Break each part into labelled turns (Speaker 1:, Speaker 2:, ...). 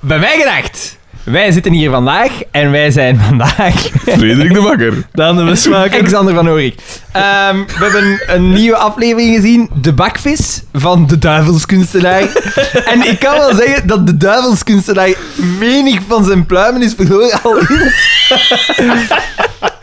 Speaker 1: wij gedacht, wij zitten hier vandaag en wij zijn vandaag
Speaker 2: Frederik de Bakker.
Speaker 3: Dan de besmaker.
Speaker 1: Alexander van Oorik. Ehm, we hebben een nieuwe aflevering gezien, De Bakvis van De Duivelskunstenaar. en ik kan wel zeggen dat De Duivelskunstenaar menig van zijn pluimen is verloren al in.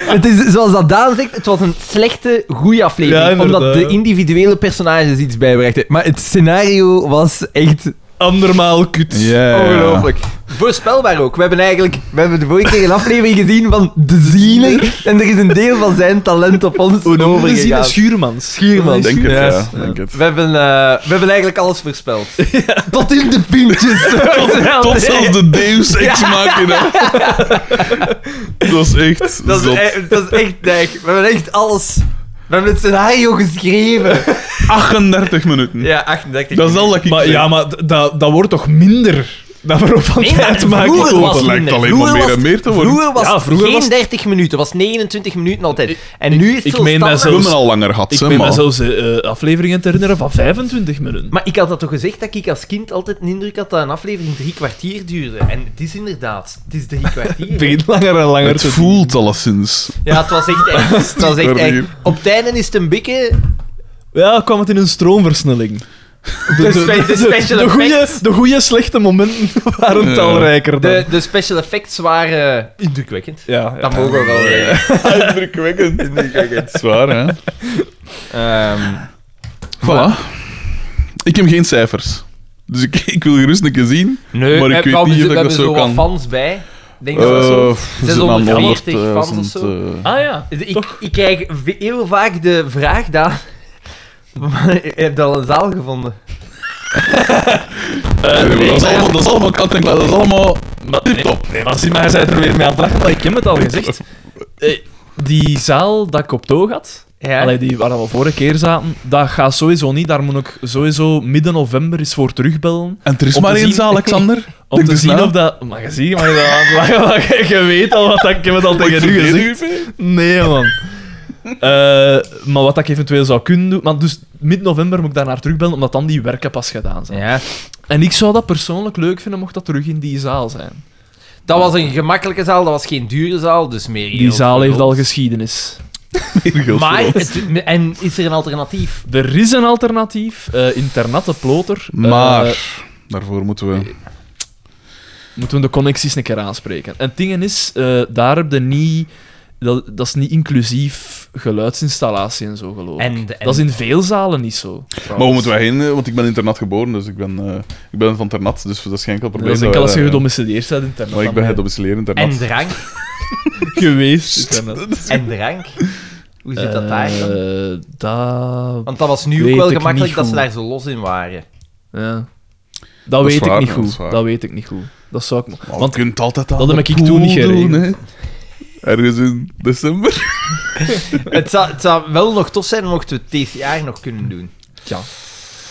Speaker 1: Het is, zoals dat Daan zegt, het was een slechte, goede
Speaker 3: Ja,
Speaker 1: aflevering.
Speaker 3: inderdaad.
Speaker 1: omdat de individuele personages iets bijbrachten. Maar het scenario was echt
Speaker 3: Andermaal kut.
Speaker 1: Ongelooflijk. Voorspelbaar ook. We hebben eigenlijk we hebben de vorige keer een aflevering gezien van De Ziener. En er is een deel van zijn talent op ons overgegaan.
Speaker 3: Schuurmans.
Speaker 1: Schuurmans.
Speaker 2: Denk het,
Speaker 1: Ja.
Speaker 2: ja. Denk het.
Speaker 1: We hebben, eh, we hebben eigenlijk alles voorspeld. Tot in de puntjes.
Speaker 2: Tot zelfs de Deus Ex Machina. Dat was echt
Speaker 1: dat, is,
Speaker 2: zot.
Speaker 1: e- dat is echt dijk. We hebben echt alles... We hebben het scenario geschreven.
Speaker 2: 38 minuten.
Speaker 1: Ja, 38.
Speaker 2: Dat is al dat ik
Speaker 3: Maar
Speaker 2: zeg.
Speaker 3: ja, maar d- dat, dat wordt toch minder? Dat we erop van
Speaker 1: Nee, maar
Speaker 3: tijd maken.
Speaker 1: vroeger
Speaker 3: komen.
Speaker 1: was
Speaker 2: Dat
Speaker 1: het
Speaker 2: lijkt
Speaker 1: minder.
Speaker 2: alleen maar
Speaker 1: Vroeger
Speaker 2: meer
Speaker 1: was-
Speaker 2: en meer te worden.
Speaker 1: Vroeger was
Speaker 3: Ja,
Speaker 1: het
Speaker 3: vroeger
Speaker 1: geen
Speaker 3: was-
Speaker 1: 30 minuten. Het was 29 minuten altijd. En nu is het
Speaker 3: ik
Speaker 1: zo
Speaker 3: meen dat
Speaker 2: We
Speaker 1: standaard.
Speaker 2: hebben al langer gehad,
Speaker 3: Ik
Speaker 2: hè,
Speaker 3: ben me
Speaker 2: man.
Speaker 3: zelfs eh, eh, afleveringen te herinneren van 25 minuten.
Speaker 1: Maar ik had dat toch gezegd dat ik als kind altijd een indruk had dat een aflevering drie kwartier duurde. En het is inderdaad, het is drie
Speaker 3: het
Speaker 1: kwartier.
Speaker 3: begint langer en langer
Speaker 2: Het
Speaker 3: te
Speaker 2: voelt alleszins.
Speaker 1: Ja, het was echt echt. Het was echt echt.
Speaker 2: kwartier.
Speaker 1: Op het einde is het een bikke.
Speaker 3: Ja, kwam het in een stroomversnelling. De,
Speaker 1: spe- de special
Speaker 3: de goede,
Speaker 1: effects.
Speaker 3: de goede slechte momenten waren
Speaker 2: Ja.
Speaker 3: talrijker dan.
Speaker 1: De, de special effects waren indrukwekkend.
Speaker 3: Ja, ja.
Speaker 1: Dat mogen we wel zeggen.
Speaker 2: Indrukwekkend. Indrukwekkend. Zwaar, hè?
Speaker 1: Ehm,
Speaker 2: Voilà. Ik heb geen cijfers. Dus ik, ik wil gerust een keer zien.
Speaker 1: nee,
Speaker 2: Maar ik
Speaker 1: eh,
Speaker 2: weet
Speaker 1: we
Speaker 2: niet of
Speaker 1: zitten- we
Speaker 2: ik dat
Speaker 1: hebben
Speaker 2: zo
Speaker 1: zo wat
Speaker 2: kan.
Speaker 1: fans bij. Ik denk dat we zo...
Speaker 2: Eh, pff, we zijn aan eh,
Speaker 1: 640 fans of
Speaker 2: 100.000,
Speaker 1: zo. Dus
Speaker 2: eh,
Speaker 3: Ah ja.
Speaker 1: Ik, ik krijg ve- heel vaak de vraag daar... Ik heb al een zaal gevonden.
Speaker 3: Eh,
Speaker 2: nee, eh, dat, is allemaal, dat is allemaal kant en klaar. Dat is allemaal tip-top.
Speaker 3: Nee, maar zie maar, hij zei er weer mee aan het lachen, maar ik heb het al gezegd. Eh, Die zaal dat ik op toog had,
Speaker 1: Ja.
Speaker 3: allee, die waar we vorige keer zaten, dat gaat sowieso niet. Daar moet ik sowieso midden november eens voor terugbellen.
Speaker 2: En er is
Speaker 3: Om
Speaker 2: maar
Speaker 3: te
Speaker 2: één
Speaker 3: zien-
Speaker 2: zaal, Alexander.
Speaker 3: Om
Speaker 2: Denk
Speaker 3: te
Speaker 2: eens
Speaker 3: zien
Speaker 2: na.
Speaker 3: of dat... Maar je ziet, maar je, maar je- maar je- je weet al wat dat- ik heb het al
Speaker 2: Wat
Speaker 3: tegen
Speaker 2: ik
Speaker 3: u
Speaker 2: vergeet
Speaker 3: gezegd. Nee, man. Eh, maar wat ik eventueel zou kunnen doen... Maar dus mid-november moet ik daar naar terugbellen, omdat dan die werken pas gedaan zijn.
Speaker 1: Ja.
Speaker 3: En ik zou dat persoonlijk leuk vinden mocht dat terug in die zaal zijn.
Speaker 1: Dat was een gemakkelijke zaal, dat was geen dure zaal, dus meer
Speaker 3: Die
Speaker 1: geld
Speaker 3: zaal
Speaker 1: voor
Speaker 3: heeft
Speaker 1: ons.
Speaker 3: al geschiedenis.
Speaker 2: Meer geld
Speaker 1: Maar,
Speaker 2: voor ons.
Speaker 1: het- en is er een alternatief?
Speaker 3: Er is een alternatief, eh internatte ploter. Eh,
Speaker 2: Maar daarvoor moeten we.
Speaker 3: moeten we de connecties een keer aanspreken. En het ding is, eh, daar heb je niet... Dat, dat is niet inclusief geluidsinstallatie en zo, geloof ik.
Speaker 1: En de- en-
Speaker 3: Dat is in veel zalen niet zo. trouwens.
Speaker 2: Maar hoe moeten wij heen? eh, Want ik ben in Ternat geboren, dus ik ben, eh, ik ben van Ternat, dus dat is geen enkel probleem.
Speaker 3: Dat is enkel
Speaker 2: wij
Speaker 3: als je
Speaker 2: daar, eh,
Speaker 3: gedomicileerd bent in Ternat.
Speaker 2: Maar ik ben het op het leren in
Speaker 1: En
Speaker 2: Ternat.
Speaker 1: drank?
Speaker 3: geweest. in Ternat.
Speaker 1: En drank? Hoe zit dat daar dan?
Speaker 3: Eh, dat...
Speaker 1: Want dat was nu
Speaker 3: weet
Speaker 1: ook wel
Speaker 3: ik
Speaker 1: gemakkelijk
Speaker 3: niet
Speaker 1: dat ze
Speaker 3: goed.
Speaker 1: daar zo los in waren.
Speaker 3: Ja. Dat,
Speaker 2: is
Speaker 3: weet ik
Speaker 2: waar,
Speaker 3: niet
Speaker 2: dat
Speaker 3: goed.
Speaker 2: is waar.
Speaker 3: Dat, weet ik niet goed. Dat zou ik... nog-
Speaker 2: Maar
Speaker 3: Want
Speaker 2: je kunt altijd aan
Speaker 3: dat
Speaker 2: de
Speaker 3: heb ik
Speaker 2: pool
Speaker 3: toen niet
Speaker 2: doen,
Speaker 3: geregeld.
Speaker 2: hè. Ergens in december.
Speaker 1: Het zou, het zou wel nog tof zijn mochten we het deze jaar nog kunnen doen.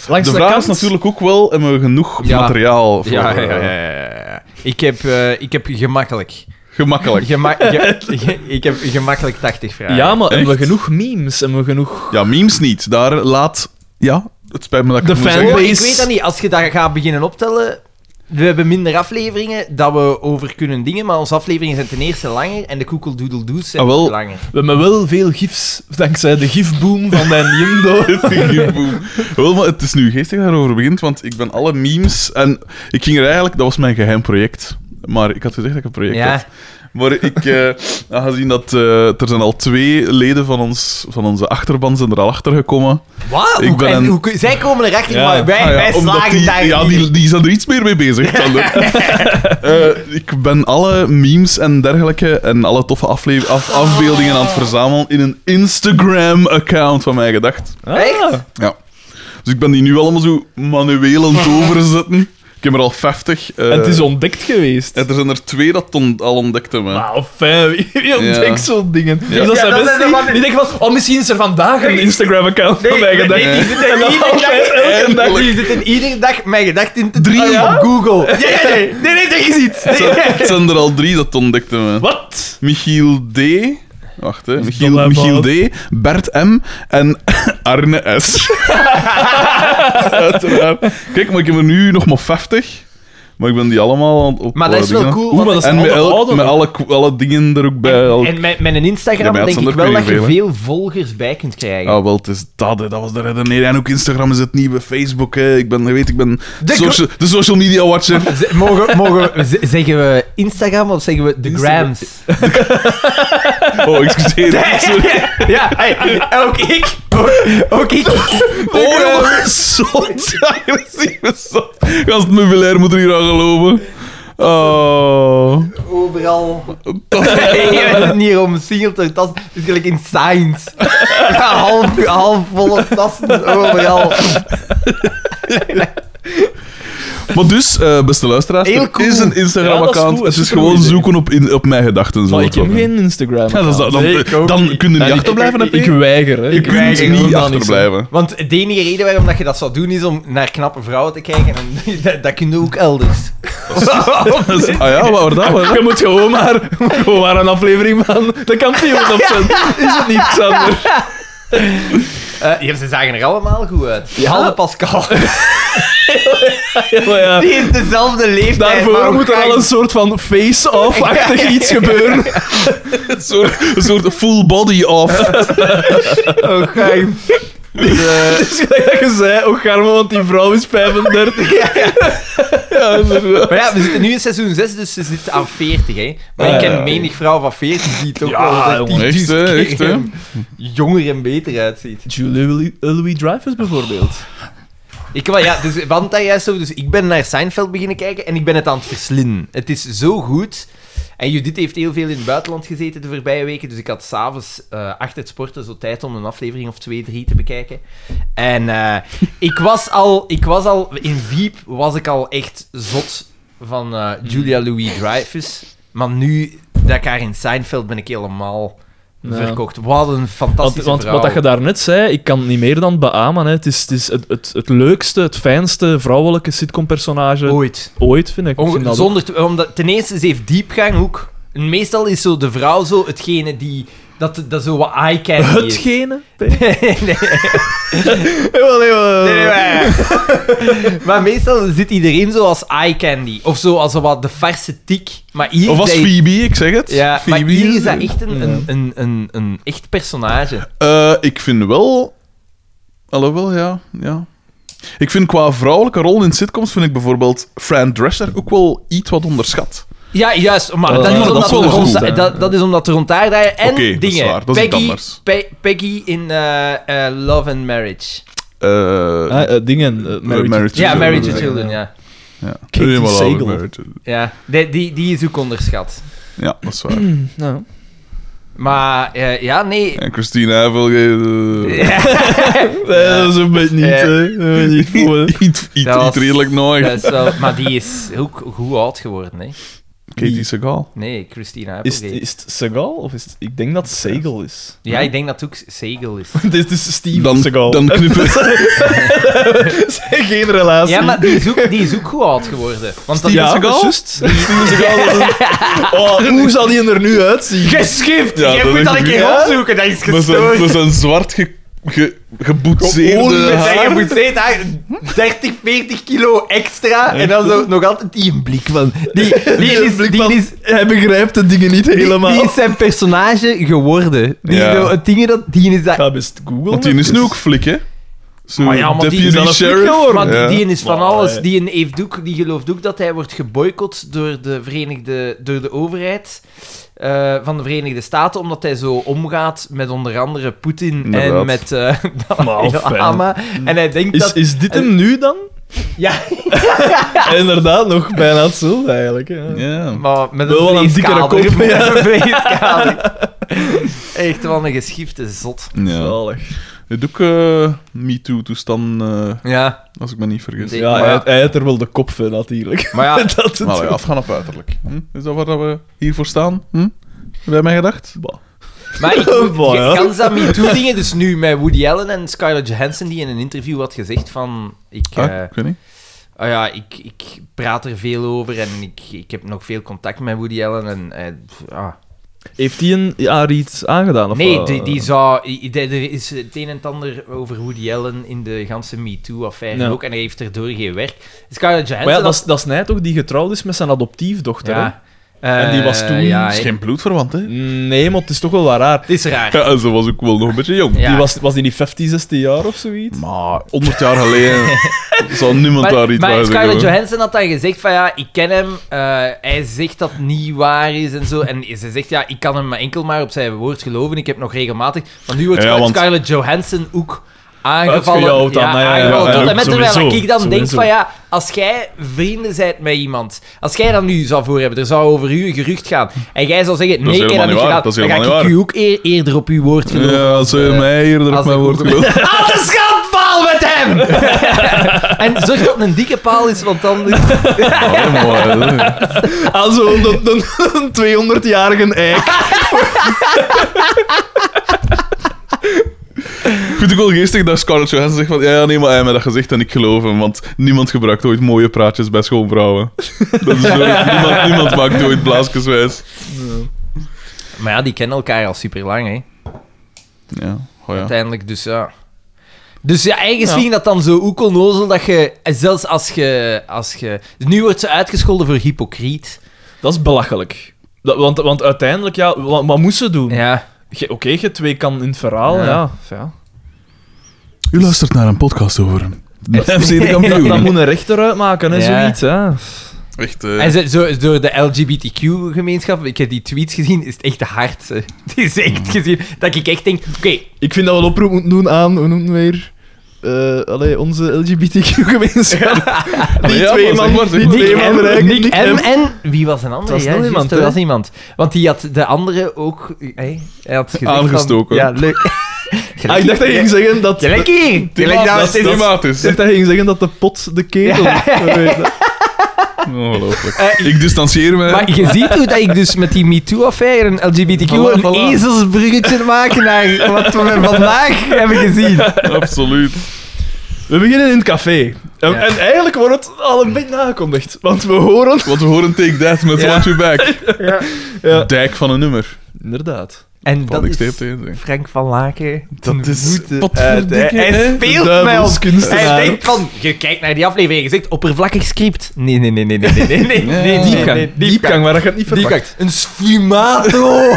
Speaker 3: langs
Speaker 2: de
Speaker 3: de,
Speaker 2: vraag
Speaker 3: kant...
Speaker 2: is natuurlijk ook wel, hebben we genoeg
Speaker 1: Ja.
Speaker 2: materiaal voor...
Speaker 1: Ja, ja,
Speaker 2: eh,
Speaker 1: ja, ja, ja. Ik heb, eh, ik heb gemakkelijk.
Speaker 2: Gemakkelijk.
Speaker 1: Gema- ge- ge- ik heb gemakkelijk 80 vragen.
Speaker 3: Ja, maar hebben we
Speaker 2: Echt?
Speaker 3: genoeg memes? Hebben we genoeg...
Speaker 2: Ja, memes niet. Daar laat... Ja, het spijt me dat ik
Speaker 3: De
Speaker 2: het moet
Speaker 3: fan-
Speaker 2: zeggen.
Speaker 1: Oh, ik
Speaker 3: Wees-
Speaker 1: weet dat niet. Als je daar gaat beginnen optellen. We hebben minder afleveringen dat we over kunnen dingen, maar onze afleveringen zijn ten eerste langer en de Google Doodle Doos zijn
Speaker 2: Ah, wel.
Speaker 1: ook langer.
Speaker 3: We hebben wel veel gifs, dankzij de gifboom van mijn Jimdo.
Speaker 2: Boem. Wel, maar het is nu geestig dat je daarover begint, want ik ben alle memes... En ik ging er eigenlijk... Dat was mijn geheim project. Maar ik had gezegd dat ik een project
Speaker 1: Ja.
Speaker 2: had. Maar ik, eh, aangezien dat eh, er zijn al twee leden van, ons, van onze achterban zijn er al achter gekomen.
Speaker 1: Wat?
Speaker 2: Ik
Speaker 1: Hoe-
Speaker 2: ben
Speaker 1: en
Speaker 2: een-
Speaker 1: hoe kun- zij komen erachter,
Speaker 3: Ja.
Speaker 1: maar wij,
Speaker 2: Ah ja,
Speaker 1: wij
Speaker 2: omdat
Speaker 1: slagen
Speaker 2: die,
Speaker 1: daar
Speaker 2: Ja,
Speaker 1: niet.
Speaker 2: die, die zijn er iets meer mee bezig. dan de- Eh, ik ben alle memes en dergelijke en alle toffe afle-
Speaker 1: Oh.
Speaker 2: af- afbeeldingen aan het verzamelen in een Instagram-account van mij gedacht.
Speaker 1: Echt?
Speaker 2: Ja. Dus ik ben die nu allemaal zo manueel aan het overzetten. Ik heb er al 50. eh,
Speaker 3: En het is ontdekt geweest.
Speaker 2: en er zijn er twee dat on- al ontdekt hebben.
Speaker 3: Wauw, fijn. Wie wie ontdekt zo'n dingen? Dus dat
Speaker 1: Ja,
Speaker 3: zijn
Speaker 1: dat zijn
Speaker 3: mensen
Speaker 1: de
Speaker 3: die, die denken van... Oh, misschien is er vandaag een Instagram-account
Speaker 1: Nee,
Speaker 3: van mij
Speaker 1: nee,
Speaker 3: gedacht.
Speaker 1: nee, die zitten
Speaker 3: En dan
Speaker 1: iedere dag-
Speaker 3: altijd elke dag...
Speaker 1: Die zitten iedere dag mijn gedachten in te
Speaker 2: Drie.
Speaker 1: draaien op Google. Nee, nee, nee, nee, nee, dat is iets. Nee.
Speaker 2: Het zijn er al drie dat ontdekt hebben.
Speaker 3: Wat?
Speaker 2: Michiel D. Wacht, hè. Michiel,
Speaker 3: dat
Speaker 2: Michiel D. Bert M. En Arne S. Uiteraard. Kijk, maar ik heb er nu nog maar 50. Maar ik ben die allemaal aan het op.
Speaker 1: Maar dat is wel
Speaker 2: dingen.
Speaker 1: cool,
Speaker 3: Oeh, maar dat
Speaker 2: En
Speaker 3: zijn
Speaker 2: met,
Speaker 3: alle
Speaker 2: elk-
Speaker 3: ouderen.
Speaker 2: met alle, alle dingen er ook bij. elk-
Speaker 1: En met, met een
Speaker 2: Ja,
Speaker 1: Instagram
Speaker 2: bij
Speaker 1: denk ik
Speaker 2: Alexander
Speaker 1: wel dat
Speaker 2: kun je
Speaker 1: je
Speaker 2: niet
Speaker 1: veel volgers bij kunt krijgen.
Speaker 2: Ah, wel, het is dat, hè. dat was de redenering. En ook Instagram is het nieuwe Facebook. Hè. Ik ben, je weet, ik ben
Speaker 1: De
Speaker 2: social, de social media watcher.
Speaker 1: Z- mogen, mogen, we- z- zeggen we Instagram of zeggen we de
Speaker 3: Instagram.
Speaker 1: Grams?
Speaker 2: Oh, excuseer. Sorry.
Speaker 1: Ja, hey, ook ik. Ook, ook ik.
Speaker 2: Oh, jongen, zot. Agressieve zot. Gast, het meubilair moet er hier aan geloven. Oh.
Speaker 1: Overal.
Speaker 2: Dat-
Speaker 1: We zitten hier om singelter tas. Het is gelijk in science. Ja, half, half volle tassen overal.
Speaker 2: Maar dus, eh, beste luisteraars,
Speaker 1: Heel
Speaker 2: er
Speaker 1: cool.
Speaker 2: is een
Speaker 3: Ja, dat
Speaker 2: Instagram-account.
Speaker 3: is goed.
Speaker 2: het is
Speaker 3: Supergoed
Speaker 2: gewoon
Speaker 3: idee.
Speaker 2: zoeken op, in, op mijn gedachten.
Speaker 3: Maar
Speaker 2: zoals
Speaker 3: ik
Speaker 2: het
Speaker 3: heb
Speaker 2: was.
Speaker 3: geen
Speaker 2: Ja,
Speaker 3: Instagram.
Speaker 2: dat is dat- dan
Speaker 3: Nee, ik ook
Speaker 2: dan kun je niet
Speaker 3: Nee,
Speaker 2: achterblijven.
Speaker 3: Ik,
Speaker 2: heb
Speaker 3: ik,
Speaker 2: je?
Speaker 3: weiger. Hè.
Speaker 2: je
Speaker 3: Ik weiger
Speaker 2: kunt niet
Speaker 3: helemaal niks, hè.
Speaker 2: achterblijven.
Speaker 1: Want de enige reden waarom dat je dat zou doen is om naar knappe vrouwen te kijken. En dat, dat kun je ook elders.
Speaker 2: Dat is- Ah ja, waar dat was.
Speaker 3: Je moet gewoon maar, gewoon maar een aflevering van de kampioen op zijn. Is het niet, Xander?
Speaker 1: Eh, ja, ze zagen er allemaal goed uit.
Speaker 3: Ja.
Speaker 1: Halve Pascal.
Speaker 3: Ja, maar ja.
Speaker 1: Die is dezelfde leeftijd. maar
Speaker 3: Daarvoor
Speaker 1: ook
Speaker 3: moet er
Speaker 1: klein.
Speaker 3: al een soort van face-off-achtig iets gebeuren.
Speaker 2: Een soort, een soort full body off.
Speaker 1: Oh, geheim.
Speaker 3: Dus dat je zei, oh Garmo, want die vrouw is 35.
Speaker 2: Ja, inderdaad.
Speaker 1: Maar ja, we zitten nu in seizoen 6, dus ze zitten aan 40, hè. Maar
Speaker 3: Ah,
Speaker 1: ik ken
Speaker 3: ja, ja.
Speaker 1: menig vrouw van 40 die toch
Speaker 3: Ja,
Speaker 1: wel
Speaker 3: jongen,
Speaker 2: echt, hè, echt, hè.
Speaker 1: jonger en beter uitziet.
Speaker 3: Julie Louis Dreyfus
Speaker 1: Oh,
Speaker 3: bijvoorbeeld.
Speaker 1: Ik, wel, ja, dus, want dat juist zo, dus ik ben naar Seinfeld beginnen kijken en ik ben het aan het verslinden. Het is zo goed. En Judith heeft heel veel in het buitenland gezeten de voorbije weken, dus ik had s'avonds eh achter het sporten zo tijd om een aflevering of twee, drie te bekijken. En eh, ik, was al, ik was al, in Wiep was ik al echt zot van eh, Julia Louis-Dreyfus. Maar nu dat ik haar in Seinfeld ben ik helemaal
Speaker 3: Ja.
Speaker 1: verkocht. Wat een
Speaker 3: Want,
Speaker 1: fantastische
Speaker 3: want
Speaker 1: vrouw.
Speaker 3: wat dat je daarnet zei, ik kan het niet meer dan beamen. Hè. Het is, het, is het, het, het leukste, het fijnste vrouwelijke sitcompersonage
Speaker 1: Ooit.
Speaker 3: ooit, vind ik. Ik
Speaker 1: Onge-
Speaker 3: vind dat ook-
Speaker 1: Oh, zonder te- omdat, ten eerste, ze heeft diepgang ook. En Meestal is zo de vrouw zo hetgene die... Dat, dat zo wat eye candy is.
Speaker 3: Hetgene? Nee.
Speaker 1: nee, nee, nee, maar... maar meestal zit iedereen zo als eye candy. Of zo als zo wat de farse tik. Maar hier...
Speaker 2: Of was
Speaker 1: zij-
Speaker 2: Phoebe, ik zeg het.
Speaker 1: Ja, maar
Speaker 2: Phoebe.
Speaker 1: hier is dat echt een, een, een, een, een echt personage.
Speaker 2: Eh, ik vind wel... Alhoewel, ja, ja. Ik vind qua vrouwelijke rol in sitcoms vind ik bijvoorbeeld Fran Drescher ook wel iets wat onderschat.
Speaker 1: Ja, juist. Maar
Speaker 3: Eh,
Speaker 1: dat, is
Speaker 3: maar dat
Speaker 1: omdat
Speaker 2: Oh, is wel
Speaker 1: we rond,
Speaker 2: goed,
Speaker 3: hè.
Speaker 1: dat, dat is omdat er rond daar draaien. En
Speaker 2: Oké, dat is
Speaker 1: dingen.
Speaker 2: waar, dat is iets
Speaker 1: Peggy,
Speaker 2: anders.
Speaker 1: Pe- Peggy in eh, eh, Love and Marriage.
Speaker 2: Eh
Speaker 3: Ah, eh, dingen. eh, Married to-
Speaker 2: Married to
Speaker 1: Ja,
Speaker 2: Children,
Speaker 1: Married to
Speaker 2: ja.
Speaker 1: Children, ja.
Speaker 2: ja.
Speaker 3: Katie
Speaker 2: Helemaal
Speaker 3: Sagal.
Speaker 2: over Married to-
Speaker 1: Ja, die, die, die is ook onderschat.
Speaker 2: Ja, dat is waar.
Speaker 3: Nou.
Speaker 1: Maar eh, ja, nee.
Speaker 2: En Christine Havel... eh,
Speaker 3: Nee, dat is een beetje niet,
Speaker 1: Ja.
Speaker 3: hè. Dat weet ik niet goed, hè.
Speaker 2: Iets, iets,
Speaker 1: Dat was-
Speaker 2: iets redelijk nooit.
Speaker 1: dat is wel- maar die is ook goed oud geworden, hè?
Speaker 2: Katie Sagal.
Speaker 1: Nee, Christina
Speaker 3: Is, het-
Speaker 1: Applegate.
Speaker 3: is het Segal of is het... Ik denk dat het Segel is.
Speaker 1: Ja, ik denk dat het ook Segel is.
Speaker 3: Dit is dus Steven
Speaker 2: Dan,
Speaker 3: Segal.
Speaker 2: dan knippen...
Speaker 3: Geen relatie.
Speaker 1: Ja, maar die is ook, die is ook goed oud geworden. Want dat
Speaker 2: Steven
Speaker 1: is
Speaker 3: Ja,
Speaker 1: ook...
Speaker 2: Seagal?
Speaker 3: dat is juist. Steven Seagal. Oh, hoe zal die er nu uitzien?
Speaker 1: Geschift!
Speaker 2: Ja,
Speaker 1: Jij moet
Speaker 2: dat denk
Speaker 1: dat een
Speaker 2: ik
Speaker 1: keer
Speaker 2: ook.
Speaker 1: opzoeken, dat is
Speaker 2: Met zijn,
Speaker 1: gestoord.
Speaker 2: met zijn zwart ge, ge,
Speaker 3: Gewoon
Speaker 2: geboetseerde
Speaker 3: met
Speaker 1: Ja,
Speaker 2: haar.
Speaker 1: je moet zeggen, daar 30, 40 kilo extra en dan zo nog altijd die blik van... Die, die, is, die is
Speaker 3: Hij begrijpt de dingen niet
Speaker 1: Die-
Speaker 3: helemaal.
Speaker 1: Die is zijn personage geworden. Die,
Speaker 2: Ja.
Speaker 1: zo, het ding dat, die is dat...
Speaker 3: Ga best Google.
Speaker 2: Want die is nu ook flik, hè? Zo deputy sheriff.
Speaker 1: Maar die,
Speaker 2: Ja.
Speaker 1: die is van
Speaker 3: Maar,
Speaker 1: alles.
Speaker 3: eh.
Speaker 1: Die heeft ook, die gelooft ook dat hij wordt geboycott door de Verenigde, door de overheid eh, van de Verenigde Staten, omdat hij zo omgaat met onder andere Poetin en
Speaker 2: Inderdaad.
Speaker 1: met eh
Speaker 3: Maar
Speaker 1: Dalai
Speaker 3: fijn.
Speaker 1: Lama. En hij denkt
Speaker 3: Is,
Speaker 1: dat...
Speaker 3: is dit hem nu dan?
Speaker 1: Ja,
Speaker 3: Inderdaad, nog bijna hetzelfde eigenlijk. hè.
Speaker 2: Ja.
Speaker 1: maar met een
Speaker 3: Wel wel een dikkere
Speaker 1: vleeskader,
Speaker 3: kop,
Speaker 1: met
Speaker 3: ja.
Speaker 1: een vleeskader. Echt wel een geschifte zot.
Speaker 2: ja.
Speaker 3: Zalig.
Speaker 2: Het ook eh MeToo-toestand, eh,
Speaker 1: Ja,
Speaker 2: als ik me niet vergis.
Speaker 1: Nee.
Speaker 3: Ja,
Speaker 1: Maar
Speaker 3: hij,
Speaker 1: ja.
Speaker 3: hij heeft er wel de kop van, natuurlijk.
Speaker 1: maar ja,
Speaker 3: Dat het...
Speaker 2: Maar ja, afgaan op uiterlijk. Hm? Is dat waar dat we hiervoor staan? Hm? Heb jij mij gedacht?
Speaker 3: Bah.
Speaker 1: Maar ik moet,
Speaker 3: Boy,
Speaker 1: je
Speaker 3: hoor.
Speaker 1: kan dat MeToo dingen, dus nu met Woody Allen en Scarlett Johansson, die in een interview had gezegd van, ik, eh
Speaker 2: Ah, ik weet niet.
Speaker 1: ah ja, ik, ik praat er veel over en ik, ik heb nog veel contact met Woody Allen en eh, pff, ah,
Speaker 3: Heeft hij een haar iets aangedaan? Of eh,
Speaker 1: Nee,
Speaker 3: wat?
Speaker 1: die, die zou... i- i- Er is het een en het ander over Woody Allen in de ganse MeToo-affaire
Speaker 3: Ja.
Speaker 1: ook, en hij heeft erdoor geen werk. Scarlett Johansson...
Speaker 3: Maar ja,
Speaker 1: had-
Speaker 3: dat is, dat is Nij toch die getrouwd is met zijn adoptiefdochter? hè?
Speaker 1: Ja.
Speaker 3: En die was
Speaker 1: Eh,
Speaker 3: toen
Speaker 1: ja,
Speaker 2: Dat is geen bloedverwant, hè?
Speaker 3: Nee, maar het is toch wel wat raar.
Speaker 1: Het is raar.
Speaker 2: Ja, en ze was ook wel nog een beetje jong.
Speaker 1: Ja.
Speaker 3: Die was, was die niet 15, 16 jaar of zoiets?
Speaker 2: Maar 100 jaar geleden zou niemand daar
Speaker 1: Maar,
Speaker 2: iets
Speaker 1: maar
Speaker 2: van zeggen.
Speaker 1: Scarlett
Speaker 2: hoor.
Speaker 1: Johansson had dan gezegd van ja, ik ken hem, eh, hij zegt dat het niet waar is en zo. En ze zegt ja, ik kan hem maar enkel maar op zijn woord geloven, ik heb nog regelmatig... Want nu wordt
Speaker 2: Ja, want-
Speaker 1: Scarlett Johansson ook aangevallen.
Speaker 3: Uitgejouwd dan, hè, ja, ja,
Speaker 1: aangevallen
Speaker 2: ja,
Speaker 1: tot
Speaker 2: ja,
Speaker 1: en met
Speaker 3: ook
Speaker 1: terwijl
Speaker 3: sowieso,
Speaker 1: ik dan denk
Speaker 3: sowieso.
Speaker 1: van ja, als jij vrienden bent met iemand, als jij dan nu zou voor hebben, er zou over u een gerucht gaan, en jij zou zeggen
Speaker 2: is
Speaker 1: nee, ik heb
Speaker 2: helemaal
Speaker 1: dat
Speaker 2: niet
Speaker 1: niet gedaan,
Speaker 2: waar, dat is
Speaker 1: dan ga
Speaker 2: helemaal
Speaker 1: ik
Speaker 2: niet
Speaker 1: u ook eer- eerder op uw woord geloven.
Speaker 2: Ja, als je mij eerder op
Speaker 1: als
Speaker 2: mijn
Speaker 1: ik
Speaker 2: woord
Speaker 1: ook-
Speaker 2: gelooft.
Speaker 1: Haal de schandpaal met hem! en zorg dat het een dikke paal is, want dan...
Speaker 2: Ja, mooi, hè.
Speaker 3: Ah, zo'n dat- dat- een 200-jarige eik.
Speaker 2: Ik vind het ook wel geestig dat Scarlett Johansson zegt van ja, ja, nee, maar hij heeft mij dat gezegd en ik geloof hem, want niemand gebruikt ooit mooie praatjes bij schoonvrouwen. Dat is nooit- niemand, niemand maakt ooit blaasjeswijs.
Speaker 1: Maar ja, die kennen elkaar al super lang, hè.
Speaker 2: Ja, oh ja.
Speaker 1: Uiteindelijk, dus ja. Dus ja, eigenlijk vind ik dat dan zo ook onnozel dat je... en Zelfs als je... Als je nu wordt ze uitgescholden voor hypocriet.
Speaker 3: Dat is belachelijk. Dat, want, want uiteindelijk, ja, wat, wat moest ze doen?
Speaker 1: Ja.
Speaker 3: Ge- Oké, je twee kan in het verhaal,
Speaker 1: Ja.
Speaker 3: ja. ja. ja.
Speaker 2: U luistert naar een podcast over FC de
Speaker 3: Dat, dat
Speaker 2: kampioen.
Speaker 3: moet een rechter uitmaken, hè,
Speaker 1: Ja.
Speaker 3: zoiets. Hè.
Speaker 2: Echt, eh,
Speaker 1: En ze, zo, door de LGBTQ-gemeenschap, ik heb die tweets gezien, is het echt hard. hè. Het is
Speaker 3: Mm.
Speaker 1: echt gezien dat ik echt denk... Oké,
Speaker 3: Ik vind dat we een oproep moeten doen aan, hoe noemen we weer? eh allee, onze LGBTQ-gemeenschap.
Speaker 2: maar
Speaker 3: Die
Speaker 2: ja,
Speaker 3: twee
Speaker 2: maar zeg
Speaker 3: man,
Speaker 2: maar, zeg
Speaker 3: die
Speaker 2: maar.
Speaker 3: twee
Speaker 2: Nick
Speaker 3: man
Speaker 2: M,
Speaker 3: rijken,
Speaker 2: Nick
Speaker 3: Nick
Speaker 1: En,
Speaker 3: M.
Speaker 1: en wie was een andere?
Speaker 3: Het was
Speaker 1: ja,
Speaker 3: nog
Speaker 1: juist,
Speaker 3: iemand,
Speaker 1: er
Speaker 3: hè?
Speaker 1: was iemand. Want die had de andere ook. Hey, hij had gezegd Van,
Speaker 2: Aangestoken.
Speaker 1: ja, leuk.
Speaker 3: Ah, ik dacht dat je ging zeggen dat...
Speaker 1: Je lijkt hier. Je lijkt nou
Speaker 2: eh, dat is
Speaker 1: steeds-
Speaker 3: Ik
Speaker 2: thematisch.
Speaker 3: dacht dat je ging zeggen dat de pot de ketel...
Speaker 2: Ongelooflijk. Ik distancieer me.
Speaker 1: Maar je ziet hoe dat ik dus met die MeToo-affaire en LGBTQ
Speaker 3: Voilà,
Speaker 1: een
Speaker 3: voilà.
Speaker 1: ezelsbruggetje maak naar wat we vandaag hebben gezien.
Speaker 2: Absoluut.
Speaker 3: We beginnen in het café. En, en eigenlijk wordt het al een beetje nagekondigd. Want we horen...
Speaker 2: Want we horen Take That met
Speaker 3: Ja.
Speaker 2: Watch You Back.
Speaker 3: Ja.
Speaker 2: Dijk van een nummer.
Speaker 3: Inderdaad.
Speaker 1: En dat
Speaker 2: Wat ik
Speaker 1: is
Speaker 2: steep tegen.
Speaker 1: Frank van Laken. ten voeten uit, hè.
Speaker 2: potverdikke,
Speaker 1: Hij
Speaker 2: hè.
Speaker 1: speelt
Speaker 3: De
Speaker 1: mij op.
Speaker 3: duivelskunstenaar.
Speaker 1: Hij denkt van, je kijkt naar die aflevering, je zegt oppervlakkig script. Nee, nee, nee, nee, nee, nee, nee, nee, nee, nee,
Speaker 3: Diepgang.
Speaker 1: nee,
Speaker 3: Diepgang, maar dat gaat niet verpakt.
Speaker 1: Diepgang. Een sfumato.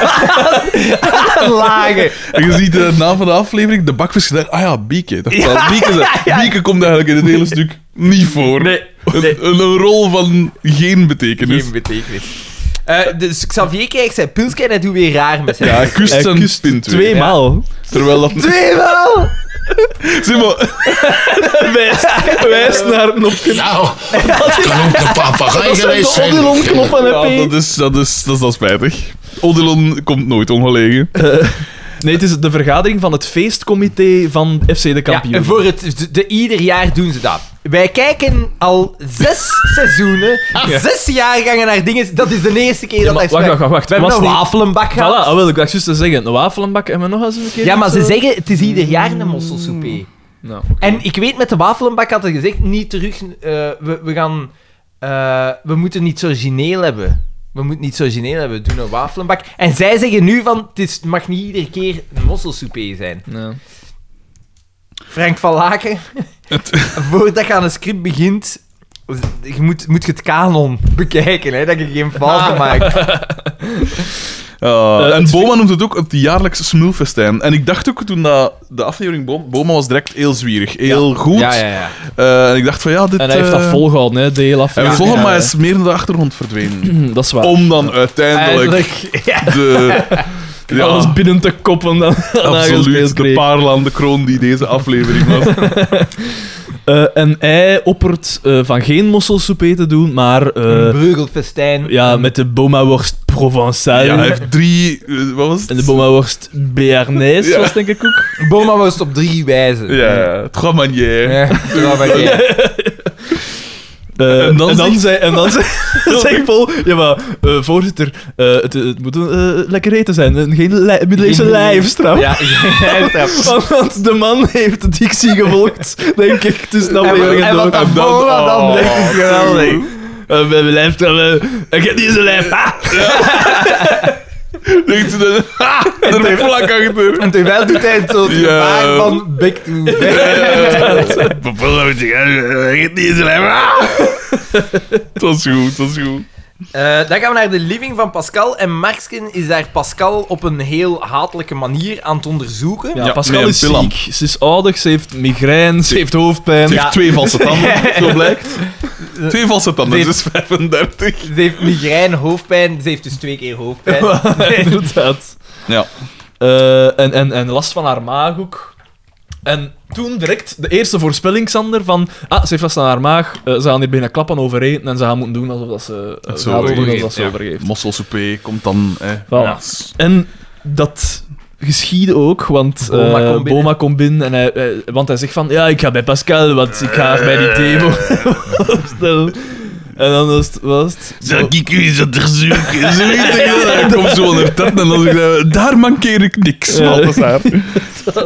Speaker 1: Lagen.
Speaker 2: En je ziet de naam van de aflevering, de bakvis gedacht, ah ja, Bieke. Dat ja, Bieke, zijn. Bieke komt eigenlijk in het hele stuk niet voor. Een, een, een rol van geen betekenis.
Speaker 1: Geen betekenis. Eh, dus Xavier krijgt zijn pilsje en hij doet weer raar met zijn
Speaker 2: Ja, hij kust
Speaker 3: Hij
Speaker 2: zijn
Speaker 3: kust
Speaker 2: pint weer.
Speaker 3: Tweemaal.
Speaker 2: Terwijl dat...
Speaker 1: Tweemaal!
Speaker 2: Zeg maar,
Speaker 3: Wijst naar een knopje.
Speaker 4: Nou, genoeg de papegaai
Speaker 3: Dat zijn
Speaker 4: geweest
Speaker 3: de
Speaker 4: zijn.
Speaker 3: Odilon-knoppen, hè,
Speaker 2: ja,
Speaker 3: P.
Speaker 2: dat, is, dat, is, dat is dan spijtig. Odilon komt nooit ongelegen.
Speaker 3: Nee, het is de vergadering van het feestcomité van FC de Kampioen.
Speaker 1: Ja, en voor het, de, de- ieder jaar doen ze dat. Wij kijken al zes seizoenen, zes jaargangen naar dingen. Dat is de eerste keer dat
Speaker 3: maar
Speaker 1: hij
Speaker 3: wacht,
Speaker 1: speelt.
Speaker 3: wacht, wacht.
Speaker 1: We hebben
Speaker 3: Was
Speaker 1: een
Speaker 3: niet-
Speaker 1: wafelenbak
Speaker 3: Voilà,
Speaker 1: gehad.
Speaker 3: dat wil ik dat juist te zeggen. Een wafelenbak en we nog eens een keer...
Speaker 1: Ja, maar
Speaker 3: iets,
Speaker 1: ze
Speaker 3: eh?
Speaker 1: zeggen het is ieder jaar een mosselsoepé.
Speaker 3: Nou,
Speaker 1: En ik weet, met de wafelenbak had hij gezegd, niet terug, eh, we, we gaan, eh, we moeten niet zo origineel hebben. We moeten niet zo origineel hebben, we doen een wafelenbak. En zij zeggen nu van, het is, het mag niet iedere keer een mosselsoepé zijn.
Speaker 3: ja.
Speaker 1: Frank van Laken, voordat je aan een script begint, je moet, moet je het kanon bekijken, hè, dat je geen
Speaker 2: Ah,
Speaker 1: fouten maakt.
Speaker 2: Ja,
Speaker 3: Eh,
Speaker 2: en
Speaker 3: het
Speaker 2: Boma noemt het ook het jaarlijks smulfestijn. En ik dacht ook toen dat de aflevering Bo- Boma was direct heel zwierig, heel goed.
Speaker 1: ja.
Speaker 2: Eh, en ik dacht van ja, dit...
Speaker 3: En hij heeft dat
Speaker 2: eh,
Speaker 3: volgehouden, hè, de hele
Speaker 2: En
Speaker 3: aflevering.
Speaker 2: volgens
Speaker 3: Ja,
Speaker 2: mij
Speaker 3: ja.
Speaker 2: is meer naar de achtergrond verdwenen.
Speaker 3: Hm, Dat is waar.
Speaker 2: Om dan uiteindelijk de... Ja,
Speaker 3: Alles binnen te koppen dan
Speaker 2: absoluut.
Speaker 3: aangespeeld
Speaker 2: De
Speaker 3: kreeg.
Speaker 2: parel aan de kroon die deze aflevering was.
Speaker 3: Eh, en hij oppert eh, van geen mosselsoepé te doen, maar eh,
Speaker 1: Een breugelfestijn.
Speaker 3: ja, met de boma-worst Provençale
Speaker 2: Ja, hij heeft drie... eh, wat was het?
Speaker 3: en de boma-worst Béarnaise,
Speaker 2: Ja.
Speaker 3: was denk ik ook.
Speaker 1: Boma was het op drie wijzen.
Speaker 2: Ja, ja, trois manières.
Speaker 1: Ja, dat ben jij.
Speaker 3: Eh,
Speaker 2: En dan zegt-
Speaker 3: zei, en dan zei, zei Paul, ja maar, eh, voorzitter, eh, het, het moet een eh, lekker eten zijn, en geen li- middeleeuwse
Speaker 1: Geen-
Speaker 3: lijfstraf.
Speaker 1: Ja, jij hebt
Speaker 3: Want, want de man heeft de dictie gevolgd, denk ik, dus nou
Speaker 1: En,
Speaker 3: weer
Speaker 1: en, en
Speaker 3: door.
Speaker 1: wat
Speaker 2: En
Speaker 1: dan
Speaker 2: dan-
Speaker 1: Boma dan
Speaker 2: oh,
Speaker 1: denk ik geweldig.
Speaker 3: Eh, we hebben lijfstraf, eh, ik heb niet eens een lijf, ha!
Speaker 2: Denkt ze dat... Ha! Er vlak achter.
Speaker 5: En terwijl doet hij het zo het
Speaker 2: Ja.
Speaker 5: gebaar van back to back.
Speaker 2: Het was goed, dat was goed.
Speaker 1: Eh, dan gaan we naar de living van Pascal. En Marsken is daar Pascal op een heel hatelijke manier aan het onderzoeken.
Speaker 3: Ja,
Speaker 2: Ja,
Speaker 3: Pascal
Speaker 2: met
Speaker 3: is
Speaker 2: een pilam.
Speaker 3: ziek. Ze is ouder, ze heeft migraine, ze heeft hoofdpijn.
Speaker 2: Ze heeft twee valse tanden, zo blijkt. Twee valse tanden,
Speaker 1: Dit-
Speaker 2: dus 35.
Speaker 1: Ze heeft migraine, hoofdpijn. Ze heeft dus twee keer hoofdpijn.
Speaker 3: Inderdaad.
Speaker 2: Ja.
Speaker 3: Eh, en, en, en last van haar maag ook. En toen direct de eerste voorspelling, Sander, van... Ah, ze heeft last aan haar maag, eh, ze gaan hier bijna klappen over eten en ze gaan moeten doen alsof dat ze... eh,
Speaker 2: Zo
Speaker 3: gaat doen alsof
Speaker 2: overgeeft,
Speaker 3: dat ze
Speaker 2: ja.
Speaker 3: overgeeft.
Speaker 2: Mosselsoupé komt dan... Hè.
Speaker 3: Voilà. En dat geschiedde ook, want eh,
Speaker 1: Boma
Speaker 3: Boma,
Speaker 1: komt
Speaker 3: komt
Speaker 1: binnen.
Speaker 3: binnen. En hij, hij- want hij zegt van, ja, ik ga bij Pascal, want ik ga bij die demo opstellen. En dan was het... Was het zo-
Speaker 2: Zal ik u eens onderzoeken? Ze weten dat hij komt zo onder tent en dan zeg hij, daar mankeer ik niks.
Speaker 3: Ja.
Speaker 2: Balthazar.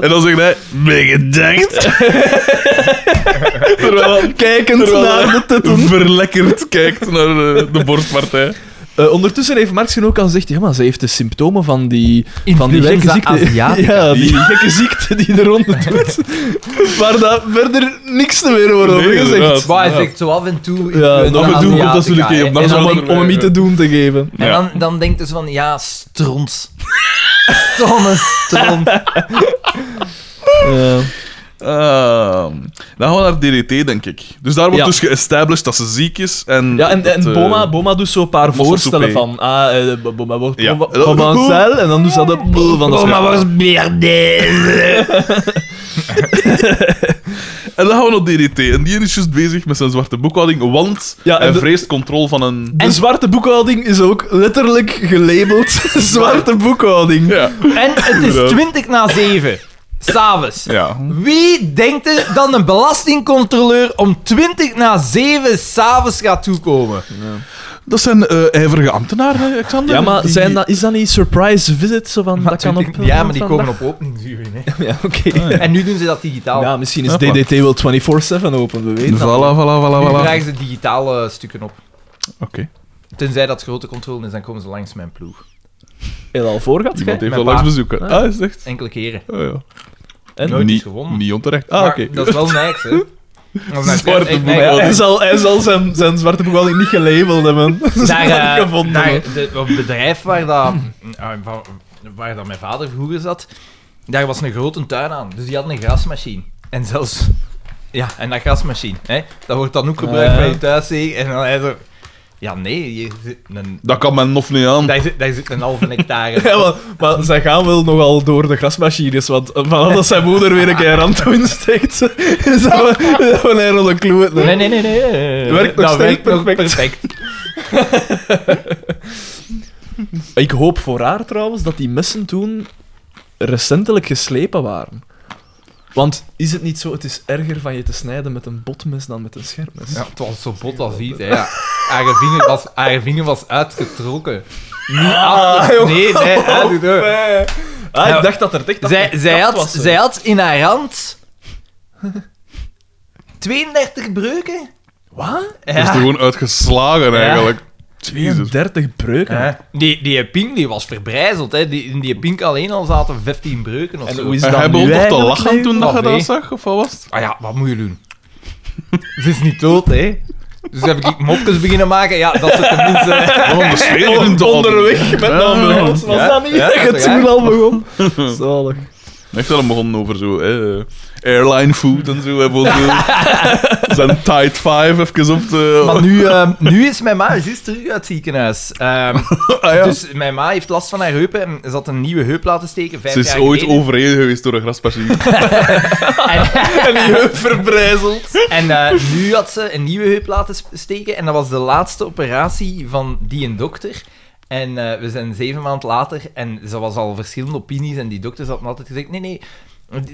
Speaker 2: En dan zegt hij, ben gedankt. terwijl hij
Speaker 3: kijkend
Speaker 2: terwijl
Speaker 3: naar
Speaker 2: hij
Speaker 3: de tetten.
Speaker 2: verlekkerd kijkt naar de, de borstpartij.
Speaker 3: Eh, ondertussen heeft Marxen ook al gezegd, ja, maar ze heeft de symptomen van die, van die
Speaker 1: Influenza
Speaker 3: gekke ziekte.
Speaker 1: Asiatica.
Speaker 3: Ja, die gekke ziekte die er rond doet. Waar daar verder niks te meer wordt over
Speaker 2: Nee,
Speaker 3: gezegd.
Speaker 2: inderdaad.
Speaker 1: Maar hij zegt zo af en toe...
Speaker 3: Ja,
Speaker 1: ik ben
Speaker 3: af
Speaker 2: en
Speaker 1: een
Speaker 2: toe komt dat
Speaker 1: Aziatica,
Speaker 2: zulke keer
Speaker 1: hè.
Speaker 2: op.
Speaker 1: En
Speaker 2: Dat is
Speaker 1: dan
Speaker 2: wel
Speaker 1: denk-
Speaker 3: Om, om hem niet te doen te geven.
Speaker 1: En dan, dan denkt ze van, ja, stront. Stomme stront.
Speaker 3: Ja.
Speaker 2: Ehm, dan gaan we naar DDT, denk ik. Dus daar wordt
Speaker 3: Ja.
Speaker 2: dus geëstablished dat ze ziek is. En
Speaker 3: Ja, en,
Speaker 2: dat,
Speaker 3: en
Speaker 2: eh,
Speaker 3: Boma, Boma doet zo een paar
Speaker 2: Mossel
Speaker 3: voorstellen
Speaker 2: Soupé.
Speaker 3: van... Ah, eh, Bo- Boma wordt
Speaker 2: Ja.
Speaker 3: Boma- Boma een cel, en dan doet ze dat... Van dat
Speaker 1: Boma was beerde.
Speaker 2: En dan gaan we naar DDT. En die is juist bezig met zijn zwarte boekhouding, want
Speaker 3: Ja, en
Speaker 2: hij
Speaker 3: de-
Speaker 2: vreest controle van een...
Speaker 3: De zwarte boekhouding is ook letterlijk gelabeld zwarte boekhouding.
Speaker 2: Ja.
Speaker 1: En het is
Speaker 2: Inderdaad.
Speaker 1: 20 na 7. S'avonds.
Speaker 2: ja.
Speaker 1: Wie denkt er dan een belastingcontroleur om 20 na 7 s'avonds gaat toekomen?
Speaker 2: Dat zijn eh ijverige ambtenaren, hè, Alexander.
Speaker 3: Ja, maar
Speaker 2: Die-
Speaker 3: zijn dat, is dat niet surprise visit? Zo van, dat kan op,
Speaker 1: 20 ja, maar die komen
Speaker 3: vandaag?
Speaker 1: op openingsuren. Hè.
Speaker 3: Ja, oké.
Speaker 1: En nu doen ze dat digitaal.
Speaker 3: Ja, misschien is
Speaker 2: Ja, voilà.
Speaker 3: DDT wel 24-7 open, we weten dat.
Speaker 2: Voilà, voilà, voilà,
Speaker 1: nu
Speaker 2: voilà.
Speaker 1: vragen ze digitale stukken op.
Speaker 2: Oké.
Speaker 1: Tenzij dat grote controle is, dan komen ze langs mijn ploeg.
Speaker 3: Heb je al voor gehad,
Speaker 2: Iemand
Speaker 3: gij?
Speaker 2: heeft
Speaker 1: Mijn
Speaker 2: al langs
Speaker 1: pa.
Speaker 2: bezoeken.
Speaker 3: Ah.
Speaker 2: Ah, is het echt?
Speaker 1: Enkele keren.
Speaker 2: Oh, ja.
Speaker 3: En?
Speaker 1: Nooit
Speaker 2: niet,
Speaker 1: iets gewonnen.
Speaker 2: Niet onterecht. Ah,
Speaker 1: Maar
Speaker 2: oké.
Speaker 1: Dat is wel nice, hè? nou, Dat is
Speaker 2: Zwarte
Speaker 1: echt
Speaker 2: boel.
Speaker 1: nice.
Speaker 3: Ja, hij, zal, hij zal zijn, zijn zwarte boekhouding niet gelabeld hebben. Dat is
Speaker 1: oh. Daar,
Speaker 3: nooit
Speaker 1: eh,
Speaker 3: gevonden.
Speaker 1: daar, de, op het bedrijf waar, dat, eh, waar, waar dat mijn vader vroeger zat, daar was een grote tuin aan. Dus die hadden een grasmachine. En zelfs... Ja, en dat grasmachine. Hè, dat wordt dan ook gebruikt
Speaker 3: Ja.
Speaker 1: bij je thuiszeeg. En dan hij zo... Ja, nee, hier zit een...
Speaker 2: Dat kan men nog niet aan.
Speaker 1: Daar zit, daar zit een halve hectare.
Speaker 3: Ja, maar, maar zij gaan wel nogal door de grasmachines, want eh, vanaf dat zijn moeder weer een keer rand insteekt, ze- is dat wel- is dat wel een hele kloot. hè.
Speaker 1: Nee, nee, nee, nee. nee.
Speaker 3: Werkt nog
Speaker 1: dat
Speaker 3: steeds
Speaker 1: werkt nog
Speaker 3: perfect.
Speaker 1: perfect.
Speaker 3: Ik hoop voor haar trouwens dat die messen toen recentelijk geslepen waren. Want is het niet zo, het is erger van je te snijden met een botmes dan met een scherpmes?
Speaker 1: Ja, het was zo bot als iets, hè. Ja. Haar vinger was, haar vinger was uitgetrokken. Niet af. Nee, nee, uitgetrokken.
Speaker 3: Ah,
Speaker 1: Ja.
Speaker 3: ik dacht dat er echt dat
Speaker 1: Zij,
Speaker 3: er
Speaker 1: zij,
Speaker 3: kat
Speaker 1: had,
Speaker 3: was, hè.
Speaker 1: zij had in haar hand 32 breuken. Dus
Speaker 3: Wat?
Speaker 2: Dat is er gewoon uitgeslagen, eigenlijk. Jezus.
Speaker 3: 32 breuken.
Speaker 1: Ja. Die, die Pink die was verbrijzeld. Hè. Die, in die Pink alleen al zaten 15 breuken of
Speaker 3: En
Speaker 1: zo.
Speaker 3: hoe is
Speaker 2: En
Speaker 3: dat
Speaker 2: hij
Speaker 3: nu
Speaker 2: begon toch te
Speaker 3: eigenlijk,
Speaker 2: lachen
Speaker 3: Leo?
Speaker 2: toen dat
Speaker 1: Of
Speaker 2: je
Speaker 1: nee?
Speaker 2: dat zag? Of wat was het?
Speaker 1: Ah ja, wat moet je doen? Ze is niet dood, hè? Dus heb ik mopjes beginnen maken. Ja, dat ze tenminste...
Speaker 2: Oh, de sfeer in de
Speaker 3: Onderweg met de
Speaker 2: Ja.
Speaker 3: ambulance, was
Speaker 1: Ja,
Speaker 3: dat niet?
Speaker 1: ja,
Speaker 3: dat je
Speaker 1: toch,
Speaker 3: toen
Speaker 1: ja.
Speaker 3: al begon. Zalig.
Speaker 2: Echt wel begonnen over zo, hè, eh, airline food en zo. Hè, voor zo zijn Tide 5 even op de...
Speaker 1: Maar nu, ehm, nu is mijn ma juist terug uit het ziekenhuis. Ehm,
Speaker 2: Ah, ja.
Speaker 1: Dus mijn ma heeft last van haar heupen en ze had een nieuwe heup laten steken vijf
Speaker 2: Ze is
Speaker 1: jaar
Speaker 2: ooit
Speaker 1: geleden.
Speaker 2: overreden geweest door een graspassie.
Speaker 3: En die heup verbrijzeld.
Speaker 1: En eh, nu had ze een nieuwe heup laten s- steken. En dat was de laatste operatie van die een dokter. En eh, we zijn zeven maanden later en ze was al verschillende opinies. En die dokters hadden altijd gezegd: nee, nee.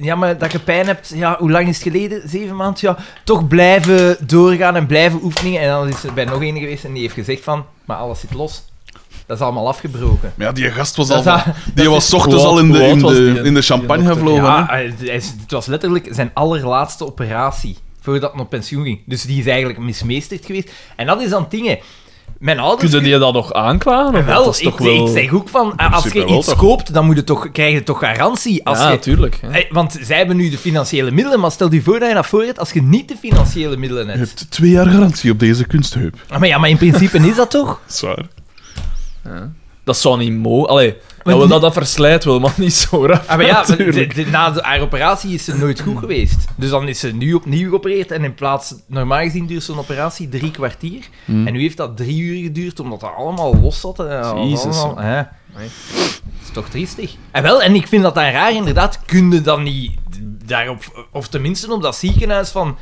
Speaker 1: Ja, maar dat je pijn hebt, ja, hoe lang is het geleden? Zeven maanden? Ja, toch blijven doorgaan en blijven oefenen. En dan is er bij nog een geweest en die heeft gezegd van, maar alles zit los. Dat is allemaal afgebroken.
Speaker 2: Maar ja, die gast was
Speaker 1: Dat
Speaker 2: al...
Speaker 1: is dat-
Speaker 2: van- die was ochtends
Speaker 3: hoe
Speaker 2: al
Speaker 3: oud-
Speaker 2: in de,
Speaker 3: hoe oud
Speaker 2: in
Speaker 3: was
Speaker 2: de,
Speaker 3: die?
Speaker 2: in de champagne
Speaker 3: Ja,
Speaker 2: gevlogen.
Speaker 1: Ja,
Speaker 2: Ja.
Speaker 1: hij- hij is- het was letterlijk zijn allerlaatste operatie voordat hij op pensioen ging. Dus die is eigenlijk mismeesterd geweest. En dat is dan dingen. Mijn ouders...
Speaker 3: Kunnen die dat nog aanklagen? Of
Speaker 1: Wel,
Speaker 3: dat is toch
Speaker 1: ik,
Speaker 3: wel...
Speaker 1: ik zeg ook van, ah, als je
Speaker 2: principe wel,
Speaker 1: iets
Speaker 2: toch?
Speaker 1: koopt, dan moet je toch, krijg je toch garantie. Als
Speaker 3: ja,
Speaker 1: je,
Speaker 3: natuurlijk. hè.
Speaker 1: Eh, want zij hebben nu de financiële middelen, maar stel je voor dat je dat voor hebt als je niet de financiële middelen
Speaker 2: Je
Speaker 1: hebt.
Speaker 2: hebt twee jaar garantie op deze kunstheup.
Speaker 1: Ah, Maar ja, maar in principe is dat toch?
Speaker 2: Zwaar.
Speaker 3: Dat zou niet mogen. Allee,
Speaker 1: Maar
Speaker 3: dat, we-
Speaker 1: die-
Speaker 3: dat dat verslijt wil, maar niet zo rap.
Speaker 1: Ah, maar ja, maar
Speaker 3: Natuurlijk.
Speaker 1: de- de- na de, haar operatie is ze nooit goed geweest. Dus dan is ze nu opnieuw geopereerd. En in plaats, normaal gezien duurt zo'n operatie drie kwartier.
Speaker 2: Hmm.
Speaker 1: En nu heeft dat drie uur geduurd, omdat dat allemaal los zat. en dat
Speaker 3: Jezus,
Speaker 1: allemaal- hè. Dat is toch triestig. En wel, en ik vind dat dan raar, inderdaad. Kun je dan niet daarop, of tenminste op dat ziekenhuis van...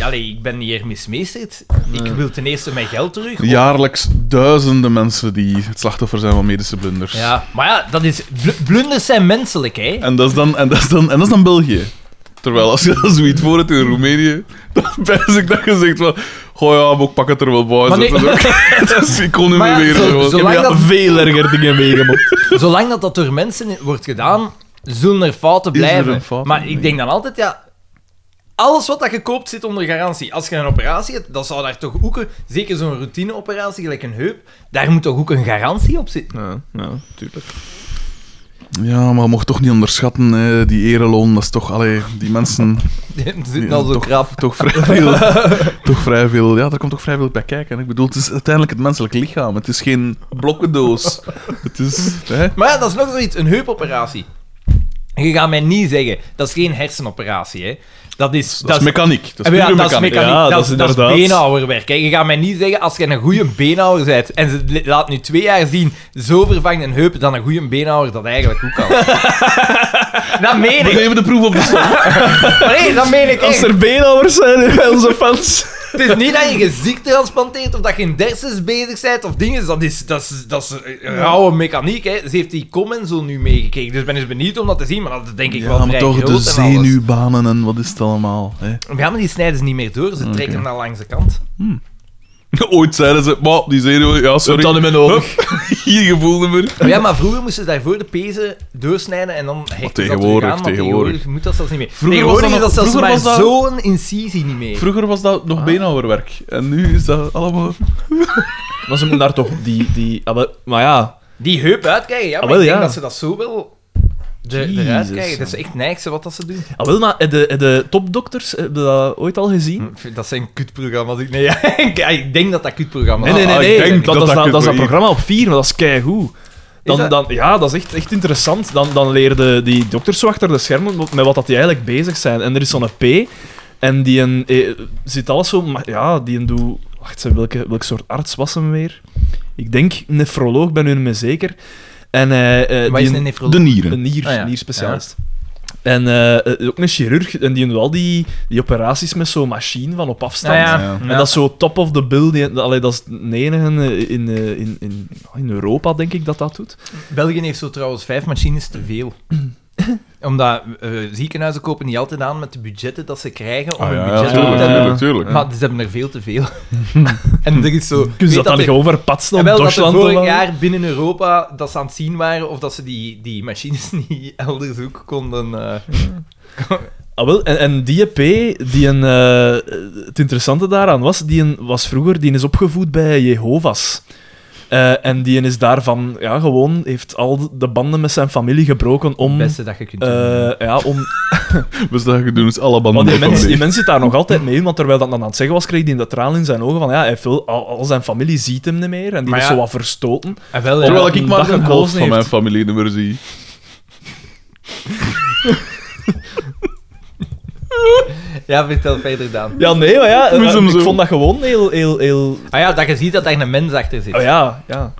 Speaker 1: Allee, ik ben hier mismeesterd. Ik wil ten eerste mijn geld terug. of-
Speaker 2: Jaarlijks duizenden mensen die het slachtoffer zijn van medische blunders.
Speaker 1: Ja, maar ja, dat is... bl- Blunders zijn menselijk, hè.
Speaker 2: En dat is dan, en dat is dan, en dat is dan België. Terwijl als je dat zoiets voor hebt in Roemenië, dan ben ik dat je zegt van... Goh ja, maar ik pak het er wel bij.
Speaker 1: Maar
Speaker 2: zet
Speaker 1: nee.
Speaker 2: het ook." dus ik kon niet
Speaker 1: Maar ja,
Speaker 2: meer weer.
Speaker 1: zo-
Speaker 2: gewoon.
Speaker 1: zolang
Speaker 2: Ja,
Speaker 1: dat-
Speaker 3: Veel erger dingen meegemaakt.
Speaker 1: Zolang dat dat door mensen wordt gedaan, zullen er fouten
Speaker 2: Is er
Speaker 1: blijven.
Speaker 2: een fout?
Speaker 1: maar
Speaker 2: Nee.
Speaker 1: ik denk dan altijd, ja... Alles wat dat je koopt zit onder garantie. Als je een operatie hebt, dan zou daar toch ook... een- Zeker zo'n routineoperatie, gelijk een heup, daar moet toch ook een garantie op zitten?
Speaker 3: Ja, ja, tuurlijk.
Speaker 2: Ja, maar je mocht toch niet onderschatten, hè, die ereloon. Dat is toch... Allee, die mensen...
Speaker 1: Ze zitten
Speaker 2: Ja,
Speaker 1: al zo
Speaker 2: toch.
Speaker 1: krap.
Speaker 2: toch vrij veel. toch vrij veel. Ja, daar komt toch vrij veel bij kijken. Ik bedoel, het is uiteindelijk het menselijk lichaam. Het is geen blokkendoos. Het is. Hè?
Speaker 1: Maar ja, dat is nog zoiets. Een heupoperatie. Je gaat mij niet zeggen, dat is geen hersenoperatie, hè. Dat is...
Speaker 2: Dat is mechaniek. Dat is
Speaker 1: ja,
Speaker 2: pure
Speaker 1: dat is
Speaker 2: mechaniek.
Speaker 1: mechaniek.
Speaker 3: Ja,
Speaker 1: dat,
Speaker 3: dat
Speaker 1: is,
Speaker 3: is
Speaker 1: dat is
Speaker 3: inderdaad.
Speaker 1: beenhouwerwerk. hè. Je gaat mij niet zeggen, als je een goede beenhouwer bent, en ze li- laat nu twee jaar zien, zo vervangt een heup dan een goede beenhouwer dat eigenlijk ook kan. dat meen
Speaker 2: We
Speaker 1: ik.
Speaker 2: nemen de proef op de stand.
Speaker 1: Maar nee, dat meen ik
Speaker 3: Als
Speaker 1: echt.
Speaker 3: er beenhouwers zijn bij onze fans.
Speaker 1: Het is niet dat je gezicht transplanteert of dat je in dersens bezig bent of dingen. Dat is, dat is, dat is eh, rauwe mechaniek. Hè. Ze heeft die comment zo nu meegekregen. Dus ik ben eens benieuwd om dat te zien. Maar dat is denk ik wel
Speaker 2: Ja, maar
Speaker 1: vrij
Speaker 2: toch, de
Speaker 1: groot en alles.
Speaker 2: zenuwbanen en wat is het allemaal? Hè?
Speaker 1: Ja, maar die snijden ze niet meer door. Ze trekken naar langs de kant.
Speaker 2: Ooit zeiden ze, maar die zenuwen, ja, sorry.
Speaker 3: Dat in mijn
Speaker 2: Hup, Hier gevoel nummer.
Speaker 1: Maar Oh ja, maar vroeger moesten ze daarvoor de pezen doorsnijden en dan hechten ze
Speaker 2: tegenwoordig,
Speaker 1: dat terug aan, maar
Speaker 2: tegenwoordig.
Speaker 1: moet dat zelfs niet meer.
Speaker 2: Vroeger was
Speaker 1: tegenwoordig
Speaker 2: dat
Speaker 1: is dat
Speaker 2: nog-
Speaker 1: zelfs maar
Speaker 2: vroeger was dat-
Speaker 1: zo'n incisie niet meer.
Speaker 2: Vroeger was dat nog beenhouwerwerk. En nu is dat allemaal.
Speaker 3: Maar ze moeten daar toch die... die ah, maar- maar ja,
Speaker 1: Die heup uitkrijgen, ja, maar
Speaker 3: Ah, wel,
Speaker 1: ik denk
Speaker 3: ja.
Speaker 1: dat ze dat zo wel er,
Speaker 3: Jezus,
Speaker 1: eruit krijgen. Dat
Speaker 3: man.
Speaker 1: is echt niks wat dat ze doen.
Speaker 3: Ah, wel, maar de, de topdokters, heb je dat ooit al
Speaker 2: Hm.
Speaker 3: gezien?
Speaker 1: Ik vind- Dat zijn kutprogramma's. Ik- Nee, ja, ik, ik denk dat dat kutprogramma's
Speaker 3: Nee, nee, nee.
Speaker 2: Ah,
Speaker 3: nee.
Speaker 2: ik denk dat
Speaker 3: dat, dat, is
Speaker 2: dat
Speaker 3: dat, dat is dat
Speaker 2: kut-
Speaker 3: programma op 4, maar dat is keigoed. Dan,
Speaker 1: Is dat-
Speaker 3: dan, ja, dat is echt, echt interessant. Dan, dan leerden die dokters zo achter de schermen wat- met wat dat die eigenlijk bezig zijn. En er is zo'n P, en die een, eh, zit alles zo... Maar ja, die een doet... Wacht, ze, welke, welk soort arts was hem weer? Ik denk nefroloog, ben nu niet meer zeker. En, eh eh
Speaker 1: Ah, Maar
Speaker 3: die
Speaker 1: is een
Speaker 2: De
Speaker 1: nefroloog?
Speaker 2: nieren.
Speaker 3: een nier,
Speaker 1: Ah, ja.
Speaker 3: nierspecialist. En eh, eh, ook een chirurg, en die doen wel die, die operaties met zo'n machine van op afstand.
Speaker 1: Nou ja,
Speaker 2: Ja.
Speaker 1: ja.
Speaker 3: En dat is zo top of the bill. Die, allee, dat is het enige eh, in, eh, in, in, in Europa, denk ik, dat dat doet.
Speaker 1: België heeft zo trouwens vijf machines te veel. Omdat eh, ziekenhuizen kopen niet altijd aan met de budgetten dat ze krijgen om
Speaker 2: Ah,
Speaker 1: een
Speaker 2: ja,
Speaker 1: budget op te
Speaker 2: ja, tuurlijk,
Speaker 1: hebben.
Speaker 2: tuurlijk, tuurlijk.
Speaker 1: Maar ze hebben er veel te veel. en er is zo...
Speaker 3: Kun
Speaker 1: weet
Speaker 3: je dat dan
Speaker 1: er-
Speaker 3: gewoon verpatsen
Speaker 1: En
Speaker 3: om
Speaker 1: wel dat er
Speaker 3: Duitsland te
Speaker 1: vorig
Speaker 3: laten?
Speaker 1: jaar binnen Europa dat ze aan het zien waren of dat ze die, die machines niet elders ook konden... eh,
Speaker 3: Ah, wel, en, en die EP, die een, eh, het interessante daaraan was, die een, was vroeger die is opgevoed bij Jehovah's. Eh, en die is daarvan ja, gewoon, heeft al de banden met zijn familie gebroken om.
Speaker 1: het beste dat je kunt doen.
Speaker 3: eh, ja, om
Speaker 2: Dus dat je doen is alle banden.
Speaker 3: Maar die mens, die
Speaker 2: opgelegd.
Speaker 3: mens zit daar nog altijd mee in, want terwijl dat dan aan het zeggen was, kreeg hij dat traan in zijn ogen van ja, hij wil, al, al zijn familie ziet hem niet meer en die
Speaker 1: Maar
Speaker 3: is
Speaker 1: ja.
Speaker 3: zo wat verstoten.
Speaker 1: En wel, ja.
Speaker 2: Terwijl
Speaker 3: dat
Speaker 2: ik
Speaker 3: een
Speaker 2: maar
Speaker 3: dag
Speaker 2: een
Speaker 3: een
Speaker 2: helft
Speaker 3: koos
Speaker 2: van mijn
Speaker 3: heeft.
Speaker 2: familienummer zie.
Speaker 1: ja, vertel verder dan.
Speaker 3: Ja, nee, maar ja, eh,
Speaker 2: Moest hem
Speaker 3: ik
Speaker 2: zo.
Speaker 3: vond dat gewoon heel, heel, heel...
Speaker 1: Ah ja, dat je ziet dat daar een mens achter zit.
Speaker 3: Oh, ja, ja.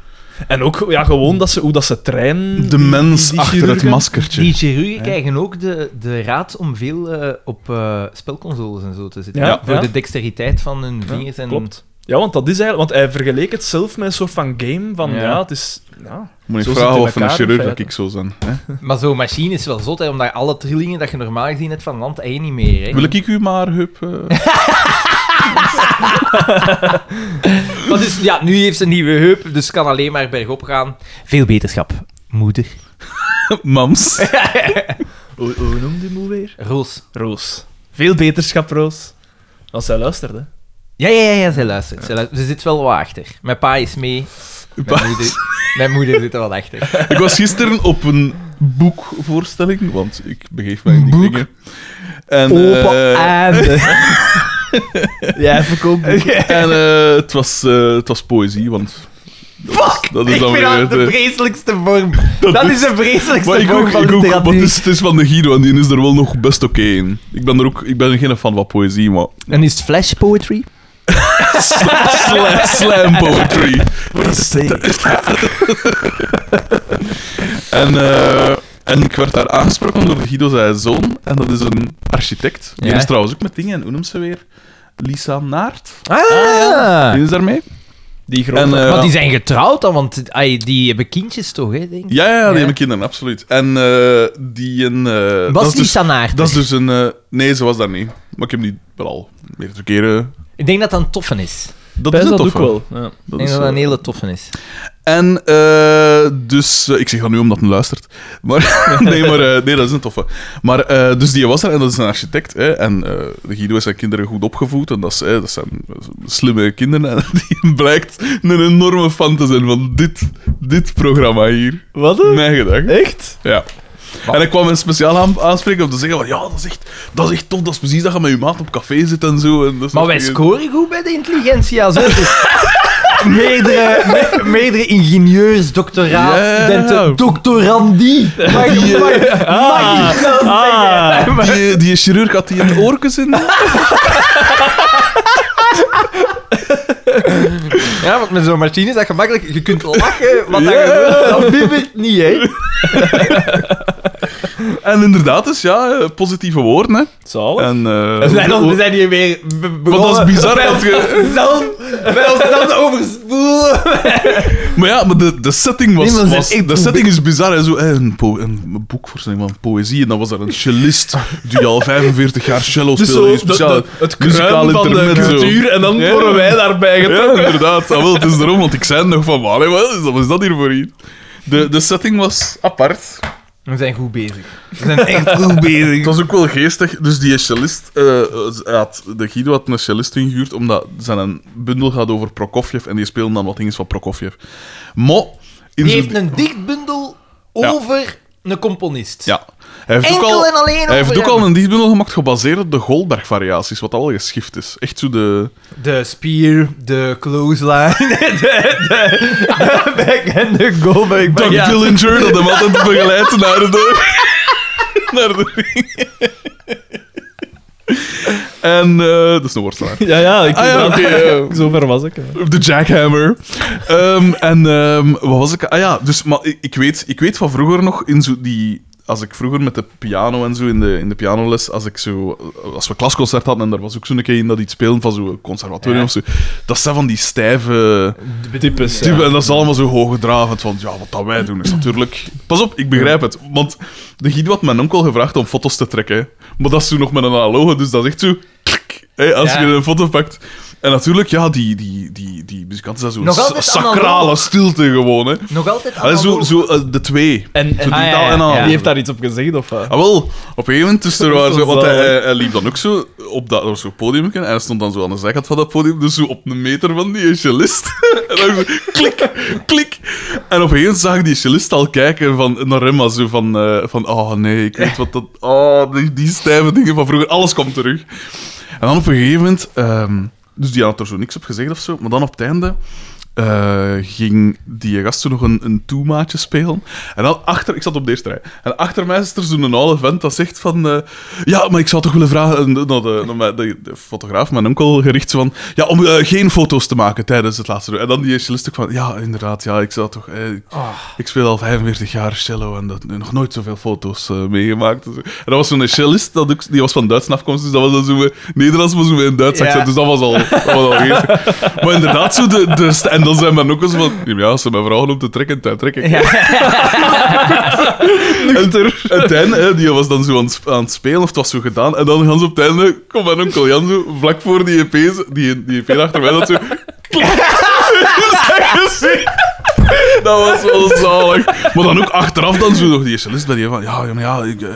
Speaker 3: En ook ja, gewoon dat ze, hoe dat ze trainen.
Speaker 2: De mens
Speaker 3: die
Speaker 2: achter
Speaker 3: chirurgen.
Speaker 2: het maskertje.
Speaker 1: Die chirurgen krijgen ook de, de raad om veel eh, op eh, spelconsoles en zo te zitten.
Speaker 3: Ja,
Speaker 1: voor
Speaker 3: ja.
Speaker 1: de dexteriteit van hun
Speaker 3: Ja,
Speaker 1: vingers en...
Speaker 3: Klopt. Ja, want dat is eigenlijk... Want hij vergeleek het zelf met een soort van game van
Speaker 1: Ja.
Speaker 3: ja, het is... Ja.
Speaker 2: Moet
Speaker 3: Zo
Speaker 2: ik
Speaker 3: zit het
Speaker 2: vragen
Speaker 3: in
Speaker 2: of van een
Speaker 3: elkaar, in
Speaker 2: chirurg dat
Speaker 3: feite.
Speaker 2: ik zo zijn. Hè?
Speaker 1: Maar zo'n machine is wel zot, hè, omdat alle trillingen dat je normaal gezien hebt van land één niet meer. Hè.
Speaker 2: Wil ik u maar, hup... eh,
Speaker 1: Maar dus, ja, nu heeft ze een nieuwe heup, dus kan alleen maar bergop gaan. Veel beterschap, moeder.
Speaker 2: mams.
Speaker 3: Hoe, hoe noemde die moe weer?
Speaker 1: Roos.
Speaker 3: Roos. Veel beterschap, Roos. Als zij luisterde.
Speaker 1: Ja, ja, ja, ja, zij luistert. Zij luistert. Ze zit wel wat achter. Mijn pa is mee. Mijn moeder, mijn moeder zit er wel achter.
Speaker 2: Ik was gisteren op een boekvoorstelling, want ik begeef mij in die dingen. En,
Speaker 1: Open
Speaker 2: eh,
Speaker 1: einde.
Speaker 3: Jij verkoopt
Speaker 2: en eh, het, was, eh, het was poëzie, want... Dat is, dat is
Speaker 1: Ik
Speaker 2: dan
Speaker 1: vind
Speaker 2: weer...
Speaker 1: dat de
Speaker 2: het, eh,
Speaker 1: vreselijkste vorm. Dat, is de vreselijkste
Speaker 2: maar ik
Speaker 1: vorm
Speaker 2: ook,
Speaker 1: van
Speaker 2: ik ook want het
Speaker 1: literatuur.
Speaker 2: is, het is van de Guido en die is er wel nog best oké in. Ik ben er ook... Ik ben geen fan van poëzie, maar...
Speaker 1: En is het flash poetry?
Speaker 2: Sla- slam poetry. En, eh, en ik werd daar aangesproken door Guido zijn zoon. En dat is een architect. Die
Speaker 1: Ja.
Speaker 2: is trouwens ook met dingen. En hoe noemt ze weer? Lisa Naert.
Speaker 1: Ah,
Speaker 2: Die is daarmee.
Speaker 3: die grote.
Speaker 2: En, eh,
Speaker 1: Want die zijn getrouwd dan, want ai, die hebben kindjes toch, hè, denk ik.
Speaker 2: ja, ja, ja, die
Speaker 1: Ja.
Speaker 2: heb ik kinderen, absoluut. En eh, die een... eh, dat,
Speaker 1: Was
Speaker 2: is dus,
Speaker 1: Lisa Naert?
Speaker 2: dat is dus een... eh, nee, ze was daar niet. Maar ik heb die wel al meerdere keren...
Speaker 1: Ik denk dat dat een toffen is.
Speaker 2: Dat
Speaker 3: Best
Speaker 2: is een
Speaker 3: dat ook
Speaker 2: toffe.
Speaker 3: wel. Ja.
Speaker 1: Ik
Speaker 2: Dat
Speaker 1: denk
Speaker 2: is,
Speaker 1: dat dat een
Speaker 2: eh,
Speaker 1: hele toffe is.
Speaker 2: En eh, dus, eh, ik zeg dat nu omdat hij luistert. Maar, nee, maar eh, nee, dat is een toffe. Maar eh, dus die was er en dat is een architect. Hè, en eh, de Guido is zijn kinderen goed opgevoed. En dat, is, eh, dat zijn slimme kinderen. En die blijkt een enorme fan te zijn van dit, dit programma hier.
Speaker 3: Wat?
Speaker 2: Mijn gedacht.
Speaker 3: Echt?
Speaker 2: Ja. En ik kwam een speciaal aan, aanspreken om te zeggen: van, Ja, dat is, echt, dat is echt tof. Dat is precies dat je met je maat op café zit en zo. En dat is
Speaker 1: Maar wij
Speaker 2: echt-
Speaker 1: scoren goed bij de intelligentie als Meerdere, me- meerdere ingenieurs, doctoraat,
Speaker 2: Ja, ja, ja.
Speaker 1: studenten, doctorandie. Mag ik- mag ik- mag
Speaker 3: Ah.
Speaker 1: ik dat zeggen?
Speaker 2: Die, die chirurg had die een oorkes in.
Speaker 1: Ja, want met zo'n machine is dat gemakkelijk. Je kunt lachen, wat
Speaker 2: Ja.
Speaker 1: daar gebeurt, dat bibbert niet, hè.
Speaker 2: En inderdaad, dus ja, eh, positieve woorden. Hè.
Speaker 3: Zalig.
Speaker 2: En, eh,
Speaker 1: We zijn, al- we zijn hier weer be-
Speaker 2: want dat
Speaker 3: Oh.
Speaker 1: begonnen.
Speaker 2: is bizar. want je-
Speaker 1: Zelf, wij onszelf te overspoelen.
Speaker 2: maar ja, maar de, de setting was.
Speaker 1: Nee, maar ze
Speaker 2: was-
Speaker 1: zijn echt
Speaker 2: de
Speaker 1: een
Speaker 2: setting is bizar. Hè, zo, hè, een, po- een boekvoorstelling van poëzie. En dan was er een cellist die al 45 jaar cello
Speaker 3: Dus
Speaker 2: speelde.
Speaker 3: zo,
Speaker 2: een
Speaker 3: de-
Speaker 2: speciale
Speaker 3: de- het
Speaker 2: muzikale
Speaker 3: kruim van de
Speaker 2: intermezzo.
Speaker 3: cultuur en dan
Speaker 2: Ja.
Speaker 3: worden wij daarbij
Speaker 2: Ja,
Speaker 3: getrokken.
Speaker 2: inderdaad. Ah, wel, het is erom, want ik zei nog van, "Wale, wat is dat, wat is dat hier voor iets? De, de setting was apart.
Speaker 1: We zijn goed bezig. We zijn echt goed bezig.
Speaker 2: Het was ook wel geestig. Dus die cellist, eh, hij had, de Guido had een cellist ingehuurd, omdat zijn een bundel gaat over Prokofjev en die speelde dan wat dingen van Prokofjev. Maar... in
Speaker 1: Die
Speaker 2: zijn-
Speaker 1: heeft een dichtbundel
Speaker 2: Ja.
Speaker 1: over een componist.
Speaker 2: Ja. Hij heeft ook
Speaker 1: Enkel
Speaker 2: al,
Speaker 1: en alleen
Speaker 2: Hij heeft
Speaker 1: over
Speaker 2: ook
Speaker 1: hem.
Speaker 2: al een dichtbundel gemaakt gebaseerd op de Goldberg-variaties, wat al wel geschift is. Echt zo de...
Speaker 1: De spier, de clothesline, de, de, de back en de goalback.
Speaker 2: Doug Dillinger, dat hem altijd begeleidt naar de... naar de ring. en... eh, dat is een worstelaar.
Speaker 3: Ja, ja, ik
Speaker 2: Ah ja, oké. eh,
Speaker 3: Zo ver was ik. hè.
Speaker 2: De jackhammer. Ehm, en ehm, wat was ik? Ah ja, dus maar ik, ik weet, ik weet van vroeger nog in zo die. Als ik vroeger met de piano en zo in de, in de pianoles, als, ik zo, als we klasconcert hadden en daar was ook zo'n keer in dat iets spelen van zo'n conservatorium of zo, dat zijn van die stijve
Speaker 3: Typisch.
Speaker 2: typen en dat is allemaal zo hoogdravend. Want ja, wat dat wij doen is natuurlijk. Pas op, ik begrijp het. Want de Guido had mijn onkel gevraagd om foto's te trekken, maar dat is toen nog met een analoge, dus dat is echt zo. klik, hè, als
Speaker 1: Ja.
Speaker 2: je een foto pakt. En natuurlijk, ja, die, die, die, die muzikanten zijn zo'n
Speaker 1: Nog
Speaker 2: sa-
Speaker 1: altijd
Speaker 2: sacrale
Speaker 1: analoog.
Speaker 2: stilte gewoon. Hè.
Speaker 1: Nog altijd
Speaker 2: Allee, zo,
Speaker 1: analoog.
Speaker 2: zo, eh, de twee.
Speaker 3: En,
Speaker 2: Zo
Speaker 3: en
Speaker 2: die
Speaker 1: ah, ja,
Speaker 2: taal
Speaker 1: ja,
Speaker 2: en
Speaker 1: ja.
Speaker 2: al.
Speaker 3: die heeft daar iets op gezegd, of wat?
Speaker 2: Ah, wel, op een gegeven moment is er waar
Speaker 3: is
Speaker 2: zo,
Speaker 3: wel
Speaker 2: want hij,
Speaker 3: zalig.
Speaker 2: hij- hij liep dan ook zo op dat, op zo'n podium en hij stond dan zo aan de zijkant van dat podium, dus zo op een meter van die cellist. en dan zo klik, klik. En op een gegeven moment zag ik die cellist al kijken van, naar hem, als zo van, eh, van, oh nee, ik weet wat dat, oh, die, die stijve dingen van vroeger, alles komt terug. En dan op een gegeven moment, ehm, dus die had er zo niks op gezegd of zo, maar dan op het einde eh, ging die gast zo nog een, een toemaatje spelen. En dan achter, ik zat op de eerste rij, en achter mij is er zo'n oude vent dat zegt van, eh, ja, maar ik zou toch willen vragen, en de- naar de, naar mijn- de, de fotograaf, mijn onkel, gericht van, ja, om eh, geen foto's te maken tijdens het laatste uur. En dan die cellist ook van, ja, inderdaad, ja, ik zou toch, eh, ik,
Speaker 1: Ah.
Speaker 2: ik speel al 45 jaar cello en dat, nog nooit zoveel foto's eh, meegemaakt. En dat was zo'n cellist, dat ook, die was van Duits afkomst, dus dat was dan zo'n eh, Nederlands, maar zo'n een Duits
Speaker 1: Ja.
Speaker 2: accent, dus dat was al, dat was al geestig. Maar inderdaad, zo de, de st- en dan zijn men ook eens van, ja, als ze mij vragen om te trekken, dan trek ik. Nuchter. En, en het einde, hè, die was dan zo aan, het sp- aan het spelen, of het was zo gedaan. En dan gaan ze op het einde, kom mijn onkel Jan zo, vlak voor E die EP's, die, die EP achter mij, dat zo... Zijn gezicht. Dat was wel zalig. Maar dan ook achteraf dan zo nog die cellist bij die van... Ja, ja, maar ja, ik, eh,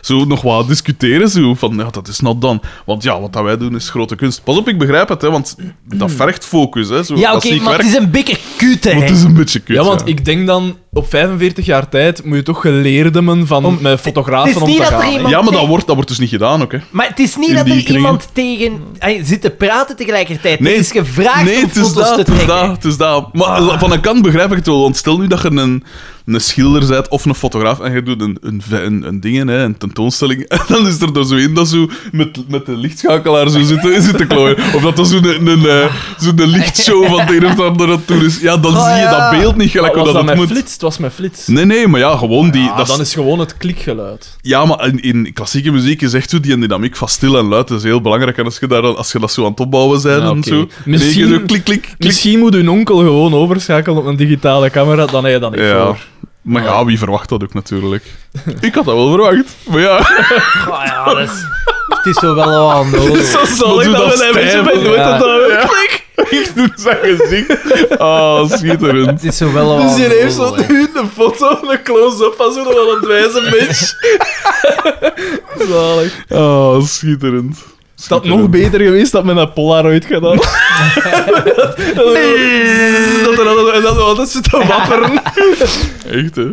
Speaker 2: zo nog wat discussiëren. Zo van, ja, dat is nat dan. Want ja, wat dat wij doen is grote kunst. Pas op, ik begrijp het, hè. Want dat vergt focus, hè. Zo
Speaker 1: Ja, oké,
Speaker 2: klassiek
Speaker 1: maar het
Speaker 2: werk.
Speaker 1: is een beetje kut, hè.
Speaker 2: Maar het is een beetje kut,
Speaker 3: Ja, want ik denk dan op 45 jaar tijd moet je toch geleerden men van met fotografen
Speaker 1: het is
Speaker 3: om
Speaker 1: niet
Speaker 3: te
Speaker 1: dat er
Speaker 3: gaan. hè.
Speaker 1: iemand-
Speaker 2: Ja, maar dat wordt, dat wordt dus niet gedaan ook, hè.
Speaker 1: Maar het is niet
Speaker 2: In
Speaker 1: dat
Speaker 2: die
Speaker 1: er
Speaker 2: kringen.
Speaker 1: iemand tegen ay, zit te praten tegelijkertijd.
Speaker 2: Nee,
Speaker 1: er is gevraagd
Speaker 2: nee,
Speaker 1: om
Speaker 2: het is
Speaker 1: foto's
Speaker 2: dat,
Speaker 1: te
Speaker 2: het is
Speaker 1: trekken.
Speaker 2: dat, het is dat.
Speaker 3: Ah.
Speaker 2: Maar van een kant begrijp ik het wel, want stel nu dat je een, een schilder bent of een fotograaf en je doet een, een, ve- een, een ding, hè, een tentoonstelling, en dan is er er zo in dat zo met, met de lichtschakelaar zo zitten, zitten klooien. Of dat er zo'n een, een, eh, zo'n lichtshow van de een of de andere aan toe is. Ja, dan
Speaker 1: Oh,
Speaker 2: zie je
Speaker 1: ja.
Speaker 2: dat beeld niet
Speaker 3: Maar
Speaker 2: gelijk hoe
Speaker 3: Ah,
Speaker 2: dat,
Speaker 3: was dat
Speaker 2: het
Speaker 3: met
Speaker 2: moet.
Speaker 3: flits? Het was met flits.
Speaker 2: Nee, nee, maar ja, gewoon die...
Speaker 3: Ah,
Speaker 2: dat
Speaker 3: dan is gewoon het klikgeluid.
Speaker 2: ja, maar in, in klassieke muziek is echt zo die dynamiek van stil en luid. Dat is heel belangrijk. En als je, daar, dan- als je dat zo aan het opbouwen bent
Speaker 3: Ja,
Speaker 2: en
Speaker 3: oké.
Speaker 2: zo...
Speaker 3: Misschien-
Speaker 2: Misschien... zo klik, klik, klik.
Speaker 3: Misschien moet uw onkel gewoon overschakelen op een digitale camera, dan heb je dat niet
Speaker 2: Ja.
Speaker 3: voor.
Speaker 2: Maar ja, wie verwacht dat ook natuurlijk? Ik had dat wel verwacht. Maar ja,
Speaker 1: Oh, ja, dat is, het is zo wel al nodig.
Speaker 3: Zo
Speaker 2: Maar
Speaker 3: zal ik
Speaker 2: doe
Speaker 3: dat
Speaker 2: dat
Speaker 3: met een beetje
Speaker 2: stijf,
Speaker 3: van nooit
Speaker 1: ja.
Speaker 3: dat dat-
Speaker 2: ik doe zijn gezicht. Ah, schitterend.
Speaker 1: Het is zo wel al
Speaker 3: Dus
Speaker 1: aan
Speaker 3: je heeft
Speaker 1: nodig,
Speaker 3: zo
Speaker 1: hè.
Speaker 3: nu een foto, een close-up van zo'n wel een wijze mens. Zalig.
Speaker 2: Ah, schitterend.
Speaker 3: Is dat nog beter geweest dat men een Polaroid gedaan? nee. Dat er altijd- dat er altijd zit te wapperen.
Speaker 2: Echt, hè?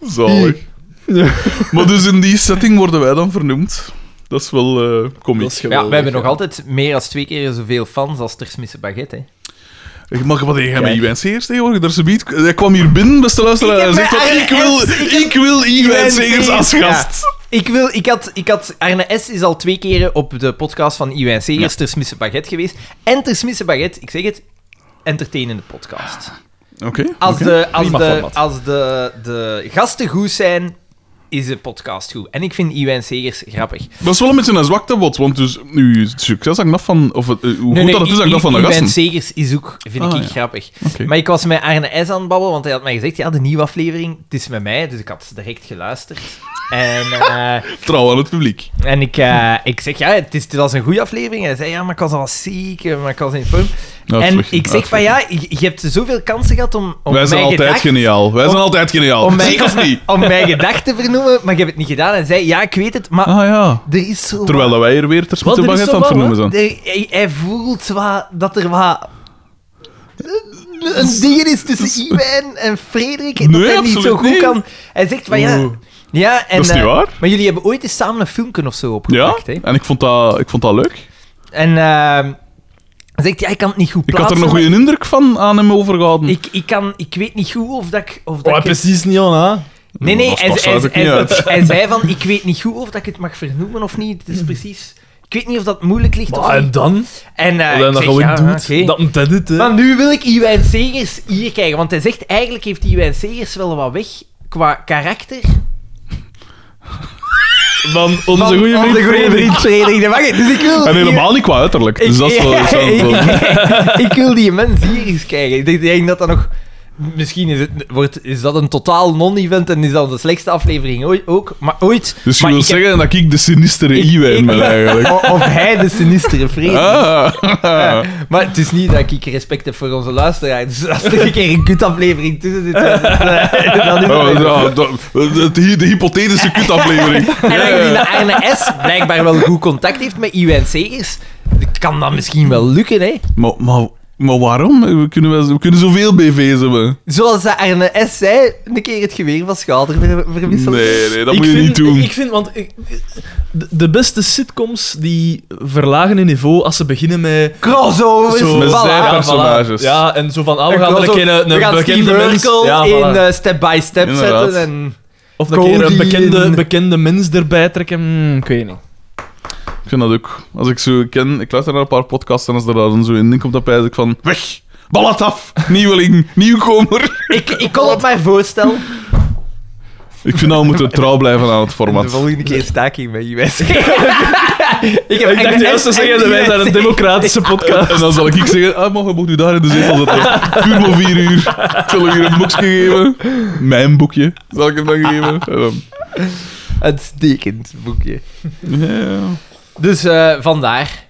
Speaker 2: Zalig. Maar dus in die setting worden wij dan vernoemd. Dat is wel eh
Speaker 3: Dat
Speaker 2: comisch.
Speaker 1: Ja,
Speaker 3: is geweldig.
Speaker 1: we hebben nog altijd meer dan twee keer zoveel fans als Ter Smisse Baguette, hè.
Speaker 2: Ik mag wat tegen met Iwijn Segers tegenwoordig. Daar ze biedt. Hij kwam hier binnen, beste luisteraar.
Speaker 1: Ik
Speaker 2: en
Speaker 1: heb
Speaker 2: Hij zegt:
Speaker 1: mijn
Speaker 2: van, Ik wil,
Speaker 1: RS, ik
Speaker 2: ik wil Iwijn Segers
Speaker 1: Segers,
Speaker 2: als
Speaker 1: ja.
Speaker 2: gast.
Speaker 1: Ik, wil, ik, had, ik had... Arne S. is al twee keren op de podcast van Iwijn Segers Ter Smisse Baguette geweest. En Ter Smisse Baguette, ik zeg het, entertainende podcast.
Speaker 2: Ah, Oké.
Speaker 1: Als, de, als,
Speaker 3: Prima
Speaker 1: de,
Speaker 3: format.
Speaker 1: als de, de gasten goed zijn, is de podcast goed. En ik vind Iwijn Segers grappig.
Speaker 2: Dat is wel een beetje een zwakte, bot, want dus, uw succes hangt af van. Of, het- eh, hoe
Speaker 1: Nee,
Speaker 2: goed
Speaker 1: nee,
Speaker 2: dat het is, hangt
Speaker 1: I-
Speaker 2: af van de
Speaker 1: I- Iwijn
Speaker 2: gasten.
Speaker 1: Segers is ook, vind
Speaker 2: Ah,
Speaker 1: ik,
Speaker 2: ja.
Speaker 1: grappig.
Speaker 2: Oké.
Speaker 1: Maar ik was met Arne S. aan het babbelen, want hij had mij gezegd, ja, de nieuwe aflevering, het is met mij, dus ik had direct geluisterd. En, eh,
Speaker 2: Trouw aan het publiek.
Speaker 1: en ik, eh, ik zeg, ja, het, is, het was een goede aflevering. En hij zei, ja, maar ik was al ziek, eh, maar ik was in vorm. en ik zeg van, ja, je, je hebt zoveel kansen gehad om, om
Speaker 2: Wij zijn
Speaker 1: mijn
Speaker 2: altijd
Speaker 1: gedachten-
Speaker 2: geniaal. Wij zijn altijd geniaal.
Speaker 1: om mij-
Speaker 2: Ziek of niet?
Speaker 1: om mijn gedachten te vernoemen, maar je hebt het niet gedaan. En hij zei, ja, ik weet het, maar
Speaker 2: Ah ja.
Speaker 1: er is zo...
Speaker 2: Terwijl dat wij hier weer ter
Speaker 3: Wat,
Speaker 2: spotte
Speaker 3: er is
Speaker 2: baguette
Speaker 3: zo
Speaker 2: aan het
Speaker 3: wat,
Speaker 2: vernoemen zijn.
Speaker 1: wat- er- hij, hij voelt wat, dat er wat... Een een ding is tussen Iwijn en Frederik dat
Speaker 2: Nee,
Speaker 1: hij niet
Speaker 2: absoluut
Speaker 1: zo goed
Speaker 2: niet.
Speaker 1: kan. Hij zegt van ja...
Speaker 3: Oeh.
Speaker 1: Ja, en,
Speaker 2: Dat is niet
Speaker 1: eh,
Speaker 2: waar.
Speaker 1: Maar jullie hebben ooit eens samen een filmpje of zo
Speaker 2: Ja,
Speaker 1: opgepakt, hè?
Speaker 2: en ik vond dat, ik vond dat leuk.
Speaker 1: En eh, hij zegt, ja, ik kan het niet goed
Speaker 2: Ik
Speaker 1: plaatsen.
Speaker 2: had er nog
Speaker 1: maar
Speaker 2: goede indruk van aan hem overgehouden.
Speaker 1: ik, ik, kan, ik weet niet goed of dat ik... Of dat
Speaker 3: Oh,
Speaker 1: ik het-
Speaker 3: precies niet aan, hè?
Speaker 1: Nee, nee,
Speaker 2: Dat
Speaker 1: hij,
Speaker 2: past
Speaker 1: hij,
Speaker 2: eigenlijk
Speaker 1: hij-
Speaker 2: niet
Speaker 1: hij-
Speaker 2: uit.
Speaker 1: hij zei van, ik weet niet goed of dat ik het mag vernoemen of niet. Het
Speaker 2: Hmm.
Speaker 1: is precies... Ik weet niet of dat moeilijk ligt of
Speaker 3: Maar en
Speaker 1: niet.
Speaker 3: dan?
Speaker 1: En eh,
Speaker 3: Wat
Speaker 1: ik
Speaker 3: hij dat
Speaker 1: zeg,
Speaker 3: gewoon
Speaker 1: ja,
Speaker 3: doet.
Speaker 1: oké.
Speaker 3: Dat moet hij dit, hè?
Speaker 1: Maar nu wil ik Iwijn Segers hier kijken, want hij zegt eigenlijk heeft Iwijn Segers wel wat weg qua karakter.
Speaker 3: Van onze
Speaker 1: Van
Speaker 3: goede vriend.
Speaker 1: onze goede vriend Frederik de Bakker. Dus ik wil...
Speaker 2: En
Speaker 1: die-
Speaker 2: helemaal niet qua uiterlijk.
Speaker 1: Ik,
Speaker 2: Dus dat is wel... dat is wel-
Speaker 1: ik wil die mens hier eens kijken. Ik denk- ik denk dat dat nog... Misschien is, het, wordt, is dat een totaal non-event en is dat de slechtste aflevering ooit, ook. Maar ooit...
Speaker 2: Dus je
Speaker 1: maar
Speaker 2: wil
Speaker 1: ik heb-
Speaker 2: zeggen dat ik de sinistere
Speaker 1: Ik- ik- Oh,
Speaker 2: Iwijn ben, eigenlijk.
Speaker 1: o- Of hij de sinistere Frederik.
Speaker 2: Ah.
Speaker 1: Maar het is niet dat ik respect heb voor onze luisteraar. Dus als er een keer een kutaflevering tussen zit, dan is het- dan is het...
Speaker 2: Oh, ja, dat- dat- De de hypothetische kutaflevering.
Speaker 1: En aangezien dat Arne S. blijkbaij wel goed contact heeft met Iwijn Segers, kan dat misschien wel lukken, hè?
Speaker 2: Maar, maar, maar waarom? We kunnen, wel- we kunnen zoveel BV's hebben.
Speaker 1: Zoals dat Arne S. zei, een keer het geweer van schouder ver verwisselen.
Speaker 2: Nee, nee, dat
Speaker 3: Ik
Speaker 2: moet je
Speaker 3: vind-
Speaker 2: niet doen.
Speaker 3: Ik vind, want ik, de, de beste sitcoms die verlagen in niveau als ze beginnen met.
Speaker 1: Crossovers,
Speaker 3: Zo-
Speaker 2: Met
Speaker 1: Oh, voilà.
Speaker 2: zijn-
Speaker 3: voilà.
Speaker 2: personages.
Speaker 3: Ja, en zo van, ah, we
Speaker 1: Een
Speaker 3: gaan er een keer
Speaker 1: crossover.
Speaker 3: een,
Speaker 1: We
Speaker 3: een
Speaker 1: gaan
Speaker 3: bekende
Speaker 1: Steve
Speaker 3: mens...
Speaker 1: Urkel
Speaker 3: Ja,
Speaker 1: in
Speaker 3: voilà.
Speaker 1: eh, step-by-step
Speaker 2: Inderdaad.
Speaker 1: zetten en...
Speaker 3: of een keer
Speaker 1: Cody
Speaker 3: een bekende,
Speaker 1: in-
Speaker 3: bekende mens erbij trekken. Hmm, ik weet niet.
Speaker 2: Ik vind dat ook. Als ik zo ken, ik luister naar een paar podcasts en als er daar dan zo in ding komt, dan pijs ik van weg, ballat af, nieuweling, nieuwkomer.
Speaker 1: Ik, ik kon het maar voorstellen.
Speaker 2: Ik vind dat we moeten trouw blijven aan het
Speaker 1: De
Speaker 2: format.
Speaker 1: volgende keer staking met Iwijn ik
Speaker 3: Ik dacht juist
Speaker 1: juist
Speaker 3: te zeggen dat wij zijn een democratische podcast.
Speaker 2: En dan zal ik zeggen, ah, mag, mocht u daar in de zetel zetten. Duur maar vier uur. Ik zal u hier een boekje geven. Mijn boekje zal ik hem dan geven. En dan-
Speaker 1: Uitstekend boekje.
Speaker 2: Ja, ja.
Speaker 1: Dus eh, vandaar.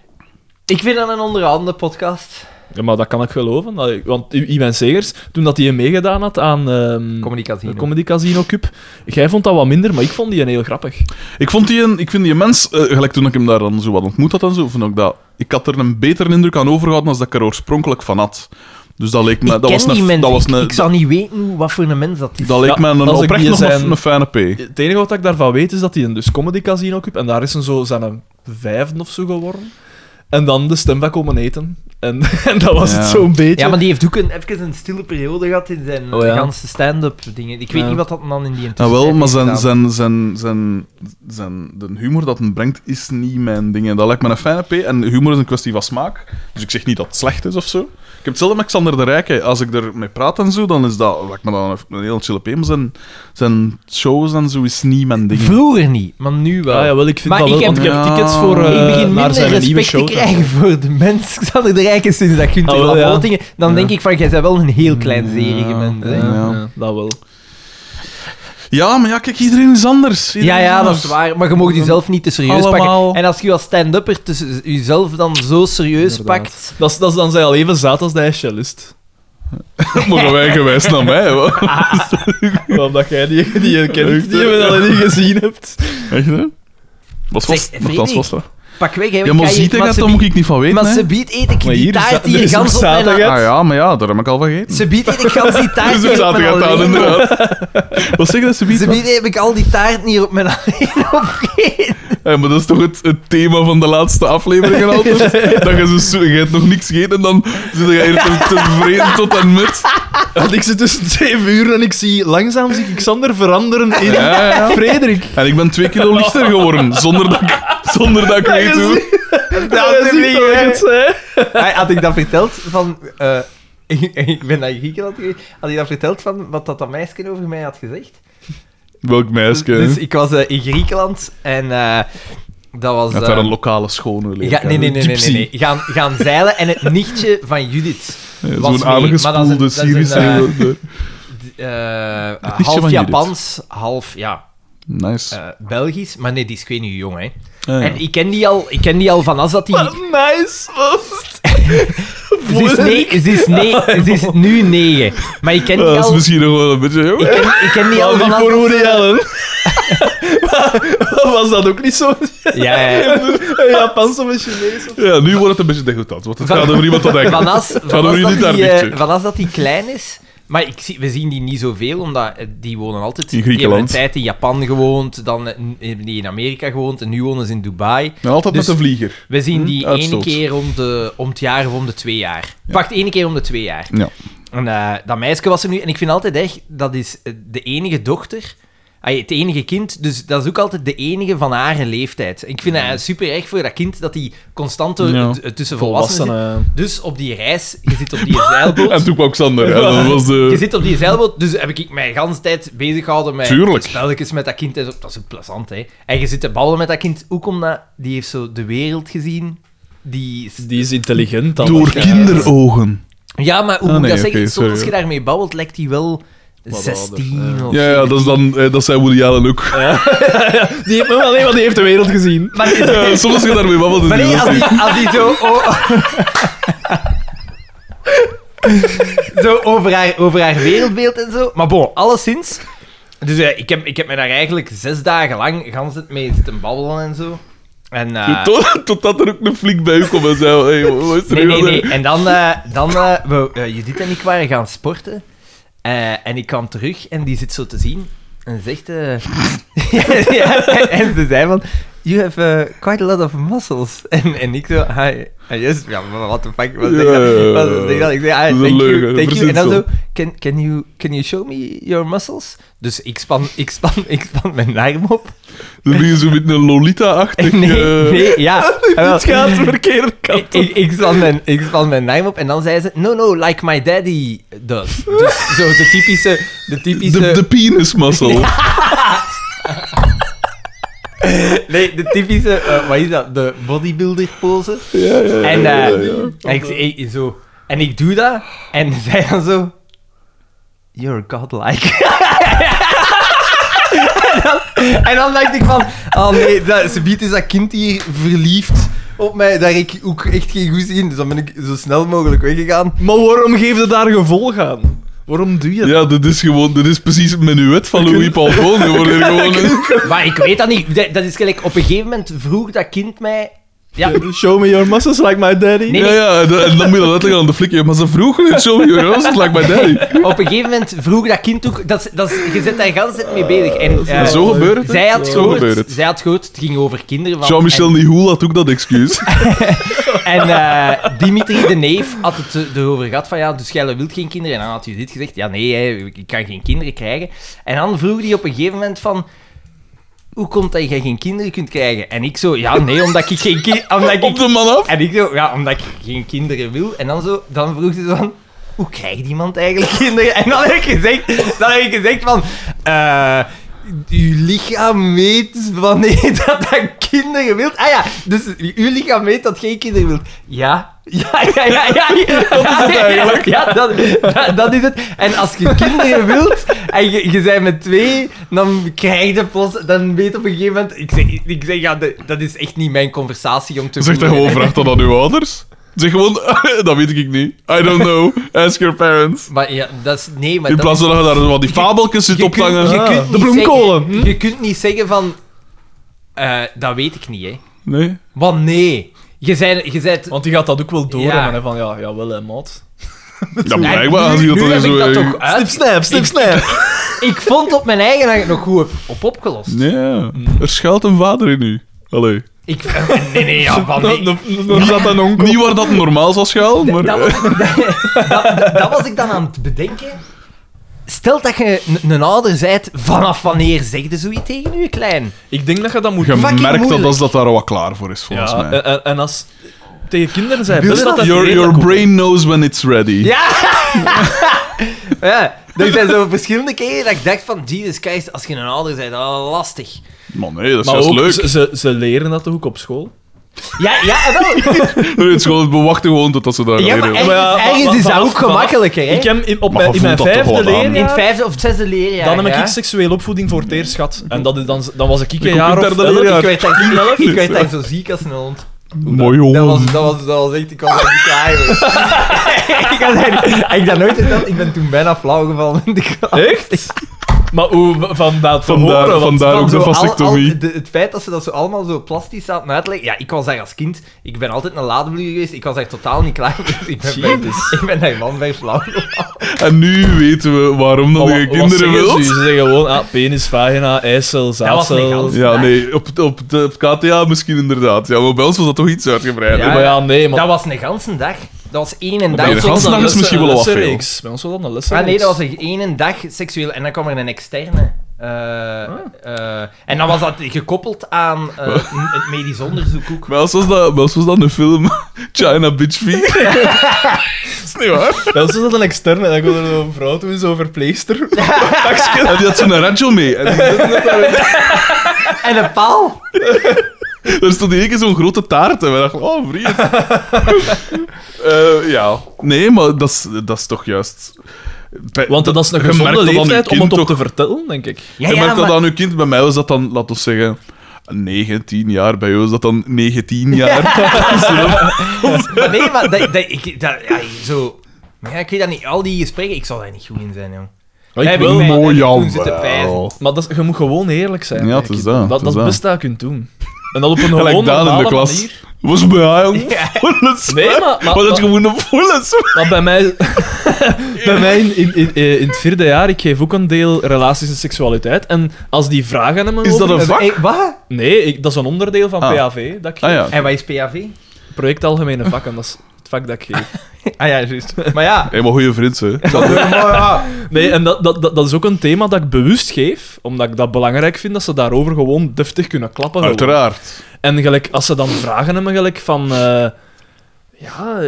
Speaker 1: Ik vind dat een onderhanden podcast.
Speaker 3: Ja, maar dat kan ik geloven. Allee, Want I- Iwan Segers, toen dat hij meegedaan had aan ehm,
Speaker 1: Comedy Casino.
Speaker 3: de Comedy Casino Cup, jij vond dat wat minder, maar ik vond die een heel grappig.
Speaker 2: Ik, vond die een, ik vind die mens, eh, gelijk toen ik hem daar dan zo wat ontmoet had en zo, vond ik dat... Ik had er een betere indruk aan overgehouden als dat ik er oorspronkelijk van had. Dus dat leek me...
Speaker 1: ik
Speaker 2: dat
Speaker 1: ken
Speaker 2: was een,
Speaker 1: die mensen.
Speaker 2: dat was
Speaker 1: ik,
Speaker 2: een,
Speaker 1: ik zou niet weten hoe- wat voor een mens dat is.
Speaker 2: dat leek
Speaker 3: Ja,
Speaker 2: me een
Speaker 3: als ik
Speaker 2: oprecht
Speaker 3: die
Speaker 2: nog
Speaker 3: zijn-
Speaker 2: een, een fijne P.
Speaker 3: Het enige wat ik daarvan weet is dat hij een dus Comedy Casino Cup en daar is een zo zijn een vijfde of zo geworden. En dan de stem van komen eten. En, en dat was het
Speaker 2: Ja.
Speaker 3: zo'n beetje.
Speaker 1: ja, maar die heeft ook een, even een stille periode gehad in zijn
Speaker 3: Oh ja.
Speaker 1: ganse stand-up dingen. Ik weet
Speaker 3: Ja.
Speaker 1: niet wat dat dan in die
Speaker 2: Ja, Ah,
Speaker 1: intussen
Speaker 2: wel, maar zijn, zijn, zijn, zijn, zijn, de humor dat hem brengt is niet mijn ding. En dat lijkt me een fijne P. En humor is een kwestie van smaak. Dus ik zeg niet dat het slecht is of zo. Ik heb hetzelfde met Xander de Rijke. Als ik ermee praat en zo, dan is dat, lijkt me dat een, een heel chille P. Maar zijn, zijn shows en zo is niet mijn ding.
Speaker 1: Vroeger niet, maar nu wel.
Speaker 3: Ah, jawel, ik vind
Speaker 1: Maar
Speaker 3: dat
Speaker 1: ik
Speaker 3: wel,
Speaker 1: heb-
Speaker 3: want ik heb
Speaker 2: Ja.
Speaker 3: tickets voor eh
Speaker 2: Ik
Speaker 1: ik begin
Speaker 3: naar
Speaker 1: minder
Speaker 3: zijn nieuwe
Speaker 1: respect
Speaker 3: show.
Speaker 1: te krijgen voor de mens Xander de Rijk is sinds dat Gunther
Speaker 3: Ah, wel, ja.
Speaker 1: Labottingen. Dan denk ik van, jij bent wel een heel klein zerige
Speaker 2: Ja.
Speaker 1: mens. hè.
Speaker 2: Ja.
Speaker 3: Ja, dat wel.
Speaker 2: Ja, maar ja, kijk, iedereen is anders. Iedereen
Speaker 1: Ja, ja, dat
Speaker 2: anders.
Speaker 1: is waar. Maar je mag jezelf niet te serieus
Speaker 3: Allemaal.
Speaker 1: pakken. En als je als stand-upper tussen jezelf dan zo serieus
Speaker 3: Inderdaad.
Speaker 1: pakt...
Speaker 3: Dat is, dat is dan zijn al even zaad als de cellist.
Speaker 2: Mogen wij gewijs naar mij, hoor.
Speaker 1: Ah.
Speaker 3: Omdat jij die, die je kent, die je al niet gezien hebt.
Speaker 2: Echt, hè? Was
Speaker 1: Zeg,
Speaker 2: vast,
Speaker 1: Frederik.
Speaker 2: nogthans was dat.
Speaker 1: Pak weg, hè.
Speaker 2: Ja, maar
Speaker 1: kan je-
Speaker 2: ziet ik
Speaker 1: maar
Speaker 2: dat,
Speaker 1: ze
Speaker 2: dan
Speaker 1: bie-
Speaker 2: moet ik niet van weten,
Speaker 1: Maar
Speaker 2: hè.
Speaker 1: ze biedt eet ik
Speaker 3: Maar
Speaker 1: die
Speaker 3: hier is za-
Speaker 1: taart die
Speaker 3: er
Speaker 1: je
Speaker 3: is nog
Speaker 1: gans op mijn...
Speaker 3: zaterdag, hè.
Speaker 1: hand-
Speaker 2: Ah ja, maar ja, daar heb ik al van gegeten.
Speaker 1: Ze biedt eet ik gans die taart
Speaker 2: Dus
Speaker 1: hier
Speaker 2: op
Speaker 1: op mijn
Speaker 2: zaterdag
Speaker 1: hand-
Speaker 2: aan, inderdaad. Wat zeg je dat, ze biedt?
Speaker 1: Ze biedt heb ik al die taart hier op mijn alleen opgegeten.
Speaker 2: Ja, Eh, maar dat is toch het, het thema van de laatste afleveringen altijd? dat je, zo, zo- je hebt nog niks gegeten en dan zit je hier te- tevreden tot en met.
Speaker 3: Want ik zit tussen twee uur en ik zie langzaam zie ik Xander veranderen in
Speaker 2: Ja, ja.
Speaker 3: Frederik.
Speaker 2: En ik ben twee kilo lichter geworden, zonder dat ik, zonder dat ik weet hoe.
Speaker 3: Dat is niet goed, hè?
Speaker 1: Hij- Had ik dat verteld van... eh, ik- ik ben naar Griekenland geweest. Had ik dat verteld van wat dat, dat meisje over mij had gezegd?
Speaker 2: Welk meisje. hè?
Speaker 1: Dus ik was eh, in Griekenland en eh, dat was...
Speaker 2: Je had daar
Speaker 1: eh,
Speaker 2: een lokale schone leer.
Speaker 1: Ga, nee, nee, nee, nee, nee, nee. Gaan, gaan zeilen en het nichtje van Judith. was mee,
Speaker 2: Zo'n
Speaker 1: maar dat is een-
Speaker 2: aangespoelde
Speaker 1: dat is een,
Speaker 2: Syrische...
Speaker 1: eh,
Speaker 2: eh,
Speaker 1: D- eh,
Speaker 2: nichtje van
Speaker 1: half
Speaker 2: Judith.
Speaker 1: Japans, half ja,
Speaker 2: Nice.
Speaker 1: eh, Belgisch. Maar nee, die is ik weet niet hoe jong, hè.
Speaker 2: Ah, ja.
Speaker 1: En ik ken die al, ik ken die al van als dat die...
Speaker 3: Nice, was.
Speaker 1: Ze is, nee, ze, is nee, ze is nu negen. Maar ik ken die
Speaker 2: Ah, dat is
Speaker 1: al...
Speaker 2: misschien nog wel een beetje jong.
Speaker 1: Ik ken, ik ken die al
Speaker 3: Al
Speaker 1: van
Speaker 3: niet
Speaker 1: als...
Speaker 3: voor
Speaker 1: dat- eh,
Speaker 3: Woody Allen. Maar was dat ook niet zo?
Speaker 1: Ja, ja, ja.
Speaker 3: Een Japans of een Chinees? of-
Speaker 2: Ja, nu wordt het een beetje degoutant, want het
Speaker 1: Van-
Speaker 2: gaat over iemand dat denkt.
Speaker 1: Van als, van,
Speaker 2: doen
Speaker 1: als
Speaker 2: jullie
Speaker 1: dat
Speaker 2: daar
Speaker 1: die,
Speaker 2: niks,
Speaker 1: eh,
Speaker 2: hè?
Speaker 1: van als dat die klein is. Maar ik zie, we zien die niet zoveel, omdat eh, die wonen altijd...
Speaker 2: In
Speaker 1: Die hebben een
Speaker 2: Griekenland.
Speaker 1: tijd in Japan gewoond, dan eh, n- hebben die in Amerika gewoond en nu wonen ze in Dubai.
Speaker 2: Nou, altijd
Speaker 1: Dus-
Speaker 2: met een vlieger.
Speaker 1: We zien die
Speaker 2: Hm, uitstoot.
Speaker 1: ene keer om, de, om het jaar of om de twee jaar. Wacht, ene keer om de twee jaar.
Speaker 2: Ja.
Speaker 1: En eh, dat meisje was er nu. En ik vind altijd echt, dat is eh, de enige dochter. ay, het enige kind, dus dat is ook altijd de enige van haar leeftijd. Ik vind het super erg voor dat kind dat die constant door-
Speaker 2: Ja.
Speaker 1: t- tussen volwassenen zit. Dus op die reis, je zit op die
Speaker 2: En
Speaker 1: zeilboot.
Speaker 2: toen kwam Xander. Ja, dat was
Speaker 1: Je
Speaker 2: de...
Speaker 1: zit op die zeilboot, dus heb ik mij de hele tijd bezig gehouden met
Speaker 2: Tuurlijk.
Speaker 1: spelletjes met dat kind. En zo. Dat is ook plezant, hè. En je zit te ballen met dat kind, ook omdat die heeft zo de wereld gezien. Die is-
Speaker 3: Die is intelligent dan.
Speaker 2: Door kinderogen.
Speaker 1: Ja, maar hoe
Speaker 2: Ah,
Speaker 1: moet ik
Speaker 2: nee,
Speaker 1: dat zeggen?
Speaker 2: oké,
Speaker 1: Soms als je
Speaker 2: sorry.
Speaker 1: daarmee babbelt, lijkt hij wel
Speaker 3: Wat
Speaker 1: 16
Speaker 3: ouder,
Speaker 1: of
Speaker 2: Ja, ja, dat, is dan, eh, dat zijn Woody Allen ook.
Speaker 3: Die heeft, maar nee, want die heeft de wereld gezien.
Speaker 1: Maar, nee,
Speaker 2: Ja, soms als je daarmee babbelt, is
Speaker 1: maar
Speaker 2: die
Speaker 1: nee,
Speaker 2: wel
Speaker 1: als die,
Speaker 2: goed.
Speaker 1: als die zo... o- zo over haar, over haar wereldbeeld en zo. Maar bon, alleszins... Dus eh, ik, heb, ik heb me daar eigenlijk zes dagen lang gans het mee zitten babbelen en zo. En, eh,
Speaker 2: Tot, totdat er ook een flik bij u komt en zei: hey, wat is
Speaker 1: Nee,
Speaker 2: er hier
Speaker 1: nee,
Speaker 2: aan de-
Speaker 1: nee. En dan, eh, dan eh, we, eh, Judith en ik waren gaan sporten. Eh, en ik kwam terug en die zit zo te zien. En zegt... eh, ja, ja, en, en ze zei van... You have eh, quite a lot of muscles. En, en ik zo... Hi. Ah, yes. Ja, maar what the fuck. Wat zeg
Speaker 2: Ja, ja,
Speaker 1: dat?
Speaker 2: ja,
Speaker 1: Wat
Speaker 2: ja.
Speaker 1: zeg dat? Ik zeg...
Speaker 2: Dat
Speaker 1: Hi,
Speaker 2: is een
Speaker 1: thank you.
Speaker 2: leugen,
Speaker 1: Thank you. En dan zo...
Speaker 2: verzinsel.
Speaker 1: Can, can, you, can you show me your muscles? Dus ik span, ik span, ik span mijn arm op.
Speaker 2: Dan ben je zo met een Lolita-achtig.
Speaker 1: Nee,
Speaker 2: eh,
Speaker 1: nee, ja. Ah, wel.
Speaker 3: Het gaat verkeerd kant
Speaker 1: Ik, ik, ik, span mijn, ik span mijn naam op en dan zei ze: No, no, like my daddy does. Dus zo de typische. De typische
Speaker 2: De, de penismuscle.
Speaker 1: Nee, de typische. eh, wat is dat? De bodybuilder pose. en, eh, En, ik, ik- zo, en ik doe dat en zij dan zo. You're godlike. dus en, dan, en dan dacht ik van, oh nee, dat, ze biedt is dat kind hier verliefd
Speaker 5: op mij dat ik ook echt geen goed in. Dus dan ben ik zo snel mogelijk weggegaan.
Speaker 3: Maar waarom geef je daar gevolg aan? Waarom doe je dat?
Speaker 2: Ja, dit is gewoon, dit is precies het menuet van Louis Palpon. Gewoon hier gewoon een-
Speaker 1: Maar ik weet dat niet. Dat- Dat is gelijk, op een gegeven moment vroeg dat kind mij... Ja,
Speaker 3: Show me your muscles like my daddy.
Speaker 1: Nee,
Speaker 2: Ja,
Speaker 1: nee.
Speaker 2: ja, en dan- en dan moet je dat uitleggen aan de flikker. Maar ze vroeg nu, show me your ass, like my daddy.
Speaker 1: op een gegeven moment vroeg dat kind ook... Dat, is- dat, is- je zit daar de hele tijd mee bezig. En, eh,
Speaker 2: En zo gebeurt het.
Speaker 1: zij had,
Speaker 2: zo gebeurt
Speaker 1: gehoord,
Speaker 2: het.
Speaker 1: zij had gehoord, het ging over kinderen. Van,
Speaker 2: Jean-Michel Nihoul had ook dat excuus.
Speaker 1: En eh, Dimitri, de neef, had het eh, erover gehad van ja, dus jij wilt geen kinderen. En dan had hij dit gezegd, ja nee, hè, ik kan geen kinderen krijgen. En dan vroeg hij op een gegeven moment van, hoe komt dat jij geen kinderen kunt krijgen? En ik zo, ja nee, omdat ik geen kinderen... Omdat ik...
Speaker 2: Op de man af.
Speaker 1: En ik zo, ja, omdat ik geen kinderen wil. En dan zo, dan vroeg ze van, hoe krijgt iemand eigenlijk kinderen? En dan heb ik gezegd, dan heb ik gezegd van, eh, uw lichaam weet wanneer dat, dat kinderen wilt. Ah ja, dus uw lichaam weet dat geen kinderen wilt. Ja. Ja, ja, ja, ja. Dat is het eigenlijk. Ja, dat, dat, dat is het. En als je kinderen wilt en je, je bent met twee, dan krijg je plots, dan weet op een gegeven moment... Ik zeg, ik zeg ja, de- dat is echt niet mijn conversatie om te
Speaker 2: Zeg dan
Speaker 1: voeren.
Speaker 2: gewoon, vraag dat aan uw ouders. Zeg gewoon, dat weet ik niet. I don't know. Ask your parents.
Speaker 1: Maar ja, dat is... Nee, maar
Speaker 2: In
Speaker 1: dat
Speaker 2: plaats
Speaker 1: is-
Speaker 2: van dat je daar zo wat die fabeltjes zit
Speaker 1: je
Speaker 2: op te hangen.
Speaker 1: kunt, je
Speaker 3: Ah,
Speaker 1: kunt
Speaker 3: de
Speaker 1: niet
Speaker 3: bloemkolen,
Speaker 1: zeggen-
Speaker 3: hm?
Speaker 1: Je kunt niet zeggen van... eh, dat weet ik niet, hè.
Speaker 2: Nee.
Speaker 1: Want nee. Je zei... Je zei
Speaker 3: Want die gaat dat ook wel door.
Speaker 1: Ja.
Speaker 3: En van, ja, jawel, hè, maat.
Speaker 2: Ja, blijkbaar. Als je dat
Speaker 1: nu
Speaker 2: dan
Speaker 1: heb
Speaker 2: zo...
Speaker 1: ik dat toch uit.
Speaker 3: Snip, snap, snip,
Speaker 1: Ik-
Speaker 3: snap.
Speaker 1: Ik vond op mijn eigen dat ik het nog goed heb op opgelost.
Speaker 2: Nee, ja.
Speaker 1: Hmm.
Speaker 2: er schuilt een vader in u. Allee.
Speaker 1: Ik, eh, nee, nee, ja, van nee.
Speaker 3: Dan zat een onkel.
Speaker 2: Niet waar dat normaal zou schuilen, maar...
Speaker 1: Dat was, dat, dat- dat was ik dan aan het bedenken. Stel dat je een- een ouder bent, vanaf wanneer zeg je zoiets tegen je klein?
Speaker 3: Ik denk dat je dat moet...
Speaker 2: Je
Speaker 1: fucking
Speaker 2: merkt dat
Speaker 1: moeilijk.
Speaker 2: als dat daar wat klaar voor is, volgens
Speaker 3: Ja,
Speaker 2: mij.
Speaker 3: en- en, en als... Tegen kinderen zijn
Speaker 1: Wil
Speaker 3: best
Speaker 1: je
Speaker 3: dat
Speaker 1: dat?
Speaker 3: dat
Speaker 2: your
Speaker 3: redelijk
Speaker 2: your
Speaker 3: ook-
Speaker 2: brain knows when it's ready.
Speaker 1: Ja! ja, er zijn zo verschillende keren dat ik dacht van, Jesus Christ, als je een ouder bent, oh, lastig.
Speaker 2: Man, nee, dat is
Speaker 3: Maar
Speaker 2: juist
Speaker 3: ook,
Speaker 2: leuk.
Speaker 3: Ze, ze, ze leren dat toch ook op school?
Speaker 1: Ja, ja, wel.
Speaker 2: Nee, het is gewoon, we wachten gewoon totdat ze daar
Speaker 1: Ja, maar
Speaker 2: leren.
Speaker 1: echt- Ergens- ergens is dat ook gemakkelijker, hè?
Speaker 3: Ik heb in, op
Speaker 2: Maar
Speaker 3: mijn,
Speaker 2: je
Speaker 3: in mijn
Speaker 2: voelt dat toch
Speaker 3: vijfde
Speaker 2: wel aan.
Speaker 3: leerjaar...
Speaker 1: In het vijfde of zesde leerjaar.
Speaker 3: Dan heb
Speaker 1: ja.
Speaker 3: ik seksuele opvoeding voor het eerst gehad. En dat, is dan, dan was ik,
Speaker 2: ook
Speaker 3: een jaar
Speaker 2: in
Speaker 3: of
Speaker 2: derde
Speaker 3: elf.
Speaker 2: leerjaar.
Speaker 1: Ik weet dat ik, ik weet dat ik zo ziek als een hond.
Speaker 2: Mooi
Speaker 1: Dat was,
Speaker 2: jongen.
Speaker 1: dat was, dat was echt, ik was daar niet klaar voor. ik had eigenlijk- had ik dat nooit verteld, ik ben toen bijna flauw gevallen in de klas.
Speaker 3: Echt? Maar hoe, van dat te
Speaker 2: Vandaar,
Speaker 3: horen, want-
Speaker 2: vandaar ook
Speaker 1: Zo
Speaker 2: de
Speaker 1: al- al-
Speaker 2: vasectomie.
Speaker 1: de- het feit dat ze dat zo allemaal zo plastisch zaten uitleggen. Ja, ik was daar als kind. Ik ben altijd een ladeblur geweest. Ik was daar totaal niet klaar voor. Ik ben, bij, ik ben daar man bij flauw.
Speaker 2: En nu weten we waarom dat
Speaker 3: Maar
Speaker 2: je
Speaker 3: Oh, wat-
Speaker 2: kinderen
Speaker 3: wat zeggen
Speaker 2: wilt.
Speaker 3: Ze, ze zeggen gewoon, ah, penis, vagina, eicel,
Speaker 1: was
Speaker 3: zaadcel.
Speaker 1: niet gans.
Speaker 2: Ja, nee, op, op, de, op KTA misschien inderdaad. Ja, maar bij ons was dat toch iets uitgebreider.
Speaker 3: Ja, maar ja, nee, maar...
Speaker 1: Dat was een ganse dag. Dat was één en dag.
Speaker 2: dat was een ganse dag.
Speaker 1: seksueel-
Speaker 2: is misschien wel wat veel.
Speaker 3: lessenreeks. Bij ons was dat een
Speaker 1: Ah,
Speaker 3: lessenreeks.
Speaker 1: nee, dat was een één en dag seksueel. En dan kwam er een externe. eh, eh, en dan was dat gekoppeld aan eh, n- het medisch onderzoek ook.
Speaker 2: Bij ons was dat, bij ons was dat een film, China Bitch Feet. is niet waar.
Speaker 3: Bij ons was dat een externe. En dan kwam er zo'n vrouw toen, zo'n verpleegster.
Speaker 2: En die had zo'n rancho mee. En die-
Speaker 1: En een paal.
Speaker 2: daar stond in één keer zo'n grote taart. En we dachten, oh, vriend. Eh, ja. Nee, maar dat is, dat is toch juist... Bij-
Speaker 3: Want dat is een
Speaker 2: je merkt
Speaker 3: gezonde
Speaker 2: dat aan je
Speaker 3: leeftijd om
Speaker 2: kind
Speaker 3: het op
Speaker 2: toch-
Speaker 3: te vertellen, denk ik.
Speaker 1: Ja,
Speaker 2: je
Speaker 1: ja,
Speaker 2: merkt
Speaker 1: maar-
Speaker 2: dat aan uw kind. Bij mij was dat dan, laten we zeggen, 19 jaar. Bij jou is dat dan 19 jaar.
Speaker 1: Maar nee, maar dat, dat, ik, dat, ja, zo... Maar ja, ik weet dat niet. Al die gesprekken, ik zal daar niet goed in zijn, joh.
Speaker 3: Maar ik
Speaker 1: Heb
Speaker 3: wil...
Speaker 1: ik mij-
Speaker 2: Mooi,
Speaker 1: toen
Speaker 2: jawel.
Speaker 1: zitten pijzen.
Speaker 3: Maar dat, is- je moet gewoon eerlijk zijn.
Speaker 2: Ja,
Speaker 3: hè,
Speaker 2: het is
Speaker 3: kind.
Speaker 2: dat, het
Speaker 3: Dat,
Speaker 2: is
Speaker 3: dat is het
Speaker 2: dat.
Speaker 3: beste dat je kunt doen. En dat op een
Speaker 2: Gelijk
Speaker 3: gewoon
Speaker 2: Daan in de
Speaker 3: normale
Speaker 2: klas.
Speaker 3: manier.
Speaker 2: Was bij mij, jong.
Speaker 3: Nee, maar... maar,
Speaker 2: Maar dat
Speaker 3: maar-
Speaker 2: is gewoon een volle
Speaker 3: Maar bij mij, bij mij in, in, in, eh, in het vierde jaar, ik geef ook een deel relaties en seksualiteit. En als die vragen aan me
Speaker 2: Is dat
Speaker 3: over-
Speaker 2: een vak?
Speaker 1: Hey, Eh, wat?
Speaker 3: Nee, ik, dat is een onderdeel van
Speaker 2: Ah.
Speaker 3: PAV. Dat ik geef.
Speaker 2: Ah ja.
Speaker 1: En wat is PAV?
Speaker 3: Project Algemene Vakken, dat is het vak dat ik geef.
Speaker 1: Ah ja, juist. Maar ja...
Speaker 2: Helemaal goede vriend, hè.
Speaker 3: Oh. Nee, en dat, dat, dat, dat is ook een thema dat ik bewust geef, omdat ik dat belangrijk vind, dat ze daarover gewoon deftig kunnen klappen. gewoon.
Speaker 2: Uiteraard.
Speaker 3: En gelijk, als ze dan vragen hebben, gelijk van... eh, ja... eh,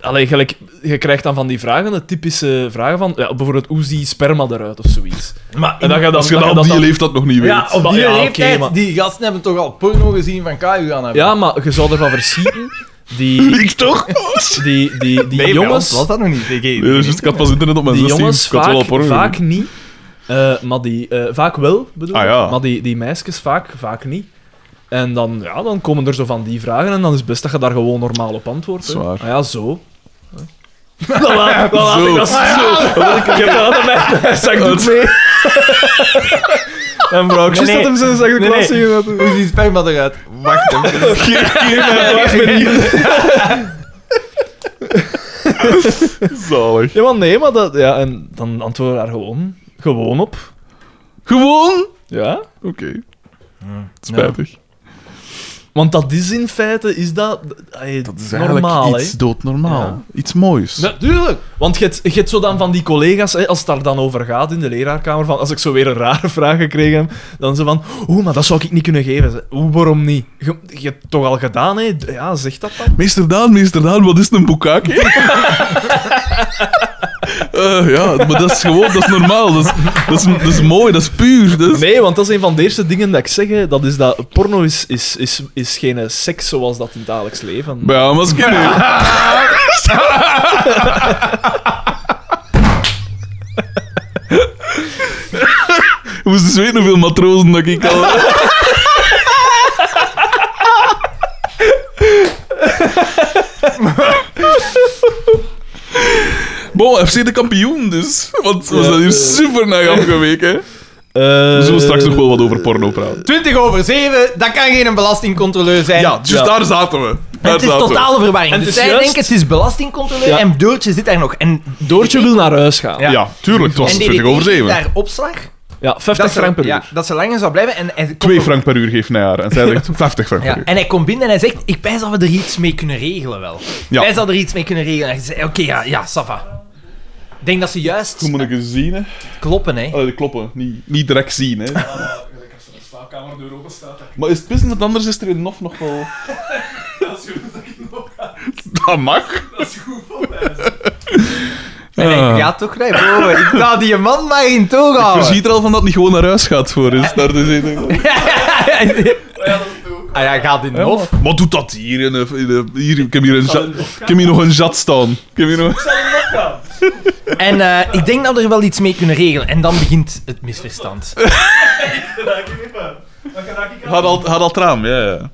Speaker 3: allee, gelijk, je krijgt dan van die vragen, de typische vragen van... Ja, bijvoorbeeld, hoe ziet sperma eruit of zoiets?
Speaker 1: Maar
Speaker 3: En dan ga je dan,
Speaker 2: Als je
Speaker 3: dan ga
Speaker 2: dat
Speaker 3: je
Speaker 2: op
Speaker 3: dat
Speaker 2: die
Speaker 3: dan-
Speaker 2: leeftijd nog niet weet.
Speaker 1: ja, op die
Speaker 3: Ja, oké,
Speaker 1: leeftijd,
Speaker 3: maar-
Speaker 1: die gasten hebben toch al porno gezien van KU aan hebben.
Speaker 3: Ja, maar je zou ervan verschieten. Die,
Speaker 2: Ik toch?
Speaker 3: die, die, die jongens,
Speaker 1: was dat nog niet.
Speaker 2: Nee, dat is juist, ik had pas internet op mijn
Speaker 3: die
Speaker 2: 16.
Speaker 3: jongens
Speaker 2: ik had wel
Speaker 3: vaak,
Speaker 2: al porno
Speaker 3: vaak
Speaker 2: gezien.
Speaker 3: niet. eh, maar die, eh, vaak wel, bedoel ik.
Speaker 2: Ah, ja.
Speaker 3: Maar die, die meisjes vaak, vaak niet. En dan, ja, dan komen er zo van die vragen en dan is het best dat je daar gewoon normaal op antwoordt. hè.
Speaker 2: Zwaar.
Speaker 3: Ah ja, zo. Dan laat, dan laat
Speaker 2: Zo.
Speaker 3: ik dat zo. Ik heb dat altijd mijn- mijn zakdoek mee. En vrouw, ik
Speaker 1: Nee,
Speaker 3: zie dat
Speaker 1: nee.
Speaker 3: hem zijn zakdoek
Speaker 1: Nee, nee.
Speaker 3: laat zien. Hoe is die sperma eruit?
Speaker 5: Wacht even.
Speaker 2: Zalig.
Speaker 3: Ja, maar nee, maar dat... Ja, en dan antwoorden we daar gewoon, gewoon op.
Speaker 2: Gewoon?
Speaker 3: Ja.
Speaker 2: Oké. Spijtig.
Speaker 3: Want dat is in feite, is dat... ey,
Speaker 2: Dat is eigenlijk
Speaker 3: normaal,
Speaker 2: iets
Speaker 3: hè.
Speaker 2: doodnormaal.
Speaker 3: Ja.
Speaker 2: Iets moois.
Speaker 3: Natuurlijk. Want je hebt- je hebt zo dan van die collega's, hè, als het daar dan over gaat in de leraarkamer, van als ik zo weer een rare vraag gekregen heb, dan ze van, oeh, maar dat zou ik niet kunnen geven. Ze, Oeh, waarom niet? Je, je hebt het toch al gedaan, hè? D- Ja, zeg dat dan.
Speaker 2: Meester Daan, meester Daan, wat is een boekake? Eh, ja, maar dat is gewoon, dat is normaal. Dat is, dat is, dat is mooi, dat is puur. Dat is...
Speaker 3: Nee, want dat is een van de eerste dingen dat ik zeg, hè, dat is dat porno is, is, is, is geen seks zoals dat in het dagelijks leven.
Speaker 2: Maar ja, maar als ik nu- Je moest dus weten hoeveel matrozen dat ik al... Bon, FC de kampioen dus. Want we
Speaker 3: Ja,
Speaker 2: zijn hier
Speaker 3: eh.
Speaker 2: super naar afgeweken. hè.
Speaker 3: Eh,
Speaker 2: We zullen straks nog wel wat over porno praten.
Speaker 1: 20 over 7, dat kan geen belastingcontroleur zijn.
Speaker 2: Ja, dus
Speaker 3: Ja.
Speaker 2: daar zaten we. Daar
Speaker 1: het is
Speaker 2: zaten we.
Speaker 1: totale verwarring.
Speaker 3: En
Speaker 1: En dus
Speaker 3: het is
Speaker 1: zij
Speaker 3: juist-
Speaker 1: denken, het is belastingcontroleur
Speaker 3: Ja.
Speaker 1: en Doortje zit daar nog. En,
Speaker 3: Doortje wil naar huis gaan. Ja,
Speaker 2: Ja, tuurlijk. Het was
Speaker 1: en
Speaker 2: 20 over
Speaker 1: DDT
Speaker 2: 7.
Speaker 1: daar opslag.
Speaker 3: 50
Speaker 1: ze-
Speaker 3: frank per uur.
Speaker 2: dus.
Speaker 1: ja, dat ze langer zou blijven. En, en
Speaker 2: 2 frank per uur geeft naar haar. En zij zegt 50 frank
Speaker 1: Ja,
Speaker 2: per uur.
Speaker 1: en hij komt binnen en hij zegt, ik pijs dat we er iets mee kunnen regelen wel.
Speaker 2: Ja.
Speaker 1: Wij zouden er iets mee kunnen regelen. En hij zegt, oké, ja, ja, Safa. Ik denk dat ze juist
Speaker 2: Toen moet ik eens zien, hè.
Speaker 1: kloppen, hè.
Speaker 2: Allee, de kloppen. Niet, niet direct zien, hè. Maar is het pissen, want anders is er in Nof nog wel... Dat mag. Ah.
Speaker 1: En
Speaker 2: Eh.
Speaker 1: hij gaat toch naar boven. Ik laat die man maar in toog
Speaker 2: Je
Speaker 1: houden.
Speaker 2: ziet er al van dat het niet gewoon naar huis gaat voor is. Daar dus in-
Speaker 1: Ah ja, gaat in de hof.
Speaker 2: Wat doet dat hier? In de, in de- hier ik, heb hier een ja- ik heb hier nog een jat staan. Ik heb hier nog...
Speaker 1: En eh, ik denk dat we er wel iets mee kunnen regelen. En dan begint het misverstand.
Speaker 2: Had al, had al traam, ja, ja.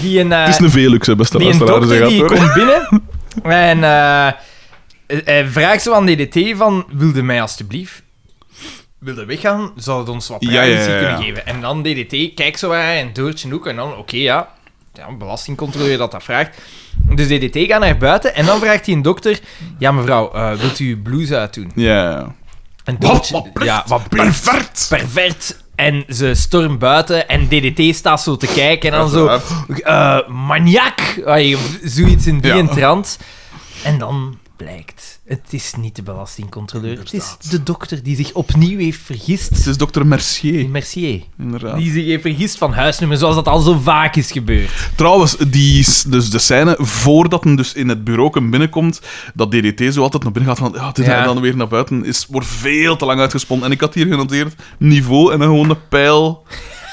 Speaker 1: Die een, eh,
Speaker 2: Het is een Velux, hè, beste
Speaker 1: die een
Speaker 2: luisteraar.
Speaker 1: dokter
Speaker 2: zeg
Speaker 1: die
Speaker 2: dat, hoor.
Speaker 1: komt binnen en eh, hij vraagt zo aan DDT van, wilde mij alstublieft, wilde weggaan, zou het ons wat
Speaker 2: Ja,
Speaker 1: privacy
Speaker 2: ja, ja, ja.
Speaker 1: kunnen geven. En dan DDT kijkt zo aan en Doortje ook en dan, oké ja, ja, belastingcontroleur dat dat vraagt. Dus DDT gaat naar buiten en dan vraagt hij een dokter, ja mevrouw, eh, wilt u uw blouse uitdoen?
Speaker 2: Ja, ja.
Speaker 1: En
Speaker 2: Wat,
Speaker 1: Doortje-
Speaker 2: wat plicht?
Speaker 1: ja, wat plicht?
Speaker 2: Pervert!
Speaker 1: pervert. En ze stormt buiten en DDT staat zo te kijken en dan zo... eh maniak! Ai, Zoiets in die
Speaker 2: Ja.
Speaker 1: trant. En dan blijkt... Het is niet de belastingcontroleur. Het is de dokter die zich opnieuw heeft vergist.
Speaker 2: Het is dokter Mercier,
Speaker 1: Mercier.
Speaker 2: inderdaad.
Speaker 1: Die zich heeft vergist van huisnummer, zoals dat al zo vaak is gebeurd.
Speaker 2: Trouwens, die, s- dus de scène voordat hem dus in het bureau binnenkomt, dat DDT zo altijd naar binnen gaat van ja, dit
Speaker 1: Ja.
Speaker 2: en dan weer naar buiten, is, wordt veel te lang uitgesponnen. En ik had hier genoteerd niveau en dan gewoon een pijl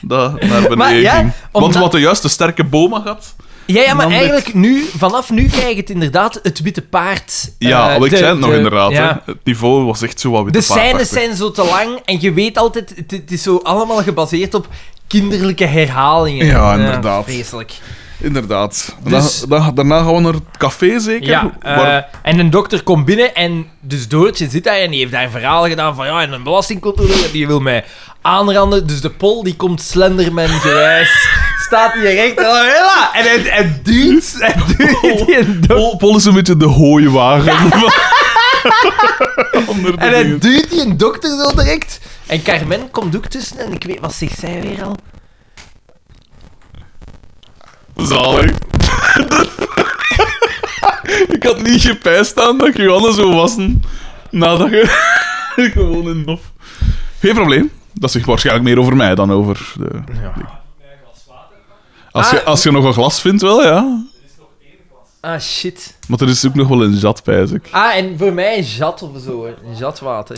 Speaker 2: dat naar beneden
Speaker 1: Maar ja,
Speaker 2: ging. Want
Speaker 1: omdat-
Speaker 2: wat de juiste sterke boma had.
Speaker 1: Ja, ja maar
Speaker 2: Dan
Speaker 1: eigenlijk nu, vanaf nu krijg je het inderdaad het witte paard.
Speaker 2: Ja,
Speaker 1: eh,
Speaker 2: al ik
Speaker 1: de-
Speaker 2: zei het nog
Speaker 1: de-
Speaker 2: inderdaad. hè.
Speaker 1: ja.
Speaker 2: Het niveau was echt zo wat
Speaker 1: De
Speaker 2: witte
Speaker 1: scènes
Speaker 2: paardachtig.
Speaker 1: zijn zo te lang en je weet altijd, het, het is zo allemaal gebaseerd op kinderlijke herhalingen. Eh,
Speaker 2: Ja, inderdaad.
Speaker 1: Vreselijk.
Speaker 2: Inderdaad.
Speaker 1: Dus-
Speaker 2: Da- da- daarna gaan we naar het café zeker.
Speaker 1: Ja, eh,
Speaker 2: Waar-
Speaker 1: en een dokter komt binnen en dus Doortje zit daar en die heeft daar een verhaal gedaan van ja, en een belastingcontroleur die wil mij aanranden. Dus de pol die komt Slenderman gewijs, staat hier recht en dan, "Hela!" en het en duwt, en
Speaker 2: Oh.
Speaker 1: duwt die een dokter.
Speaker 2: Pol, Pol is een beetje de hooiwagen. Onder de
Speaker 1: En
Speaker 2: dingen.
Speaker 1: het duwt die een dokter zo direct. En Carmen komt ook tussen en ik weet, wat zegt zij weer al?
Speaker 2: Zalig. ik had niet gepijst aan dat Johanna zo wassen nadat je gewoon in nof. Geen probleem. Dat zegt waarschijnlijk meer over mij dan over de... Als je, als je nog een glas vindt, wel, ja.
Speaker 1: Ah, shit.
Speaker 2: Maar er is ook nog wel een zat, pijs ik.
Speaker 1: Ah, en voor mij een jat of zo, hè. een jatwater.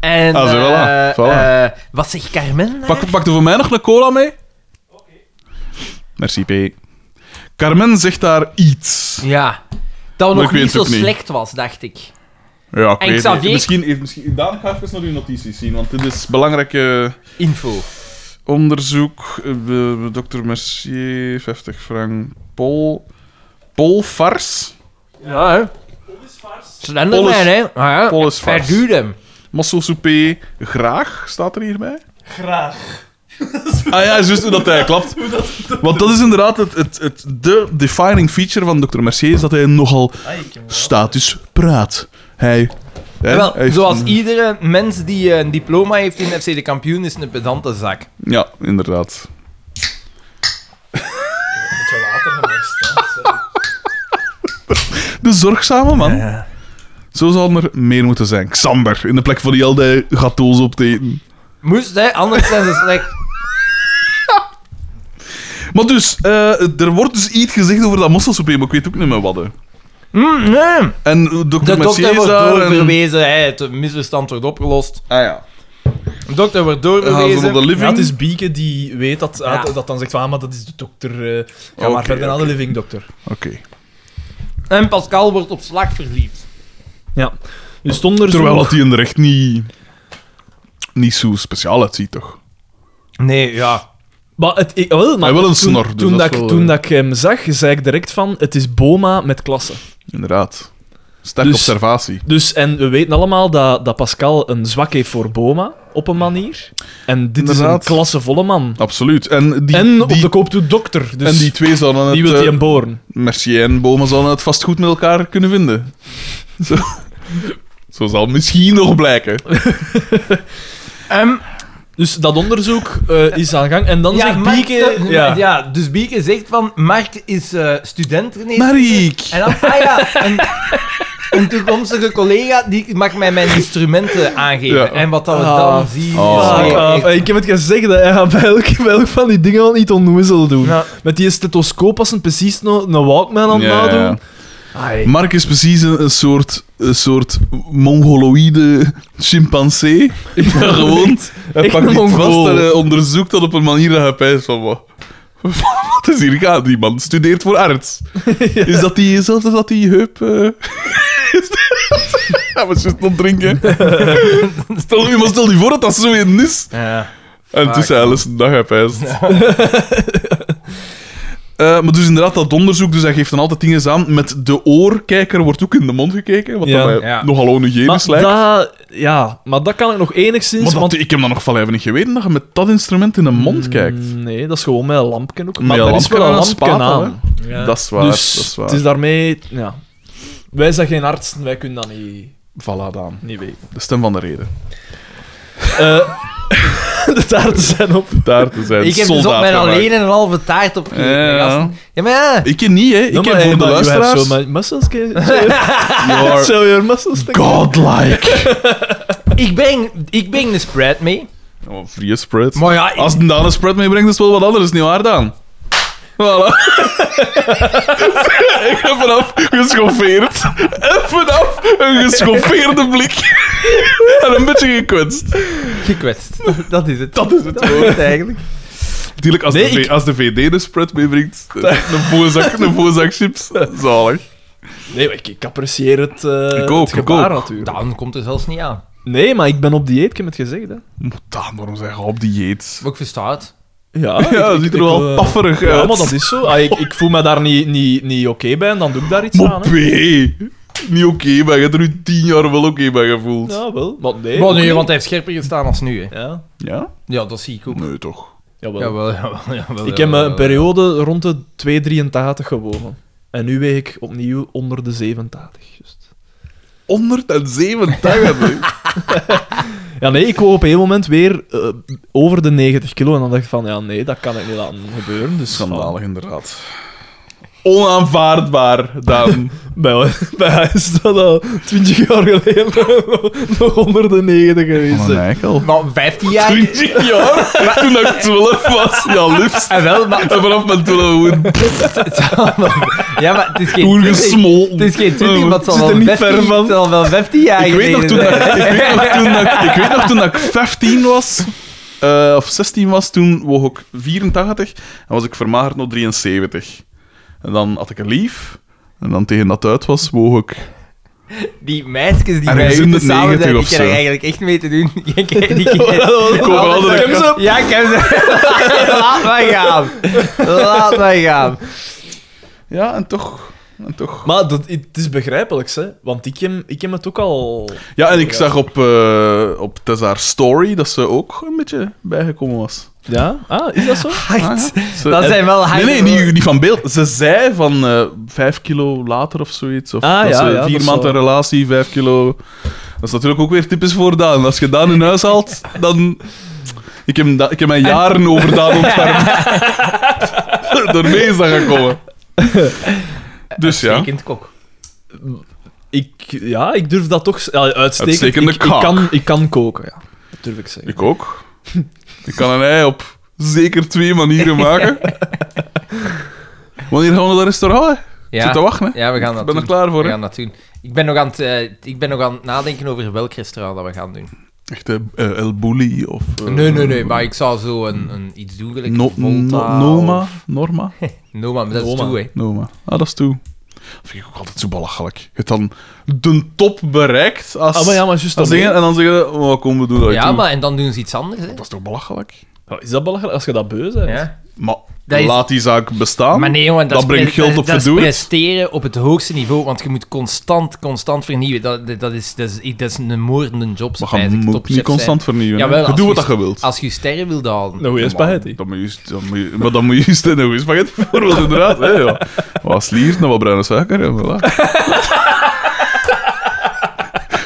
Speaker 1: En
Speaker 2: Ah, zo,
Speaker 1: eh,
Speaker 2: voilà, voilà.
Speaker 1: eh, wat zegt Carmen? daar?
Speaker 2: Pak, pak er voor mij nog een cola mee? Merci, P. Carmen zegt daar iets.
Speaker 1: Ja, dat we
Speaker 2: Maar
Speaker 1: nog
Speaker 2: ik weet
Speaker 1: niet zo
Speaker 2: het ook niet.
Speaker 1: slecht was, dacht ik.
Speaker 2: Ja, ik
Speaker 1: En
Speaker 2: weet het
Speaker 1: Xavier-
Speaker 2: niet. Misschien, even, misschien... Daan, ga even naar uw notities zien, want dit is belangrijke
Speaker 1: Info.
Speaker 2: onderzoek. Eh, we- we- Dr. Mercier, 50 frank. Pol... Pol Fars?
Speaker 1: Ja, hè.
Speaker 2: Alles-
Speaker 1: Slenderman, hè. Ah, ja.
Speaker 2: Pol is Fars.
Speaker 1: Verduurdem.
Speaker 2: Mosselsoupé Graag staat er hierbij.
Speaker 3: Graag.
Speaker 2: Ah ja, juist hoe dat hij klapt. Want dat is inderdaad het, het, het, de defining feature van Dr. Mercier, is dat hij nogal status praat. Hij... hè,
Speaker 1: Wel,
Speaker 2: hij heeft
Speaker 1: zoals
Speaker 2: een-
Speaker 1: iedere mens die eh, een diploma heeft in FC de kampioen, is een pedante zak.
Speaker 2: Ja, inderdaad.
Speaker 3: Beetje later gemist, hè. Sorry.
Speaker 2: De zorgzame man. Zo zou er meer moeten zijn. Xander, in de plek van die al die gâteaus op te eten.
Speaker 1: Moest, hè? Anders zijn ze slecht.
Speaker 2: Maar dus, eh, er wordt dus iets gezegd over dat mosselsoepé, maar ik weet ook niet meer wat. hè.
Speaker 1: Mm, nee.
Speaker 2: En eh, dokter
Speaker 1: De
Speaker 2: Mercier
Speaker 1: dokter
Speaker 2: is
Speaker 1: wordt
Speaker 2: daar... En...
Speaker 1: doorverwezen, hè. Het misverstand wordt opgelost.
Speaker 2: Ah ja.
Speaker 1: De dokter wordt
Speaker 2: Gaan ze
Speaker 1: doorverwezen.
Speaker 2: op de living?
Speaker 3: Ja, het is Bieke die weet dat, ah,
Speaker 1: Ja.
Speaker 3: dat, dat dan zegt van, ah, maar dat is de dokter. eh, ga
Speaker 2: Oké,
Speaker 3: maar verder naar de living dokter.
Speaker 2: Oké.
Speaker 1: En Pascal wordt op slag verliefd.
Speaker 3: Nu stond er
Speaker 2: Terwijl
Speaker 3: zo...
Speaker 2: dat hij in de recht niet... Niet zo speciaal uitziet, toch?
Speaker 1: Nee, ja.
Speaker 3: Maar het, ik, wel, maar
Speaker 2: Hij wil een
Speaker 3: toen-
Speaker 2: snor, dus
Speaker 3: toen,
Speaker 2: dat
Speaker 3: dat
Speaker 2: is
Speaker 3: ik,
Speaker 2: wel,
Speaker 3: toen
Speaker 2: eh.
Speaker 3: dat ik hem zag, zei ik direct van, het is Boma met klasse.
Speaker 2: Inderdaad. Sterke
Speaker 3: Dus-
Speaker 2: observatie.
Speaker 3: Dus, en we weten allemaal dat, dat Pascal een zwak heeft voor Boma, op een manier. En dit
Speaker 2: Inderdaad.
Speaker 3: is een klassevolle man.
Speaker 2: Absoluut. En die,
Speaker 3: en op
Speaker 2: die,
Speaker 3: de koop toe dokter, dus
Speaker 2: en die twee zouden het...
Speaker 3: die wil hij
Speaker 2: eh,
Speaker 3: hem boren.
Speaker 2: Mercier en Boma zouden het vast goed met elkaar kunnen vinden. Zo, Zo zal misschien nog blijken.
Speaker 1: Ehm,
Speaker 3: Dus dat onderzoek eh, is aan gang. En dan
Speaker 1: ja,
Speaker 3: zegt
Speaker 1: Mark-
Speaker 3: Bieke...
Speaker 1: ja.
Speaker 3: Ja.
Speaker 1: dus Bieke zegt van... Mark is eh student geneeskunde.
Speaker 2: Mariek!
Speaker 1: En dan, ah ja, een, een toekomstige collega die mag mij mijn instrumenten aangeven.
Speaker 2: Ja.
Speaker 1: En wat dat we dan
Speaker 3: Ah,
Speaker 1: zien...
Speaker 2: Oh.
Speaker 3: Fuck
Speaker 1: is weer
Speaker 3: off.
Speaker 1: echt-
Speaker 3: Ik heb het gezegd, hè. hij gaat bij elk, bij elk van die dingen al niet onnoezel doen.
Speaker 1: Ja.
Speaker 3: Met die stethoscoop was hem precies no- een Walkman aan het
Speaker 2: Ja, ja.
Speaker 3: nadoen. Ai.
Speaker 2: Mark is precies een, een soort, een soort mongoloïde chimpansee. Ik ben gewoon... Hij
Speaker 3: echt
Speaker 2: pakt
Speaker 3: een
Speaker 2: niet vast
Speaker 3: Mongool.
Speaker 2: en eh, onderzoekt dat op een manier dat hij pijst van... Wat, wat is hier gaande? Die man studeert voor arts. Is dat die... Zelfs als dat die heup... eh Hij was juist nog drinken. stel, maar stel je voor dat dat zo in is.
Speaker 1: Ja.
Speaker 2: En toen zei Alice, dag heb hij het." Eh, maar dus inderdaad, dat onderzoek, dus hij geeft dan altijd dingen aan. Met de oorkijker wordt ook in de mond gekeken, wat
Speaker 3: Ja.
Speaker 2: dan mij
Speaker 1: Ja.
Speaker 2: nogal
Speaker 3: Maar
Speaker 2: onhygiënisch lijkt.
Speaker 3: dat, ja, maar dat kan ik nog enigszins...
Speaker 2: Maar dat-
Speaker 3: want-
Speaker 2: ik heb dan nog van even niet geweten dat je met dat instrument in de mond kijkt.
Speaker 3: Mm, Nee, dat is gewoon met een lampje ook.
Speaker 2: Met
Speaker 3: Maar er is
Speaker 2: lampje
Speaker 3: wel een
Speaker 2: en
Speaker 3: lampje
Speaker 2: spatel,
Speaker 3: aan.
Speaker 2: hè. Dat is waar,
Speaker 3: Dus
Speaker 2: dat is waar.
Speaker 3: het is daarmee... Ja. Wij zijn geen artsen, wij kunnen dat niet,
Speaker 2: Voilà, Daan.
Speaker 3: niet weten.
Speaker 2: De stem van de reden.
Speaker 3: Eh, de taarten zijn op.
Speaker 2: Daar te zijn.
Speaker 1: Ik heb dus op
Speaker 2: soldaat
Speaker 1: mijn
Speaker 2: gemaakt.
Speaker 1: alleen en een halve taart opgegeten.
Speaker 2: Ja, ja.
Speaker 1: gasten. ja, maar ja.
Speaker 2: Ik ken niet, hè. Ik
Speaker 3: Ja,
Speaker 2: heb voor
Speaker 3: Nou, maar, hey,
Speaker 2: de
Speaker 3: maar you have
Speaker 2: luisteraars...
Speaker 3: So much muscles, can- show your-
Speaker 2: You are
Speaker 3: show your muscles.
Speaker 2: godlike.
Speaker 1: Ik breng, ik breng de spread mee.
Speaker 2: Oh, free spread.
Speaker 1: Maar ja, ik-
Speaker 2: Als een Daan een spread meebrengt, is het wel wat anders, niet waar, Daan? Voilà. ik heb vanaf geschoffeerd. En vanaf een geschoffeerde blik. en een beetje gekwetst.
Speaker 1: gekwetst. Dat, dat is het.
Speaker 2: Dat is het woord.
Speaker 1: is het eigenlijk.
Speaker 2: Natuurlijk, als,
Speaker 3: Nee,
Speaker 2: de, V-
Speaker 3: ik-
Speaker 2: als de VD de spread meebrengt, eh, een voorzak, een voorzak chips, zalig.
Speaker 3: Nee, maar ik, ik apprecieer het, eh
Speaker 2: Ik ook,
Speaker 3: het
Speaker 2: ik
Speaker 3: gebaar
Speaker 2: ook.
Speaker 3: natuurlijk.
Speaker 1: Dan komt er zelfs niet aan.
Speaker 3: Nee, maar ik ben op dieet, ik heb het gezegd. Hè.
Speaker 2: Moet Daan, waarom zeg je op dieet?
Speaker 1: Maar ik versta het.
Speaker 3: Ja,
Speaker 2: Ja, dat
Speaker 3: ik-
Speaker 2: ziet
Speaker 3: ik-
Speaker 2: er wel
Speaker 3: ik, eh,
Speaker 2: pafferig uit.
Speaker 3: Ja, maar dat is zo. Ah, ik, ik voel me daar niet, niet, niet oké bij en dan doe ik daar iets aan.
Speaker 2: Maar
Speaker 3: Hè.
Speaker 2: P, niet oké, maar je hebt er nu tien jaar wel oké bij gevoeld. Ja.
Speaker 3: Ja, wel. Maar nee.
Speaker 1: Maar
Speaker 3: ook
Speaker 1: nee,
Speaker 3: niet.
Speaker 1: want hij heeft scherper gestaan als nu. Hè.
Speaker 3: Ja,
Speaker 1: Ja, dat zie ik ook.
Speaker 2: Nee, toch.
Speaker 3: jawel.
Speaker 1: Jawel, jawel, jawel.
Speaker 3: Ik heb eh,
Speaker 1: jawel,
Speaker 3: een
Speaker 1: jawel.
Speaker 3: periode rond de 283 gewogen. En nu weeg ik opnieuw onder de 87. Just.
Speaker 2: 187.
Speaker 3: Ja, nee, ik woog op een moment weer eh, over de 90 kilo. En dan dacht ik van, ja, nee, dat kan ik niet laten gebeuren. Dus
Speaker 2: Schandalig, inderdaad. Onaanvaardbaar, Daan.
Speaker 3: van, Bij, bij mij is dat al 20 jaar geleden nog onder de 90 geweest. hè.
Speaker 2: eikel.
Speaker 1: Maar 15 jaar...
Speaker 2: 20 jaar? Toen ik 12 was, ja, liefst.
Speaker 1: En Ah, wel, maar...
Speaker 2: En vanaf mijn 12 gewoon
Speaker 1: Ja, maar het is geen...
Speaker 2: toen
Speaker 1: 20.
Speaker 2: gesmolten.
Speaker 1: Het is geen 20,
Speaker 2: Oh,
Speaker 1: maar het zal
Speaker 3: Zit er
Speaker 1: wel
Speaker 3: niet
Speaker 1: 15
Speaker 3: ver van.
Speaker 1: Het zal wel 15 jaar
Speaker 2: Ik weet, nog
Speaker 1: geleden
Speaker 2: toen dat,
Speaker 1: zijn, hè.
Speaker 2: ik, weet nog toen dat, ik weet nog toen dat ik 15 was, eh, of 16 was, toen woog ik 84 en was ik vermagerd naar 73. En dan had ik een lief, en dan tegen dat het uit was, woog ik
Speaker 1: Die meisjes die
Speaker 2: Ergens
Speaker 1: wij samen
Speaker 2: in de
Speaker 1: zijn,
Speaker 2: 90
Speaker 1: die
Speaker 2: of
Speaker 1: kan er
Speaker 2: zo.
Speaker 1: eigenlijk echt mee te doen. Die kan- die kan-
Speaker 2: Komen
Speaker 1: Alle
Speaker 2: andere
Speaker 1: dagen- Ja, ik heb ze. Laat mij gaan. Laat mij gaan.
Speaker 2: Ja, en toch. En toch.
Speaker 3: Maar dat, het is begrijpelijk, hè? Want ik heb, ik heb het ook al.
Speaker 2: Ja, en ik zag op, eh op Tessa's story dat ze ook een beetje bijgekomen was.
Speaker 3: Ja? Ah, is dat zo?
Speaker 2: Ah, ja. Ze-
Speaker 1: Dat
Speaker 2: en-
Speaker 1: zijn wel
Speaker 2: Nee,
Speaker 1: harde
Speaker 2: nee,
Speaker 1: woorden.
Speaker 2: niet, niet van beeld. Ze zei van eh vijf kilo later of zoiets. Of
Speaker 3: Ah,
Speaker 2: dat
Speaker 3: ja,
Speaker 2: ze
Speaker 3: ja, dat
Speaker 2: vier
Speaker 3: is
Speaker 2: maanden
Speaker 3: wel-
Speaker 2: relatie, vijf kilo. Dat is natuurlijk ook weer typisch voor Daan. Als je Daan in huis haalt, dan... Ik heb, da- ik heb mijn jaren over Daan ontfermd. Daarmee is dat gekomen. Dus ja.
Speaker 1: Kind kok.
Speaker 3: Ik, ja, ik durf dat toch. Ja, uitstekend.
Speaker 2: Uitstekende
Speaker 3: ik, ik,
Speaker 2: kaak.
Speaker 3: kan, ik kan koken, ja. Dat durf ik zeggen.
Speaker 2: Ik ook. Ik kan een ei op zeker twee manieren maken. Wanneer gaan we naar dat restaurant? hè? Ik
Speaker 1: Ja.
Speaker 2: Zit te wachten, hè?
Speaker 1: ja, we gaan dat
Speaker 2: Ik ben er
Speaker 1: doen.
Speaker 2: klaar voor,
Speaker 1: We
Speaker 2: hè?
Speaker 1: gaan dat doen. Ik ben nog aan het, eh, ik ben nog aan het nadenken over welk restaurant dat we gaan doen.
Speaker 2: Echt, eh, eh, El Bulli of... eh,
Speaker 1: Nee, nee, nee. Maar ik zou zo een, een iets doen. gelijk
Speaker 2: No-
Speaker 1: Volta
Speaker 2: no- Noma?
Speaker 1: of-
Speaker 2: Norma?
Speaker 1: Noma, maar dat is
Speaker 3: Noma.
Speaker 1: toe, hè.
Speaker 2: Noma. Ah, dat is toe. Dat vind ik ook altijd zo belachelijk. Je hebt dan de top bereikt als...
Speaker 3: Ah, maar ja, maar juist
Speaker 2: als
Speaker 3: dan
Speaker 2: dingen, en dan zeggen ze, oh, kom, we doen dat
Speaker 1: Ja,
Speaker 2: toe.
Speaker 1: maar en dan doen ze iets anders, hè.
Speaker 2: Dat is toch belachelijk?
Speaker 3: Ja, Oh, Is dat belachelijk als je dat beu bent?
Speaker 1: Ja.
Speaker 2: Maar
Speaker 1: Dat is-
Speaker 2: laat die zaak bestaan.
Speaker 1: Maar nee, jongen, dat,
Speaker 2: Ah, dat brengt
Speaker 1: is,
Speaker 2: geld
Speaker 1: dat-
Speaker 2: op
Speaker 1: dat is
Speaker 2: verdoe.
Speaker 1: presteren op het hoogste niveau, want je moet constant, constant vernieuwen. Dat, dat, dat is, dat, is, dat is een moordende job,
Speaker 2: We
Speaker 1: zeg
Speaker 2: gaan
Speaker 1: eigenlijk,
Speaker 2: moet
Speaker 1: topchef
Speaker 2: niet
Speaker 1: zijn.
Speaker 2: constant vernieuwen.
Speaker 1: Jawel,
Speaker 2: Jawel, je
Speaker 1: als
Speaker 2: doet wat
Speaker 1: je-
Speaker 2: dat je wilt.
Speaker 1: Als je sterren wil halen...
Speaker 3: Een goede spaghetti.
Speaker 2: Dan moet je, juist- dan moet je, maar dan moet je juist een goede spaghetti bijvoorbeeld, inderdaad. Hè, ja. Wat sliert, nog wat bruine suiker en voilà.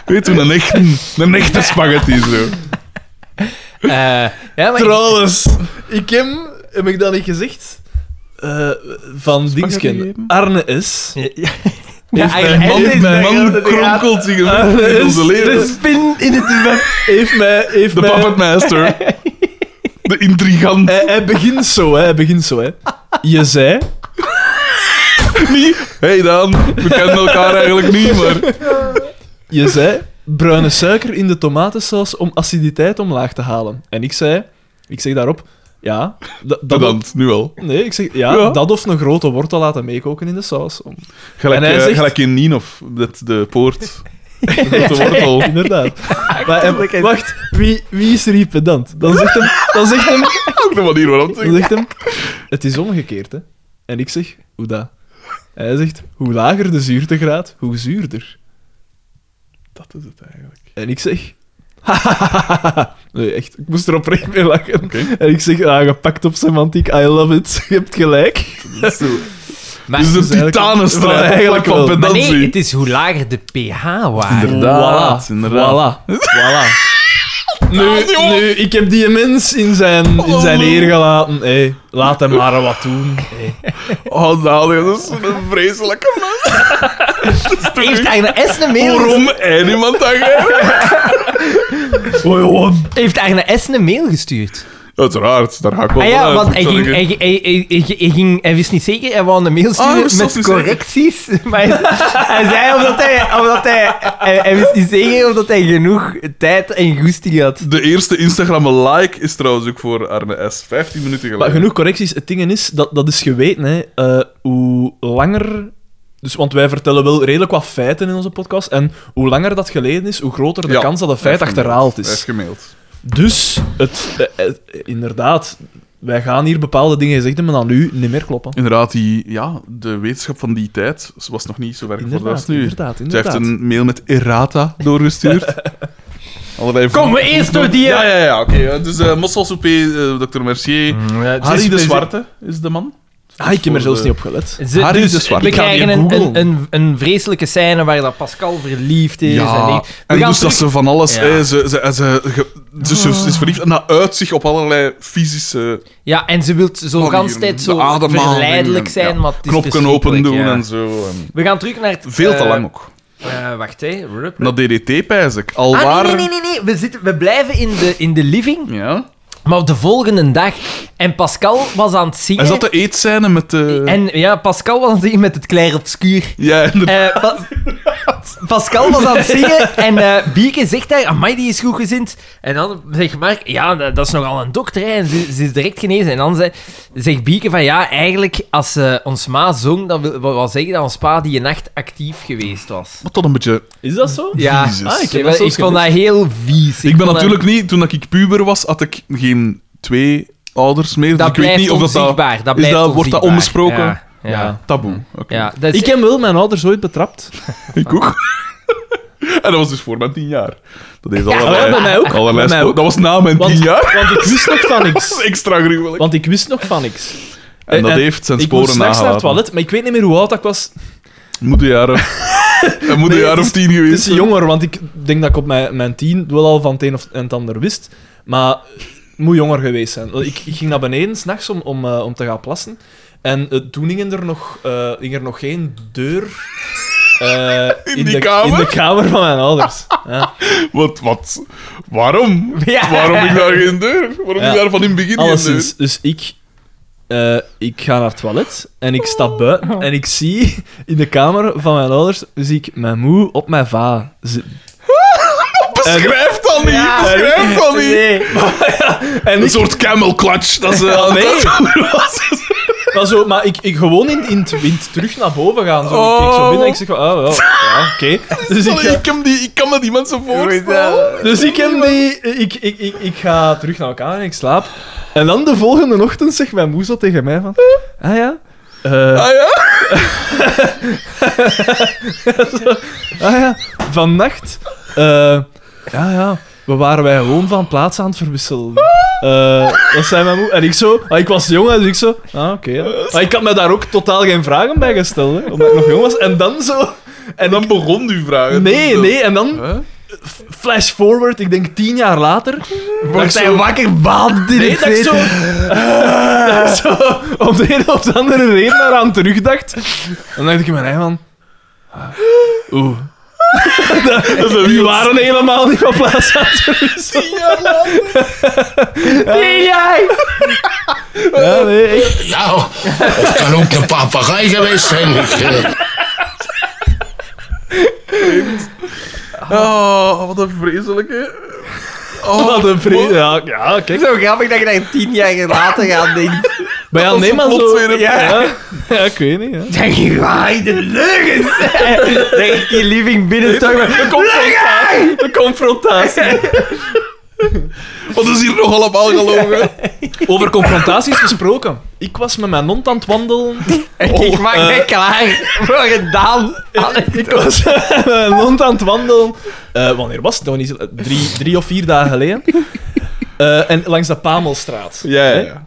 Speaker 2: Weet je, een echte, een echte spaghetti zo.
Speaker 1: Eh, ja, maar ik-
Speaker 3: Trouwens, ik heb, heb ik dat niet gezegd? Eh, van
Speaker 2: gegeten?
Speaker 3: Dingsken. Arne S.
Speaker 1: Ja, ja.
Speaker 3: Heeft
Speaker 1: eigenlijk-
Speaker 3: mijn
Speaker 1: en
Speaker 2: Man,
Speaker 1: dit is
Speaker 2: mijn
Speaker 1: mijn
Speaker 2: man
Speaker 1: grote raad.
Speaker 2: kronkelt zich
Speaker 3: Ah,
Speaker 2: in
Speaker 3: is-
Speaker 2: onze leden.
Speaker 3: dit
Speaker 1: Spin in het web.
Speaker 3: Heeft mij... Heeft
Speaker 2: De
Speaker 3: mij
Speaker 2: puppet master. De intrigant.
Speaker 3: hij, hij begint zo, hè. Hij begint zo, hè. Je zei...
Speaker 2: hey Daan, we kennen elkaar eigenlijk niet, maar...
Speaker 3: Je zei bruine suiker in de tomatensaus om aciditeit omlaag te halen. En ik zei, ik zeg daarop, ja, da- dat
Speaker 2: Bedankt, nu al.
Speaker 3: nee, ik zeg, ja,
Speaker 2: Ja.
Speaker 3: dat of een grote wortel laten meekoken in de saus. Om-
Speaker 2: Gelijk,
Speaker 3: En hij
Speaker 2: eh,
Speaker 3: zegt-
Speaker 2: gelijk in Ninov, dat de poort. De grote wortel.
Speaker 3: Inderdaad. Maar, en- wacht, wie, wie is er hier pedant? Dan zegt hem, dan zegt hem,
Speaker 2: Ook de manier waarop het
Speaker 3: dan zegt hem, het is omgekeerd, hè. En ik zeg, hoe dat? Hij zegt, hoe lager de zuurtegraad, hoe zuurder.
Speaker 2: Dat is het eigenlijk.
Speaker 3: En ik zeg... nee, echt. Ik moest er oprecht mee lachen.
Speaker 2: Oké.
Speaker 3: En ik zeg, ah, gepakt op semantiek, I love it. Je hebt gelijk.
Speaker 2: Dat is zo.
Speaker 1: Maar,
Speaker 2: Dus de
Speaker 3: Dus eigenlijk-
Speaker 2: titanenstrijd
Speaker 3: Ja,
Speaker 2: eigenlijk
Speaker 3: eigenlijk
Speaker 2: van
Speaker 3: wel.
Speaker 1: maar
Speaker 2: pedantie.
Speaker 1: nee, het is hoe lager de pH-waarde.
Speaker 2: Inderdaad,
Speaker 3: Voilà.
Speaker 2: inderdaad. Ah,
Speaker 3: Voilà. voilà. Nu, nu, ik heb die mens in zijn, in zijn eer gelaten. Hey, laat hem maar wat doen.
Speaker 2: Oh, Daniel, dat is een vreselijke man.
Speaker 1: Heeft Arne S. een mail,
Speaker 2: Waarom en iemand dat jij? Oh,
Speaker 1: heeft Arne S. een mail gestuurd?
Speaker 2: Uiteraard, daar ga ik wel
Speaker 1: Ah ja,
Speaker 2: vanuit.
Speaker 1: want hij,
Speaker 2: Zal
Speaker 1: ging,
Speaker 2: ik-
Speaker 1: hij, hij, hij, hij- hij ging, hij wist niet zeker, hij wou een mail
Speaker 2: Ah, hij
Speaker 1: sturen
Speaker 2: wist zelfs
Speaker 1: met
Speaker 2: niet
Speaker 1: correcties. Maar hij, hij zei omdat, hij, omdat hij, hij, hij wist niet zeker omdat hij genoeg tijd en goesting had.
Speaker 2: De eerste Instagram like is trouwens ook voor Arne S. 15 minuten
Speaker 3: Maar
Speaker 2: geleden.
Speaker 3: genoeg correcties. Het ding is, dat, dat is geweten, hè. Eh, hoe langer... Dus, want wij vertellen wel redelijk wat feiten in onze podcast. En hoe langer dat geleden is, hoe groter de
Speaker 2: Ja,
Speaker 3: kans dat een
Speaker 2: Hij heeft
Speaker 3: feit achterhaald
Speaker 2: gemaild. Hij
Speaker 3: is.
Speaker 2: heeft gemaild.
Speaker 3: Dus, het, eh, eh, inderdaad, wij gaan hier bepaalde dingen gezegd hebben, maar dan nu niet meer kloppen.
Speaker 2: Inderdaad, die, ja, de wetenschap van die tijd was nog niet zo ver voor
Speaker 3: Inderdaad,
Speaker 2: als nu.
Speaker 3: inderdaad,
Speaker 2: Zij heeft
Speaker 3: inderdaad.
Speaker 2: een mail met errata doorgestuurd. Allerlei
Speaker 1: Kom, we eerst door die...
Speaker 2: Ja, ja, ja, oké. Dus eh mosselsoepé, eh, Dr. Mercier.
Speaker 1: Mm,
Speaker 2: Harry de Zwarte is de man.
Speaker 3: Ah, ik heb er
Speaker 2: Voor
Speaker 3: zelfs
Speaker 2: de-
Speaker 3: niet op gelet.
Speaker 1: Ze-
Speaker 2: Harry
Speaker 1: dus
Speaker 2: de Zwarte.
Speaker 1: We
Speaker 2: Ik ga
Speaker 1: krijgen
Speaker 3: die
Speaker 1: een, een,
Speaker 3: googlen.
Speaker 1: een, een vreselijke scène waar dat Pascal verliefd is.
Speaker 2: Ja,
Speaker 1: En,
Speaker 2: en,
Speaker 1: die- we gaan
Speaker 2: dus dat
Speaker 1: terug-
Speaker 2: ze van alles...
Speaker 1: Ja.
Speaker 2: hè, ze, ze, ze, ge- dus ze- ze is verliefd en dat uit zich op allerlei fysische
Speaker 1: ja, en ze wil zo
Speaker 2: manieren.
Speaker 1: gans tijd
Speaker 2: Oh, De
Speaker 1: zo
Speaker 2: ademhaling
Speaker 1: verleidelijk
Speaker 2: en-
Speaker 1: zijn,
Speaker 2: ja,
Speaker 1: maar het is
Speaker 2: Knopken
Speaker 1: verschrikkelijk,
Speaker 2: open doen
Speaker 1: ja.
Speaker 2: en zo. en-
Speaker 1: We gaan terug naar het...
Speaker 2: veel te
Speaker 1: eh,
Speaker 2: lang ook.
Speaker 1: eh, wacht, hè. Rup,
Speaker 2: Dat DDT, pijs ik. Al
Speaker 1: Ah,
Speaker 2: waar...
Speaker 1: nee, nee, nee, nee. We, zitten, we blijven in de, in de living,
Speaker 2: Ja.
Speaker 1: maar op de volgende dag. En Pascal was aan het zingen.
Speaker 2: Is dat de eetscène met eh, de...
Speaker 1: En ja, Pascal was aan het zingen met het Clair Obscuur.
Speaker 2: Ja, inderdaad.
Speaker 1: Eh, pa- Pascal was aan het zingen en eh, Bieke zegt daar, amai, die is goed gezind. En dan zegt Mark, ja, dat, dat is nogal een dokter, hè, en ze, ze is direct genezen. En dan ze- zegt Bieke van, ja, eigenlijk, als eh, ons ma zong, dan wil, wil wel zeggen dat ons pa die nacht actief geweest was.
Speaker 2: Maar toch een beetje...
Speaker 3: Is dat zo?
Speaker 1: Ja,
Speaker 2: Jezus.
Speaker 3: Ah, ik
Speaker 1: ik,
Speaker 3: heb dat zo
Speaker 1: ik vond dat heel vies.
Speaker 2: Ik ben
Speaker 1: vond dat-
Speaker 2: natuurlijk niet... Toen ik puber was, had ik geen twee ouders meer. dus
Speaker 1: Dat
Speaker 2: ik weet
Speaker 1: blijft
Speaker 2: niet of dat... dat
Speaker 1: onzichtbaar. Dat
Speaker 2: is
Speaker 1: blijft
Speaker 2: dat- wordt dat
Speaker 1: onzichtbaar.
Speaker 2: onbesproken?
Speaker 1: Ja. ja.
Speaker 2: taboe. Oké.
Speaker 1: ja. dat is-
Speaker 3: Ik heb wel mijn ouders ooit betrapt.
Speaker 2: Ik ook. en dat was dus voor mijn tien jaar. Dat heeft allerlei...
Speaker 3: ja, bij mij ook.
Speaker 2: allerlei
Speaker 3: Bij mij
Speaker 2: spo-
Speaker 3: ook.
Speaker 2: Dat was na mijn
Speaker 3: Want,
Speaker 2: tien jaar.
Speaker 3: want ik wist nog van
Speaker 2: Dat
Speaker 3: niks.
Speaker 2: is extra gruwelijk.
Speaker 3: Want ik wist nog van niks.
Speaker 2: en dat
Speaker 3: en-
Speaker 2: heeft zijn
Speaker 3: Ik
Speaker 2: sporen
Speaker 3: moest straks naar het
Speaker 2: nagelaten.
Speaker 3: toilet, maar ik weet niet meer hoe oud ik was.
Speaker 2: Moet een jaar of... Het moet een
Speaker 3: Nee,
Speaker 2: jaar
Speaker 3: het
Speaker 2: of
Speaker 3: is-
Speaker 2: tien
Speaker 3: Het
Speaker 2: geweest
Speaker 3: is
Speaker 2: zijn.
Speaker 3: jonger, want ik denk dat ik op mijn, mijn tien wel al van het een of het ander wist. Maar het moet jonger geweest zijn. Want Ik, ik ging naar beneden s'nachts om, om, eh, om te gaan plassen. En eh, toen hing er nog, eh, hing er nog geen deur eh,
Speaker 2: In die
Speaker 3: de,
Speaker 2: kamer?
Speaker 3: in de kamer van mijn ouders. Ja.
Speaker 2: Wat, wat? Waarom?
Speaker 1: Ja.
Speaker 2: Waarom ik daar geen deur? Waarom
Speaker 3: Ja.
Speaker 2: ik daar van in het begin geen deur?
Speaker 3: Alleszins, dus ik, eh, ik ga naar het toilet en ik stap buiten en ik zie in de kamer van mijn ouders zie ik mijn moe op mijn va zitten. Eh,
Speaker 2: Beschrijf dat niet! Beschrijf dat niet!
Speaker 3: En
Speaker 2: Een
Speaker 3: ik
Speaker 2: soort camel clutch. Dat ze
Speaker 3: Ja, nee.
Speaker 2: dat ze- was.
Speaker 3: Maar, zo, maar ik, ik gewoon in, in het wind terug naar boven gaan. Zo. Ik keek zo binnen en ik zeg van, ah, wel, ja, oké. Dus, ik,
Speaker 2: Sorry,
Speaker 3: ga-
Speaker 2: ik, kan die, ik kan me die mensen voorstellen.
Speaker 3: dus ik heb die... Ik, ik, ik, ik ga terug naar elkaar en ik slaap. En dan de volgende ochtend zegt mijn moes tegen mij van... Ah ja? eh,
Speaker 2: Ah ja?
Speaker 3: ah ja, vannacht... eh, ja, ja. We waren wij gewoon van plaats aan het verwisselen. Eh, dat zei mijn moe. En ik zo... ah, ik was jong, dus ik zo... Ah, oké. ja. Maar ik had me daar ook totaal geen vragen bij gesteld, hè, omdat ik nog jong was. En dan zo... En
Speaker 2: Dan begon u vragen.
Speaker 3: Nee,
Speaker 2: Dat-
Speaker 3: nee, en dan
Speaker 2: Huh?
Speaker 3: f- flash forward, ik denk tien jaar later.
Speaker 5: Wordt hij wakker, baat in
Speaker 3: Nee,
Speaker 5: het
Speaker 3: dat ik
Speaker 5: zweet.
Speaker 3: zo, dat ik zo op de een of de andere reden eraan terugdacht. Dan dacht ik in mijn eigen van. "Ah, Oeh. Die waren helemaal niet van plaats aan het verwisselen.
Speaker 1: Nee, jij!
Speaker 3: Ja, nee, echt.
Speaker 4: Nou, het kan ook de papegaai geweest zijn. Ik, eh,
Speaker 2: Oh, wat een vreselijke. Oh,
Speaker 3: Wat een vrede. Ja, ja, kijk.
Speaker 1: Zo grappig dat je daar tien jaar later aan denkt.
Speaker 3: Maar ja, nee, maar zo.
Speaker 2: weer een-
Speaker 3: Ja, ja, ik weet niet. Ja.
Speaker 1: Denk je, waai, de leugens! Denk die living binnenstormen.
Speaker 2: Oh,
Speaker 3: De confrontatie. De confrontatie.
Speaker 2: Wat is hier nog allemaal gelogen?
Speaker 3: Over confrontaties gesproken. Ik was met mijn hond aan het wandelen.
Speaker 1: ik maak
Speaker 3: eh.
Speaker 1: me klaar voor gedaan.
Speaker 3: Ik was met mijn hond aan het wandelen. Eh, wanneer was het? Nog niet zo- eh, drie, drie of vier dagen geleden. Eh, en langs de Pamelstraat.
Speaker 2: Ja, ja,
Speaker 3: Hè?
Speaker 2: ja.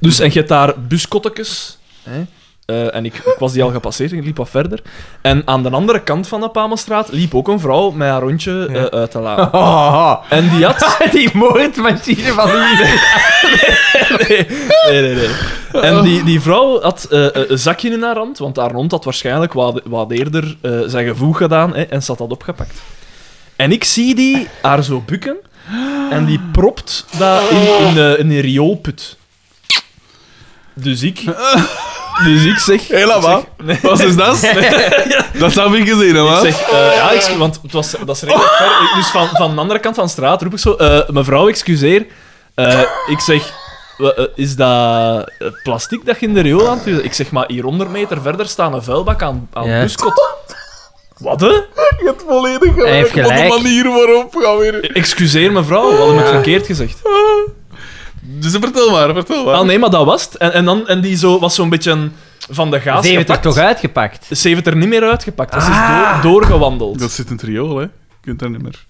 Speaker 3: Dus, en je hebt daar buskottekes. Hè? Eh, en ik, ik was die al gepasseerd en ik liep wat verder. En aan de andere kant van de Pamelstraat liep ook een vrouw met haar rondje eh, uit te laten. En die had...
Speaker 1: Die Oh, moordmachine van die.
Speaker 3: Nee, nee, nee. En die, die vrouw had eh, eh, een zakje in haar hand, want haar hond had waarschijnlijk wat, wat eerder eh, zijn gevoeg gedaan hè, en zat dat opgepakt. En ik zie die haar zo bukken en die propt dat in, in, eh, in een rioolput. Dus ik... Dus ik zeg...
Speaker 2: Helemaal. Wat is dat? Dat heb ik gezien, hè, man.
Speaker 3: Ik zeg, eh, ja, excu- want het was, dat is redelijk ver. Ik- Dus van, van de andere kant van de straat roep ik zo, eh, mevrouw, excuseer. Eh, ik zeg, wa- eh, is dat eh, plastic dat je in de riool aan het doen bent? Ik zeg, maar hier 100 meter verder staan een vuilbak aan, aan
Speaker 1: Ja.
Speaker 3: buskot. Wat, hè?
Speaker 2: Je hebt volledig
Speaker 1: Hij heeft
Speaker 2: Op de
Speaker 1: gelijk.
Speaker 2: manier waarop gaan weer.
Speaker 3: Excuseer mevrouw, we hadden het verkeerd gezegd.
Speaker 2: Dus vertel maar, vertel maar.
Speaker 3: Ah nee, maar dat was het. En, en, dan, en die zo, was zo'n beetje van de gaas
Speaker 1: Ze heeft er
Speaker 3: gepakt.
Speaker 1: toch Ah. uitgepakt?
Speaker 3: Ze heeft er niet meer uitgepakt. Dat is dus door- doorgewandeld.
Speaker 2: Dat zit in het riool, hè? Je kunt daar niet meer.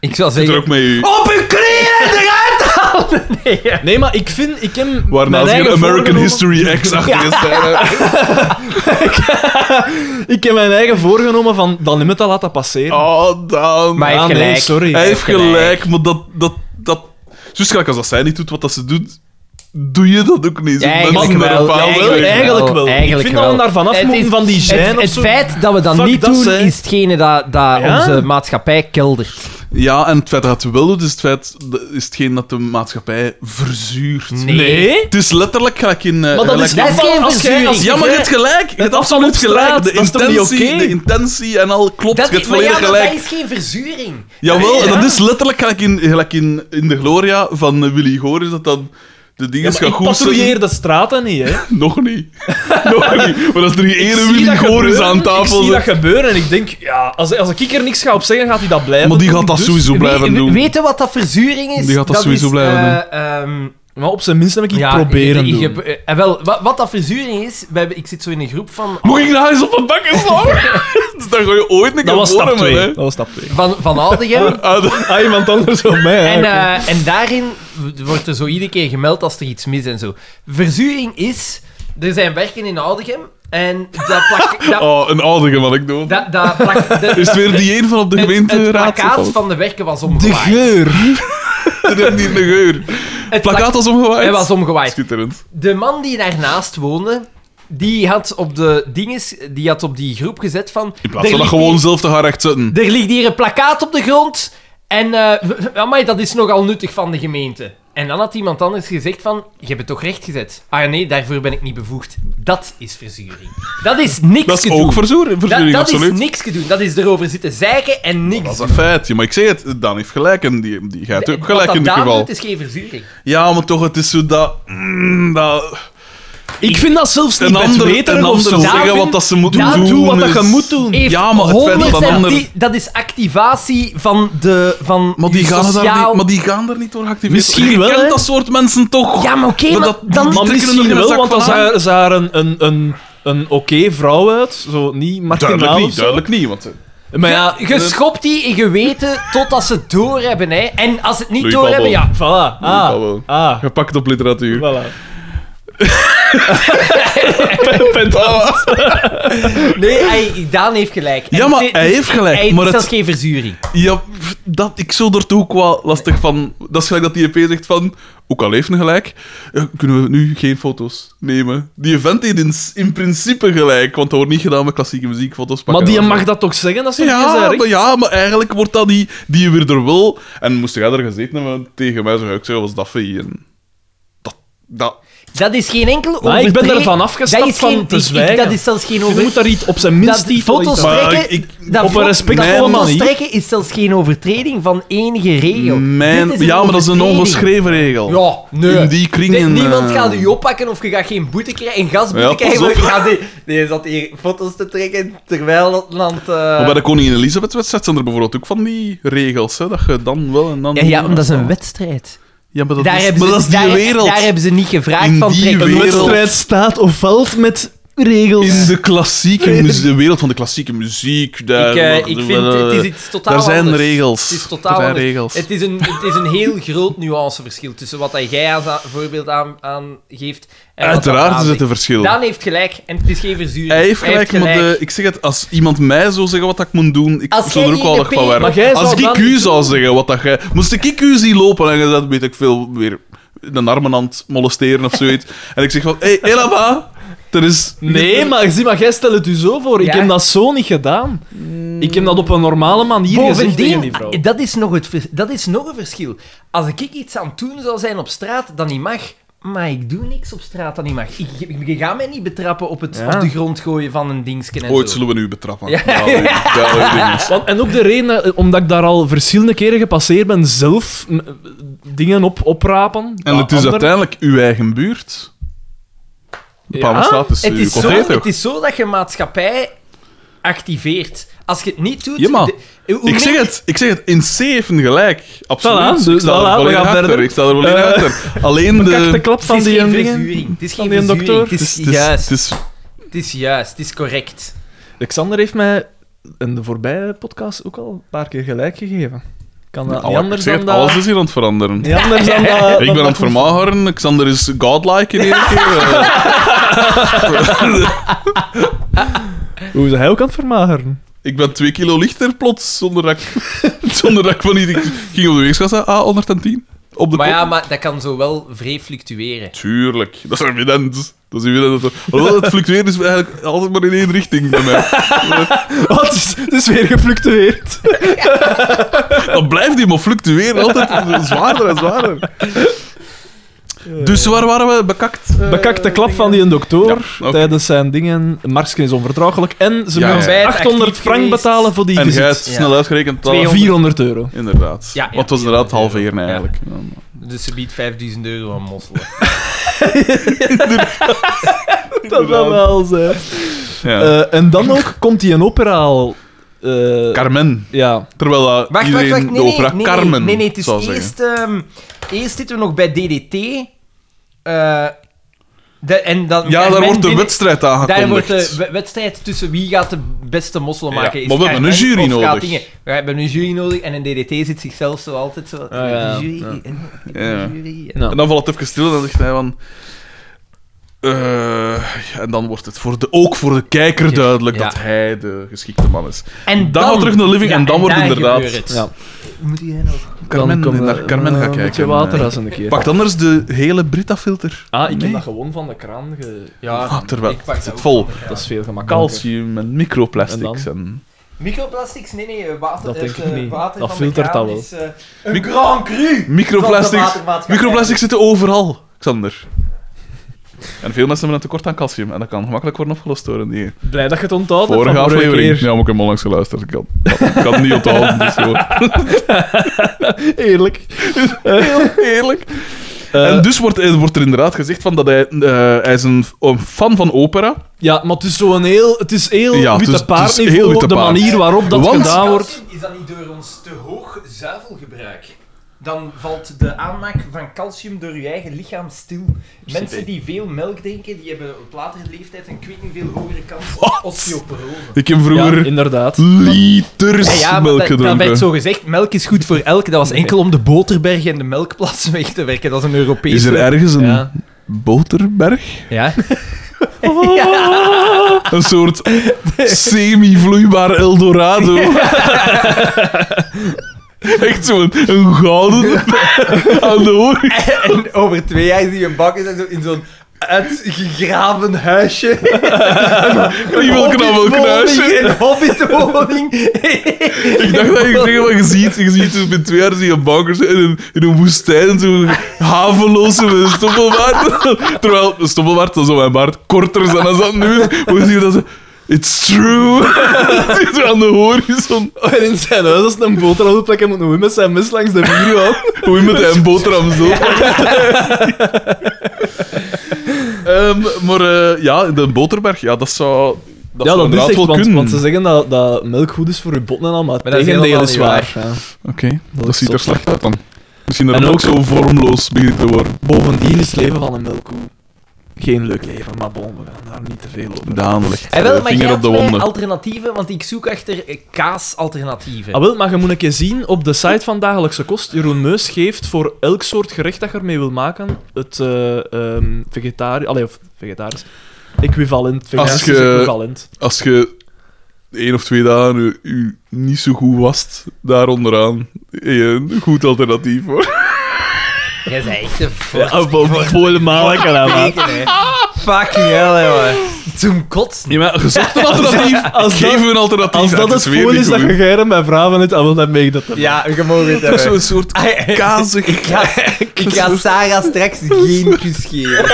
Speaker 1: Ik zou
Speaker 2: Zit er
Speaker 1: zeggen.
Speaker 2: ook mee.
Speaker 3: Oh,
Speaker 1: Op uw knieën eruit!
Speaker 3: Nee, maar ik vind... Ik heb mijn
Speaker 2: Waarna ze
Speaker 3: eigen
Speaker 2: een American
Speaker 3: voorgenomen-
Speaker 2: History X achter is.
Speaker 3: Ik heb mijn eigen voorgenomen van dat limit te laten passeren.
Speaker 2: Oh, dan.
Speaker 1: Maar hij
Speaker 3: Ah,
Speaker 1: heeft
Speaker 3: nee,
Speaker 1: gelijk.
Speaker 3: sorry.
Speaker 2: Hij
Speaker 1: Hij
Speaker 2: heeft
Speaker 1: heeft gelijk.
Speaker 2: gelijk, maar dat... dat, dat... Zo gelijk als dat zij niet doet wat dat ze doet, doe je dat ook niet. Zo
Speaker 1: Ja,
Speaker 2: mensen
Speaker 1: eigenlijk
Speaker 2: met een
Speaker 1: wel,
Speaker 2: paal-
Speaker 1: ja,
Speaker 3: eigenlijk, eigenlijk wel.
Speaker 1: eigenlijk
Speaker 3: ik vind dat
Speaker 1: wel.
Speaker 3: we daar vanaf
Speaker 1: Het
Speaker 3: moeten
Speaker 1: is-
Speaker 3: van die gêne
Speaker 1: Het,
Speaker 3: of
Speaker 1: het
Speaker 3: zo.
Speaker 1: feit dat we dat
Speaker 3: Fuck
Speaker 1: niet
Speaker 3: dat,
Speaker 1: doen,
Speaker 3: hè.
Speaker 1: is hetgene dat, dat
Speaker 3: Ja?
Speaker 1: onze maatschappij keldert.
Speaker 2: Ja, en het feit dat het wil doet, is het feit dat- is hetgeen dat de maatschappij verzuurt.
Speaker 1: Nee.
Speaker 3: Nee?
Speaker 2: Het is letterlijk gelijk in. eh,
Speaker 3: Maar dat
Speaker 2: gelijk in-
Speaker 3: is
Speaker 1: dat is geen
Speaker 3: als jij- als
Speaker 1: verzuring.
Speaker 2: Ja, maar je hebt gelijk. Je hebt absoluut
Speaker 3: afval op
Speaker 2: gelijk.
Speaker 3: straat,
Speaker 2: De
Speaker 3: dat is toch niet
Speaker 2: intentie,
Speaker 3: oké?
Speaker 2: de intentie en al klopt.
Speaker 1: Dat,
Speaker 2: je hebt
Speaker 1: maar ja,
Speaker 2: volledig
Speaker 1: maar
Speaker 2: gelijk.
Speaker 1: dat is geen verzuring.
Speaker 2: Jawel,
Speaker 3: Ja.
Speaker 2: en dat is letterlijk gelijk in, gelijk in, in de Gloria van eh, Willy Goris dat dan de
Speaker 3: Ja,
Speaker 2: dingen
Speaker 3: maar
Speaker 2: gaan
Speaker 3: ik
Speaker 2: goed
Speaker 3: patrouilleer de straten niet, hè.
Speaker 2: Nog niet. Nog niet. Maar dat is er hier ene
Speaker 3: zie
Speaker 2: Willy
Speaker 3: dat
Speaker 2: Goris
Speaker 3: gebeuren,
Speaker 2: aan tafel.
Speaker 3: Ik zie dat gebeuren en ik denk, ja, als, als ik er niks ga op zeggen, gaat hij dat blijven
Speaker 2: maar die
Speaker 3: doen,
Speaker 2: gaat dat
Speaker 3: dus-
Speaker 2: sowieso blijven
Speaker 1: We-
Speaker 2: doen.
Speaker 1: Weet je wat dat verzuring is?
Speaker 2: Die gaat dat sowieso
Speaker 1: is,
Speaker 2: blijven
Speaker 1: eh, ehm,
Speaker 3: Maar op zijn minst heb ik iets
Speaker 1: ja,
Speaker 3: proberen
Speaker 1: ik- ik-
Speaker 3: doen.
Speaker 1: ik heb- eh, eh, wel, wat, wat dat verzuring is, we hebben- ik zit zo in een groep van,
Speaker 2: Moet ik nou eens op een bak slaan? dus dan ga je ooit een keer
Speaker 3: Dat was stap
Speaker 2: wonen, maar,
Speaker 3: 2.
Speaker 2: hè.
Speaker 3: Dat was stap 2.
Speaker 1: van, van Aldegem.
Speaker 2: Ah, dat-
Speaker 3: Ah, iemand anders dan mij.
Speaker 1: En,
Speaker 3: hè.
Speaker 1: eh, en daarin wordt er zo iedere keer gemeld als er iets mis en zo. Verzuring is, er zijn werken in Aldegem en dat plak... Dat,
Speaker 2: Oh, een oudige wat ik doe.
Speaker 1: dat, dat plak de-
Speaker 2: Is het weer die een van op de
Speaker 1: het, het
Speaker 2: gemeenteraad?
Speaker 1: plakkaat
Speaker 2: gevallen?
Speaker 1: van de werken was
Speaker 2: De
Speaker 1: omgewaaid.
Speaker 2: geur. Dat is niet de geur.
Speaker 1: Het
Speaker 2: Plakkaat was omgewaaid.
Speaker 1: Hij was omgewaaid.
Speaker 2: Schitterend.
Speaker 1: De man die daarnaast woonde, die had op de dinges, die had op die groep gezet van. "Er
Speaker 2: In plaats van dat
Speaker 1: ligt
Speaker 2: gewoon
Speaker 1: hier-
Speaker 2: zelf te gaan rechtzetten.
Speaker 1: Er ligt hier een plakkaat op de grond. En eh amai, dat is nogal nuttig van de gemeente. En dan had iemand anders gezegd van, je hebt het toch recht gezet? Ah nee, daarvoor ben ik niet bevoegd. Dat is verzuring. Dat is niks
Speaker 2: Dat is
Speaker 1: gedoe.
Speaker 2: ook verzoer-
Speaker 1: dat
Speaker 2: verzuring,
Speaker 1: dat is
Speaker 2: absoluut.
Speaker 1: niks gedoen. Dat is erover zitten zeiken en niks
Speaker 2: Dat is een feitje, maar ik zeg het, Dan heeft gelijk en die, die gaat ook gelijk
Speaker 1: Wat
Speaker 2: in
Speaker 1: dat
Speaker 2: dit
Speaker 1: Daan
Speaker 2: geval.
Speaker 1: doet, is geen verzuring.
Speaker 2: Ja, maar toch, het is zo dat... mm, dat
Speaker 3: ik vind dat zelfs niet
Speaker 2: een ander,
Speaker 3: beter
Speaker 2: een
Speaker 3: of
Speaker 2: ander
Speaker 3: zo.
Speaker 2: zeggen
Speaker 1: Daarin-
Speaker 2: wat dat ze moeten
Speaker 1: Ja,
Speaker 2: doen.
Speaker 3: doe wat dat
Speaker 2: is-
Speaker 3: je moet doen.
Speaker 1: Heeft
Speaker 2: Ja, maar het feit dat een
Speaker 1: 110
Speaker 2: ander-
Speaker 1: Dat is activatie van de... Van
Speaker 2: Maar die,
Speaker 1: je
Speaker 2: gaan
Speaker 1: sociaal...
Speaker 2: daar niet, maar die gaan er niet door geactiveerd.
Speaker 3: Misschien
Speaker 2: je
Speaker 3: wel,
Speaker 2: kent
Speaker 3: hè?
Speaker 2: dat soort mensen toch.
Speaker 1: Ja, maar oké,
Speaker 2: Maar
Speaker 1: maar
Speaker 2: dat-
Speaker 1: dan...
Speaker 2: die
Speaker 3: Maar
Speaker 2: trekken er nog
Speaker 3: misschien
Speaker 2: een
Speaker 3: wel,
Speaker 2: zak
Speaker 3: want dan
Speaker 2: van aan.
Speaker 3: zag zag er een, een, een, een oké vrouw uit. Zo niet marginaal
Speaker 2: Duidelijk
Speaker 3: of
Speaker 2: niet,
Speaker 3: zo.
Speaker 2: duidelijk niet. Want, eh,
Speaker 3: Maar ja,
Speaker 1: je schopt die in geweten totdat ze het doorhebben, hè. En als ze het niet
Speaker 2: Louis
Speaker 1: doorhebben,
Speaker 2: Pablo.
Speaker 1: ja...
Speaker 3: voilà.
Speaker 2: dat
Speaker 3: Ah,
Speaker 2: wel.
Speaker 3: ah,
Speaker 2: Gepakt op literatuur.
Speaker 3: voilà. Ah.
Speaker 2: Ah.
Speaker 1: Nee, hij, Daan heeft gelijk. En
Speaker 2: Ja, maar
Speaker 1: het is-
Speaker 2: hij heeft gelijk,
Speaker 1: Hij
Speaker 2: maar
Speaker 1: is
Speaker 2: het-
Speaker 1: zelfs geen verzuring.
Speaker 2: Ja, pff, dat, ik zou er toch ook wel lastig van... Dat is gelijk dat die EP zegt van... Ook al heeft hij gelijk, eh, kunnen we nu geen foto's nemen. Die event heeft in, in principe gelijk, want dat wordt niet gedaan met klassieke muziekfoto's pakken.
Speaker 3: Maar die
Speaker 2: en zo.
Speaker 3: mag dat toch zeggen? Dat is toch geen
Speaker 2: Ja,
Speaker 3: zijn recht?
Speaker 2: maar, ja, maar eigenlijk wordt dat die, die weer er wel... En moest jij er gezeten hebben tegen mij, zou ik zeggen, was dat fijn. En Dat... dat
Speaker 1: Dat is geen enkel
Speaker 3: Maar ik ben
Speaker 1: overtreding.
Speaker 3: ervan afgestapt
Speaker 1: Dat is
Speaker 3: van
Speaker 1: geen-
Speaker 3: te
Speaker 1: ik- ik-
Speaker 3: zwijgen.
Speaker 1: Dat is zelfs geen
Speaker 3: Je moet
Speaker 1: overtreding.
Speaker 3: daar iets op zijn minst
Speaker 1: Dat
Speaker 3: iets
Speaker 1: foto's
Speaker 3: van-
Speaker 2: Maar
Speaker 1: trekken...
Speaker 2: ik-
Speaker 1: dat
Speaker 3: op een
Speaker 1: fo-
Speaker 3: respectvolle
Speaker 1: dat foto's
Speaker 3: manier.
Speaker 1: trekken is zelfs geen overtreding van enige regel. Dit
Speaker 2: mijn,
Speaker 1: een
Speaker 2: ja, maar dat is een
Speaker 1: overtreding.
Speaker 2: ongeschreven regel.
Speaker 1: Ja, nee.
Speaker 2: In die kringen...
Speaker 1: Nee, niemand
Speaker 2: eh,
Speaker 1: gaat u oppakken of je gaat geen boete krijgen, een gasboete
Speaker 2: Ja, pas
Speaker 1: krijgen. want
Speaker 2: op.
Speaker 1: je gaat die, die zat hier foto's te trekken terwijl het land. eh,
Speaker 2: Maar bij de koningin Elisabeth-wedstrijd zijn er bijvoorbeeld ook van die regels, hè, dat je dan wel en dan...
Speaker 1: Ja, ja, omdat dat is een wedstrijd.
Speaker 2: Ja, maar dat,
Speaker 1: Daar
Speaker 2: is,
Speaker 1: hebben,
Speaker 2: maar
Speaker 1: ze,
Speaker 2: dat is die
Speaker 1: daar,
Speaker 2: wereld.
Speaker 1: daar hebben ze niet gevraagd
Speaker 2: In
Speaker 1: van
Speaker 2: die
Speaker 1: trekken.
Speaker 2: wereld.
Speaker 1: Een wedstrijd.
Speaker 3: staat of valt met regels.
Speaker 2: In de klassieke muziek, de wereld van de klassieke muziek. Daar,
Speaker 1: Ik, eh, ik vind, het is iets totaal
Speaker 2: daar zijn
Speaker 1: anders.
Speaker 2: regels.
Speaker 1: Het is totaal
Speaker 2: Er zijn
Speaker 1: anders.
Speaker 2: regels.
Speaker 1: Het is, een, het is een heel groot nuanceverschil tussen wat dat jij als a- voorbeeld aan, aangeeft en wat dat Daan
Speaker 2: Uiteraard is het
Speaker 1: zegt.
Speaker 2: een verschil.
Speaker 1: Daan heeft gelijk en het is geen verzuring.
Speaker 2: Hij heeft gelijk, maar de- ik zeg het, als iemand mij zou zeggen wat ik moet doen, ik
Speaker 1: Als
Speaker 2: zou er
Speaker 1: jij
Speaker 2: ook wel
Speaker 1: die
Speaker 2: lach van
Speaker 1: EP
Speaker 2: werden.
Speaker 3: Maar jij
Speaker 2: Als
Speaker 3: zou
Speaker 2: ik
Speaker 3: dan
Speaker 2: u
Speaker 3: niet
Speaker 2: zou zeggen wat dat jij... Moest ik u zien lopen en je dat weet ik veel, weer een armenhand molesteren of zoiets. en ik zeg van, hé, hey, Elaba, er is...
Speaker 3: Nee, maar, zie, maar jij stelt het u zo voor. Ik
Speaker 1: Ja.
Speaker 3: heb dat zo niet gedaan. Ik heb dat op een normale manier gezegd tegen die
Speaker 1: Bovendien, eh,
Speaker 3: vrouw.
Speaker 1: dat is, nog het, vers- dat is nog een verschil. Als ik iets aan het doen zou zijn op straat dat niet mag, maar ik doe niks op straat dat niet mag. Ik, ik, ik ga mij niet betrappen op het
Speaker 3: Ja.
Speaker 1: op de grond gooien van een dingsken en
Speaker 2: Ooit
Speaker 1: zo.
Speaker 2: zullen we u betrappen.
Speaker 1: Ja.
Speaker 2: Duidelijk, duidelijk ding is.
Speaker 3: Want- en ook de reden, eh, omdat ik daar al verschillende keren gepasseerd ben, zelf m, eh, dingen op, oprapen.
Speaker 2: En het is
Speaker 3: Anderen-
Speaker 2: uiteindelijk uw eigen buurt. De
Speaker 3: Ja,
Speaker 2: Palenstraat is
Speaker 1: Het
Speaker 2: uw
Speaker 1: is, zo,
Speaker 2: container.
Speaker 1: het is zo dat je maatschappij activeert. Als je het niet doet...
Speaker 2: Ja, maar
Speaker 1: de- hoe
Speaker 2: Ik zeg
Speaker 1: meer-
Speaker 2: het, ik zeg het, in C heeft een gelijk. Absoluut.
Speaker 3: Voilà, dus
Speaker 2: ik sta
Speaker 3: voilà,
Speaker 2: er
Speaker 3: we
Speaker 2: volledig
Speaker 3: gaan
Speaker 2: achter.
Speaker 3: verder.
Speaker 2: Ik sta er volledig
Speaker 3: Eh,
Speaker 2: achter. Alleen de...
Speaker 3: Kijk, de klap
Speaker 1: Het
Speaker 3: van
Speaker 1: is
Speaker 3: die
Speaker 1: geen
Speaker 3: dingen.
Speaker 1: verzuring. Het is
Speaker 3: Van
Speaker 1: geen
Speaker 3: die een
Speaker 1: verzuring.
Speaker 3: dokter?
Speaker 1: Het is,
Speaker 2: het is-
Speaker 1: juist.
Speaker 2: het is-
Speaker 1: Het is juist. Het is correct.
Speaker 3: Alexander heeft mij in de voorbije podcast ook al een paar keer gelijk gegeven. Kan dat niet
Speaker 2: Alles- ik
Speaker 3: anders
Speaker 2: zeg
Speaker 3: dan
Speaker 2: het,
Speaker 3: dat...
Speaker 2: alles is hier aan het veranderen.
Speaker 3: Niet anders dan dat...
Speaker 2: Ik
Speaker 3: dan
Speaker 2: ben aan
Speaker 3: dat-
Speaker 2: het vermageren, Xander is godlike in één keer. eh.
Speaker 3: Hoe is hij ook aan het vermageren?
Speaker 2: ik ben twee kilo lichter plots, zonder dat ik, zonder dat ik van niet... Ik ging op de weegschaal staan, ah, 110. Op de
Speaker 1: Maar
Speaker 2: kop.
Speaker 1: ja, maar dat kan zo wel vrij fluctueren.
Speaker 2: Tuurlijk, dat is evident. Dat is weer dat... Alhoewel, het fluctueert is eigenlijk altijd maar in één richting bij mij. Oh,
Speaker 3: Wat? Het is, het is weer gefluctueerd.
Speaker 2: Dan blijft die maar fluctueren, altijd zwaarder en zwaarder. Dus waar waren we bekakt? eh,
Speaker 3: Bekakt de klap van die dokter
Speaker 2: Ja, oké.
Speaker 3: tijdens zijn dingen. Marsken is onverdraaglijk. En ze
Speaker 2: Ja,
Speaker 3: moeten
Speaker 1: ja.
Speaker 3: 800 frank
Speaker 1: Actief
Speaker 3: betalen voor die
Speaker 2: En jij hebt
Speaker 3: visit.
Speaker 2: snel uitgerekend... dat-
Speaker 3: 400 euro.
Speaker 2: Inderdaad.
Speaker 1: Ja, ja.
Speaker 2: Want het was inderdaad half één eigenlijk.
Speaker 1: Dus ze biedt 5000 euro aan mosselen.
Speaker 3: Dat zou wel zijn.
Speaker 2: Ja.
Speaker 3: Eh, en dan ook komt die een operaal. eh,
Speaker 2: Carmen.
Speaker 3: ja.
Speaker 2: Terwijl dat
Speaker 1: Wacht, wacht,
Speaker 2: iedereen
Speaker 1: wacht. Nee,
Speaker 2: de
Speaker 1: nee,
Speaker 2: opera
Speaker 1: nee, nee,
Speaker 2: Carmen
Speaker 1: nee, nee, het is
Speaker 2: zou zeggen.
Speaker 1: eerst... ehm, eerst zitten we nog bij DDT. Eh, de, en dan,
Speaker 2: Ja, daar
Speaker 1: men
Speaker 2: wordt de
Speaker 1: binnen-
Speaker 2: wedstrijd
Speaker 1: Daar
Speaker 2: aangekondigd.
Speaker 1: wordt de we- wedstrijd tussen wie gaat de beste mossel
Speaker 2: Ja,
Speaker 1: maken. Is
Speaker 2: maar we hebben een
Speaker 1: Carmen
Speaker 2: jury
Speaker 1: of gaat
Speaker 2: nodig.
Speaker 1: dingen- We hebben een jury nodig en een DDT zit zichzelf zo altijd zo...
Speaker 3: Ah,
Speaker 1: de
Speaker 3: ja.
Speaker 1: jury, en
Speaker 2: Ja.
Speaker 1: de jury, en-
Speaker 3: Ja.
Speaker 2: En dan valt het even stil en dan zegt hij van... eh, ja, en dan wordt het voor de, ook voor de kijker duidelijk
Speaker 1: Ja.
Speaker 2: dat hij de geschikte man is.
Speaker 1: En
Speaker 2: Dan gaan we terug naar Living en dan wordt
Speaker 1: daar
Speaker 2: inderdaad-
Speaker 1: gebeurt het.
Speaker 3: Ja.
Speaker 1: Moet jij nog...
Speaker 2: Carmen,
Speaker 3: Dan komen we,
Speaker 2: naar Carmen
Speaker 3: eh,
Speaker 2: gaan
Speaker 3: een
Speaker 2: kijken.
Speaker 3: beetje water als een keer.
Speaker 2: Pakt anders de hele Brita-filter.
Speaker 3: Ah, ik
Speaker 2: Nee.
Speaker 3: heb dat gewoon van de kraan. Ge...
Speaker 1: Ja,
Speaker 2: Ah, terwijl
Speaker 1: ik pak
Speaker 2: het
Speaker 1: dat
Speaker 2: zit
Speaker 1: ook
Speaker 2: vol.
Speaker 3: Dat is veel gemakkelijker.
Speaker 2: Calcium en microplastics. En
Speaker 1: Microplastics? Nee, nee, water.
Speaker 3: Dat
Speaker 1: eh,
Speaker 3: denk ik
Speaker 1: eh,
Speaker 3: niet.
Speaker 1: Water
Speaker 3: Dat
Speaker 1: van
Speaker 3: filtert
Speaker 1: de
Speaker 3: dat
Speaker 1: kraan
Speaker 3: wel.
Speaker 1: Is, eh, een Grand Cru!
Speaker 2: microplastics,
Speaker 1: Van de watermaatschappij.
Speaker 2: microplastics zitten overal, Xander. En veel mensen hebben een tekort aan calcium en dat kan gemakkelijk worden opgelost door een ding.
Speaker 3: Blij dat je het onthoudt. hebt
Speaker 2: Vorige
Speaker 3: van vorige
Speaker 2: aflevering.
Speaker 3: keer.
Speaker 2: Ja, maar ik heb onlangs geluisterd. Ik kan, ik kan- ik kan het niet onthouden. Dus joh.
Speaker 3: Eerlijk.
Speaker 2: Eerlijk.
Speaker 3: Eh,
Speaker 2: en dus wordt, eh, wordt er inderdaad gezegd van dat hij, eh, hij is een, een fan van opera.
Speaker 3: Ja, maar het is zo'n heel... Het is heel
Speaker 2: Ja, het
Speaker 3: witte
Speaker 2: is- het
Speaker 3: paard
Speaker 2: is heel witte
Speaker 3: de
Speaker 2: paard.
Speaker 3: manier waarop dat
Speaker 2: Want-
Speaker 3: gedaan wordt.
Speaker 1: Is dat niet door ons te hoog zuivelgebruik? Dan valt de aanmaak van calcium door je eigen lichaam stil. Mensen die veel melk drinken, die hebben op latere leeftijd een kwikking veel hogere kans op osteoporose.
Speaker 2: Ik heb vroeger
Speaker 3: Ja, inderdaad.
Speaker 2: liters melk
Speaker 1: dat,
Speaker 2: gedronken.
Speaker 1: werd zo gezegd. Melk is goed voor elk. Dat was enkel om de boterberg en de melkplas weg te werken. Dat is een Europese...
Speaker 2: Is er ergens een
Speaker 3: Ja.
Speaker 2: boterberg?
Speaker 1: Ja.
Speaker 2: Een soort semi-vloeibaar Eldorado. Echt zo'n een gouden aan de hoor.
Speaker 1: En over twee jaar zie je een bak en zo in zo'n uitgegraven huisje.
Speaker 2: Die wil knabbel knuisje.
Speaker 1: Een hobbitwoning.
Speaker 2: Ik dacht dat ik zeg maar, je ziet, je ziet dus met twee jaar zie je bankers in een, in een woestijn, zo'n haveloze met een stoppelbaard. Terwijl een stoppelbaard, dat is op mijn baard, korter zijn dan dat nu is. Maar je ziet dat ze... It's true. Het is zo aan de horizon.
Speaker 3: En in zijn huis, als hij een boterham op plek moet noemen met zijn mes langs de muur aan.
Speaker 2: Hoe iemand hij een boterham zo. Ehm, maar eh, ja, de boterberg, ja, dat zou... Dat
Speaker 3: ja,
Speaker 2: zou
Speaker 3: dat is
Speaker 2: inderdaad
Speaker 3: echt,
Speaker 2: wel
Speaker 3: want,
Speaker 2: kunnen.
Speaker 3: want ze zeggen dat, dat melk goed is voor je botten en al, maar het
Speaker 1: dat is
Speaker 3: tegendeel
Speaker 1: helemaal
Speaker 3: is
Speaker 1: niet
Speaker 3: waar. Ja.
Speaker 2: Oké, dat
Speaker 3: is
Speaker 2: ziet er
Speaker 3: zot.
Speaker 2: slecht uit dan. Misschien dat
Speaker 3: En
Speaker 2: het ook
Speaker 3: ook-
Speaker 2: zo vormloos begint te worden.
Speaker 3: Bovendien is het leven van een melkkoe geen leuk leven, maar bon, we gaan daar niet te veel over.
Speaker 2: Daan ligt
Speaker 1: Hij wil,
Speaker 2: eh,
Speaker 1: maar
Speaker 2: vinger
Speaker 1: jij
Speaker 2: op de
Speaker 1: had mij
Speaker 2: wonden.
Speaker 1: alternatieven, want ik zoek achter eh, kaasalternatieven.
Speaker 3: Ah, wel, maar je moet een keer zien, op de site van Dagelijkse Kost, Jeroen Meus geeft voor elk soort gerecht dat je ermee wil maken, het eh ehm vegetarisch... Allee, of vegetarisch... Equivalent, vegetarisch
Speaker 2: je-
Speaker 3: equivalent.
Speaker 2: Als je één of twee dagen je, je niet zo goed wast, daar onderaan, heb je een goed alternatief hoor.
Speaker 1: Jij bent echt een fuck.
Speaker 2: Ah,
Speaker 3: Helemaal lekker, hè, man.
Speaker 1: Fucking hell, hè, man. Zo'n kots.
Speaker 2: Ja, maar je zocht een alternatief.
Speaker 3: Als dat-
Speaker 2: Geef een alternatief.
Speaker 3: Als
Speaker 2: Ja,
Speaker 3: dat het
Speaker 2: weer
Speaker 3: voel
Speaker 2: niet
Speaker 3: is dat
Speaker 2: goed.
Speaker 3: je geiren bij vrouwen hebt, dan wil dat mee dat
Speaker 1: Ja, je mag het
Speaker 2: Toch
Speaker 1: hebben.
Speaker 2: zo'n soort kazig...
Speaker 1: Ik ga, ik ga Sarah straks geen kus geven.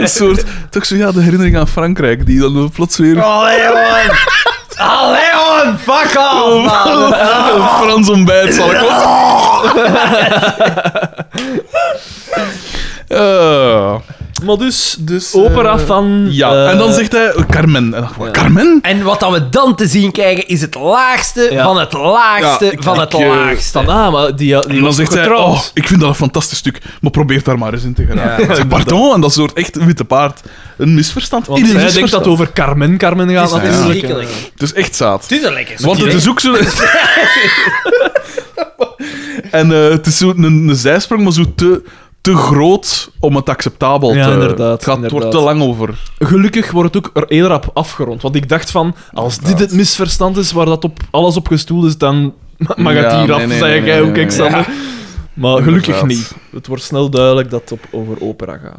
Speaker 2: Een soort, toch zo, ja, de herinnering aan Frankrijk, die dan plots weer
Speaker 1: Allee, man. Allee, man. Fuck
Speaker 3: Oh,
Speaker 1: off, man.
Speaker 2: een Frans ontbijt zal ik op. Eh,
Speaker 3: Maar dus,
Speaker 2: dus, eh,
Speaker 3: opera van...
Speaker 2: ja,
Speaker 3: eh,
Speaker 2: en dan zegt hij, oh, Carmen. En dan,
Speaker 3: ja.
Speaker 2: Carmen?
Speaker 1: En wat dat we dan te zien krijgen, is het laagste
Speaker 3: Ja.
Speaker 1: van het laagste
Speaker 2: Ja, ik-
Speaker 1: van het
Speaker 2: ik, eh,
Speaker 1: laagste.
Speaker 3: Van, ah, maar die, die
Speaker 2: En dan
Speaker 3: was
Speaker 2: zegt hij,
Speaker 3: getrouwd.
Speaker 2: oh, ik vind dat een fantastisch stuk, maar probeer daar maar eens in te gaan.
Speaker 1: Ja.
Speaker 2: Ik zeg, pardon, en dat soort echt witte paard. Een misverstand.
Speaker 3: Want
Speaker 2: Ieder
Speaker 3: hij denkt dat
Speaker 2: misverstand.
Speaker 3: het over Carmen Carmen gaat,
Speaker 1: Het is
Speaker 3: natuurlijk. eh,
Speaker 1: verschrikkelijk.
Speaker 2: Het is echt zaad.
Speaker 1: Het is een lekker
Speaker 2: Want het is ook zo. en eh, het is zo een, een zijsprong, maar zo te, te groot om het acceptabel
Speaker 3: Ja,
Speaker 2: te
Speaker 3: inderdaad,
Speaker 2: Het gaat het wordt te
Speaker 3: inderdaad.
Speaker 2: lang over.
Speaker 3: Gelukkig wordt het ook er heel rap afgerond. Want ik dacht van, als dit het misverstand is waar dat op, alles op gestoeld is, dan mag het
Speaker 2: Ja,
Speaker 3: hier af,
Speaker 2: nee, nee,
Speaker 3: zei
Speaker 2: nee,
Speaker 3: jij
Speaker 2: nee,
Speaker 3: ook,
Speaker 2: nee, nee.
Speaker 3: Xander. Maar gelukkig
Speaker 2: Inderdaad.
Speaker 3: niet. Het wordt snel duidelijk dat het op, over opera gaat.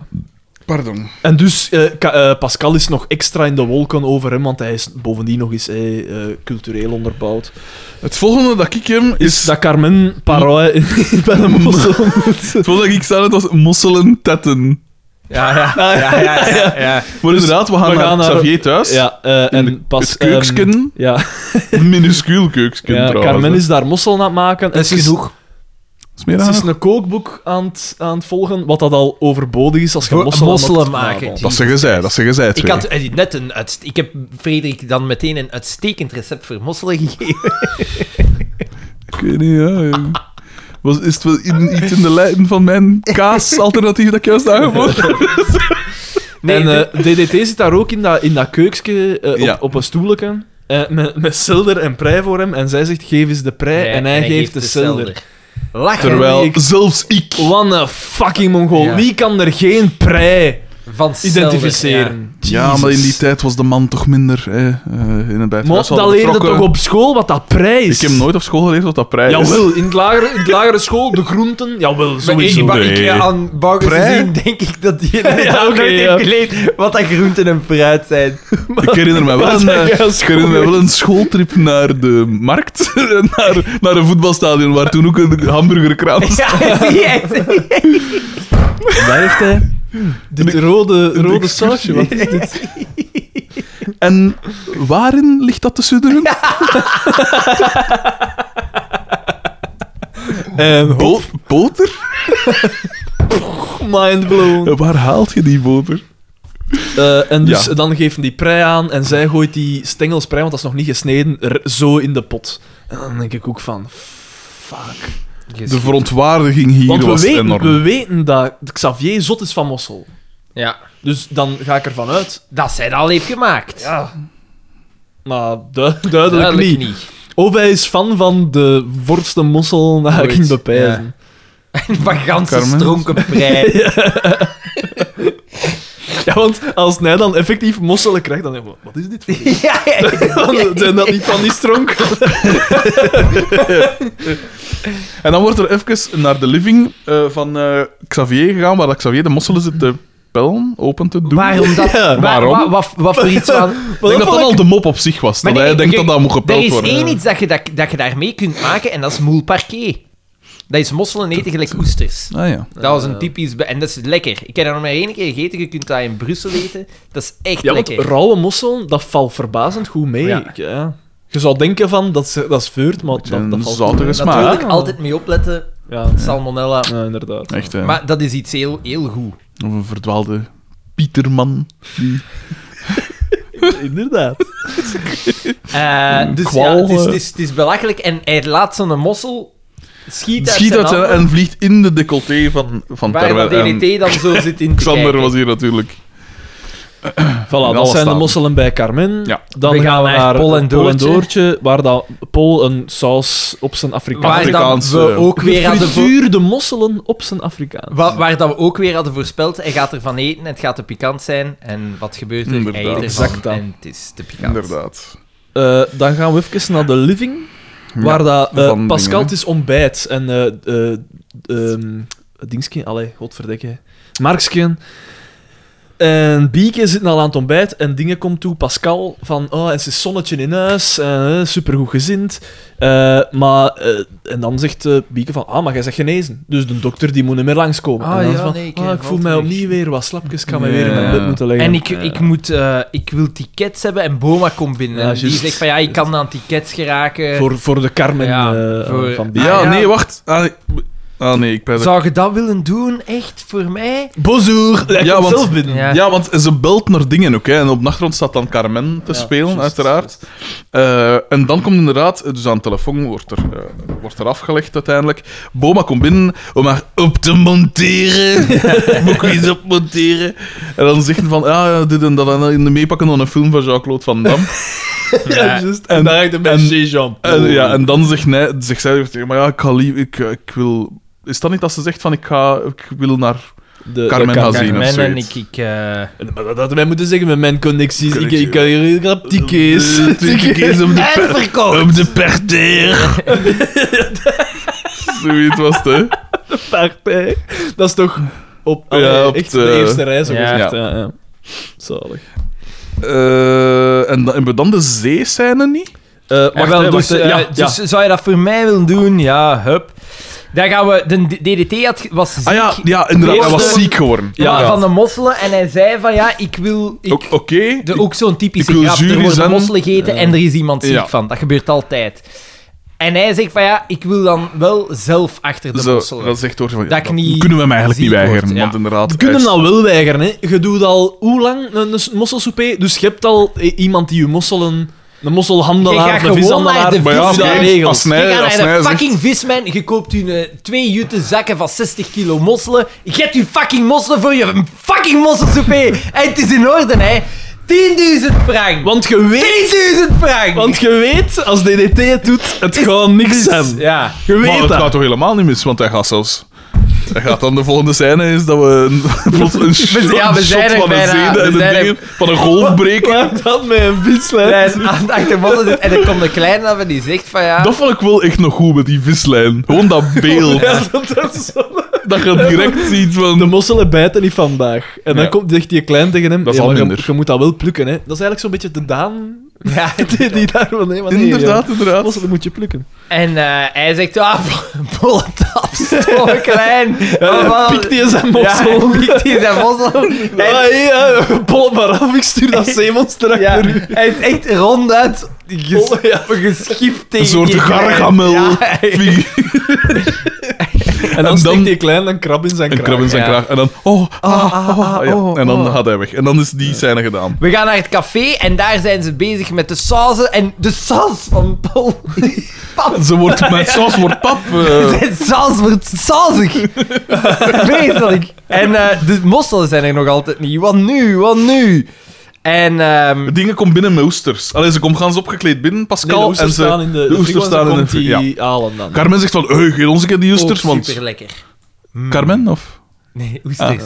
Speaker 2: Pardon.
Speaker 3: En dus eh, Ka- eh, Pascal is nog extra in de wolken over hem, want hij is bovendien nog eens eh, eh, cultureel onderbouwd.
Speaker 2: Het volgende dat ik hem is...
Speaker 3: Dat Carmen Paroy
Speaker 2: Mm.
Speaker 3: bij de mossel moet.
Speaker 2: Het volgende dat ik staan het was mosselen tetten.
Speaker 1: Ja, ja, ja, ja, ja, ja.
Speaker 2: Maar inderdaad, we gaan,
Speaker 3: Dus we gaan
Speaker 2: naar,
Speaker 3: naar-
Speaker 2: Xavier thuis.
Speaker 3: Ja, eh,
Speaker 2: de-
Speaker 3: en pas...
Speaker 2: het keuksken.
Speaker 3: ehm, ja,
Speaker 2: Een minuscuul keuksken
Speaker 3: ja
Speaker 2: trouwens.
Speaker 3: Carmen is daar mossel aan het maken.
Speaker 1: Dat is
Speaker 3: Ze
Speaker 1: genoeg.
Speaker 2: Smeer
Speaker 3: Ze
Speaker 2: aan
Speaker 3: is
Speaker 2: haar?
Speaker 3: een kookboek aan het, aan het volgen, wat dat al overbodig is als je
Speaker 1: Voor-
Speaker 3: mosselen,
Speaker 1: mosselen
Speaker 3: maakt.
Speaker 1: maken.
Speaker 3: Ah, bon.
Speaker 2: Dat zeggen zij, dat zeggen zij
Speaker 1: Ik,
Speaker 2: twee.
Speaker 1: had eh, net een uitst- ik heb Frederik dan meteen een uitstekend recept voor mosselen gegeven.
Speaker 2: Ik weet niet, ja. ja. Was, is het wel in, iets in de lijn van mijn kaasalternatief dat ik juist aangeboden heb?
Speaker 1: Nee,
Speaker 3: en
Speaker 1: de-
Speaker 3: eh, DDT zit daar ook in dat, in dat keukske eh, op,
Speaker 2: Ja.
Speaker 3: op een stoeltje. eh, met, met Zelder en prei voor hem. En zij zegt: geef eens de prei.
Speaker 1: Nee,
Speaker 3: en hij geeft, de Zelder.
Speaker 1: Lachen.
Speaker 2: Terwijl
Speaker 3: ik- Oh,
Speaker 2: zelfs ik...
Speaker 3: Wat een fucking Mongool.
Speaker 1: Ja.
Speaker 3: Wie kan er geen prei
Speaker 1: van Zelder, ja.
Speaker 3: identificeren?
Speaker 2: Ja, maar in die
Speaker 3: Jezus.
Speaker 2: tijd was de man toch minder hè, eh, in het
Speaker 3: Maar
Speaker 2: buitenland.
Speaker 3: dat leerde toch op school wat dat prei
Speaker 2: Ik
Speaker 3: is?
Speaker 2: heb nooit op school geleerd wat dat prijs is.
Speaker 3: Jawel, in, het lagere, in het lagere school, de groenten. Jawel,
Speaker 1: Maar ik,
Speaker 3: sowieso.
Speaker 1: maar
Speaker 2: Nee.
Speaker 1: ik, eh, aan Boukens
Speaker 2: Prei?
Speaker 1: gezien denk ik dat die inderdaad
Speaker 3: Ja, oké,
Speaker 1: nooit
Speaker 3: ja.
Speaker 1: heeft geleerd wat dat groenten en fruit zijn.
Speaker 2: Ik herinner me wel
Speaker 3: Wat
Speaker 2: een,
Speaker 3: zeg jij
Speaker 2: eh,
Speaker 3: als
Speaker 2: ik herinner me
Speaker 3: school-
Speaker 2: wel een schooltrip naar de markt, en naar, naar een voetbalstadion, waar toen ook een hamburgerkraam was.
Speaker 1: Ja, yes.
Speaker 3: Daar heeft hij. Dit rode, rode sausje, wat is dit?
Speaker 2: En waarin ligt dat te sudderen? Bo- boter?
Speaker 3: Mind blown.
Speaker 2: Ja, Waar haalt je die boter?
Speaker 3: Eh, en dus
Speaker 2: Ja.
Speaker 3: dan geven die prei aan en zij gooit die stengels prei, want dat is nog niet gesneden, er zo in de pot. En dan denk ik ook van, fuck.
Speaker 2: De verontwaardiging hier
Speaker 3: Want we
Speaker 2: was
Speaker 3: weten,
Speaker 2: enorm.
Speaker 3: we weten dat Xavier zot is van Mossel.
Speaker 1: ja,
Speaker 3: Dus dan ga ik ervan uit.
Speaker 1: dat zij dat al heeft gemaakt.
Speaker 3: Ja. Maar du- duidelijk,
Speaker 1: Duidelijk
Speaker 3: niet. Of hij is fan van de vorste mossel naar
Speaker 1: Zoiets,
Speaker 3: King de Pijzen.
Speaker 1: Van ganse
Speaker 2: Carmen.
Speaker 1: stronken prei.
Speaker 3: Ja. want als hij dan effectief mosselen krijgt, dan denk ik, wat is dit? voor iets?
Speaker 1: ja, ja, ja.
Speaker 3: Zijn dat niet van die stronk?
Speaker 2: En dan wordt er even naar de living eh, van eh, Xavier gegaan, waar dat Xavier de mosselen zit te pellen, open te doen.
Speaker 1: Waarom dat?
Speaker 3: Ja,
Speaker 1: wa-
Speaker 2: waarom?
Speaker 1: wa- wat, wat voor iets aan...
Speaker 2: Ik denk dat dat al de mop op zich was, dat hij denkt dat dat moet
Speaker 1: Er
Speaker 2: gepeld
Speaker 1: is
Speaker 2: worden.
Speaker 1: één iets dat je, dat, dat je daarmee kunt maken, en dat is moule parquet. Dat is mosselen eten gelijk oesters.
Speaker 2: Ah ja.
Speaker 1: Dat was
Speaker 3: Eh.
Speaker 1: een typisch... be- En dat is lekker. Ik heb dat nog maar één keer gegeten. Je kunt dat in Brussel eten. Dat is echt
Speaker 3: Ja, want
Speaker 1: lekker.
Speaker 3: rauwe mossel, dat valt verbazend goed mee.
Speaker 1: Ja.
Speaker 3: Ik, Ja. Je zou denken van, dat is, dat is veurt, maar dat,
Speaker 2: Een
Speaker 3: dat valt
Speaker 2: zoutige
Speaker 3: goed mee.
Speaker 2: smaak.
Speaker 1: Natuurlijk altijd mee opletten.
Speaker 3: Ja, ja.
Speaker 1: Salmonella.
Speaker 3: Ja, inderdaad.
Speaker 2: Echt, hè.
Speaker 1: Maar dat is iets heel, heel goed.
Speaker 2: Of een verdwaalde Pieterman.
Speaker 3: Inderdaad.
Speaker 1: Eh, dus
Speaker 2: kwal,
Speaker 1: ja, het is,
Speaker 2: eh.
Speaker 1: het, is, het is belachelijk. En hij laat zo'n mossel... Schiet uit
Speaker 2: Schiet
Speaker 1: zijn
Speaker 2: uit zijn-
Speaker 1: handen,
Speaker 2: en vliegt in de decolleté van, van
Speaker 1: Waar dat
Speaker 2: Terwijl. En
Speaker 1: DDT dan zo zit in te
Speaker 2: Xander
Speaker 1: kijken.
Speaker 2: was hier natuurlijk.
Speaker 3: Voilà, dat
Speaker 2: alles
Speaker 3: zijn de
Speaker 2: staan.
Speaker 3: mosselen bij Carmen.
Speaker 2: Ja.
Speaker 3: Dan
Speaker 1: We
Speaker 3: gaan,
Speaker 1: gaan
Speaker 3: we
Speaker 1: naar
Speaker 3: naar
Speaker 1: Pol en Doortje.
Speaker 3: Doortje, waar dat Pol een saus op zijn Afrikaans...
Speaker 1: Waar dan
Speaker 2: Afrikaanse-
Speaker 1: we ook weer hadden... voor-
Speaker 3: Gefrituurde mosselen op zijn Afrikaans.
Speaker 1: Wa- waar dat we ook weer hadden voorspeld, hij gaat ervan eten, het gaat te pikant zijn. En wat gebeurt er?
Speaker 2: Inderdaad.
Speaker 1: Hij eet ervan
Speaker 3: Exact dat.
Speaker 1: en het is te pikant.
Speaker 2: Inderdaad.
Speaker 3: Eh, dan gaan we even naar de living, waar dat, eh,
Speaker 2: van
Speaker 3: Pascal
Speaker 2: dingen,
Speaker 3: het is ontbijt en eh eh ehm Dingske, allee, godverdekke, Marksken. En Bieke zit al aan het ontbijt en Dingen komt toe, Pascal, van oh, en ze is zonnetje in huis, eh, supergoed gezind. Eh, maar, eh, en dan zegt eh, Bieke van, ah, maar jij zegt genezen. Dus de dokter die moet niet meer langskomen.
Speaker 1: Ah,
Speaker 3: en dan
Speaker 1: ja,
Speaker 3: van,
Speaker 1: nee, ik
Speaker 3: ah,
Speaker 1: heb
Speaker 3: ik voel
Speaker 1: wel
Speaker 3: mij
Speaker 1: terug.
Speaker 3: opnieuw weer wat slapjes, ik ga mij
Speaker 2: Ja.
Speaker 3: weer in mijn bed moeten leggen.
Speaker 1: En ik, ik, moet, eh, ik wil tickets hebben en Boma komt binnen.
Speaker 3: Ja,
Speaker 1: en die
Speaker 3: juist.
Speaker 1: zegt van ja, ik kan aan tickets geraken.
Speaker 3: voor, voor de Carmen
Speaker 1: Ja,
Speaker 3: eh,
Speaker 1: voor-
Speaker 3: van Bieke.
Speaker 2: Ja,
Speaker 1: Ah, ja.
Speaker 2: nee, wacht. Ah, nee. Ah, nee, ik ben er-
Speaker 1: Zou je dat willen doen, echt, voor mij?
Speaker 3: Bonjour! Hij
Speaker 2: Ja,
Speaker 3: komt
Speaker 2: want-
Speaker 3: zelf binnen.
Speaker 1: Ja.
Speaker 2: Ja, want ze belt naar dingen ook. Hè. En op de achtergrond staat dan Carmen te
Speaker 3: Ja,
Speaker 2: spelen,
Speaker 3: juist,
Speaker 2: uiteraard. Eh, en dan komt inderdaad, dus aan de telefoon wordt er, eh, wordt er afgelegd uiteindelijk. Boma komt binnen om haar op te monteren. Moet ik eens opmonteren. En dan zegt hij van, ah, ja, dit en dat. En dan meepakken dan een film van Jean-Claude Van Damme.
Speaker 3: Ja, juist. En, daar heb ik
Speaker 2: en-
Speaker 3: de Jean.
Speaker 2: En, ja, en dan zegt, nee, zegt zij weer tegen, maar ja, ik, ga lief- ik, eh, ik wil... Is dat niet dat ze zegt van, ik, ga, ik wil naar...
Speaker 3: de,
Speaker 2: Carmen
Speaker 3: de Car-
Speaker 2: Hazin. Zien of
Speaker 1: Carmen en
Speaker 2: zoiets.
Speaker 1: ik... ik eh,
Speaker 3: Maar dat hadden wij moeten zeggen met mijn connecties. Ik,
Speaker 2: Connectie.
Speaker 3: ik kan hier heel grap tickets.
Speaker 2: Eh, tickets op de,
Speaker 1: en verkocht!
Speaker 2: op de parterre. Zoiets was het, hè.
Speaker 3: partij. Dat is toch op,
Speaker 2: Ja,
Speaker 3: allee,
Speaker 2: op
Speaker 3: echt
Speaker 2: de-
Speaker 3: de, eerste rij, zo
Speaker 1: Ja.
Speaker 3: gezegd. Ja, ja. eh, Zalig.
Speaker 2: Eh, en dan, hebben we dan de zeescène niet?
Speaker 3: wacht,
Speaker 1: wel,
Speaker 3: hè,
Speaker 1: dus,
Speaker 3: wacht, hè.
Speaker 1: eh,
Speaker 3: ja,
Speaker 1: dus zou je dat voor mij willen doen? Ja, hup. Daar gaan we... De DDT had, was ziek.
Speaker 2: Ah ja, ja inderdaad, hij was ziek geworden.
Speaker 1: van-
Speaker 3: ja.
Speaker 1: Van de mosselen. En hij zei van, ja, ik wil... Ik,
Speaker 2: Ook- Oké,
Speaker 1: de, ook zo'n typische
Speaker 2: ik wil
Speaker 1: grap. Er
Speaker 2: jury
Speaker 1: worden
Speaker 2: zijn.
Speaker 1: mosselen gegeten en er is iemand ziek
Speaker 2: Ja.
Speaker 1: van. Dat gebeurt altijd. En hij zegt van, ja, ik wil dan wel zelf achter de
Speaker 2: Zo,
Speaker 1: mosselen.
Speaker 2: dat zegt door van, ja,
Speaker 1: Dat ik niet
Speaker 2: kunnen we hem eigenlijk
Speaker 1: ziek
Speaker 2: niet weigeren,
Speaker 1: word, ja.
Speaker 2: want inderdaad...
Speaker 3: Je kunt
Speaker 2: hij
Speaker 3: hem
Speaker 2: is-
Speaker 3: nou wel weigeren, hè. Je doet al hoe lang een, een mosselsoupé, dus je hebt al eh, iemand die je mosselen... Een
Speaker 1: Je
Speaker 3: mosselhandelaar,
Speaker 1: gaat
Speaker 3: een
Speaker 1: gewoon
Speaker 3: vishandelaar...
Speaker 1: naar de
Speaker 2: Maar ja,
Speaker 1: vis
Speaker 3: die
Speaker 2: oké,
Speaker 3: dat regelt.
Speaker 2: als
Speaker 1: Je
Speaker 2: hij,
Speaker 1: gaat
Speaker 2: als
Speaker 1: naar
Speaker 2: hij
Speaker 1: de
Speaker 2: zegt...
Speaker 1: fucking visman, je koopt je eh, twee jute zakken van 60 kilo mosselen, je hebt je fucking mosselen voor je fucking mosselsoupé. en het is in orde, hè. 10.000 frank.
Speaker 3: Want je weet...
Speaker 1: 10.000 frank.
Speaker 3: Want je weet, als DDT het doet, het gewoon niks zijn.
Speaker 1: Ja.
Speaker 3: Je
Speaker 2: Maar
Speaker 3: weet
Speaker 2: het gaat
Speaker 3: dat.
Speaker 2: toch helemaal niet mis, want hij gaat zelfs... Hij gaat dan de volgende scène is dat we een, plots een shot,
Speaker 1: ja, we
Speaker 2: een shot
Speaker 1: zijn er
Speaker 2: van een
Speaker 1: bijna,
Speaker 2: zede
Speaker 1: we
Speaker 2: en een
Speaker 1: zijn er.
Speaker 2: ding, van een golf breken.
Speaker 3: Laat dat met een vislijn.
Speaker 1: En aan- achter mosselen zit- en dan komt een kleine af en die zegt van ja...
Speaker 2: Dat vond ik wel echt nog goed met die vislijn. Gewoon dat beeld.
Speaker 3: Ja, dat- dat is zo-
Speaker 2: Dat je direct ziet van...
Speaker 3: De mosselen bijten niet vandaag. En dan
Speaker 2: Ja.
Speaker 3: komt zegt die klein tegen hem.
Speaker 2: Dat is
Speaker 3: "Ja,
Speaker 2: al
Speaker 3: maar je-
Speaker 2: minder."
Speaker 3: Je, moet dat wel plukken, hè? Dat is eigenlijk zo'n beetje de Daan
Speaker 1: ja.
Speaker 3: die, die daar van nee, maar nee,
Speaker 2: Inderdaad,
Speaker 3: ja.
Speaker 2: inderdaad.
Speaker 3: Mosselen moet je plukken.
Speaker 1: En eh, hij zegt, ah, Bolotaf, stomme klein.
Speaker 3: Ja,
Speaker 1: Allemaal-
Speaker 3: pikt die zijn
Speaker 1: Ja,
Speaker 3: mossel.
Speaker 1: hij pikt die zijn mossel.
Speaker 3: Ja, Ah, hé, ja, bol maar af, ik stuur dat zeemonster
Speaker 1: Ja,
Speaker 3: achter u.
Speaker 1: hij is echt ronduit ges
Speaker 3: Oh, ja.
Speaker 1: geschipt tegen
Speaker 2: Een soort
Speaker 1: die kleine.
Speaker 2: gargamel.
Speaker 1: Ja,
Speaker 2: figuur.
Speaker 3: En dan
Speaker 2: En
Speaker 3: steekt
Speaker 2: dan-
Speaker 3: die klein een krab in zijn
Speaker 2: Een
Speaker 3: kraag.
Speaker 2: krab in zijn
Speaker 1: Ja.
Speaker 2: kraag. En dan... Oh, ah, ah, ah, ja.
Speaker 1: oh,
Speaker 2: En dan
Speaker 1: oh.
Speaker 2: gaat hij weg. En dan is die scène gedaan.
Speaker 1: We gaan naar het café en daar zijn ze bezig met de sauzen. En de saus van Paul. Pap,
Speaker 2: Ze wordt met saus wordt pap. eh.
Speaker 1: zijn saus wordt sausig. Vreselijk. En eh, de mosselen zijn er nog altijd niet. Wat nu? Wat nu? En ehm,
Speaker 2: Dingen komt binnen met oesters. Allee, ze komt gans opgekleed binnen,
Speaker 3: Nee, de
Speaker 2: Pascal.
Speaker 3: oesters
Speaker 2: en ze,
Speaker 3: staan in de, de,
Speaker 2: oesters
Speaker 3: frigo en
Speaker 2: staan
Speaker 3: dan
Speaker 2: in
Speaker 3: komt
Speaker 2: de fri-
Speaker 3: die halen dan.
Speaker 2: Carmen zegt van, hey, geef ons een keer
Speaker 3: Oh,
Speaker 2: die oesters,
Speaker 1: ook
Speaker 2: want...
Speaker 1: super lekker.
Speaker 2: Carmen, of?
Speaker 1: Nee, oesters.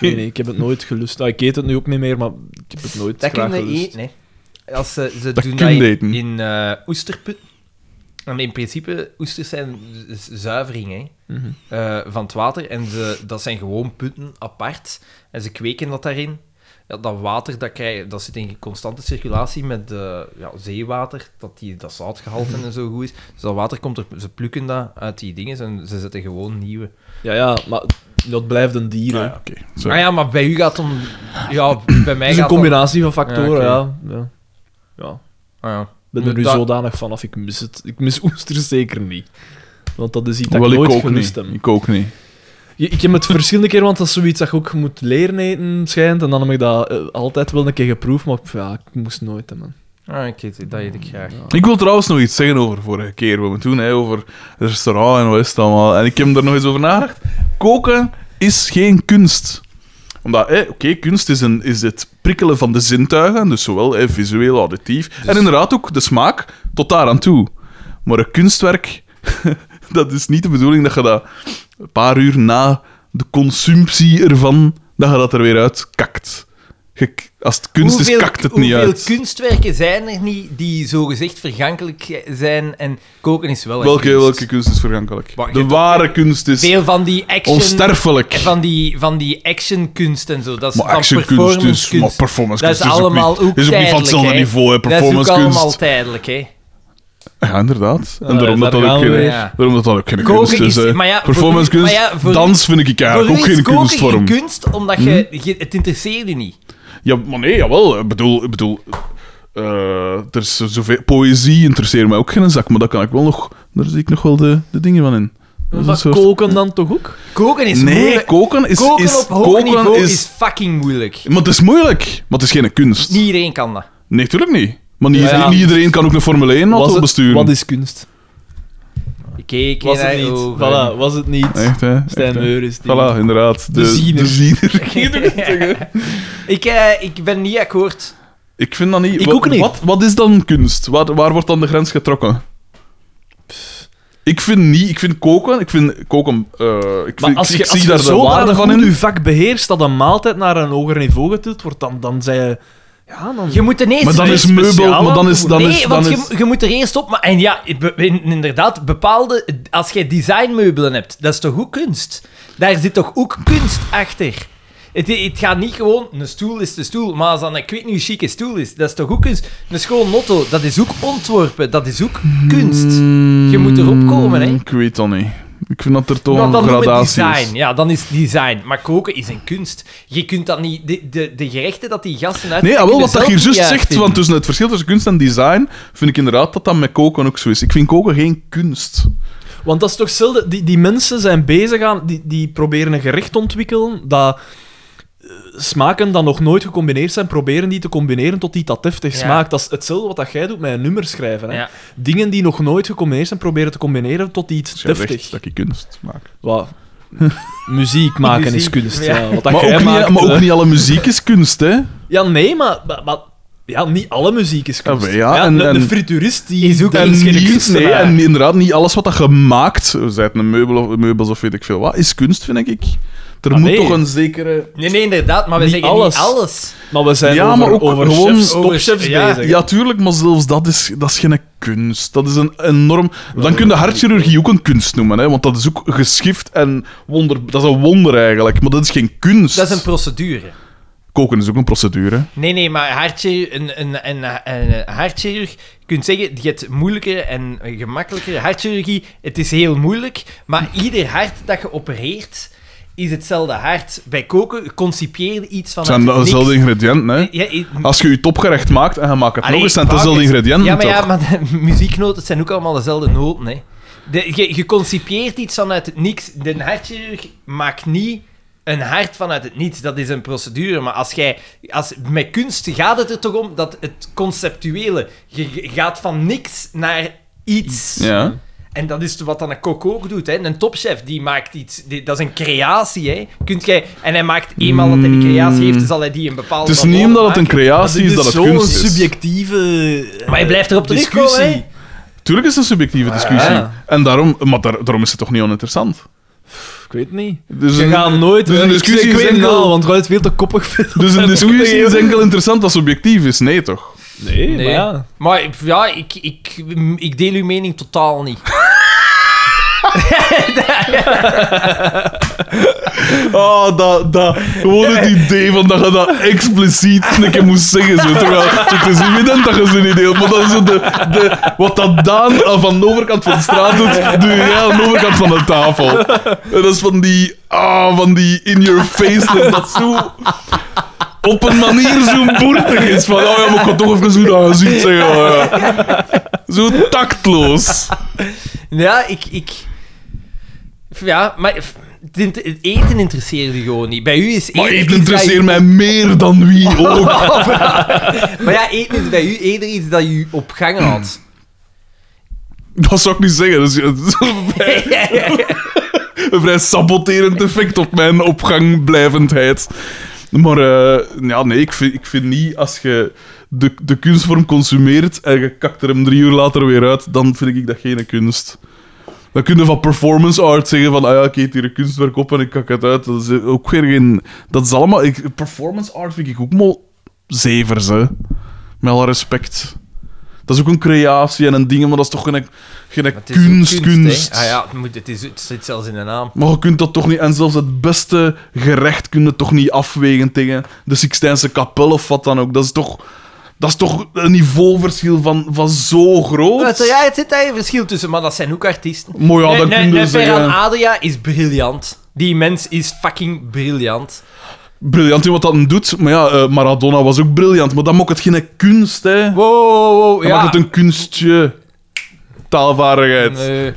Speaker 3: Nee, nee, ik heb het nooit gelust. Ah, ik eet het nu ook niet meer, maar ik heb het nooit
Speaker 1: Dat
Speaker 3: graag
Speaker 1: kunnen
Speaker 3: gelust.
Speaker 1: eten. hè. Als ze, ze
Speaker 2: Dat
Speaker 1: doen
Speaker 2: kun
Speaker 1: dat in,
Speaker 2: je eten.
Speaker 1: in eh, oesterput. En in principe, oesters zijn z- zuivering hè,
Speaker 3: Mhm.
Speaker 1: eh, van het water. En ze, dat zijn gewoon putten apart. En ze kweken dat daarin. Ja, dat water dat, krijg, dat zit in constante circulatie met eh, ja, zeewater, dat, die, dat zoutgehalte en zo goed is. Dus dat water komt er, ze plukken dat uit die dingen en ze zetten gewoon nieuwe.
Speaker 3: Ja, ja, maar dat blijft een dier.
Speaker 2: Ah,
Speaker 3: hè.
Speaker 2: ja, oké. Zo.
Speaker 1: Ah ja, maar bij u gaat het om. Ja, bij mij
Speaker 3: Het is Dus een
Speaker 1: gaat het om-
Speaker 3: combinatie van factoren,
Speaker 1: Ja,
Speaker 3: ja. ja. ja.
Speaker 1: Ah ja.
Speaker 3: Ik ben er nu
Speaker 1: Dat-
Speaker 3: zodanig vanaf, ik mis het. Ik mis oesters zeker niet. Want dat is iets dat
Speaker 2: Wel,
Speaker 3: ik
Speaker 2: ik
Speaker 3: nooit
Speaker 2: ook
Speaker 3: gelust
Speaker 2: niet.
Speaker 3: heb.
Speaker 2: Ik ook niet.
Speaker 3: Je- Ik heb het verschillende keer, want dat is zoiets dat je ook moet leren eten, schijnt. En dan heb ik dat eh, altijd wel een keer geproefd, maar pff, ja, ik moest nooit hebben.
Speaker 1: Ah, ik weet het, dat eet ik graag.
Speaker 2: Ik wil trouwens nog iets zeggen over vorige keer, wat we toen, hè, over het restaurant en wat is het allemaal. En ik heb er nog eens over nagedacht. Koken is geen kunst. Omdat, hè, oké, kunst is, een, is het prikkelen van de zintuigen, dus zowel hè, visueel, auditief, en inderdaad ook de smaak, tot daar aan toe. Maar een kunstwerk, dat is niet de bedoeling dat je dat een paar uur na de consumptie ervan, dat je dat er weer uit kakt. Je- als het kunst is, kakt het niet uit.
Speaker 1: Hoeveel kunstwerken zijn er niet die zogezegd vergankelijk zijn en koken is wel een
Speaker 2: Welke,
Speaker 1: kunst.
Speaker 2: welke kunst is vergankelijk?
Speaker 1: Maar je
Speaker 2: de
Speaker 1: hebt
Speaker 2: ware kunst is
Speaker 1: Veel van die action...
Speaker 2: onsterfelijk.
Speaker 1: Van die, van die actionkunst en zo. Dat is
Speaker 2: maar
Speaker 1: van
Speaker 2: actionkunst is,
Speaker 1: performancekunst.
Speaker 2: maar performance
Speaker 1: dat is
Speaker 2: kunst is,
Speaker 1: allemaal
Speaker 2: ook
Speaker 1: ook
Speaker 2: niet, is ook niet van
Speaker 1: tijdelijk,
Speaker 2: hetzelfde
Speaker 1: hè.
Speaker 2: niveau, hè,
Speaker 1: Dat is ook
Speaker 2: performance
Speaker 1: allemaal
Speaker 2: kunst.
Speaker 1: tijdelijk, hè.
Speaker 2: Ja, inderdaad. En
Speaker 3: Ah,
Speaker 2: daarom,
Speaker 3: daar
Speaker 2: dat dat ook
Speaker 3: gaan we
Speaker 2: geen,
Speaker 1: weer, ja.
Speaker 2: daarom dat dat ook geen
Speaker 1: Koken
Speaker 2: kunst is.
Speaker 1: is-
Speaker 2: hè.
Speaker 1: maar ja, voor
Speaker 2: performance
Speaker 1: u-
Speaker 2: kunst,
Speaker 1: maar ja, voor-
Speaker 2: dans vind ik eigenlijk ook
Speaker 1: Voor u
Speaker 2: geen
Speaker 1: is koken
Speaker 2: kunstvorm. Hm?
Speaker 1: geen kunst, omdat je... je- het interesseert je niet.
Speaker 2: Ja, maar nee, jawel. Ik bedoel, ik bedoel eh, er is zoveel... Poëzie interesseert mij ook geen zak, maar dat kan ik wel nog... Daar zie ik nog wel de, de dingen van in. Dat is een
Speaker 3: Maar
Speaker 2: soort-
Speaker 3: koken dan toch ook?
Speaker 1: Koken is
Speaker 2: Nee,
Speaker 1: moeilijk.
Speaker 2: koken is...
Speaker 1: Koken
Speaker 2: is
Speaker 1: op hoog
Speaker 2: koken
Speaker 1: niveau
Speaker 2: is-
Speaker 1: is... fucking moeilijk.
Speaker 2: Maar het is moeilijk. Maar het is geen kunst.
Speaker 1: Niet iedereen kan dat.
Speaker 2: Nee, natuurlijk niet. Maar niet,
Speaker 3: Ja, ja.
Speaker 2: niet iedereen kan ook een Formule 1
Speaker 3: Was
Speaker 2: auto
Speaker 3: het-
Speaker 2: besturen.
Speaker 3: Wat is kunst?
Speaker 1: Ik keek
Speaker 3: Was het
Speaker 1: naar-
Speaker 3: niet?
Speaker 1: oh,
Speaker 3: Voilà, was het niet?
Speaker 2: Echt, hè?
Speaker 3: Stijn
Speaker 2: Echt, hè?
Speaker 3: Meur is die.
Speaker 2: Voilà, inderdaad. eh, De,
Speaker 3: De ziener.
Speaker 2: De ziener.
Speaker 1: ik, eh, ik ben niet akkoord.
Speaker 2: Ik vind dat niet...
Speaker 3: Ik
Speaker 2: wat,
Speaker 3: ook niet.
Speaker 2: Wat, wat is dan kunst? Waar, waar wordt dan de grens getrokken? Ik vind niet... Ik vind koken... Ik vind koken... eh, ik
Speaker 3: Maar
Speaker 2: vind,
Speaker 3: als
Speaker 2: ik
Speaker 3: je, als
Speaker 2: zie
Speaker 3: je
Speaker 2: daar de
Speaker 3: zo
Speaker 2: waarde
Speaker 3: aardig
Speaker 2: van in.
Speaker 3: goed je vak beheerst dat een maaltijd naar een hoger niveau getild wordt, dan, dan zijn je... Ja, dan...
Speaker 1: Je moet ineens...
Speaker 2: Maar dan
Speaker 3: er
Speaker 2: is
Speaker 3: iets
Speaker 2: meubel...
Speaker 3: speciaal
Speaker 2: Maar dan
Speaker 3: aan
Speaker 2: is, dan
Speaker 1: nee,
Speaker 2: is, dan
Speaker 1: want
Speaker 2: is,
Speaker 1: je, je moet er eerst op... Maar, en ja, be- in- inderdaad, bepaalde... Als jij designmeubelen hebt, dat is toch ook kunst? Daar zit toch ook kunst achter? Het, het gaat niet gewoon... Een stoel is de stoel, maar als dan een kwijt nieuw chique stoel is, dat is toch ook kunst? Een schoon motto, dat is ook ontworpen, dat is ook kunst.
Speaker 2: Hmm.
Speaker 1: Je moet
Speaker 2: Mm,
Speaker 1: erop komen, hè.
Speaker 2: Ik weet dat niet. Ik vind dat er toch
Speaker 1: Nou,
Speaker 2: een
Speaker 1: dan noem het
Speaker 2: gradatie is.
Speaker 1: design. Ja, dan is het design. Maar koken is een kunst. Je kunt dat niet... De, de, de gerechten dat die gasten uit...
Speaker 2: Nee, ja, wel wat dat hier juist zegt, want tussen het verschil tussen kunst en design vind ik inderdaad dat dat met koken ook zo is. Ik vind koken geen kunst.
Speaker 3: Want dat is toch hetzelfde. Die, die mensen zijn bezig aan. Die, die proberen een gerecht te ontwikkelen. Dat eh, smaken dan nog nooit gecombineerd zijn. Proberen die te combineren tot die dat heftig
Speaker 1: Ja.
Speaker 3: smaakt. Dat is hetzelfde wat dat jij doet met een nummer schrijven. Hè?
Speaker 1: Ja.
Speaker 3: Dingen die nog nooit gecombineerd zijn. Proberen te combineren tot iets
Speaker 2: Dus jij zegt
Speaker 3: deftig.
Speaker 2: dat ik kunst maak.
Speaker 3: Wat? Muziek maken is
Speaker 1: Muziek,
Speaker 3: kunst.
Speaker 1: ja.
Speaker 3: Ja. Wat dat
Speaker 2: Maar
Speaker 3: jij
Speaker 2: ook, niet,
Speaker 3: maakt,
Speaker 2: maar ook
Speaker 3: eh.
Speaker 2: niet alle muziek is kunst, hè?
Speaker 3: Ja, nee, maar. maar, maar- ja, niet alle muziek is kunst.
Speaker 2: Ah, ja, en-
Speaker 3: een, een
Speaker 2: en-
Speaker 3: frituurist die is ook
Speaker 2: En,
Speaker 3: geen
Speaker 2: niet,
Speaker 3: kunstenaar.
Speaker 2: nee, en inderdaad, niet alles wat dat gemaakt, zij het een meubel of meubels of weet ik veel wat, is kunst, vind ik. Er
Speaker 3: Ah,
Speaker 2: moet
Speaker 3: nee.
Speaker 2: toch een zekere.
Speaker 1: Nee, nee, inderdaad, maar we
Speaker 3: Niet
Speaker 1: zeggen
Speaker 3: alles.
Speaker 1: niet alles.
Speaker 3: Maar we zijn
Speaker 2: Ja,
Speaker 3: over,
Speaker 2: maar ook
Speaker 3: over
Speaker 2: gewoon-
Speaker 3: chefs,
Speaker 1: over-
Speaker 3: topchefs
Speaker 1: ja.
Speaker 3: bezig. hè.
Speaker 2: Ja, tuurlijk, maar zelfs dat is, dat is geen kunst. Dat is een enorm. Dan kun je hartchirurgie ook een kunst noemen, hè? want dat is ook geschift en wonder. Dat is een wonder eigenlijk, maar dat is geen kunst.
Speaker 1: Dat is een procedure.
Speaker 2: Koken is ook een procedure.
Speaker 1: Nee, nee, maar hartchirurg, een, een, een, een hartchirurg, je kunt zeggen, je hebt moeilijker en gemakkelijker hartchirurgie. Het is heel moeilijk, maar ieder hart dat je opereert, is hetzelfde hart. Bij koken concipieer je iets van
Speaker 2: Het zijn dezelfde ingrediënten. Hè?
Speaker 1: Ja, i-
Speaker 2: Als je je topgerecht maakt en je maakt het
Speaker 1: Allee,
Speaker 2: nog eens, zijn het dezelfde
Speaker 1: vaak is-
Speaker 2: ingrediënten.
Speaker 1: Ja, maar, ja,
Speaker 2: toch?
Speaker 1: maar de muzieknoten zijn ook allemaal dezelfde noten. Hè. De, je, je concipieert iets vanuit het niks. De hartchirurg maakt niet een hart vanuit het niets. Dat is een procedure. Maar als jij, als, met kunst gaat het er toch om dat het conceptuele. Je je gaat van niks naar iets.
Speaker 2: Ja.
Speaker 1: En dat is wat dan een kok ook doet. Hè. Een topchef die maakt iets. die- dat is een creatie. Hè. Kunt jij, en hij maakt eenmaal dat hij die creatie heeft, zal hij die een
Speaker 2: Het
Speaker 1: bepaalde.
Speaker 2: is niet omdat het een
Speaker 3: Maar
Speaker 2: creatie
Speaker 3: dit
Speaker 2: is dat het
Speaker 3: zo'n
Speaker 2: kunst is.
Speaker 3: subjectieve. eh,
Speaker 1: Maar je blijft erop terugkomen,
Speaker 3: discussie.
Speaker 1: hè.
Speaker 2: Tuurlijk is het een subjectieve discussie.
Speaker 3: Ah, ja.
Speaker 2: En daarom, maar daar- daarom is het toch niet oninteressant.
Speaker 3: Ik weet niet.
Speaker 2: Dus
Speaker 3: Je
Speaker 2: een-
Speaker 3: gaat nooit.
Speaker 2: dus een
Speaker 3: ik-
Speaker 2: discussie
Speaker 3: ik
Speaker 2: is
Speaker 3: weet het
Speaker 2: enkel-
Speaker 3: al, want we het veel te koppig vinden.
Speaker 2: Dus een discussie is
Speaker 3: Nee,
Speaker 2: enkel interessant als subjectief is. Nee, toch?
Speaker 3: nee, maar
Speaker 1: Nee.
Speaker 3: ja.
Speaker 1: Maar ik- ja, ik, ik, ik deel uw mening totaal niet.
Speaker 2: Ah, dat, dat, gewoon het idee van dat je dat expliciet een keer moest zeggen. Zo. Terwijl het is evident dat je ze niet deelt, maar dat is zo de, de, wat dat Daan aan van de overkant van de straat doet, doe jij aan de overkant van de tafel. En dat is van die, ah, van die in your face, dat dat zo op een manier zo boertig is. Van, oh ja, maar ik kan toch even zo naar gezicht zeggen. oh ja. Zo tactloos.
Speaker 1: Ja, ik... ik ja, maar f- het int- het eten interesseert je gewoon niet. Bij u is
Speaker 2: Maar
Speaker 1: eten iets
Speaker 2: eten
Speaker 1: dat
Speaker 2: interesseert
Speaker 1: je-
Speaker 2: mij meer dan wie ook.
Speaker 1: Maar ja, eten is bij u eerder iets dat je op gang had.
Speaker 2: Dat zou ik niet zeggen. Dus, Dat is dat is een vrij, een vrij saboterend effect op mijn opgangblijvendheid. Maar eh, ja, nee, ik vind, ik vind niet als je de, de kunstvorm consumeert en je kakt er hem drie uur later weer uit, dan vind ik dat geen kunst. Dan kun je van performance art zeggen van, ah ja, ik eet hier een kunstwerk op en ik kak het uit. Dat is ook weer geen... Dat is allemaal... ik- performance art vind ik ook mol zevers, hè. Met alle respect. Dat is ook een creatie en een ding, maar dat is toch geen, geen
Speaker 1: Het is ook
Speaker 2: kunst, kunst.
Speaker 1: hè. Ah ja, het, moet, het, is, het zit zelfs in de naam.
Speaker 2: Maar je kunt dat toch niet... En zelfs het beste gerecht kun je toch niet afwegen tegen de Sixtijnse kapel of wat dan ook. Dat is toch... Dat is toch een niveauverschil van, van zo groot?
Speaker 1: Maar zo, Ja, het zit daar een verschil tussen, maar dat zijn ook artiesten.
Speaker 2: Maar ja,
Speaker 1: Nee,
Speaker 2: dan
Speaker 1: nee,
Speaker 2: kun je
Speaker 1: nee, Ferran
Speaker 2: zeggen...
Speaker 1: Adria is briljant. Die mens is fucking briljant.
Speaker 2: Briljant in wat dat doet. Maar ja, eh, Maradona was ook briljant. Maar dan maakt het geen kunst, hè. Dan
Speaker 1: Wow, wow, wow, ja.
Speaker 2: maakt het een kunstje. Taalvaardigheid.
Speaker 1: Nee.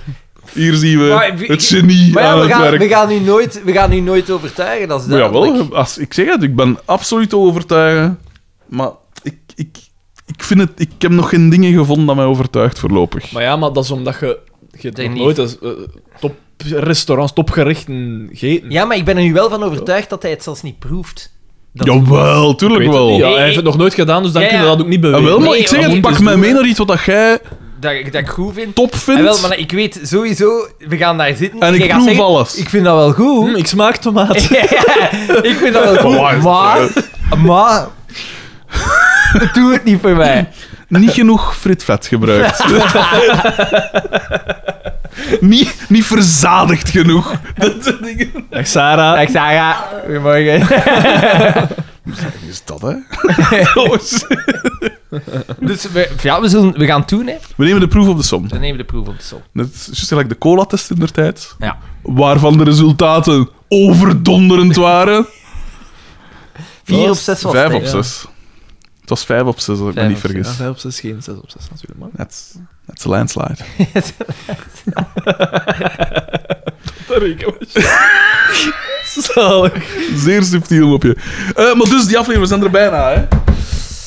Speaker 2: Hier zien we
Speaker 1: Maar wie-
Speaker 2: het genie
Speaker 1: Maar ja,
Speaker 2: aan
Speaker 1: Eh, we
Speaker 2: het
Speaker 1: gaan,
Speaker 2: werk.
Speaker 1: we, gaan u nooit, we gaan u nooit overtuigen, dat is
Speaker 2: Maar
Speaker 1: duidelijk.
Speaker 2: jawel, als, ik zeg het, ik ben absoluut te overtuigen. Maar ik, ik, ik, vind het, ik heb nog geen dingen gevonden dat mij overtuigt voorlopig.
Speaker 3: Maar ja, maar dat is omdat je. Je hebt
Speaker 1: Denk
Speaker 3: nog
Speaker 1: niet.
Speaker 3: nooit als, eh, toprestaurants, topgerichten gegeten.
Speaker 1: Ja, maar ik ben er nu wel van overtuigd dat hij het zelfs niet proeft. Dat-
Speaker 2: Jawel,
Speaker 3: Ik weet
Speaker 2: tuurlijk
Speaker 3: het
Speaker 2: wel.
Speaker 3: niet. Ja,
Speaker 1: Nee,
Speaker 3: hij heeft het nog nooit gedaan, dus dan
Speaker 1: Ja,
Speaker 3: kunnen we
Speaker 1: ja.
Speaker 3: dat ook niet
Speaker 2: Ah,
Speaker 3: beweren.
Speaker 2: wel, maar
Speaker 1: Nee,
Speaker 2: ik zeg
Speaker 1: dat
Speaker 2: het,
Speaker 3: moet
Speaker 2: pak
Speaker 3: dus
Speaker 2: mij
Speaker 3: doen,
Speaker 2: mee
Speaker 3: hè.
Speaker 2: naar iets wat dat jij
Speaker 1: Dat, ik- dat ik goed vind.
Speaker 2: top
Speaker 1: Ah,
Speaker 2: vindt.
Speaker 1: wel, maar ik weet sowieso, we gaan daar zitten.
Speaker 2: En ik
Speaker 1: jij gaat
Speaker 2: proef
Speaker 1: zeggen,
Speaker 2: alles.
Speaker 1: Ik vind dat wel goed.
Speaker 3: Hm, ik smaak tomaat.
Speaker 1: ik vind dat wel goed.
Speaker 2: Amai,
Speaker 1: Maar, maar, Doe het niet voor mij.
Speaker 2: Niet genoeg fritvet gebruikt. niet, niet verzadigd genoeg. Dat soort dingen.
Speaker 3: Dag Sarah.
Speaker 1: Dag Sarah. Goedemorgen.
Speaker 2: Is dat, hè? Jongens.
Speaker 1: Dus we, ja, we, zullen, we gaan het doen, hè.
Speaker 2: We nemen de proef op de som.
Speaker 1: Dan nemen we de proef op de sol.
Speaker 2: Net is juist gelijk de cola-test in der tijd.
Speaker 1: Ja.
Speaker 2: Waarvan de resultaten overdonderend waren.
Speaker 1: Vier op zes was het,
Speaker 2: Vijf
Speaker 1: hè.
Speaker 2: op zes. Het was vijf op zes, als ik me
Speaker 1: Vijf
Speaker 2: niet
Speaker 1: op zes.
Speaker 3: Ja,
Speaker 2: vergis.
Speaker 3: vijf op zes, geen zes op zes natuurlijk, maar...
Speaker 2: That's, that's a landslide.
Speaker 3: Zalig.
Speaker 2: Zeer subtiel mopje. Eh, maar dus, die aflevering, we zijn er bijna, hè?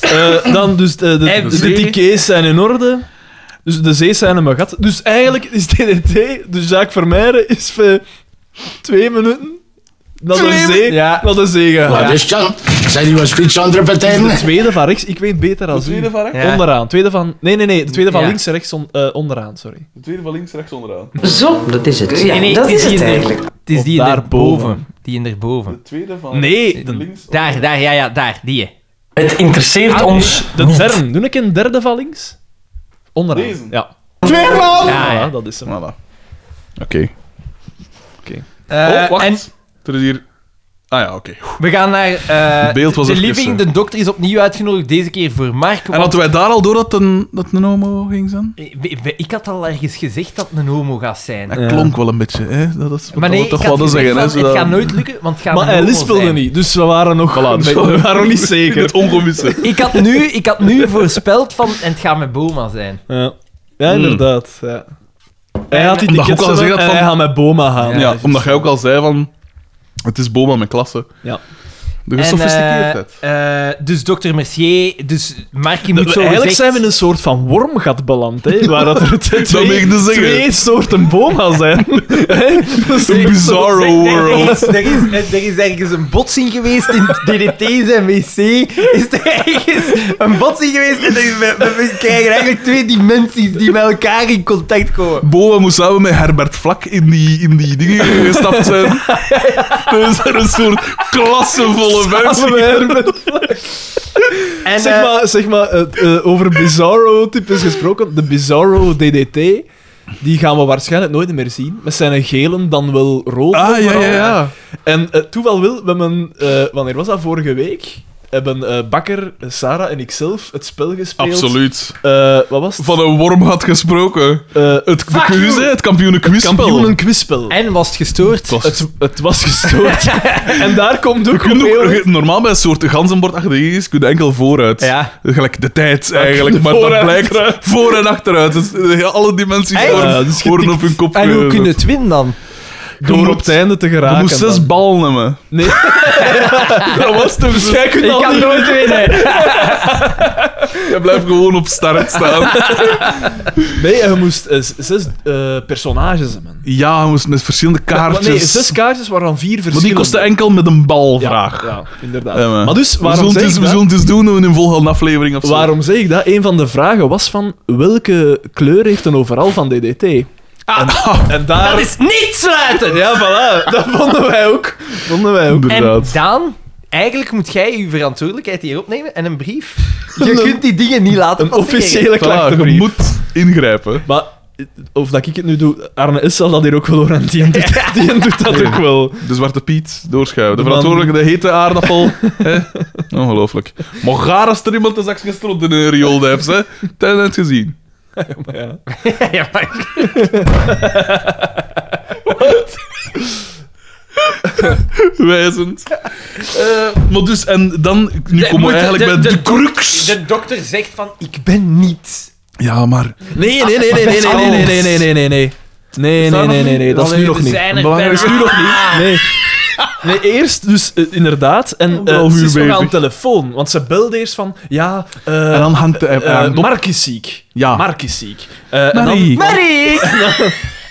Speaker 3: Eh, dan dus, eh, de,
Speaker 1: En
Speaker 3: de,
Speaker 1: de
Speaker 3: de
Speaker 1: zee.
Speaker 3: tickets zijn in orde. Dus de zee zijn in mijn gat. Dus eigenlijk is DDT, dus Jacques Vermeijden, is voor twee minuten naar de
Speaker 1: Twee
Speaker 3: zee,
Speaker 1: Ja.
Speaker 3: naar de zee gegaan.
Speaker 4: Wat is dat? dus Zijn die wat speech aan het
Speaker 3: Dus
Speaker 4: repeteren?
Speaker 3: de tweede van rechts, ik weet beter dan
Speaker 2: De tweede van rechts?
Speaker 1: Ja.
Speaker 3: Onderaan. Tweede van... Nee, nee, nee. De tweede van
Speaker 1: Ja.
Speaker 3: links en rechts on- eh, onderaan, sorry.
Speaker 2: De tweede van links, rechts onderaan.
Speaker 6: Zo, dat is het. Ja, dat is het eigenlijk.
Speaker 1: Het is
Speaker 3: Of
Speaker 1: die in
Speaker 3: daarboven.
Speaker 1: daarboven. Die in daarboven.
Speaker 2: De tweede van
Speaker 3: Nee, de-
Speaker 2: links.
Speaker 1: Daar, daar, ja, ja, daar. Die, hè.
Speaker 6: Het interesseert
Speaker 1: Ah,
Speaker 6: ons
Speaker 3: De derde. Doe ik een derde van links? Onderaan.
Speaker 2: Deze?
Speaker 3: Ja.
Speaker 1: Ja,
Speaker 3: Ja,
Speaker 1: Ah, ja.
Speaker 3: dat is hem.
Speaker 2: Voilà. Oké.
Speaker 1: Eh,
Speaker 2: oh, wacht.
Speaker 1: En
Speaker 2: Er is hier... Ah ja, oké.
Speaker 1: we gaan naar eh,
Speaker 2: beeld was
Speaker 1: de
Speaker 2: even,
Speaker 1: living.
Speaker 2: eh.
Speaker 1: De dokter is opnieuw uitgenodigd, deze keer voor Mark.
Speaker 2: En
Speaker 1: want-
Speaker 2: hadden wij daar al door dat een, dat een homo ging zijn?
Speaker 1: Ik- ik- Ik had al ergens gezegd dat het een homo gaat zijn.
Speaker 2: Dat
Speaker 3: Ja.
Speaker 2: klonk wel een beetje, hè? Dat is
Speaker 1: Maar nee,
Speaker 2: dat
Speaker 1: ik
Speaker 2: toch
Speaker 1: had
Speaker 2: wel te
Speaker 1: gezegd
Speaker 2: zeggen,
Speaker 1: van,
Speaker 2: hè? zodat-
Speaker 1: het gaat nooit lukken, want het gaat
Speaker 3: Maar
Speaker 1: een homo
Speaker 3: Alice speelde
Speaker 1: zijn.
Speaker 3: niet, dus we waren nog,
Speaker 2: dus-
Speaker 3: we waren nog niet zeker.
Speaker 2: Het ongewisse.
Speaker 1: Ik had, nu, ik had nu voorspeld van, en het gaat met Boma zijn.
Speaker 3: Ja, ja inderdaad. Ja. Hij had die
Speaker 2: Omdat
Speaker 3: tickets
Speaker 2: je ook al
Speaker 3: hebben
Speaker 2: gezegd had
Speaker 3: en
Speaker 2: van-
Speaker 3: hij gaat met Boma gaan.
Speaker 2: Ja, omdat jij ook al zei van... Het is Boma mijn klasse.
Speaker 3: Ja.
Speaker 2: De
Speaker 1: En,
Speaker 2: gesofistikeerdheid.
Speaker 1: eh, eh, dus dokter Mercier, dus Markie
Speaker 3: Dat-
Speaker 1: moet zo
Speaker 3: Eigenlijk
Speaker 1: gezegd...
Speaker 3: zijn we in een soort van wormgat beland, hè, waar dat er twee,
Speaker 2: meen ik te zeggen.
Speaker 3: twee soorten Boma zijn. Hè? Dat
Speaker 2: Een
Speaker 3: is echt zo-
Speaker 2: bizarro
Speaker 1: Er
Speaker 2: world.
Speaker 1: is, er, is, er is eh, ergens een botsing geweest in het DDT en WC. Is er ergens een botsing geweest en er is- we, we- we krijgen eigenlijk twee dimensies die met elkaar in contact komen.
Speaker 2: Boma moest samen met Herbert Vlak in die, in die dingen gestapt zijn. Dat is er een soort klassevolle
Speaker 3: Samen
Speaker 2: mensen.
Speaker 3: met Herbert.
Speaker 1: En,
Speaker 3: Zeg
Speaker 1: eh,
Speaker 3: maar, zeg maar eh, eh, over Bizarro-types gesproken. De Bizarro DDT, die gaan we waarschijnlijk nooit meer zien. Met zijn gelen dan wel rood.
Speaker 2: Ah, ja,
Speaker 3: overal.
Speaker 2: ja, ja.
Speaker 3: En eh toeval wil, we hebben, eh, wanneer was dat? Vorige week hebben eh, Bakker, eh, Sarah en ikzelf het spel gespeeld.
Speaker 2: Absoluut.
Speaker 3: Eh, wat was het?
Speaker 2: Van een worm had gesproken.
Speaker 3: Eh, het
Speaker 2: Het de quiz, hè, het kampioenen quizspel.
Speaker 3: kampioenen quizspel.
Speaker 1: en was het gestoord?
Speaker 2: Het was-
Speaker 3: Het, het was gestoord. en daar komt ook
Speaker 2: Je kunt
Speaker 3: een
Speaker 2: ook-
Speaker 3: heel-
Speaker 2: normaal bij een soort ganzenbord achter de is, kun je enkel vooruit.
Speaker 1: Ja.
Speaker 2: Gelijk de tijd eigenlijk,
Speaker 3: de
Speaker 2: maar dat
Speaker 3: voor- en
Speaker 2: blijkt voor en achteruit. Dus eh, alle dimensies
Speaker 1: Echt?
Speaker 2: worden,
Speaker 3: Ja, dus dat is
Speaker 2: worden
Speaker 3: getikt.
Speaker 2: op hun kop
Speaker 1: En hoe
Speaker 2: gezet.
Speaker 1: kun je het winnen dan?
Speaker 3: door
Speaker 2: moet-
Speaker 3: op het einde te geraken.
Speaker 2: Je moest zes
Speaker 3: dan.
Speaker 2: ballen nemen.
Speaker 3: Nee.
Speaker 2: Dat was het dus.
Speaker 3: Jij kunt al niet-
Speaker 1: nooit winnen.
Speaker 2: Je blijft gewoon op start staan.
Speaker 3: Nee, en je moest eh, z- zes eh, personages hebben.
Speaker 2: Ja, je moest met verschillende kaartjes.
Speaker 3: Maar nee, zes kaartjes waarvan vier
Speaker 2: maar die
Speaker 3: verschillende.
Speaker 2: kostte enkel met een bal
Speaker 3: Ja,
Speaker 2: vraag.
Speaker 3: Ja, inderdaad.
Speaker 2: Ja, maar-
Speaker 3: maar dus,
Speaker 2: we
Speaker 3: waarom
Speaker 2: zullen, het
Speaker 3: zeg,
Speaker 2: eens,
Speaker 3: ik
Speaker 2: we
Speaker 3: dat?
Speaker 2: zullen het eens doen in een volgende aflevering of zo.
Speaker 3: waarom zeg ik dat? Een van de vragen was van welke kleur heeft een overal van DDT? en, en daar...
Speaker 1: Dat is niet sluiten!
Speaker 3: Ja, voilà. Dat vonden wij ook. Vonden wij ook.
Speaker 1: En
Speaker 2: Inderdaad.
Speaker 1: Daan, eigenlijk moet jij je verantwoordelijkheid hier opnemen en een brief. Je kunt die dingen niet laten
Speaker 3: Een
Speaker 1: passeren.
Speaker 3: officiële
Speaker 2: Voilà, je
Speaker 3: klachtenbrief.
Speaker 2: moet ingrijpen.
Speaker 3: Maar eh, of dat ik het nu doe, Arne S. zal dat hier ook wel horen. Die doet, dat- die doet dat ook wel.
Speaker 2: De zwarte Piet doorschuiven. De
Speaker 3: De man-
Speaker 2: verantwoordelijke, de hete aardappel. hè? Ongelooflijk. Maar gaar als er iemand de zakjes stront in een riool heeft, hè? Dat heb je het gezien.
Speaker 3: Maar ja.
Speaker 1: Ja, maar-
Speaker 2: Wijzend. Eh, maar dus, en dan... Nu
Speaker 1: De-
Speaker 2: komen we
Speaker 1: moet-
Speaker 2: eigenlijk
Speaker 1: de-
Speaker 2: bij de,
Speaker 1: de-
Speaker 2: crux.
Speaker 1: De dokter zegt van, ik ben niet.
Speaker 2: Ja, maar...
Speaker 3: Nee, nee, nee, nee, nee, nee, nee, nee, nee, nee, nee, nee. Nee, nee, nee, nee, nee, dat is nu
Speaker 1: Allee,
Speaker 3: nog
Speaker 1: we
Speaker 3: niet.
Speaker 1: zijn er
Speaker 3: Belangrijk is
Speaker 1: bijna.
Speaker 3: nu nog niet. Nee. Nee, eerst dus eh, inderdaad. En eh
Speaker 2: Anderhalf
Speaker 3: ze is
Speaker 2: uur
Speaker 3: nog aan de
Speaker 2: bezig.
Speaker 3: telefoon. Want ze belde eerst van... Ja, eh,
Speaker 2: En dan hangt de... hij
Speaker 3: eh,
Speaker 2: hangt op.
Speaker 3: Mark is ziek.
Speaker 2: Ja.
Speaker 3: Mark is ziek. Eh, en dan-
Speaker 2: Marie.
Speaker 1: Marie!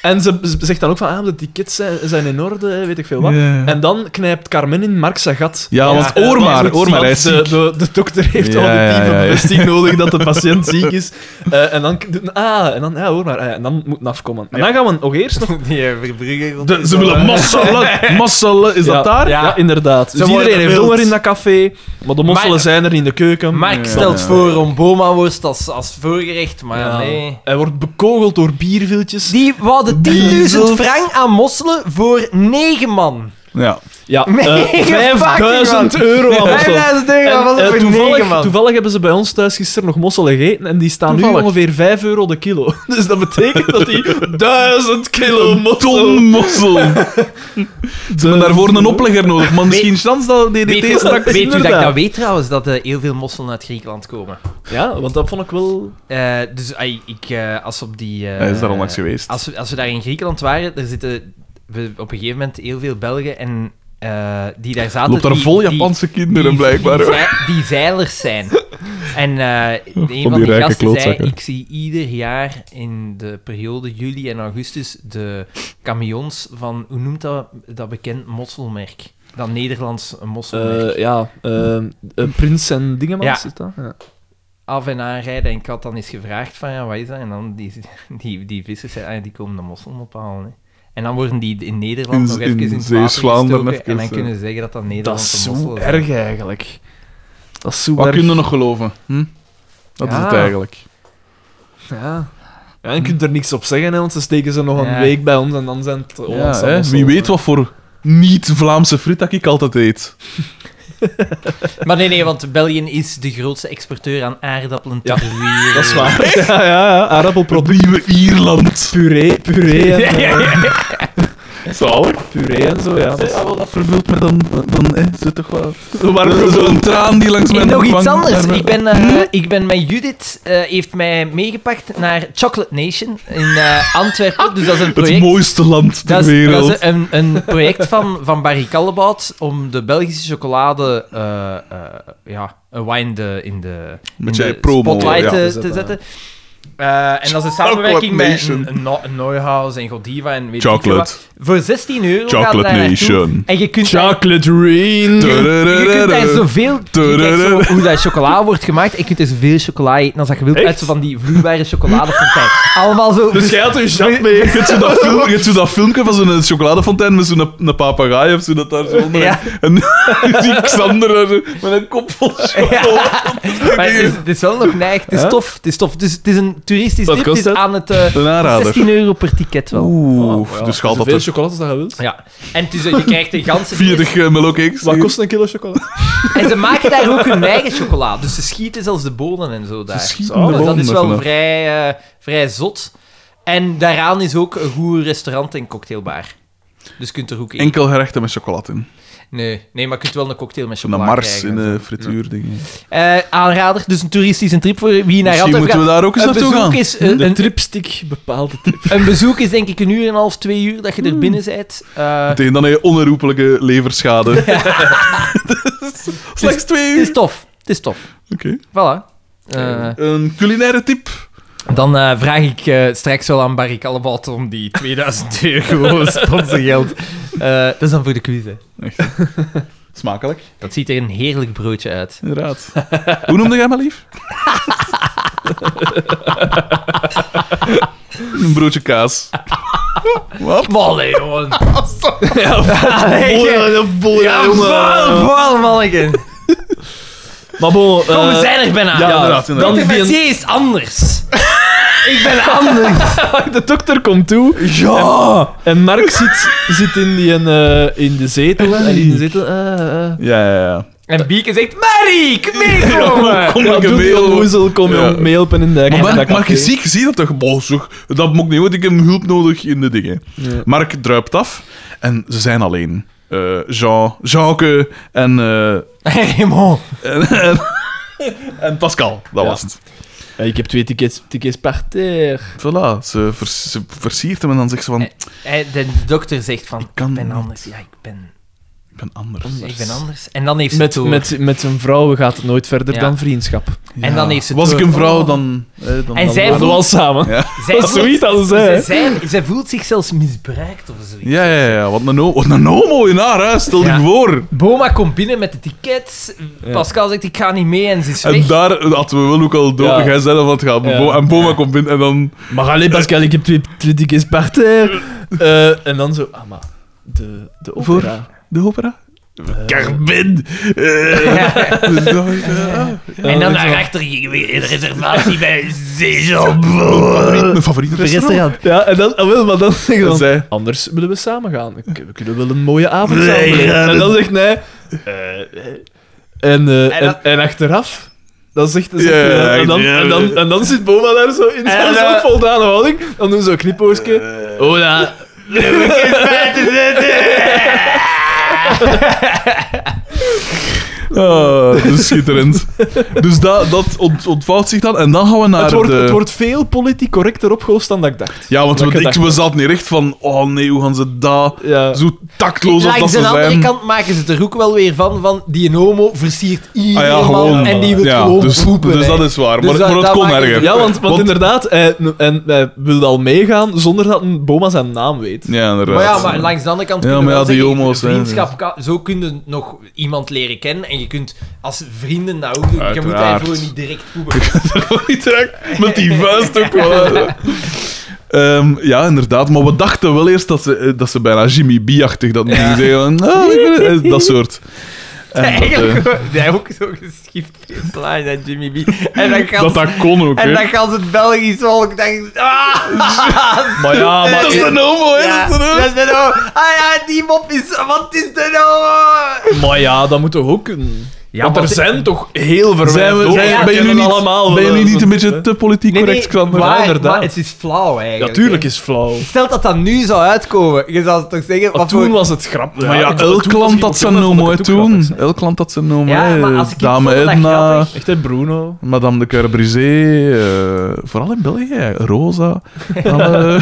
Speaker 3: En ze ze zegt dan ook van, ah, de tickets zijn, zijn in orde, weet ik veel wat.
Speaker 2: Ja.
Speaker 3: En dan knijpt Carmen in Mark zijn gat.
Speaker 2: Ja, want
Speaker 3: eh,
Speaker 2: oor maar,
Speaker 3: want-
Speaker 2: oor maar, hij
Speaker 3: want
Speaker 2: is
Speaker 3: de,
Speaker 2: ziek.
Speaker 3: de, de dokter heeft
Speaker 2: Ja,
Speaker 3: al
Speaker 2: ja,
Speaker 3: auditieve
Speaker 2: ja, ja.
Speaker 3: bevestiging nodig dat de patiënt ziek is. Eh, en dan... doet- Ah, en dan... Ja, hoor maar. eh, en dan moet het afkomen. En dan gaan we nog eerst nog...
Speaker 1: Die eh, Verbrugge...
Speaker 2: De- ze willen massale, massale, is dat daar?
Speaker 3: Ja, inderdaad. Dus
Speaker 1: worden
Speaker 3: iedereen heeft
Speaker 1: wild.
Speaker 3: honger in dat café, maar de mosselen
Speaker 1: Maar-
Speaker 3: zijn er in de keuken.
Speaker 1: Mark
Speaker 2: Ja.
Speaker 1: stelt voor om bomaworst als, als voorgerecht, maar
Speaker 3: Ja.
Speaker 1: nee.
Speaker 3: Hij wordt bekogeld door bierviltjes.
Speaker 1: Die wouden 10.000
Speaker 2: Diesels.
Speaker 1: frank aan mosselen voor 9 man.
Speaker 2: Ja.
Speaker 3: Ja,
Speaker 1: Nee,
Speaker 3: eh,
Speaker 1: fucking
Speaker 3: 5000
Speaker 1: man.
Speaker 3: euro aan mosselen.
Speaker 1: 5000 euro was
Speaker 3: En, eh,
Speaker 1: het voor 9
Speaker 3: toevallig,
Speaker 1: man.
Speaker 3: toevallig hebben ze bij ons thuis gisteren nog mosselen gegeten en die staan nu
Speaker 2: Toevallig.
Speaker 3: ongeveer 5 euro de kilo. Dus dat betekent dat die 1000 kilo mosselen...
Speaker 2: Ton mossel. Ze hebben daarvoor een oplegger nodig, maar misschien chans dat
Speaker 1: Weet,
Speaker 2: DDT
Speaker 1: u,
Speaker 2: straks...
Speaker 1: weet u dat ik
Speaker 3: inderdaad.
Speaker 1: dat weet trouwens, dat eh, heel veel mosselen uit Griekenland komen?
Speaker 3: Ja, want dat vond ik wel...
Speaker 1: Eh, dus ai, ik, eh, als op die... eh,
Speaker 2: Hij is daar onlangs geweest.
Speaker 1: Als we, als we daar in Griekenland waren, er zitten we, op een gegeven moment heel veel Belgen en eh, die daar zaten...
Speaker 2: Loopt daar
Speaker 1: die-
Speaker 2: vol
Speaker 1: die-
Speaker 2: Japanse kinderen,
Speaker 1: die-
Speaker 2: blijkbaar.
Speaker 1: Die,
Speaker 2: hoor.
Speaker 1: zei- die zeilers zijn. En eh een
Speaker 2: die
Speaker 1: van die,
Speaker 2: rijke
Speaker 1: gasten
Speaker 2: klootzakken.
Speaker 1: zei, ik zie ieder jaar in de periode juli en augustus de camions van, hoe noemt dat, dat bekend mosselmerk? Dat Nederlands mosselmerk.
Speaker 3: eh, ja, eh, eh, Prins en Dingemans
Speaker 1: Ja.
Speaker 3: is dat? Ja.
Speaker 1: Af en aanrijden en ik had dan eens gevraagd van, ja, wat is dat? En dan die, die, die vissers zeiden, ah, die komen de mosselen ophalen. hè. En dan worden die in Nederland
Speaker 2: In-
Speaker 1: nog even in,
Speaker 2: in
Speaker 1: het water
Speaker 2: Zeeuws-Vlaanderen
Speaker 1: gestoken en
Speaker 2: even,
Speaker 1: dan
Speaker 2: eh.
Speaker 1: kunnen ze zeggen dat dat
Speaker 3: Dat
Speaker 1: Nederlandse
Speaker 3: is
Speaker 1: mosselen
Speaker 3: zo
Speaker 1: zijn.
Speaker 3: erg eigenlijk. Dat is zo
Speaker 2: Wat
Speaker 3: erg.
Speaker 2: kun je nog geloven? Hm? Dat is
Speaker 3: Ja.
Speaker 2: het eigenlijk.
Speaker 3: Ja. Ja, en je kunt er niks op zeggen, hè, want ze steken ze nog een
Speaker 1: Ja.
Speaker 3: week bij ons en dan zijn het
Speaker 2: Ja,
Speaker 3: Hollandse
Speaker 2: hè?
Speaker 3: mosselen.
Speaker 2: Wie weet wat voor niet-Vlaamse friet dat ik altijd eet.
Speaker 1: Maar nee, nee, want België is de grootste exporteur aan aardappelen ter wereld.
Speaker 3: Dat is waar. Ja, ja, ja. Aardappelproduct.
Speaker 2: Nieuwe Ierland.
Speaker 3: Puree, puree en, eh,
Speaker 2: Zalig.
Speaker 3: puree en zo, ja. Dat is-
Speaker 2: Ja, wel, dat vervult me dan, dan hè, zit toch wel...
Speaker 3: warm
Speaker 2: Dat is
Speaker 3: gevoel.
Speaker 2: Zo'n traan die langs mijn
Speaker 1: En nog iets
Speaker 2: wang-
Speaker 1: anders.
Speaker 2: naar mijn-
Speaker 1: Ik ben, eh,
Speaker 2: Hm?
Speaker 1: ik ben met Judith, eh, heeft mij meegepakt naar Chocolate Nation in eh, Antwerpen. Dus dat is een
Speaker 2: Het
Speaker 1: project.
Speaker 2: mooiste land ter
Speaker 1: dat is,
Speaker 2: wereld.
Speaker 1: dat is een, een project van, van Barry Callebout om de Belgische chocolade eh, eh, ja, een wine de, in de, in
Speaker 2: Met jij
Speaker 1: de
Speaker 2: promo,
Speaker 1: spotlight
Speaker 2: ja.
Speaker 1: eh,
Speaker 3: te
Speaker 1: te,
Speaker 3: zetten.
Speaker 1: zetten. Eh, en dat is een
Speaker 2: Chocolate
Speaker 1: samenwerking met
Speaker 2: Nation.
Speaker 1: een, een, No- een Neuhaus en Godiva en weet ik veel
Speaker 2: Chocolate.
Speaker 1: wat. Voor 16 euro gaat
Speaker 2: Chocolate
Speaker 1: daar naartoe.
Speaker 2: Nation.
Speaker 1: En je kunt daar-
Speaker 3: Chocolate rain.
Speaker 1: je kunt daar
Speaker 2: Tudurururu.
Speaker 1: zoveel... Je kijkt zo hoe dat chocola wordt gemaakt. En je kunt er zoveel chocola eten als dat je wilt.
Speaker 3: Echt?
Speaker 1: Uit zo van die vloeibare chocoladefontein. Allemaal zo...
Speaker 3: Dus jij had een jap mee.
Speaker 2: Je hebt zo dat, film, je hebt zo dat filmpje van zo'n chocoladefontein met zo'n een papegaai of zo dat daar zo onder.
Speaker 1: Ja.
Speaker 2: En je ziet Xander daar zo met een kop vol chocolade.
Speaker 1: Maar het, is, het is wel nog neig. Het is
Speaker 3: Huh?
Speaker 1: tof. Het is tof. Dus het is een toeristisch
Speaker 2: Wat
Speaker 1: tip. Het
Speaker 2: kost
Speaker 1: is
Speaker 2: het?
Speaker 1: aan het... eh,
Speaker 2: Een aanrader.
Speaker 1: 16 euro per ticket wel.
Speaker 2: Oeh, dus gaat dat
Speaker 3: Zoveel
Speaker 2: er
Speaker 3: chocolade als dat je wilt.
Speaker 1: Ja. En het is, eh, je krijgt de ganse...
Speaker 2: 40 uh, melkcakes.
Speaker 3: Wat kost een kilo chocolade?
Speaker 1: En ze maken daar ook hun eigen chocola. Dus ze schieten zelfs de bonen en zo daar.
Speaker 2: schieten
Speaker 1: Dus
Speaker 2: de
Speaker 1: dat
Speaker 2: bonen
Speaker 1: is wel
Speaker 2: ervan af.
Speaker 1: vrij, eh, vrij zot. En daaraan is ook een goed restaurant en cocktailbar. Dus je kunt er ook in.
Speaker 2: Enkel gerechten met chocolade in.
Speaker 1: Nee, nee, maar je kunt wel een cocktail met
Speaker 2: Zo'n
Speaker 1: chocola
Speaker 2: mars in
Speaker 1: krijgen.
Speaker 2: de frituur dingen.
Speaker 1: Eh, aanrader, dus een toeristische trip voor wie naar
Speaker 2: Misschien
Speaker 1: Antwerpen
Speaker 2: moeten we
Speaker 1: gaat.
Speaker 2: daar ook eens
Speaker 1: een
Speaker 2: naartoe
Speaker 1: bezoek
Speaker 2: gaan.
Speaker 1: Is, eh,
Speaker 3: Een
Speaker 1: een,
Speaker 3: tripstick, bepaalde trip.
Speaker 1: een bezoek is denk ik een uur en een half, twee uur dat je
Speaker 3: Hmm.
Speaker 1: er binnen bent. Eh,
Speaker 2: Meteen dan heb je onherroepelijke leverschade. Slechts twee
Speaker 1: het is
Speaker 2: uur.
Speaker 1: tof, het is tof.
Speaker 2: Oké.
Speaker 1: Voilà. Eh,
Speaker 2: Een culinaire tip.
Speaker 1: dan eh, vraag ik eh, straks wel aan Barry Callebaut om die 2000 euro sponsorgeld. Eh, dat is dan voor de quiz, hè.
Speaker 2: Smakelijk.
Speaker 1: Dat ziet er een heerlijk broodje uit.
Speaker 2: Inderdaad. Hoe noemde jij maar lief? een broodje kaas. Wat?
Speaker 1: Malle, jongen.
Speaker 2: Ja,
Speaker 1: Vol, vol, manneken.
Speaker 3: Maar bon, eh,
Speaker 1: Kom, we zijn er bijna.
Speaker 2: ja, inderdaad.
Speaker 3: dan
Speaker 2: inderdaad.
Speaker 1: De
Speaker 3: die een-
Speaker 1: metier is anders. ik ben anders.
Speaker 3: de dokter komt toe. Ja! En, en Mark zit, zit in, die, een, eh, in de zetel. hè, En in de zetel. eh, eh.
Speaker 2: Ja, ja, ja.
Speaker 1: En Bieke zegt, Marie, kom meekomen.
Speaker 2: Kom
Speaker 3: Ja,
Speaker 2: ik een
Speaker 3: doe die
Speaker 2: mail.
Speaker 3: onnoezel, kom
Speaker 2: Ja.
Speaker 3: je meelpen in de
Speaker 2: Oh, Maar
Speaker 3: in dat
Speaker 2: Mark, Mark
Speaker 3: café.
Speaker 2: is ziek, zie je dat toch? Boah, zeg, dat moet ik niet, want ik heb hulp nodig in de dingen.
Speaker 3: Ja.
Speaker 2: Mark druipt af en ze zijn alleen. Eh, Jean, Jeanke en, eh,
Speaker 1: Raymond.
Speaker 2: en, en, en Pascal, dat
Speaker 3: Ja.
Speaker 2: was het.
Speaker 3: Ja, ik heb twee tickets, tickets per terre.
Speaker 2: Voilà, ze, vers- ze versiert hem en dan zegt ze van...
Speaker 1: Eh, De dokter zegt van, ik,
Speaker 2: kan
Speaker 1: ben
Speaker 2: niet.
Speaker 1: anders. Ja, ik ben...
Speaker 2: Ik ben anders.
Speaker 1: Ik ben anders. En dan heeft ze het
Speaker 3: Met,
Speaker 1: door.
Speaker 3: met, met een vrouw gaat het nooit verder
Speaker 1: Ja.
Speaker 3: dan vriendschap.
Speaker 1: En dan heeft ze Oh. het
Speaker 2: Was ik
Speaker 1: door.
Speaker 2: een vrouw, dan... eh, dan
Speaker 1: En
Speaker 2: dan-
Speaker 1: zij
Speaker 3: Dat
Speaker 1: voelt-
Speaker 3: wel samen.
Speaker 2: Ja.
Speaker 1: Zij
Speaker 3: Dat is
Speaker 1: voelt-
Speaker 3: zoiets als zij, hè?
Speaker 1: ze- zij- Zij voelt zich zelfs misbruikt of zoiets.
Speaker 2: Ja, ja, ja. Wat een, ho- wat een homo in haar huis, stel je
Speaker 1: Ja.
Speaker 2: voor.
Speaker 1: Boma komt binnen met de tickets. Pascal zegt, ik ga niet mee en ze is weg.
Speaker 2: En daar hadden we wel ook al door.
Speaker 3: Ja.
Speaker 2: Jij zei dat wat gaat.
Speaker 3: Ja.
Speaker 2: Bo- En Boma komt binnen en dan...
Speaker 3: Maar alleen Pascal, ik heb twee, twee dikke sparter. Eh, en dan zo, ah maar, de, de opera.
Speaker 2: De opera? Carmen! Eh, dus dan- ja.
Speaker 1: en dan
Speaker 3: Eh,
Speaker 1: daarachter gingen we in de reservatie bij Zeezo.
Speaker 2: Mijn favoriete restaurant.
Speaker 3: Ja, en dan, ah, wel, maar dan zeg je
Speaker 2: Dat
Speaker 3: dan,
Speaker 2: zei...
Speaker 3: anders willen we samen gaan. Ik- We kunnen wel een mooie avond samen beleven. En dan zegt nee. eh, eh. en, eh, en,
Speaker 1: En dan-
Speaker 3: en achteraf, dan zegt, zegt
Speaker 2: Ja,
Speaker 3: hij,
Speaker 2: ja,
Speaker 3: en, dan,
Speaker 2: ja.
Speaker 3: en, dan, en dan zit Boma daar zo in zijn
Speaker 1: dan-
Speaker 3: uh, voldane houding. Dan doen ze een knipoogje. Oh, Hola.
Speaker 2: Ah, dat is schitterend. dus dat, dat ont- ontvouwt zich dan. En dan gaan we naar
Speaker 3: Het wordt,
Speaker 2: de...
Speaker 3: het wordt veel politiek correcter opgelost dan dat ik dacht.
Speaker 2: Ja, want
Speaker 3: Dat
Speaker 2: we,
Speaker 3: ik
Speaker 2: ik,
Speaker 3: dacht.
Speaker 2: we zaten hier echt van... Oh nee, hoe gaan ze dat...
Speaker 3: Ja.
Speaker 2: Zo tactloos als dat
Speaker 1: Langs
Speaker 2: ze
Speaker 1: de andere
Speaker 2: zijn.
Speaker 1: kant maken ze het er ook wel weer van, van die homo versiert iedereen
Speaker 2: Ah ja, gewoon.
Speaker 1: en die wil
Speaker 2: ja,
Speaker 1: gewoon
Speaker 2: dus,
Speaker 1: poepen.
Speaker 2: Dus
Speaker 1: hè.
Speaker 2: dat is waar.
Speaker 1: Dus
Speaker 2: Maar,
Speaker 1: dat-
Speaker 2: maar het
Speaker 1: dat
Speaker 2: kon
Speaker 1: maakt het-
Speaker 2: erger.
Speaker 3: Ja, want, want,
Speaker 2: Want-
Speaker 3: inderdaad, hij, en hij wilde al meegaan zonder dat een Boma zijn naam weet.
Speaker 2: Ja, inderdaad.
Speaker 1: Maar ja, maar langs de andere kant
Speaker 2: Ja,
Speaker 1: kunnen we
Speaker 2: maar ja,
Speaker 1: wel
Speaker 2: die
Speaker 1: zeggen,
Speaker 2: homo's, hè.
Speaker 1: vriendschap, kan- zo kun je nog iemand leren kennen en je kunt als vrienden dat ook doen. Je moet
Speaker 2: Uiteraard.
Speaker 1: daarvoor niet direct poepen.
Speaker 2: Niet direct, met die vuist ook wel. Ehm, ja, inderdaad. Maar we dachten wel eerst dat ze, eh, dat ze bijna Jimmy B-achtig dat ja. zeggen. van, "Ah, ik ben het," eh, dat soort. En dat, eh,
Speaker 1: Eigenlijk, gewoon- hij ook zo geschift geslagen naar Jimmy B. En dan gaan
Speaker 2: dat
Speaker 1: ze,
Speaker 2: dat kon ook,
Speaker 1: en
Speaker 2: hè.
Speaker 1: dan gaan ze het Belgisch volk denken... Ah,
Speaker 3: Maar ja, maar...
Speaker 2: Dat is een homo, hè.
Speaker 1: ja,
Speaker 2: dat is een homo.
Speaker 1: dat is de homo. Ah ja, die mop is... Wat is nou? de homo?
Speaker 3: Maar ja, dat moet toch ook kunnen. Want er
Speaker 1: maar-
Speaker 3: zijn toch heel
Speaker 2: Zijn
Speaker 3: verwijfd
Speaker 2: we, zijn,
Speaker 1: ja,
Speaker 2: ben je nu niet,
Speaker 3: allemaal
Speaker 2: ben je
Speaker 3: wel eh,
Speaker 2: nu niet
Speaker 3: eens-
Speaker 2: een beetje te politiek
Speaker 1: Nee, nee,
Speaker 2: correct, Xander?
Speaker 1: maar,
Speaker 3: Ja, inderdaad.
Speaker 1: maar het is flauw eigenlijk.
Speaker 3: Ja, tuurlijk is flauw.
Speaker 1: Stel dat dat nu zou uitkomen. Je zou het toch zeggen...
Speaker 3: Maar
Speaker 1: Wat
Speaker 3: toen
Speaker 1: voor-
Speaker 3: was het grap.
Speaker 2: Maar ja,
Speaker 3: toen-
Speaker 2: elk
Speaker 3: toen was
Speaker 2: land
Speaker 3: ik
Speaker 2: had
Speaker 3: ook
Speaker 2: zijn
Speaker 3: wel
Speaker 2: homo, hè,
Speaker 3: dat het ook
Speaker 2: toen.
Speaker 3: grappig
Speaker 2: nou Elk land had zijn homo,
Speaker 1: Ja,
Speaker 2: hè.
Speaker 1: maar als ik
Speaker 2: nou Dame
Speaker 1: vond dat
Speaker 2: Edna,
Speaker 1: grappig.
Speaker 3: is. Echt, hè, Bruno?
Speaker 2: Madame de Carbrizé, eh, vooral in België, ja. Rosa. Alle...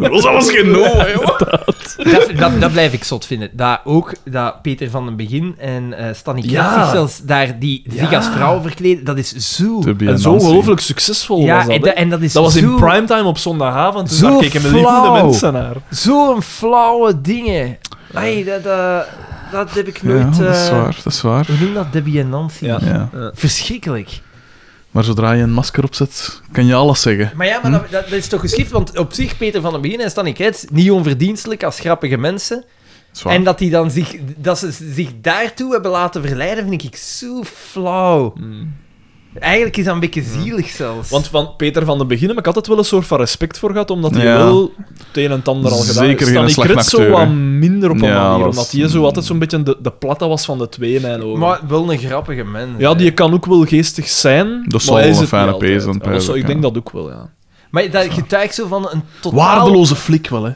Speaker 2: Rosa was geen no, hè, joh.
Speaker 1: dat, dat, dat blijf ik zot vinden. Dat ook dat Peter van den Begin en eh Stanny
Speaker 3: Ja.
Speaker 1: Kretsch zelfs daar die zich als vrouw verkleden, dat is zo...
Speaker 2: To be
Speaker 3: En zo
Speaker 2: Nancy.
Speaker 3: ongelooflijk succesvol
Speaker 1: Ja,
Speaker 3: was
Speaker 2: eh,
Speaker 1: en,
Speaker 3: dat, hè.
Speaker 1: da- en oh, dat is
Speaker 3: Dat was in
Speaker 1: zo-
Speaker 3: primetime op zondagavond, dus
Speaker 1: Zo
Speaker 3: daar keken miljoenen
Speaker 1: flauw.
Speaker 3: mensen naar.
Speaker 1: Zo'n flauwe dingen. Ai, dat, eh, dat heb ik nooit...
Speaker 2: Ja, dat is
Speaker 1: eh,
Speaker 2: waar, dat is waar.
Speaker 1: Hoe noem dat? Debbie en Nancy.
Speaker 3: Ja.
Speaker 2: Ja.
Speaker 1: Verschrikkelijk.
Speaker 2: Maar zodra je een masker opzet, kan je alles zeggen.
Speaker 1: Maar ja, maar dat, dat, dat is toch geschikt? Want op zich, Peter van den Begin en Stanny Kretsch, niet onverdienstelijk als grappige mensen.
Speaker 2: Zwaar.
Speaker 1: En dat, die dan zich, dat ze zich daartoe hebben laten verleiden, vind ik zo flauw.
Speaker 2: Mm.
Speaker 1: Eigenlijk is dat een beetje zielig zelfs.
Speaker 3: Want van Peter van de beginnen, maar ik had het wel een soort van respect voor gehad, omdat hij
Speaker 2: Ja.
Speaker 3: wel het een en het ander al gedaan
Speaker 2: Zeker
Speaker 3: heeft.
Speaker 2: geen
Speaker 3: Stanley
Speaker 2: slechte
Speaker 3: Kretz zo
Speaker 2: acteur,
Speaker 3: wat
Speaker 2: hè.
Speaker 3: minder op een
Speaker 2: Ja,
Speaker 3: manier,
Speaker 2: was-
Speaker 3: omdat hij zo altijd zo'n beetje de, de platte was van de twee in mijn ogen.
Speaker 1: Maar wel een grappige mens.
Speaker 3: ja,
Speaker 1: hè.
Speaker 3: die kan ook wel geestig zijn,
Speaker 2: Dat zal
Speaker 3: maar hij
Speaker 2: wel
Speaker 3: is
Speaker 2: een
Speaker 3: het niet
Speaker 2: fijne
Speaker 3: altijd.
Speaker 2: pees zijn,
Speaker 3: Ja, dat zou-
Speaker 2: pijs
Speaker 3: Ik
Speaker 2: ook,
Speaker 3: denk
Speaker 2: ja.
Speaker 3: dat ook wel, ja.
Speaker 1: Maar dat getuigt zo van een totaal...
Speaker 2: Waardeloze flik wel, hè.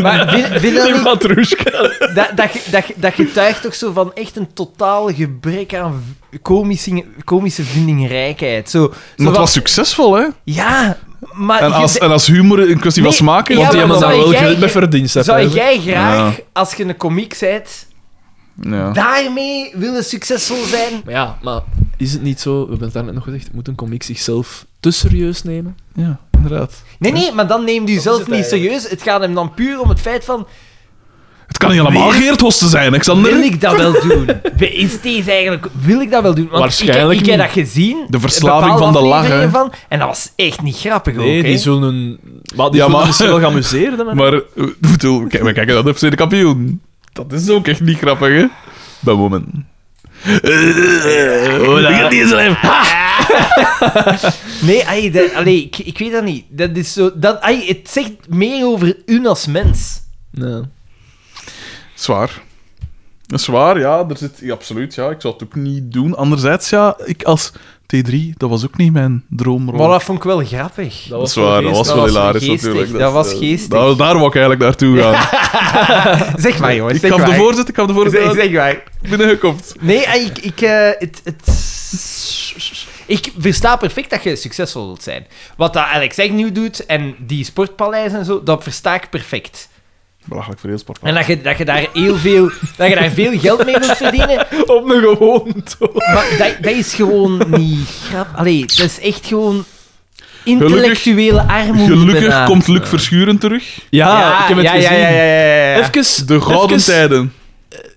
Speaker 1: Maar vind, vind je dat,
Speaker 3: Die
Speaker 1: niet-
Speaker 3: matrushka.
Speaker 1: dat, dat, ge- dat, ge- dat getuigt toch zo van echt een totaal gebrek aan v- komische, komische vindingrijkheid. Zo, zo
Speaker 2: Maar het
Speaker 1: van-
Speaker 2: was succesvol, hè.
Speaker 1: Ja, maar...
Speaker 2: En
Speaker 1: Ah, je-
Speaker 2: als, en als humor een kwestie van
Speaker 1: Nee,
Speaker 2: smaak is...
Speaker 1: ja,
Speaker 3: Want die
Speaker 1: maar
Speaker 3: hebben
Speaker 1: zou
Speaker 3: daar wel
Speaker 1: jij-
Speaker 3: geld bij verdiend. hè,
Speaker 1: Zou
Speaker 3: pijs, hè.
Speaker 1: jij graag,
Speaker 2: Ja. Ah.
Speaker 1: als je een komiek bent,
Speaker 2: Ja.
Speaker 1: daarmee willen succesvol zijn?
Speaker 3: Maar ja, maar is het niet zo, we hebben het daarnet nog gezegd, moet een comic zichzelf te serieus nemen?
Speaker 2: ja, inderdaad.
Speaker 1: Nee, nee, maar dan neemt u zelf
Speaker 3: het
Speaker 1: niet serieus. Het gaat hem dan puur om het feit van...
Speaker 2: Het kan niet allemaal Geert Hosten zijn, hè,
Speaker 1: Wil
Speaker 2: Xander.
Speaker 1: ik dat wel doen? Is deze eigenlijk... Wil ik dat wel doen? Want
Speaker 3: Waarschijnlijk
Speaker 1: ik, ik heb
Speaker 3: niet.
Speaker 1: dat gezien.
Speaker 2: De verslaving
Speaker 1: bepaalde
Speaker 2: van de lach, hè.
Speaker 1: afleveringen Van, en dat was echt niet grappig
Speaker 3: Nee,
Speaker 1: ook, hè.
Speaker 3: die zullen... Maar die
Speaker 2: Ja,
Speaker 3: zullen
Speaker 2: maar-
Speaker 3: misschien wel geamuseerd hebben.
Speaker 2: Maar, eh, ik bedoel, kijk, we kijken naar de FC de kampioen. Dat is ook echt niet grappig, hè. Bij Woman. Hola.
Speaker 1: Nee, ai, dat- allee, ik, ik weet dat niet. Dat is zo... Dat, ai, het zegt meer over u als mens.
Speaker 3: Nee.
Speaker 2: Zwaar. Zwaar, ja, er zit, ja, absoluut. Ja, ik zou het ook niet doen. Anderzijds, ja, ik als T3, dat was ook niet mijn droomrol.
Speaker 1: Maar dat vond ik wel grappig.
Speaker 2: Dat is waar, dat was
Speaker 1: geestig.
Speaker 2: wel
Speaker 1: Dat was
Speaker 2: hilarisch
Speaker 1: geestig,
Speaker 2: natuurlijk.
Speaker 1: dat was
Speaker 2: eh,
Speaker 1: geestig.
Speaker 2: daar- daar wou ik eigenlijk naartoe gaan.
Speaker 1: Zeg maar, jongens.
Speaker 2: ik
Speaker 1: zeg
Speaker 2: ga op de
Speaker 1: maar.
Speaker 2: voorzet, ik ga op de voorzet.
Speaker 1: Zeg,
Speaker 2: Zeg,
Speaker 1: zeg maar.
Speaker 2: Binnengekopt.
Speaker 1: Nee, eh, ik... ik, eh, het, het... Ik versta perfect dat je succesvol wilt zijn. Wat dat Alex Agnew doet en die sportpaleis en zo, dat versta ik perfect.
Speaker 2: Belachelijk voor heel sport.
Speaker 1: En dat je, dat je daar heel veel, dat je daar veel geld mee moet verdienen.
Speaker 3: Op een gewoon
Speaker 1: Maar dat, dat is gewoon niet grappig. Allee, dat is echt gewoon intellectuele armoede.
Speaker 2: Gelukkig
Speaker 1: bijna.
Speaker 2: komt Ah, Luc Verschuren terug.
Speaker 3: Ja, ik heb het
Speaker 1: ja,
Speaker 3: gezien.
Speaker 1: Ja, ja, ja, ja, ja.
Speaker 3: Even,
Speaker 2: De gouden
Speaker 3: even,
Speaker 2: tijden.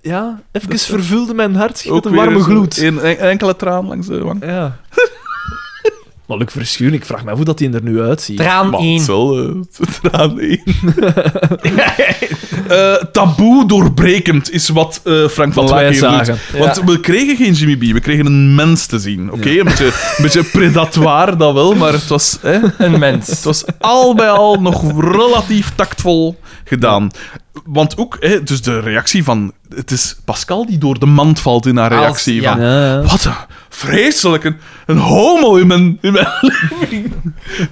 Speaker 3: Ja, even vervulde mijn hart
Speaker 2: Ook
Speaker 3: met een warme
Speaker 2: weer zo
Speaker 3: gloed.
Speaker 2: Een, een- enkele traan langs de wang.
Speaker 3: Ja. maar Luc Verschuren, ik vraag me af hoe dat hij er nu uitziet.
Speaker 1: Traan
Speaker 2: Maar
Speaker 1: 1.
Speaker 2: het zal, eh, traan één. Eh, taboe doorbrekend is wat eh, Frank van
Speaker 3: Wat wij
Speaker 2: Laak hier doet.
Speaker 3: zagen.
Speaker 2: Want we kregen geen Jimmy B, we kregen een mens te zien. Oké, een, beetje, een beetje predatoire, dat wel, maar het was, hè,
Speaker 1: Een mens.
Speaker 2: het was al bij al nog relatief tactvol gedaan. Want ook, hè, dus de reactie van... Het is Pascal die door de mand valt in haar
Speaker 1: Als-
Speaker 2: reactie.
Speaker 1: ja.
Speaker 2: van,
Speaker 3: Ja.
Speaker 2: wat een vreselijk, een, een homo in mijn, in mijn living.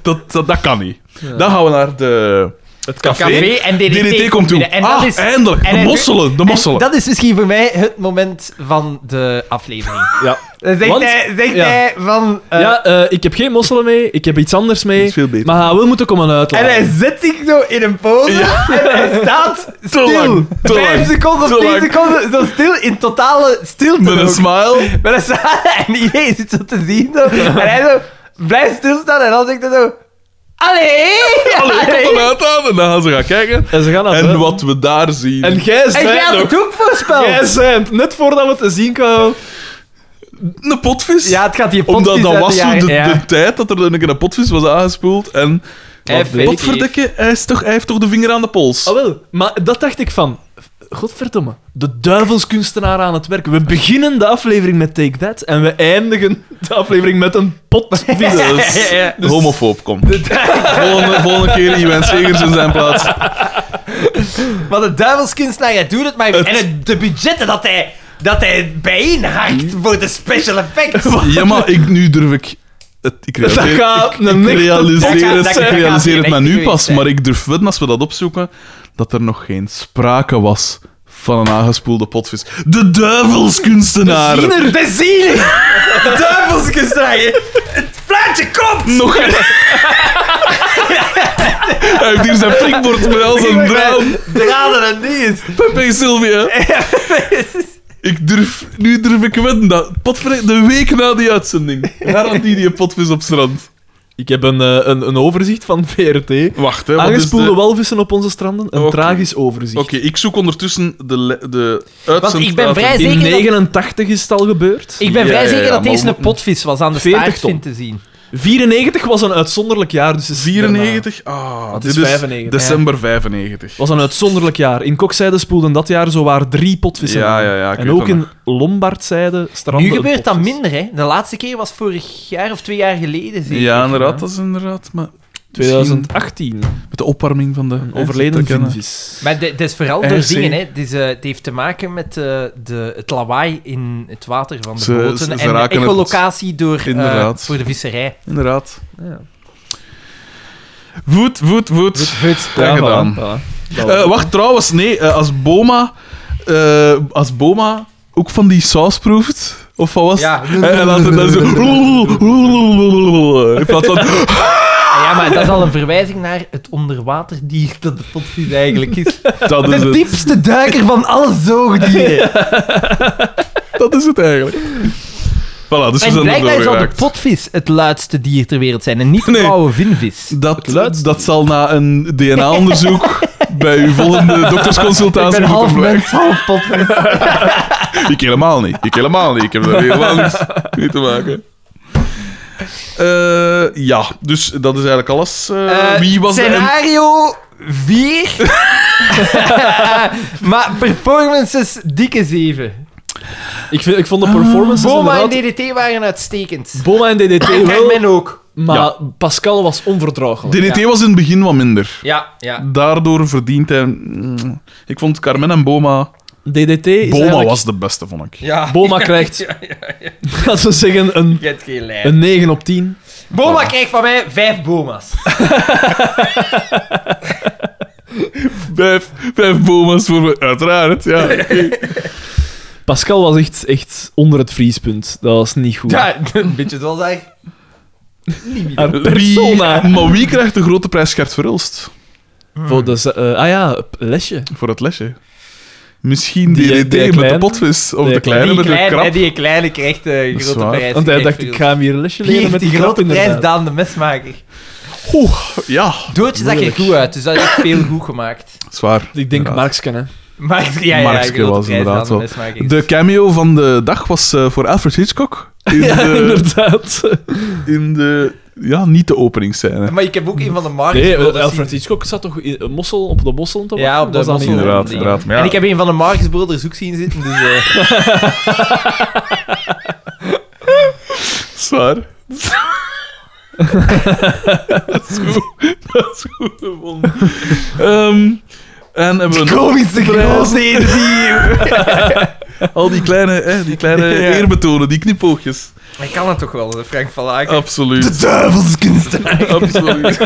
Speaker 2: Dat, dat, dat kan niet. Dan gaan we naar de... Het café.
Speaker 1: Café en DDT,
Speaker 2: DDT komt toe.
Speaker 1: binnen. En
Speaker 2: ah,
Speaker 1: dat is,
Speaker 2: eindelijk.
Speaker 1: en
Speaker 2: de
Speaker 1: hij-
Speaker 2: mosselen, de
Speaker 1: en
Speaker 2: mosselen.
Speaker 1: dat is misschien voor mij het moment van de aflevering.
Speaker 3: Ja.
Speaker 1: Dan zegt
Speaker 3: Want-
Speaker 1: hij, zegt
Speaker 3: ja.
Speaker 1: hij van... eh,
Speaker 3: ja, eh, ik heb geen mosselen mee, ik heb iets anders mee.
Speaker 2: Dat is veel beter.
Speaker 3: Maar hij wil moeten komen
Speaker 1: En
Speaker 3: uitleggen.
Speaker 1: hij zet zich zo in een pose en hij staat stil.
Speaker 2: lang, te
Speaker 1: Vijf
Speaker 2: lang,
Speaker 1: seconden
Speaker 2: te
Speaker 1: of tien
Speaker 2: lang.
Speaker 1: seconden zo stil in totale stilte.
Speaker 2: Met een
Speaker 1: ook.
Speaker 2: smile.
Speaker 1: Met een smile. En iedereen zit zo te zien. Zo. En hij zo blijft stilstaan en dan zegt hij zo... Allee!
Speaker 2: Allee, ik kom eruit aan. En dan gaan ze gaan kijken.
Speaker 3: En ze gaan naar
Speaker 2: En
Speaker 3: buiten.
Speaker 2: wat we daar zien.
Speaker 3: En jij
Speaker 1: En jij
Speaker 3: zei
Speaker 1: had
Speaker 3: nog...
Speaker 1: het ook voorspeld.
Speaker 3: Jij zei het, net voordat we het te zien kwamen.
Speaker 2: een potvis.
Speaker 1: Ja, het gaat hier
Speaker 2: Omdat
Speaker 1: potjes
Speaker 2: dat
Speaker 1: uit
Speaker 2: was toen
Speaker 1: jaren-
Speaker 2: de,
Speaker 1: ja.
Speaker 2: de tijd dat er een keer een potvis was aangespoeld. En
Speaker 1: Hij heeft- Oh.
Speaker 2: potverdikke, hij, is toch, hij heeft toch de vinger aan de pols.
Speaker 3: Ah, wel. Maar dat dacht ik van... Godverdomme. De duivelskunstenaar aan het werk. We beginnen de aflevering met Take That en we eindigen de aflevering met een pot.
Speaker 2: Dus,
Speaker 1: Ja, ja, ja.
Speaker 2: dus- Homofoob, kom. volgende, volgende keer Iwan Segers in zijn plaats.
Speaker 1: Maar de duivelskunstenaar, hij doet het maar. En het, de budgetten dat hij, dat hij bijeenhakt voor de special effects.
Speaker 2: Ja, maar ik, nu durf ik... Het, ik
Speaker 3: Dat
Speaker 2: realiseer,
Speaker 3: gaat
Speaker 2: ik,
Speaker 3: een
Speaker 2: ik
Speaker 3: echte
Speaker 1: Dat
Speaker 2: realiseer
Speaker 1: gaat-
Speaker 2: het,
Speaker 1: dat
Speaker 2: ik
Speaker 1: gaat
Speaker 2: realiseer
Speaker 1: geen
Speaker 2: het maar
Speaker 1: echte
Speaker 2: nu
Speaker 1: geweest
Speaker 2: pas,
Speaker 1: zijn.
Speaker 2: maar ik durf wel, als we dat opzoeken, dat er nog geen sprake was van een aangespoelde potvis. De duivelskunstenaar!
Speaker 1: Ziener, de ziener! De duivelskunstenaar. Het plaatje komt!
Speaker 2: Nog een... Hij heeft hier zijn prikbord met al zijn draam.
Speaker 1: Draden en dingen.
Speaker 2: Pepe Sylvia. Ik durf, nu durf ik wedden dat potver- de week na die uitzending garantie die potvis op strand.
Speaker 3: Ik heb een, eh, een, een overzicht van VRT.
Speaker 2: Wacht, hè. wat is
Speaker 3: Aangespoelde
Speaker 2: dus de-
Speaker 3: walvissen op onze stranden. Een
Speaker 2: Oké.
Speaker 3: tragisch overzicht.
Speaker 2: Oké, ik zoek ondertussen de, le- de uitzenddatum.
Speaker 1: ik ben vrij-
Speaker 3: In
Speaker 1: Zeker dat-
Speaker 3: 89 is het al gebeurd.
Speaker 1: Ik ben
Speaker 2: Ja,
Speaker 1: vrij
Speaker 2: ja,
Speaker 1: zeker
Speaker 2: ja,
Speaker 1: dat
Speaker 2: maar
Speaker 1: deze
Speaker 2: we
Speaker 1: een potvis was aan de
Speaker 3: 40
Speaker 1: staartvin
Speaker 3: ton.
Speaker 1: te zien.
Speaker 3: 94 was een uitzonderlijk jaar. Dus is
Speaker 2: 94? Ah,
Speaker 3: Het
Speaker 2: dit
Speaker 3: is 95,
Speaker 2: december 95.
Speaker 3: was een uitzonderlijk jaar. In Kokzijde spoelden dat jaar zowaar drie potvissen
Speaker 2: Ja,
Speaker 3: aan.
Speaker 2: ja, ja, ik
Speaker 3: En
Speaker 2: weet
Speaker 3: ook
Speaker 2: dat
Speaker 3: in Lombardzijde
Speaker 1: Nu
Speaker 3: strandde een
Speaker 1: gebeurt dat
Speaker 3: potvis.
Speaker 1: minder, hè. De laatste keer was vorig jaar of twee jaar geleden, zeker.
Speaker 2: Ja, inderdaad, dat is inderdaad. Maar misschien
Speaker 3: 2018.
Speaker 2: met de opwarming van de
Speaker 3: Een overleden
Speaker 2: vinvis.
Speaker 3: vinvis.
Speaker 1: Maar het is vooral
Speaker 2: RC.
Speaker 1: door dingen, hè. Het, is, eh, het heeft te maken met eh, de, het lawaai in het water van de
Speaker 2: Ze-
Speaker 1: boten.
Speaker 2: ze- ze
Speaker 1: en de
Speaker 2: raken het-
Speaker 1: echolocatie door, eh,
Speaker 2: Inderdaad.
Speaker 1: voor de visserij.
Speaker 2: Inderdaad.
Speaker 3: Ja.
Speaker 2: Woed, woed, woed. Ja, gedaan.
Speaker 3: voilà. Dat
Speaker 2: Eh,
Speaker 3: was-
Speaker 2: wacht, trouwens, nee, eh, als Boma... eh, als Boma ook van die saus proeft, of wat was
Speaker 1: Ja.
Speaker 2: het? En, en later dan zo... In plaats van...
Speaker 1: Ah, ja, maar dat is al een verwijzing naar het onderwaterdier dat de potvis eigenlijk is.
Speaker 2: Dat is
Speaker 1: De
Speaker 2: het,
Speaker 1: diepste duiker van alle zoogdieren.
Speaker 2: dat is het eigenlijk. Voilà, dus we zijn
Speaker 1: en
Speaker 2: er
Speaker 1: blijkbaar
Speaker 2: door
Speaker 1: zal de
Speaker 2: geraakt.
Speaker 1: potvis het luidste dier ter wereld zijn en niet de
Speaker 2: Nee.
Speaker 1: oude vinvis.
Speaker 2: Dat, dat zal na een DNA-onderzoek bij uw volgende
Speaker 1: Ik
Speaker 2: doktersconsultatie
Speaker 1: ben half
Speaker 2: moeten blijken.
Speaker 1: mens, half potvis.
Speaker 2: Ik helemaal niet. Ik helemaal niet. Ik heb daar helemaal niks mee te maken. Eh, ja, dus dat is eigenlijk alles. Eh,
Speaker 1: Eh,
Speaker 2: wie was de... en-
Speaker 1: Scenario 4. Eh, maar performances dikke 7.
Speaker 3: Ik, vind, ik vond
Speaker 2: Ah.
Speaker 3: de performances
Speaker 1: Boma en
Speaker 3: inderdaad...
Speaker 1: DDT waren uitstekend.
Speaker 3: Boma en DDT wel,
Speaker 1: Carmen ook.
Speaker 3: maar
Speaker 2: Ja.
Speaker 3: Pascal was onverdraaglijk.
Speaker 2: DDT was in het begin wat minder.
Speaker 1: Ja, ja.
Speaker 2: Daardoor verdient hij... mm, Ik vond Carmen en Boma...
Speaker 3: DDT is
Speaker 2: Boma
Speaker 3: eigenlijk-
Speaker 2: was de beste, vond ik.
Speaker 1: ja.
Speaker 3: Boma krijgt, laten we zeggen, een,
Speaker 1: Je hebt geen lijn.
Speaker 3: een 9 op 10.
Speaker 1: Boma krijgt van mij 5 boma's.
Speaker 2: Vijf, vijf Boma's voor me. Uiteraard, ja.
Speaker 3: Pascal was echt, echt onder het vriespunt. Dat was niet goed.
Speaker 1: Ja, een beetje zoals hij.
Speaker 3: Haar
Speaker 2: Wie,
Speaker 3: persona.
Speaker 2: maar wie krijgt de grote prijs Gert Verhulst?
Speaker 3: Voor de, ze- eh, ah ja, p- lesje.
Speaker 2: Voor het lesje. Misschien
Speaker 3: Die, eh,
Speaker 2: DDT
Speaker 3: die
Speaker 2: met de
Speaker 3: kleine.
Speaker 2: potvis. Of
Speaker 3: Die
Speaker 2: de kleine
Speaker 1: die,
Speaker 2: met de
Speaker 1: kleine, hè,
Speaker 2: krab.
Speaker 1: die kleine krijgt de
Speaker 2: is
Speaker 1: grote
Speaker 2: waar.
Speaker 1: prijs.
Speaker 3: Want hij
Speaker 1: Kijk,
Speaker 3: dacht, ik ga hem hier een lesje
Speaker 1: Wie
Speaker 3: leren
Speaker 1: heeft
Speaker 3: met
Speaker 1: die
Speaker 3: die
Speaker 1: grote
Speaker 3: grap
Speaker 1: prijs,
Speaker 3: inderdaad.
Speaker 1: Daan de Mesmaker?
Speaker 2: Oeh, ja.
Speaker 1: Doortje zag er
Speaker 3: Moeilijk.
Speaker 1: goed uit, dus dat heeft veel goed gemaakt.
Speaker 2: Zwaar.
Speaker 3: Ik denk
Speaker 2: Inderdaad.
Speaker 3: Marksken, hè.
Speaker 1: Maar ja, ja, ja,
Speaker 2: Markske
Speaker 1: grote
Speaker 2: was
Speaker 1: prijs,
Speaker 2: inderdaad
Speaker 1: Daan de
Speaker 2: wel.
Speaker 1: Mesmaker.
Speaker 2: De cameo van de dag was eh, voor Alfred Hitchcock. In
Speaker 3: Ja,
Speaker 2: de,
Speaker 3: inderdaad.
Speaker 2: in de ja, niet de openingsscène.
Speaker 1: Maar ik heb ook een van de
Speaker 3: Nee, eh,
Speaker 1: Marcus-broeders
Speaker 3: Alfred
Speaker 1: zien-
Speaker 3: Hitchcock zat toch in, mossel, op de mossel te wachten?
Speaker 1: Ja, op de
Speaker 3: Was dat niet-
Speaker 1: mossel.
Speaker 2: Inderdaad,
Speaker 1: Ja.
Speaker 2: inderdaad. Maar ja,
Speaker 1: En ik heb een van de Marcus-broeders ook zien zitten, dus... eh,
Speaker 2: Zwaar. dat is goed. Dat is goed gevonden. Ehm, en hebben we nog
Speaker 1: Komische grootheden die...
Speaker 2: al die kleine, hè, die kleine
Speaker 1: Ja.
Speaker 2: eerbetonen, die knipoogjes.
Speaker 1: Hij kan het toch wel, hè, Frank van Laak.
Speaker 2: Absoluut.
Speaker 1: duivelskunstenaar.
Speaker 2: Absoluut.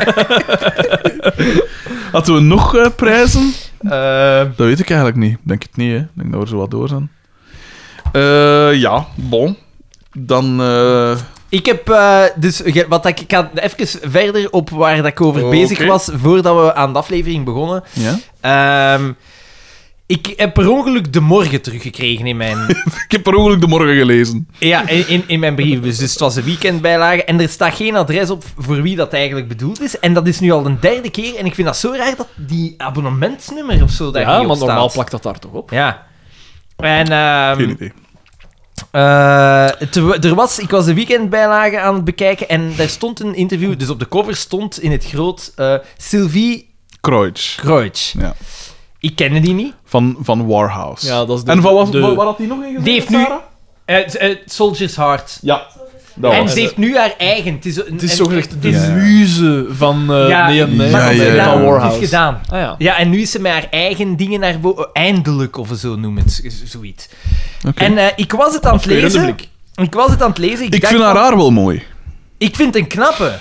Speaker 2: Hadden we nog eh, prijzen?
Speaker 1: Eh,
Speaker 2: Dat weet ik eigenlijk niet. Denk het niet, hè. Ik denk dat we er zo wat door zijn. Eh, ja, bon. Dan... eh,
Speaker 1: ik heb eh, dus... ge- Wat ik, ik ga even verder op waar dat ik over
Speaker 2: Oh, Oké.
Speaker 1: bezig was, voordat we aan de aflevering begonnen.
Speaker 2: ja?
Speaker 1: Ehm, ik heb per ongeluk de morgen teruggekregen in mijn...
Speaker 2: Ik heb per ongeluk de morgen gelezen.
Speaker 1: Ja, in, in, in mijn brievenbus. Dus het was een weekendbijlage. En er staat geen adres op voor wie dat eigenlijk bedoeld is. En dat is nu al de derde keer. En ik vind dat zo raar dat die abonnementsnummer of zo daar
Speaker 3: Ja,
Speaker 1: niet op
Speaker 3: maar
Speaker 1: staat.
Speaker 3: normaal plakt dat daar toch op?
Speaker 1: Ja. En ehm,
Speaker 2: Geen idee.
Speaker 1: eh, het- er was, ik was de weekendbijlage aan het bekijken en daar stond een interview. Dus op de cover stond in het groot eh, Sylvie
Speaker 2: Kreutz.
Speaker 1: Kreutz.
Speaker 2: Ja.
Speaker 1: Ik kende die niet.
Speaker 2: Van, van Warhouse.
Speaker 3: Ja, dat is de-
Speaker 2: en van was,
Speaker 3: de-
Speaker 2: wat, wat had hij nog in gezet,
Speaker 1: Die heeft nu-
Speaker 2: Sarah?
Speaker 1: Eh, z- eh, Soldier's Heart.
Speaker 2: Ja, dat
Speaker 1: en
Speaker 2: was
Speaker 1: ze heeft nu haar eigen. Het is, een-
Speaker 3: Het is
Speaker 1: een-
Speaker 3: zogezegd de
Speaker 1: het is-
Speaker 2: Ja.
Speaker 3: muze van eh
Speaker 1: Ja,
Speaker 3: nee, nee,
Speaker 1: maar
Speaker 2: ja,
Speaker 3: van,
Speaker 1: het is
Speaker 2: ja, ja.
Speaker 1: gedaan.
Speaker 3: van Warhouse.
Speaker 1: Het is gedaan.
Speaker 3: Ah, ja.
Speaker 1: Ja, en nu is ze met haar eigen dingen naar boven. Eindelijk, of zo noemen het, z- zoiets.
Speaker 2: Oké.
Speaker 1: En eh, ik was het aan het
Speaker 3: Afkeurende
Speaker 1: lezen. Ik was het aan het lezen. Ik,
Speaker 2: Ik
Speaker 1: dacht
Speaker 2: vind haar
Speaker 1: van-
Speaker 2: haar wel mooi.
Speaker 1: Ik vind het een knappe.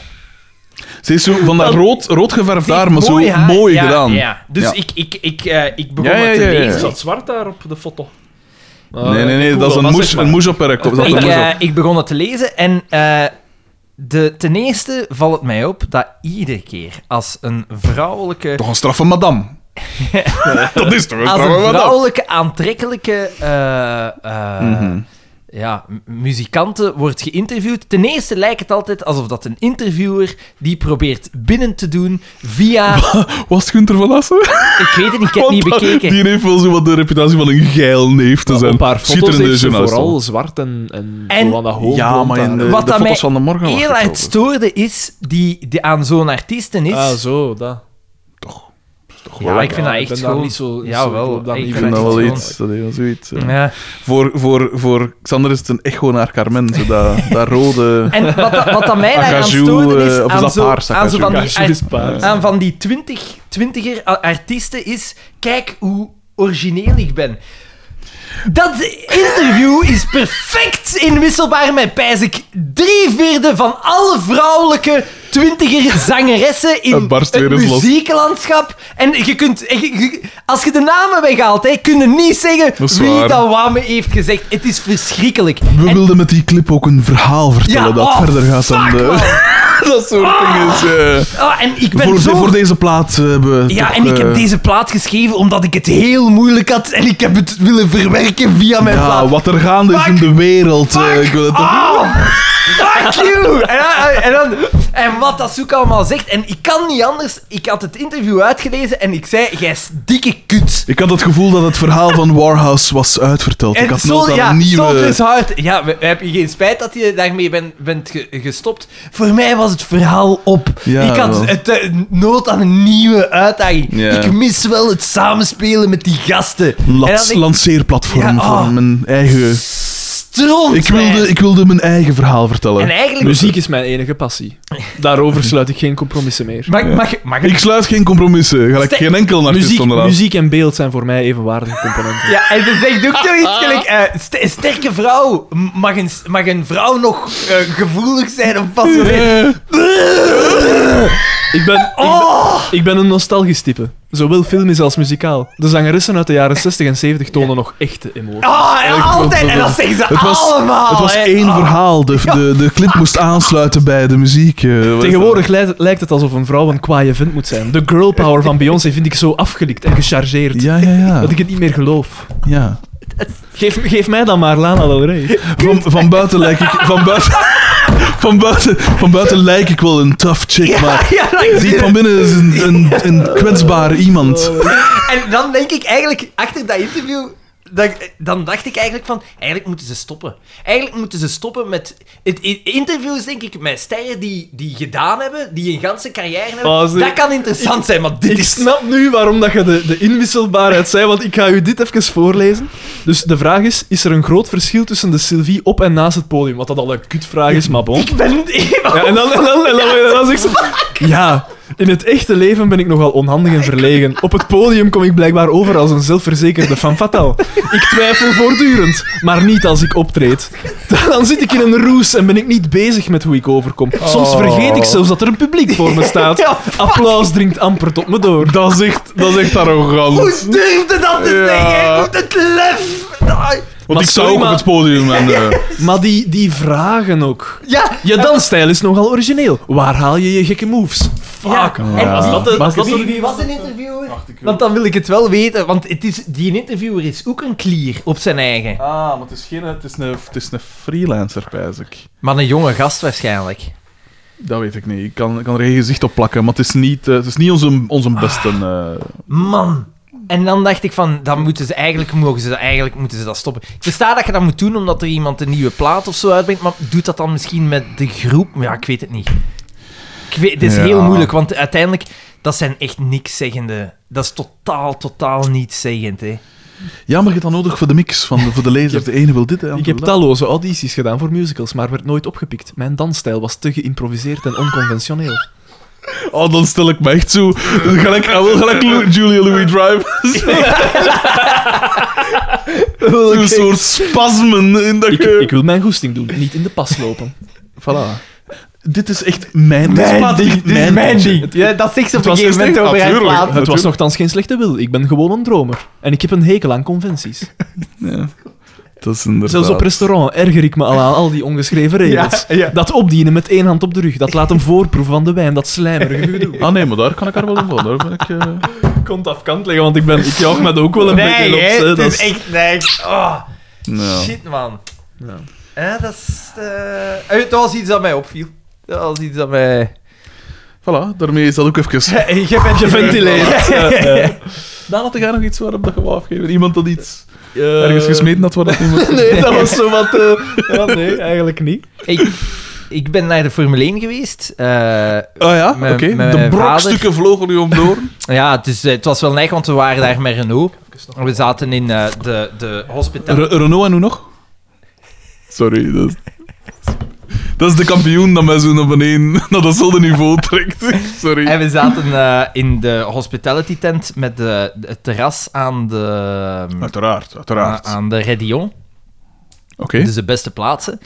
Speaker 2: Ze is zo van dat rood, rood geverfd
Speaker 1: Ze heeft
Speaker 2: haar, maar zo
Speaker 1: haar.
Speaker 2: mooi
Speaker 1: Ja,
Speaker 2: gedaan.
Speaker 1: Ja. Dus
Speaker 2: Ja.
Speaker 1: ik, ik, ik, eh, ik begon
Speaker 2: Ja, ja,
Speaker 1: het te
Speaker 2: ja, ja, ja.
Speaker 3: Er
Speaker 1: lezen.
Speaker 3: zat zwart daar op de foto. Ah,
Speaker 2: Nee, nee,
Speaker 1: Oh,
Speaker 2: nee, dat is een moes, een moes op haar kop. Dat is
Speaker 1: Ik,
Speaker 2: een moes
Speaker 1: eh,
Speaker 2: op.
Speaker 1: ik begon het te lezen en eh, de, ten eerste valt het mij op dat iedere keer als een vrouwelijke
Speaker 2: Toch een straffe madame. dat is toch een
Speaker 1: als
Speaker 2: straffe
Speaker 1: een
Speaker 2: madame.
Speaker 1: vrouwelijke aantrekkelijke eh, eh,
Speaker 2: Mhm.
Speaker 1: ja, m- muzikanten wordt geïnterviewd. Ten eerste lijkt het altijd alsof dat een interviewer die probeert binnen te doen via...
Speaker 2: Was het Gunther van Assen?
Speaker 1: ik weet het niet, ik heb het niet
Speaker 2: Want
Speaker 1: bekeken.
Speaker 2: Die heeft wel zo wat de reputatie van een geil neef te zijn.
Speaker 3: Op haar foto's
Speaker 2: Schitterende
Speaker 3: heeft ze
Speaker 2: journalist.
Speaker 3: vooral zwart en, en,
Speaker 1: En-
Speaker 3: zo aan dat hoofd
Speaker 2: Ja,
Speaker 3: blond
Speaker 2: maar in
Speaker 3: haar.
Speaker 2: de,
Speaker 1: Wat
Speaker 2: de
Speaker 1: dat mij
Speaker 2: foto's van de morgen was
Speaker 1: Heel
Speaker 2: het
Speaker 1: hard
Speaker 2: over.
Speaker 1: stoorde is, die, die aan zo'n artiesten is...
Speaker 3: Ah, zo, dat.
Speaker 1: ja, ik vind
Speaker 3: Ja,
Speaker 1: dat
Speaker 3: ik
Speaker 1: echt
Speaker 3: ben daar
Speaker 1: gewoon...
Speaker 3: niet zo-
Speaker 1: ja,
Speaker 3: zo
Speaker 1: wel.
Speaker 3: op dat
Speaker 2: Ik
Speaker 3: niveau.
Speaker 2: vind dat wel
Speaker 1: echt
Speaker 2: iets. Dat is wel zoiets. ja.
Speaker 1: gewoon- Ja.
Speaker 2: Voor, voor, voor Xander is het een echo naar Carmen. Zo dat, dat rode...
Speaker 1: En wat, dat- wat dat mij daaraan
Speaker 2: Acajou,
Speaker 1: stoorde is,
Speaker 2: eh, of is
Speaker 1: aan
Speaker 2: dat
Speaker 1: zo,
Speaker 2: paars,
Speaker 1: aan zo van
Speaker 2: acajou?
Speaker 1: die
Speaker 3: Kaarsje is
Speaker 1: Als
Speaker 3: paars.
Speaker 1: aan van die 20, 20er a- artiesten is: kijk hoe origineel ik ben. Dat interview is perfect inwisselbaar met Pijzik. Drie vierde van alle vrouwelijke twintiger zangeressen in
Speaker 2: Het barst weer
Speaker 1: het
Speaker 2: eens los.
Speaker 1: muzieklandschap. En je kunt, en je- je- als je de namen weghaalt, hè, kun je niet zeggen
Speaker 2: Dat is
Speaker 1: wie
Speaker 2: waar.
Speaker 1: dat wat me heeft gezegd. Het is verschrikkelijk.
Speaker 2: We
Speaker 1: En-
Speaker 2: wilden met die clip ook een verhaal vertellen
Speaker 1: Ja,
Speaker 2: dat
Speaker 1: oh,
Speaker 2: verder gaat dan
Speaker 1: fuck,
Speaker 2: de...
Speaker 1: man.
Speaker 2: dat soort dingen. is, eh,
Speaker 1: Ah, en ik ben
Speaker 2: voor,
Speaker 1: zo
Speaker 2: voor deze plaat eh, hebben we
Speaker 1: Ja,
Speaker 2: toch,
Speaker 1: en ik
Speaker 2: eh,
Speaker 1: heb deze plaat geschreven omdat ik het heel moeilijk had en ik heb het willen verwerken via mijn
Speaker 2: Ja,
Speaker 1: plaat.
Speaker 2: wat er gaande is in de wereld. eh, ik wil het toch...
Speaker 1: Oh, fuck you! En, dan- eh, en, dan, en wat dat zoek allemaal zegt. En ik kan niet anders. Ik had het interview uitgelezen en ik zei, jij is dikke kut.
Speaker 2: Ik had het gevoel dat het verhaal van Warhouse was uitverteld.
Speaker 1: En
Speaker 2: ik had
Speaker 1: Sol-
Speaker 2: nood aan
Speaker 1: ja,
Speaker 2: een
Speaker 1: Soldier
Speaker 2: nieuwe...
Speaker 1: is hard. Ja, we- heb je geen spijt dat je daarmee bent bent ge- gestopt? Voor mij was het verhaal op.
Speaker 2: Ja,
Speaker 1: ik had
Speaker 2: wel.
Speaker 1: het, eh, nood aan een nieuwe uitdaging.
Speaker 2: Ja.
Speaker 1: Ik mis wel het samenspelen met die gasten. en
Speaker 2: lats-
Speaker 1: dan denk ik,
Speaker 2: lanceerplatform
Speaker 1: Ja, oh.
Speaker 2: voor mijn eigen...
Speaker 1: stront.
Speaker 2: Ik wilde, ik Dus- wilde mijn eigen verhaal vertellen.
Speaker 1: En eigenlijk...
Speaker 3: Muziek is mijn enige passie. Daarover sluit ik geen compromissen meer.
Speaker 1: Mag, mag, mag
Speaker 2: Ik sluit geen compromissen. Gelijk
Speaker 1: Ste-
Speaker 2: geen enkel artiest
Speaker 3: Muziek,
Speaker 2: onderaan.
Speaker 3: muziek en beeld zijn voor mij evenwaardige componenten.
Speaker 1: Ja, en ze zegt ook zoiets gelijk... eh, st- een sterke vrouw. M- Mag een, s- mag een vrouw nog eh, gevoelig zijn of pas
Speaker 2: Eh,
Speaker 3: Ik ben, ik ben-
Speaker 2: Oh!
Speaker 3: ik, ben een nostalgisch type. Zowel filmisch als muzikaal. De zangeressen uit de jaren 60 en 70 tonen nog echte emoties.
Speaker 1: Ah, ja,
Speaker 2: Echt,
Speaker 1: altijd.
Speaker 2: dat-
Speaker 1: En dat zeggen ze
Speaker 2: Het was-
Speaker 1: allemaal.
Speaker 2: Het was
Speaker 1: hè.
Speaker 2: één
Speaker 1: Ah.
Speaker 2: verhaal. De, de, de clip moest aansluiten bij de muziek. eh, wat is
Speaker 3: Tegenwoordig lijkt, lijkt het alsof een vrouw een kwaaie vent moet zijn. De girl power van Beyoncé vind ik zo afgelikt en
Speaker 2: dat?
Speaker 3: gechargeerd.
Speaker 2: Ja, ja, ja.
Speaker 3: Dat ik het niet meer geloof.
Speaker 2: ja.
Speaker 3: Geef, geef mij dan maar Lana Del Rey.
Speaker 2: Van, van buiten lijk ik... Van buiten... Van buiten, van buiten lijk ik wel een tough chick, maar
Speaker 1: Ja, dat is-
Speaker 2: diep van binnen is een, een, een kwetsbaar iemand.
Speaker 1: Ah, En dan denk ik eigenlijk, achter dat interview, dat, dan dacht ik eigenlijk van, eigenlijk moeten ze stoppen. Eigenlijk moeten ze stoppen met het, i- interviews, denk ik, met sterren die, die gedaan hebben, die een ganse carrière hebben.
Speaker 2: Ah,
Speaker 3: Oh, ze-
Speaker 1: dat kan interessant zijn, maar dit
Speaker 3: Ik
Speaker 1: is...
Speaker 3: snap nu waarom dat je de, de inwisselbaarheid zei, want ik ga u dit even voorlezen. Dus de vraag is, is er een groot verschil tussen de Sylvie op en naast het podium? Wat dat al een kutvraag is, maar bon.
Speaker 1: Ik ben...
Speaker 3: Ja, en dan, en dan, en dan, en dan zegt ze... Ja, in het echte leven ben ik nogal onhandig en verlegen. Op het podium kom ik blijkbaar over als een zelfverzekerde fan fatale. Ik twijfel voortdurend, maar niet als ik optreed. Dan zit ik in een roes en ben ik niet bezig met hoe ik overkom. Soms vergeet
Speaker 1: Oh.
Speaker 3: ik zelfs dat er een publiek voor me staat. Applaus dringt amper tot me door.
Speaker 2: Dat is echt, dat is echt arrogant.
Speaker 1: Hoe durfde dat te
Speaker 2: Ja.
Speaker 1: zeggen? Hoe het lef!
Speaker 2: Want
Speaker 3: Maar
Speaker 2: ik zou
Speaker 3: sorry,
Speaker 2: ook op
Speaker 3: maar-
Speaker 2: het podium en... eh,
Speaker 3: Maar die, die vragen ook.
Speaker 1: Ja,
Speaker 3: Je dansstijl is nogal origineel. Waar haal je je gekke moves? Fuck.
Speaker 1: Ja.
Speaker 3: man.
Speaker 1: En
Speaker 3: Als dat de- als dat de-
Speaker 1: Wie, wie was een interviewer? Want dan wil ik het wel weten, want het is, die interviewer is ook een klier op zijn eigen.
Speaker 2: Ah, maar het is, geen, het is, een, het is een freelancer, pijs ik.
Speaker 1: Maar een jonge gast waarschijnlijk.
Speaker 2: Dat weet ik niet. Ik kan, ik kan er geen gezicht op plakken, maar het is niet, eh, het is niet onze, onze beste... eh,
Speaker 1: Man. En dan dacht ik van, dan moeten ze eigenlijk, mogen ze, dat- eigenlijk moeten ze dat stoppen. Ik versta dat je dat moet doen omdat er iemand een nieuwe plaat of zo uitbrengt, maar doet dat dan misschien met de groep? Ja, ik weet het niet. Ik weet, het is
Speaker 2: Ja.
Speaker 1: heel moeilijk, want uiteindelijk, dat zijn echt niks zeggende. Dat is totaal, totaal niets zeggend, hè.
Speaker 2: Ja, maar je hebt dat nodig voor de mix, van de, voor de lezer. De ene wil dit, de andere
Speaker 3: Ik heb
Speaker 2: wil dat.
Speaker 3: talloze audities gedaan voor musicals, maar werd nooit opgepikt. Mijn dansstijl was te geïmproviseerd en onconventioneel.
Speaker 2: Oh, dan stel ik me echt zo... Gelijk, ah, wel, gelijk Lou- Julia Louis-Dreyfus. Zo'n soort spasmen in dat
Speaker 3: Ik,
Speaker 2: je-
Speaker 3: ik wil mijn goesting doen, niet in de pas lopen.
Speaker 2: Voilà. Dit is echt mijn... dit is
Speaker 1: Mijn
Speaker 2: plaat
Speaker 1: ding,
Speaker 2: echt
Speaker 1: dit is mijn ding.
Speaker 2: Het-
Speaker 1: Ja, dat zegt ze op
Speaker 3: het
Speaker 1: een
Speaker 3: was
Speaker 1: gegeven moment
Speaker 2: echt-
Speaker 1: over haar
Speaker 2: natuurlijk.
Speaker 1: plaat.
Speaker 3: Het was nogthans geen slechte wil, ik ben gewoon een dromer. En ik heb een hekel aan conventies.
Speaker 2: Ja. Dat is inderdaad...
Speaker 3: Zelfs op restaurant erger ik me al aan al die ongeschreven regels.
Speaker 1: Ja, ja.
Speaker 3: Dat opdienen met één hand op de rug, dat laat een voorproef van de wijn, dat slijmerige gedoe.
Speaker 2: Ah nee, maar daar kan ik haar wel in vallen. Daar ben ik... eh,
Speaker 3: Ik kon het afkant leggen, want ik, ben, ik jaag me er ook wel een
Speaker 1: Nee,
Speaker 3: beetje op.
Speaker 1: hè,
Speaker 3: hè.
Speaker 1: het
Speaker 3: Dat
Speaker 1: is
Speaker 3: is-
Speaker 1: echt... Nee, ik- oh,
Speaker 2: nou.
Speaker 1: Shit, man. Ja, dat is... eh, Het was iets dat mij opviel. Dat was iets dat mij...
Speaker 2: Voilà, daarmee is dat ook even...
Speaker 3: Je bent geventileerd. Eh,
Speaker 2: Daar had jij nog iets waarop dat je wou afgeven. Iemand dat iets
Speaker 3: Eh,
Speaker 2: ergens gesmeten had waar dat iemand...
Speaker 3: Nee, dat was zo wat... eh, ja, nee, eigenlijk niet.
Speaker 1: Ik, ik ben naar de Formule 1 geweest. Eh,
Speaker 2: Ah ja, oké.
Speaker 1: Mijn- mijn
Speaker 2: De
Speaker 1: vader-
Speaker 2: brokstukken vlogen nu om door.
Speaker 1: ja, het, is, eh, het was wel neig, want we waren daar met Renault. We zaten in eh, de, de hospitaal.
Speaker 2: Re- Renault en hoe nog? Sorry, dat is... Dat is de kampioen dat mij zo naar beneden, naar datzelfde niveau trekt. Sorry.
Speaker 1: En we zaten eh, in de hospitality tent met de, de- het terras aan de,
Speaker 2: Uiteraard,
Speaker 1: aan,
Speaker 2: uiteraard. Oké,
Speaker 1: aan de Redion.
Speaker 2: oké.
Speaker 1: Dus de beste plaatsen.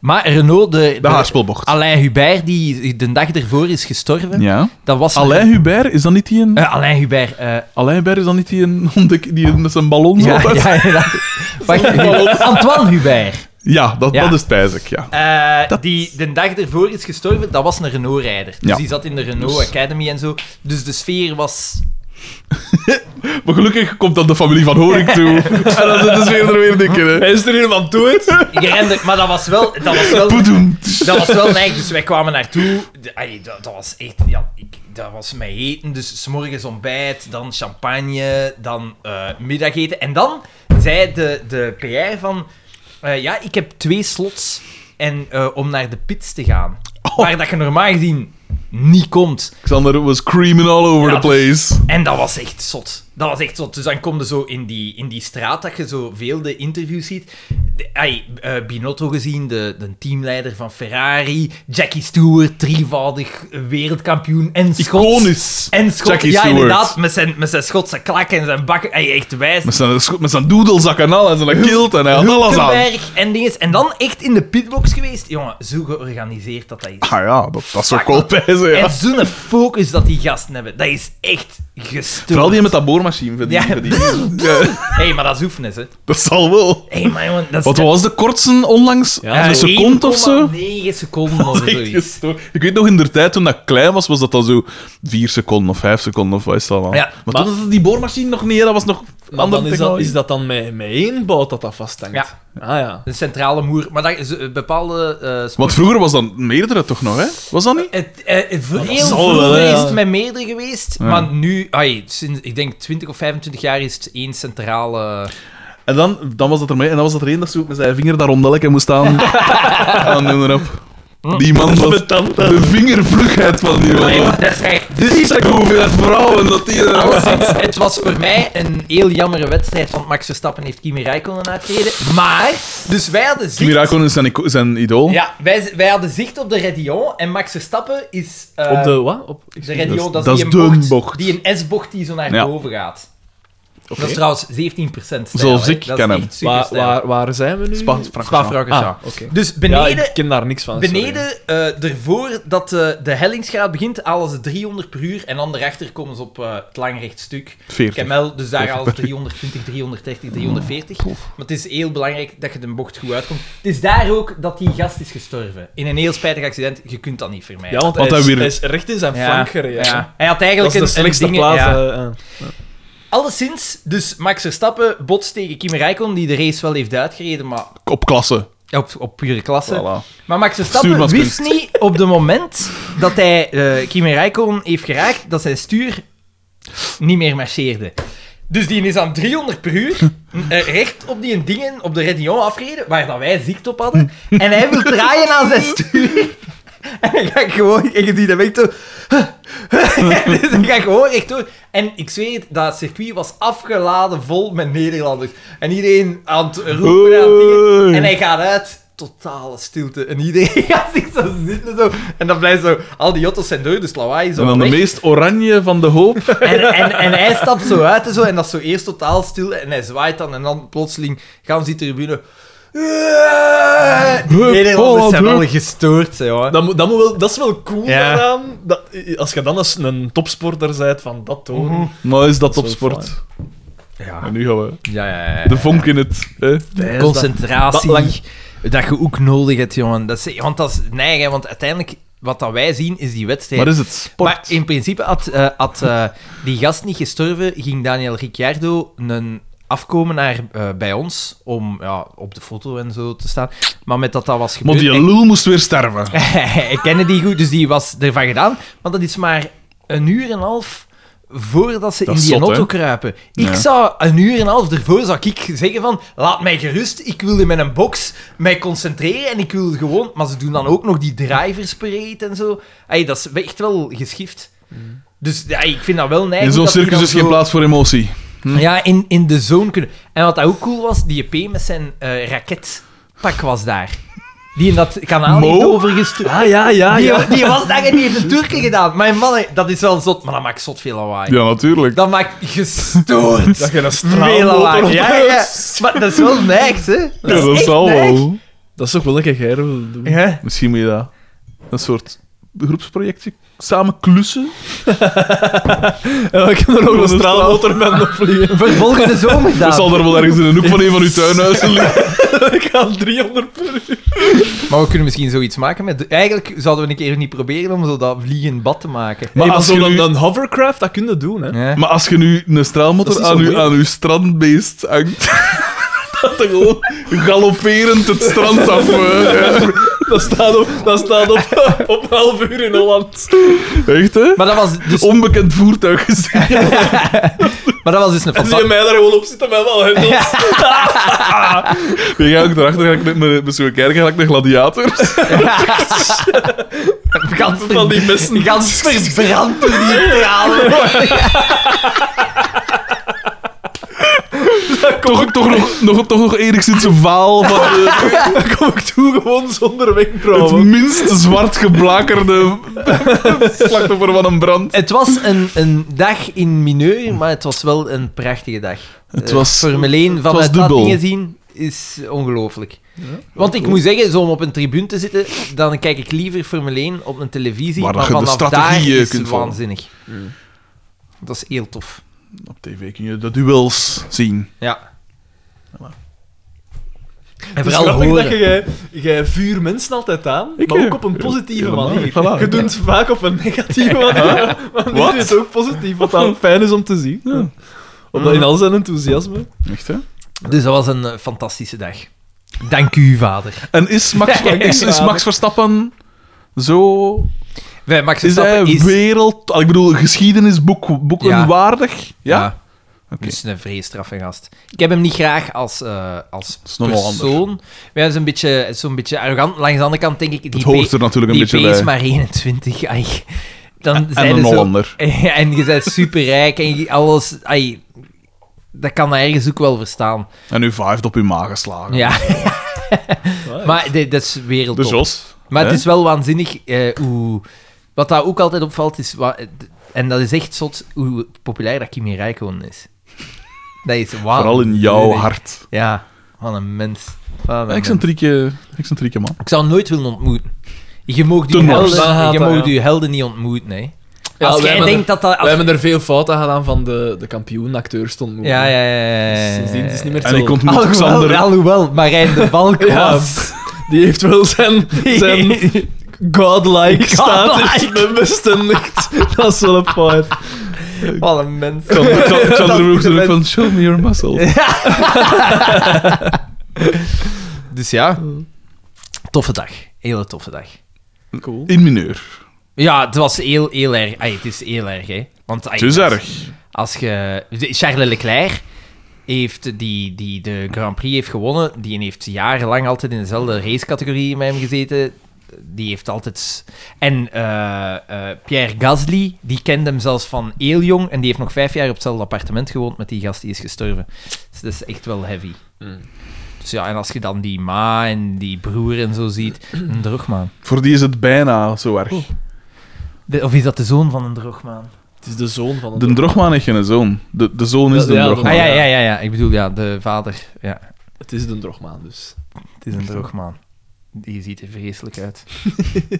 Speaker 1: Maar Renault, de,
Speaker 2: De haarspelbocht.
Speaker 1: Alain Hubert, die de dag ervoor is gestorven,
Speaker 2: Ja.
Speaker 1: dat was...
Speaker 2: Alain Hubert, is dat niet die een...
Speaker 1: Eh, Alain Hubert. eh,
Speaker 2: Alain Hubert, is dat niet die een ontdek die een met zijn ballon zo
Speaker 1: ja,
Speaker 2: op-
Speaker 1: ja, inderdaad. Wacht, Hubert. Antoine Hubert.
Speaker 2: Ja, dat,
Speaker 1: Ja.
Speaker 2: dat is pijzig, ja.
Speaker 1: eh, Die de dag ervoor is gestorven, dat was een Renault-rijder. Dus
Speaker 2: Ja.
Speaker 1: die zat in de Renault
Speaker 2: Dus-
Speaker 1: Academy en zo. Dus de sfeer was...
Speaker 2: Maar gelukkig komt dat de familie van Horik toe. en dat is weer er weer dik in, hè.
Speaker 3: Hij is er een van toe,
Speaker 1: Je rende- maar dat was wel... Dat was wel
Speaker 2: Poedoem.
Speaker 1: dat was wel neig, dus wij kwamen naartoe. De- ai, dat, dat was echt, ja, ik, dat was mijn eten. Dus 's morgens ontbijt, dan champagne, dan eh, middageten. En dan zei de, de PR van, eh, ja, ik heb twee slots en, eh, om naar de pits te gaan. Waar dat je normaal gezien niet komt.
Speaker 2: Xander was creaming all over
Speaker 1: Ja,
Speaker 2: the place.
Speaker 1: En dat was echt zot. Dat was echt zo. Dus dan kom je zo in die, in die straat dat je zo veel de interviews ziet. De, ai, eh, Binotto gezien, de, de teamleider van Ferrari. Jackie Stewart, drievoudig wereldkampioen en Schot.
Speaker 2: Iconisch.
Speaker 1: En Schot.
Speaker 2: Jackie
Speaker 1: ja,
Speaker 2: Stewart.
Speaker 1: inderdaad. Met zijn, met zijn Schotse klak en zijn bakken. Ai, echt wijs.
Speaker 2: Met zijn, scho- met zijn doedelzak en al, en zijn kilt, en hij had alles aan. Ah
Speaker 1: Hulkenberg en dinges. En dan echt in de pitbox geweest. Jongen, zo georganiseerd dat dat is.
Speaker 2: Ah ja, dat, dat zou ik wel pijzen, ja.
Speaker 1: En zo'n focus dat die gasten hebben. Dat is echt gestoord.
Speaker 2: Vooral die met dat boormachine verdienen.
Speaker 1: Ja.
Speaker 2: verdienen. Ja,
Speaker 1: Hé, hey, maar dat is oefenis, hè.
Speaker 2: dat zal wel.
Speaker 1: Hé, hey, maar jongen, dat is...
Speaker 2: Wat was de kortste onlangs? een seconde of zo? dus-
Speaker 1: 9 seconden of
Speaker 2: Echt
Speaker 1: zoiets.
Speaker 2: gestoord. Ik weet nog in de tijd toen dat klein was, was dat dan zo 4 seconden of 5 seconden of wat is dat dan?
Speaker 1: Ja,
Speaker 2: maar, toen was het die boormachine nog niet, hè, dat was nog een
Speaker 3: Maar
Speaker 2: andere
Speaker 3: dan is, dat,
Speaker 2: technologie.
Speaker 3: is dat dan met, met één bout dat dat vasthangt?
Speaker 1: Ja.
Speaker 3: Ah ja.
Speaker 1: Een centrale moer. Maar dat is eh, bepaalde... eh, sport-
Speaker 2: Want vroeger was dat meerdere toch nog, hè? Was dat niet?
Speaker 1: Het, eh, eh, voor heel
Speaker 3: zal
Speaker 1: vroeger
Speaker 3: wel, ja.
Speaker 1: is het met meerdere geweest, maar nu, ai, sinds, ik denk 20 of 25 jaar is het één centrale...
Speaker 2: En dan, dan was dat er mee, en dan was dat er één dat zo met zijn vinger daar rondelletje moest aan. aan doen erop. Die man was de vingervlugheid van die man.
Speaker 1: dat is echt...
Speaker 2: Dit is ook hoeveel vrouwen dat die er
Speaker 1: Ah,
Speaker 2: aan zitten.
Speaker 1: Het was voor mij een heel jammere wedstrijd, want Max Verstappen heeft Kimi Räikkönen uitgereden. Maar, dus wij hadden zicht...
Speaker 2: Kimi Räikkönen is zijn, ico- zijn idool.
Speaker 1: Ja, wij, wij hadden zicht op de Redion en Max Verstappen is... eh,
Speaker 3: Op de wat? Op,
Speaker 1: De Redion, dat,
Speaker 2: dat
Speaker 1: is
Speaker 2: is
Speaker 1: die
Speaker 2: de
Speaker 1: een bocht,
Speaker 2: bocht.
Speaker 1: Die een S-bocht die zo naar
Speaker 2: Ja.
Speaker 1: boven gaat. Dat is trouwens 17 procent.
Speaker 2: Zoals ik ken hem.
Speaker 3: waar, waar, waar zijn we nu?
Speaker 2: Spa- Francorchamps.
Speaker 3: Ah, oké.
Speaker 1: Dus
Speaker 3: Ja,
Speaker 1: beneden,
Speaker 3: ik ken daar niks van. sorry.
Speaker 1: beneden eh, ervoor dat eh, de, de hellingsgraad begint, halen ze 300 per uur. En dan daarachter komen ze op eh, het langrecht stuk.
Speaker 2: 40.
Speaker 1: Camel, dus daar halen ze 320, 330, 340. Maar het is heel belangrijk dat je de bocht goed uitkomt. Het is daar ook dat die gast is gestorven. In een heel spijtig accident. Je kunt dat niet vermijden.
Speaker 3: Ja, want,
Speaker 2: Want
Speaker 3: hij,
Speaker 2: hij
Speaker 3: is,
Speaker 2: weer-
Speaker 3: hij is recht in zijn
Speaker 1: Ja,
Speaker 3: flank gereden.
Speaker 1: ja. Hij had
Speaker 3: Dat
Speaker 1: eigenlijk
Speaker 3: is de
Speaker 1: een, een
Speaker 3: slechtste
Speaker 1: ding-
Speaker 3: plaats.
Speaker 1: ja.
Speaker 3: eh, eh.
Speaker 1: Alleszins, dus Max Verstappen botst tegen Kimi Räikkönen, die de race wel heeft uitgereden, maar
Speaker 2: Op klasse.
Speaker 1: op, op pure klasse.
Speaker 2: Voilà.
Speaker 1: Maar Max Verstappen
Speaker 2: Stuurmanskunst.
Speaker 1: wist niet op het moment dat hij eh, Kimi Räikkönen heeft geraakt, dat zijn stuur niet meer marcheerde. Dus die is aan 300 per uur eh, recht op die dingen op de Redion afgereden, waar dat wij ziekt op hadden. En hij wil draaien aan zijn stuur. En hij gaat gewoon, en je ziet hem echt zo... dus ik ga gewoon echt door. En ik zweer het, dat circuit was afgeladen vol met Nederlanders. En iedereen aan het roepen en aan het dingen. En hij gaat uit. Totale stilte. En iedereen gaat zich zo zitten. Zo. En dan blijft zo... Al die auto's zijn door, dus lawaai is
Speaker 2: En dan
Speaker 1: al
Speaker 2: de
Speaker 1: weg.
Speaker 2: meest oranje van de hoop.
Speaker 1: En, en, en hij stapt zo uit en zo. En dat is zo eerst totaal stil. En hij zwaait dan. En dan plotseling gaan ze die tribune... Die Nederlanders
Speaker 2: Holland,
Speaker 1: zijn
Speaker 2: hup.
Speaker 1: wel gestoord, hè, hoor.
Speaker 3: Dat, moet- dat, moet wel, dat is wel cool
Speaker 1: Ja.
Speaker 3: daaraan. Dat, eh, als je dan eens een topsporter bent van dat toren.
Speaker 2: Nou is dat
Speaker 3: Dat
Speaker 2: op
Speaker 3: is wel
Speaker 2: sport.
Speaker 1: Ja,
Speaker 2: En nu gaan we.
Speaker 1: ja, ja. ja.
Speaker 2: De vonk in het. Hè?
Speaker 1: concentratie.
Speaker 3: Dat
Speaker 1: Dat,
Speaker 3: lang-
Speaker 1: je ook nodig hebt, jongen. Dat is, want dat is neigen, want uiteindelijk wat dat wij zien is die wedstrijd.
Speaker 2: Maar
Speaker 3: dus
Speaker 2: is het sport?
Speaker 1: Maar in principe had, eh, had eh, die gast niet gestorven, ging Daniel Ricciardo een afkomen naar eh, bij ons om ja, op de foto en zo te staan. Maar met dat dat was
Speaker 2: Maar
Speaker 1: gebeurd.
Speaker 2: die lul moest weer sterven.
Speaker 1: ik kende die goed, dus die was ervan gedaan. Maar dat is maar een uur en een half voordat ze
Speaker 2: Dat
Speaker 1: in
Speaker 2: is
Speaker 1: die
Speaker 2: zot,
Speaker 1: auto
Speaker 2: hè?
Speaker 1: kruipen. Ik
Speaker 2: Ja.
Speaker 1: zou een uur en een half ervoor zou ik zeggen van laat mij gerust, ik wil in mijn box mij concentreren en ik wil gewoon... Maar ze doen dan ook nog die drivers parade en zo. Ey, dat is echt wel geschift. Dus ja, ik vind dat wel neigend.
Speaker 2: In zo'n
Speaker 1: dat die
Speaker 2: circus
Speaker 1: dan
Speaker 2: is geen
Speaker 1: zo-
Speaker 2: plaats voor emotie.
Speaker 1: Ja, in, in de zone kunnen... En wat dat ook cool was, die EP met zijn eh, raketpak was daar. Die in dat kanaal
Speaker 2: Mo?
Speaker 1: heeft overgestuurd.
Speaker 3: Ah ja, ja,
Speaker 1: Die,
Speaker 3: ja.
Speaker 1: die was daar en die heeft de Turken gedaan. Maar mannen, dat is wel zot, maar dat maakt zot veel lawaai.
Speaker 2: Ja, natuurlijk.
Speaker 1: Dat maakt gestoord
Speaker 3: Dat je een
Speaker 1: veel
Speaker 3: straalmotor
Speaker 1: lawaai.
Speaker 3: op
Speaker 1: Ja, ja. Maar dat is wel neigt, hè.
Speaker 2: Ja, dat zal wel.
Speaker 3: Dat is toch wel een keer jij wil doen.
Speaker 1: Ja.
Speaker 2: Misschien moet je dat. Een soort groepsprojectje. Samen klussen.
Speaker 3: Ja, ik heb er ook een straalmotor met op vliegen.
Speaker 1: Vervolgens de zomer
Speaker 2: Dat zal er wel ergens in een hoek van een van uw tuinhuizen liggen.
Speaker 3: Ik ga 300 per uur.
Speaker 1: Maar we kunnen misschien zoiets maken met... Eigenlijk zouden we een keer niet proberen om zo dat vliegend bad te maken.
Speaker 3: Maar
Speaker 2: Maar
Speaker 3: als
Speaker 2: als je
Speaker 3: zo'n
Speaker 2: nu-
Speaker 3: een hovercraft, dat kun je doen, hè.
Speaker 1: Ja.
Speaker 2: Maar als je nu een
Speaker 3: Dat
Speaker 2: straalmotor
Speaker 3: is niet
Speaker 2: aan,
Speaker 3: zo
Speaker 2: uw-
Speaker 3: moeilijk.
Speaker 2: aan uw strandbeest hangt. dat er gewoon galopperend het strand af. eh.
Speaker 3: Dat staat op, dat staat op, op half uur in Holland.
Speaker 2: Echt, hè?
Speaker 1: Maar dat was dus,
Speaker 2: Onbekend voertuig gezien.
Speaker 1: maar dat was dus een
Speaker 3: En zie je
Speaker 1: fantastische...
Speaker 3: mij daar gewoon op zitten met wel hendels.
Speaker 2: Je gaat ook erachter, ga ik met, met, met zo'n kerk ga ik naar gladiators.
Speaker 1: Gans, ver-
Speaker 3: Van die messen.
Speaker 1: gans verbrand door die stralen.
Speaker 2: toch, toch, nog, nog, toch nog enigszins een vaal van de-
Speaker 3: Dan kom ik toe gewoon zonder
Speaker 2: het
Speaker 3: wenkbrauwen.
Speaker 2: minst zwart geblakerde slachtoffer van een brand.
Speaker 1: Het was een, een dag in mineur, maar het was wel een prachtige dag.
Speaker 2: Het
Speaker 1: Eh,
Speaker 2: was-
Speaker 1: Formule 1
Speaker 2: was
Speaker 1: vanuit
Speaker 2: dubbel.
Speaker 1: Lattingen zien is ongelooflijk. Want ik moet zeggen, zo om op een tribune te zitten, dan kijk ik liever Formule 1 op een televisie.
Speaker 2: Waar
Speaker 1: Maar,
Speaker 2: dat je de
Speaker 1: vanaf daar
Speaker 2: strategieën
Speaker 1: is
Speaker 2: kunt volgen. Mm.
Speaker 1: waanzinnig. Dat is heel tof.
Speaker 2: Op tv kun je de duels zien.
Speaker 1: Ja.
Speaker 3: En
Speaker 1: vooral
Speaker 3: Dus dat je, jij- jij vuur mensen altijd aan, maar ook op een positieve manier.
Speaker 2: eh, voilà.
Speaker 3: Je doet het vaak op een negatieve manier, maar
Speaker 2: Wat?
Speaker 3: dit is ook positief, wat dan fijn is om te zien. Omdat in al zijn enthousiasme.
Speaker 2: Echt, hè?
Speaker 1: Dus dat was een eh, fantastische dag. Dank u, vader.
Speaker 2: En is Max, is, is Max Verstappen zo...
Speaker 1: Wij, Max
Speaker 2: Is eh, hij
Speaker 1: Verstappen is...
Speaker 2: wereld... Ah, Ik bedoel, geschiedenisboek boeken
Speaker 1: Ja.
Speaker 2: waardig? Ja?
Speaker 1: Ja. Het is een vreestraffe gast. Ik heb hem niet graag als, eh, als
Speaker 2: is nogal
Speaker 1: persoon. Maar hij is een beetje, zo'n beetje arrogant. Langs de andere kant denk ik... Die
Speaker 2: Het hoort
Speaker 1: P-
Speaker 2: er natuurlijk een
Speaker 1: die
Speaker 2: beetje
Speaker 1: P is
Speaker 2: bij.
Speaker 1: maar 21. Ai. Dan
Speaker 2: En
Speaker 1: zijn
Speaker 2: een
Speaker 1: ze zo,
Speaker 2: Hollander.
Speaker 1: En je bent superrijk en je- alles... Ai. Dat kan hij ergens ook wel verstaan.
Speaker 2: En u vijft op uw maag geslagen.
Speaker 1: Ja. maar dit- dat is wereldtop.
Speaker 2: Ah, Dus Jos...
Speaker 1: Maar
Speaker 2: hè?
Speaker 1: het is wel waanzinnig eh, hoe... Wat daar ook altijd opvalt is... wa- en dat is echt zot hoe populair dat Kimi Räikkönen is. Dat is waanzinnig.
Speaker 2: Vooral in jouw hart.
Speaker 1: Ja, wat een mens. Wat een mens.
Speaker 2: Excentrieke, excentrieke man.
Speaker 1: Ik zou hem nooit willen ontmoeten. Je mag je
Speaker 2: Ten
Speaker 3: opzichte-
Speaker 1: helden, je
Speaker 7: Ja,
Speaker 1: mag
Speaker 7: ja.
Speaker 1: je helden niet ontmoeten, hè.
Speaker 3: Ah,
Speaker 7: Ja,
Speaker 1: als
Speaker 7: wij
Speaker 1: jij
Speaker 7: hebben
Speaker 1: denkt dat dat...
Speaker 7: We
Speaker 1: Als...
Speaker 7: hebben er veel fouten gedaan van de, de kampioenacteurs stond moe.
Speaker 1: Ja, ja, ja, ja, ja.
Speaker 7: Sindsdien is het niet meer
Speaker 2: En
Speaker 7: zo.
Speaker 2: ik ontmoet
Speaker 1: Alhoewel,
Speaker 2: Xander.
Speaker 1: alhoewel, Marijn de Valk
Speaker 7: Ja.
Speaker 1: was...
Speaker 3: Die heeft wel zijn, zijn godlike status
Speaker 1: Godlike.
Speaker 3: bestendigd. Dat is wel een point.
Speaker 1: Wat een mens.
Speaker 2: Xander, Xander, Xander vroeg
Speaker 1: de
Speaker 2: terug van, show me your muscle.
Speaker 1: Dus ja, toffe dag. Hele toffe dag.
Speaker 7: Cool.
Speaker 2: In mineur.
Speaker 1: Ja, het was heel, heel erg. Ai, het is heel erg, hè. Want, ai,
Speaker 2: Het is
Speaker 1: als-
Speaker 2: erg.
Speaker 1: Als je... Charles Leclerc heeft die, die de Grand Prix heeft gewonnen. Die heeft jarenlang altijd in dezelfde racecategorie met hem gezeten. Die heeft altijd... En eh, eh, Pierre Gasly, die kende hem zelfs van heel jong. En die heeft nog vijf jaar op hetzelfde appartement gewoond met die gast die is gestorven. Dus dat is echt wel heavy. Dus ja, en als je dan die ma en die broer en zo ziet... Een drogmaan.
Speaker 2: Voor die is het bijna zo erg.
Speaker 1: De- of is dat de zoon van een drogmaan?
Speaker 3: Het is de zoon van
Speaker 2: De drogman heeft geen zoon. De, de zoon is
Speaker 7: Ja,
Speaker 2: de
Speaker 7: ja,
Speaker 2: drogman.
Speaker 1: Ah ja,
Speaker 7: Ja.
Speaker 1: ja, ja, ja. Ik bedoel, ja, de vader. Ja,
Speaker 7: Het is de drogmaan, dus.
Speaker 1: het is een droogmaan. Die ziet er vreselijk uit.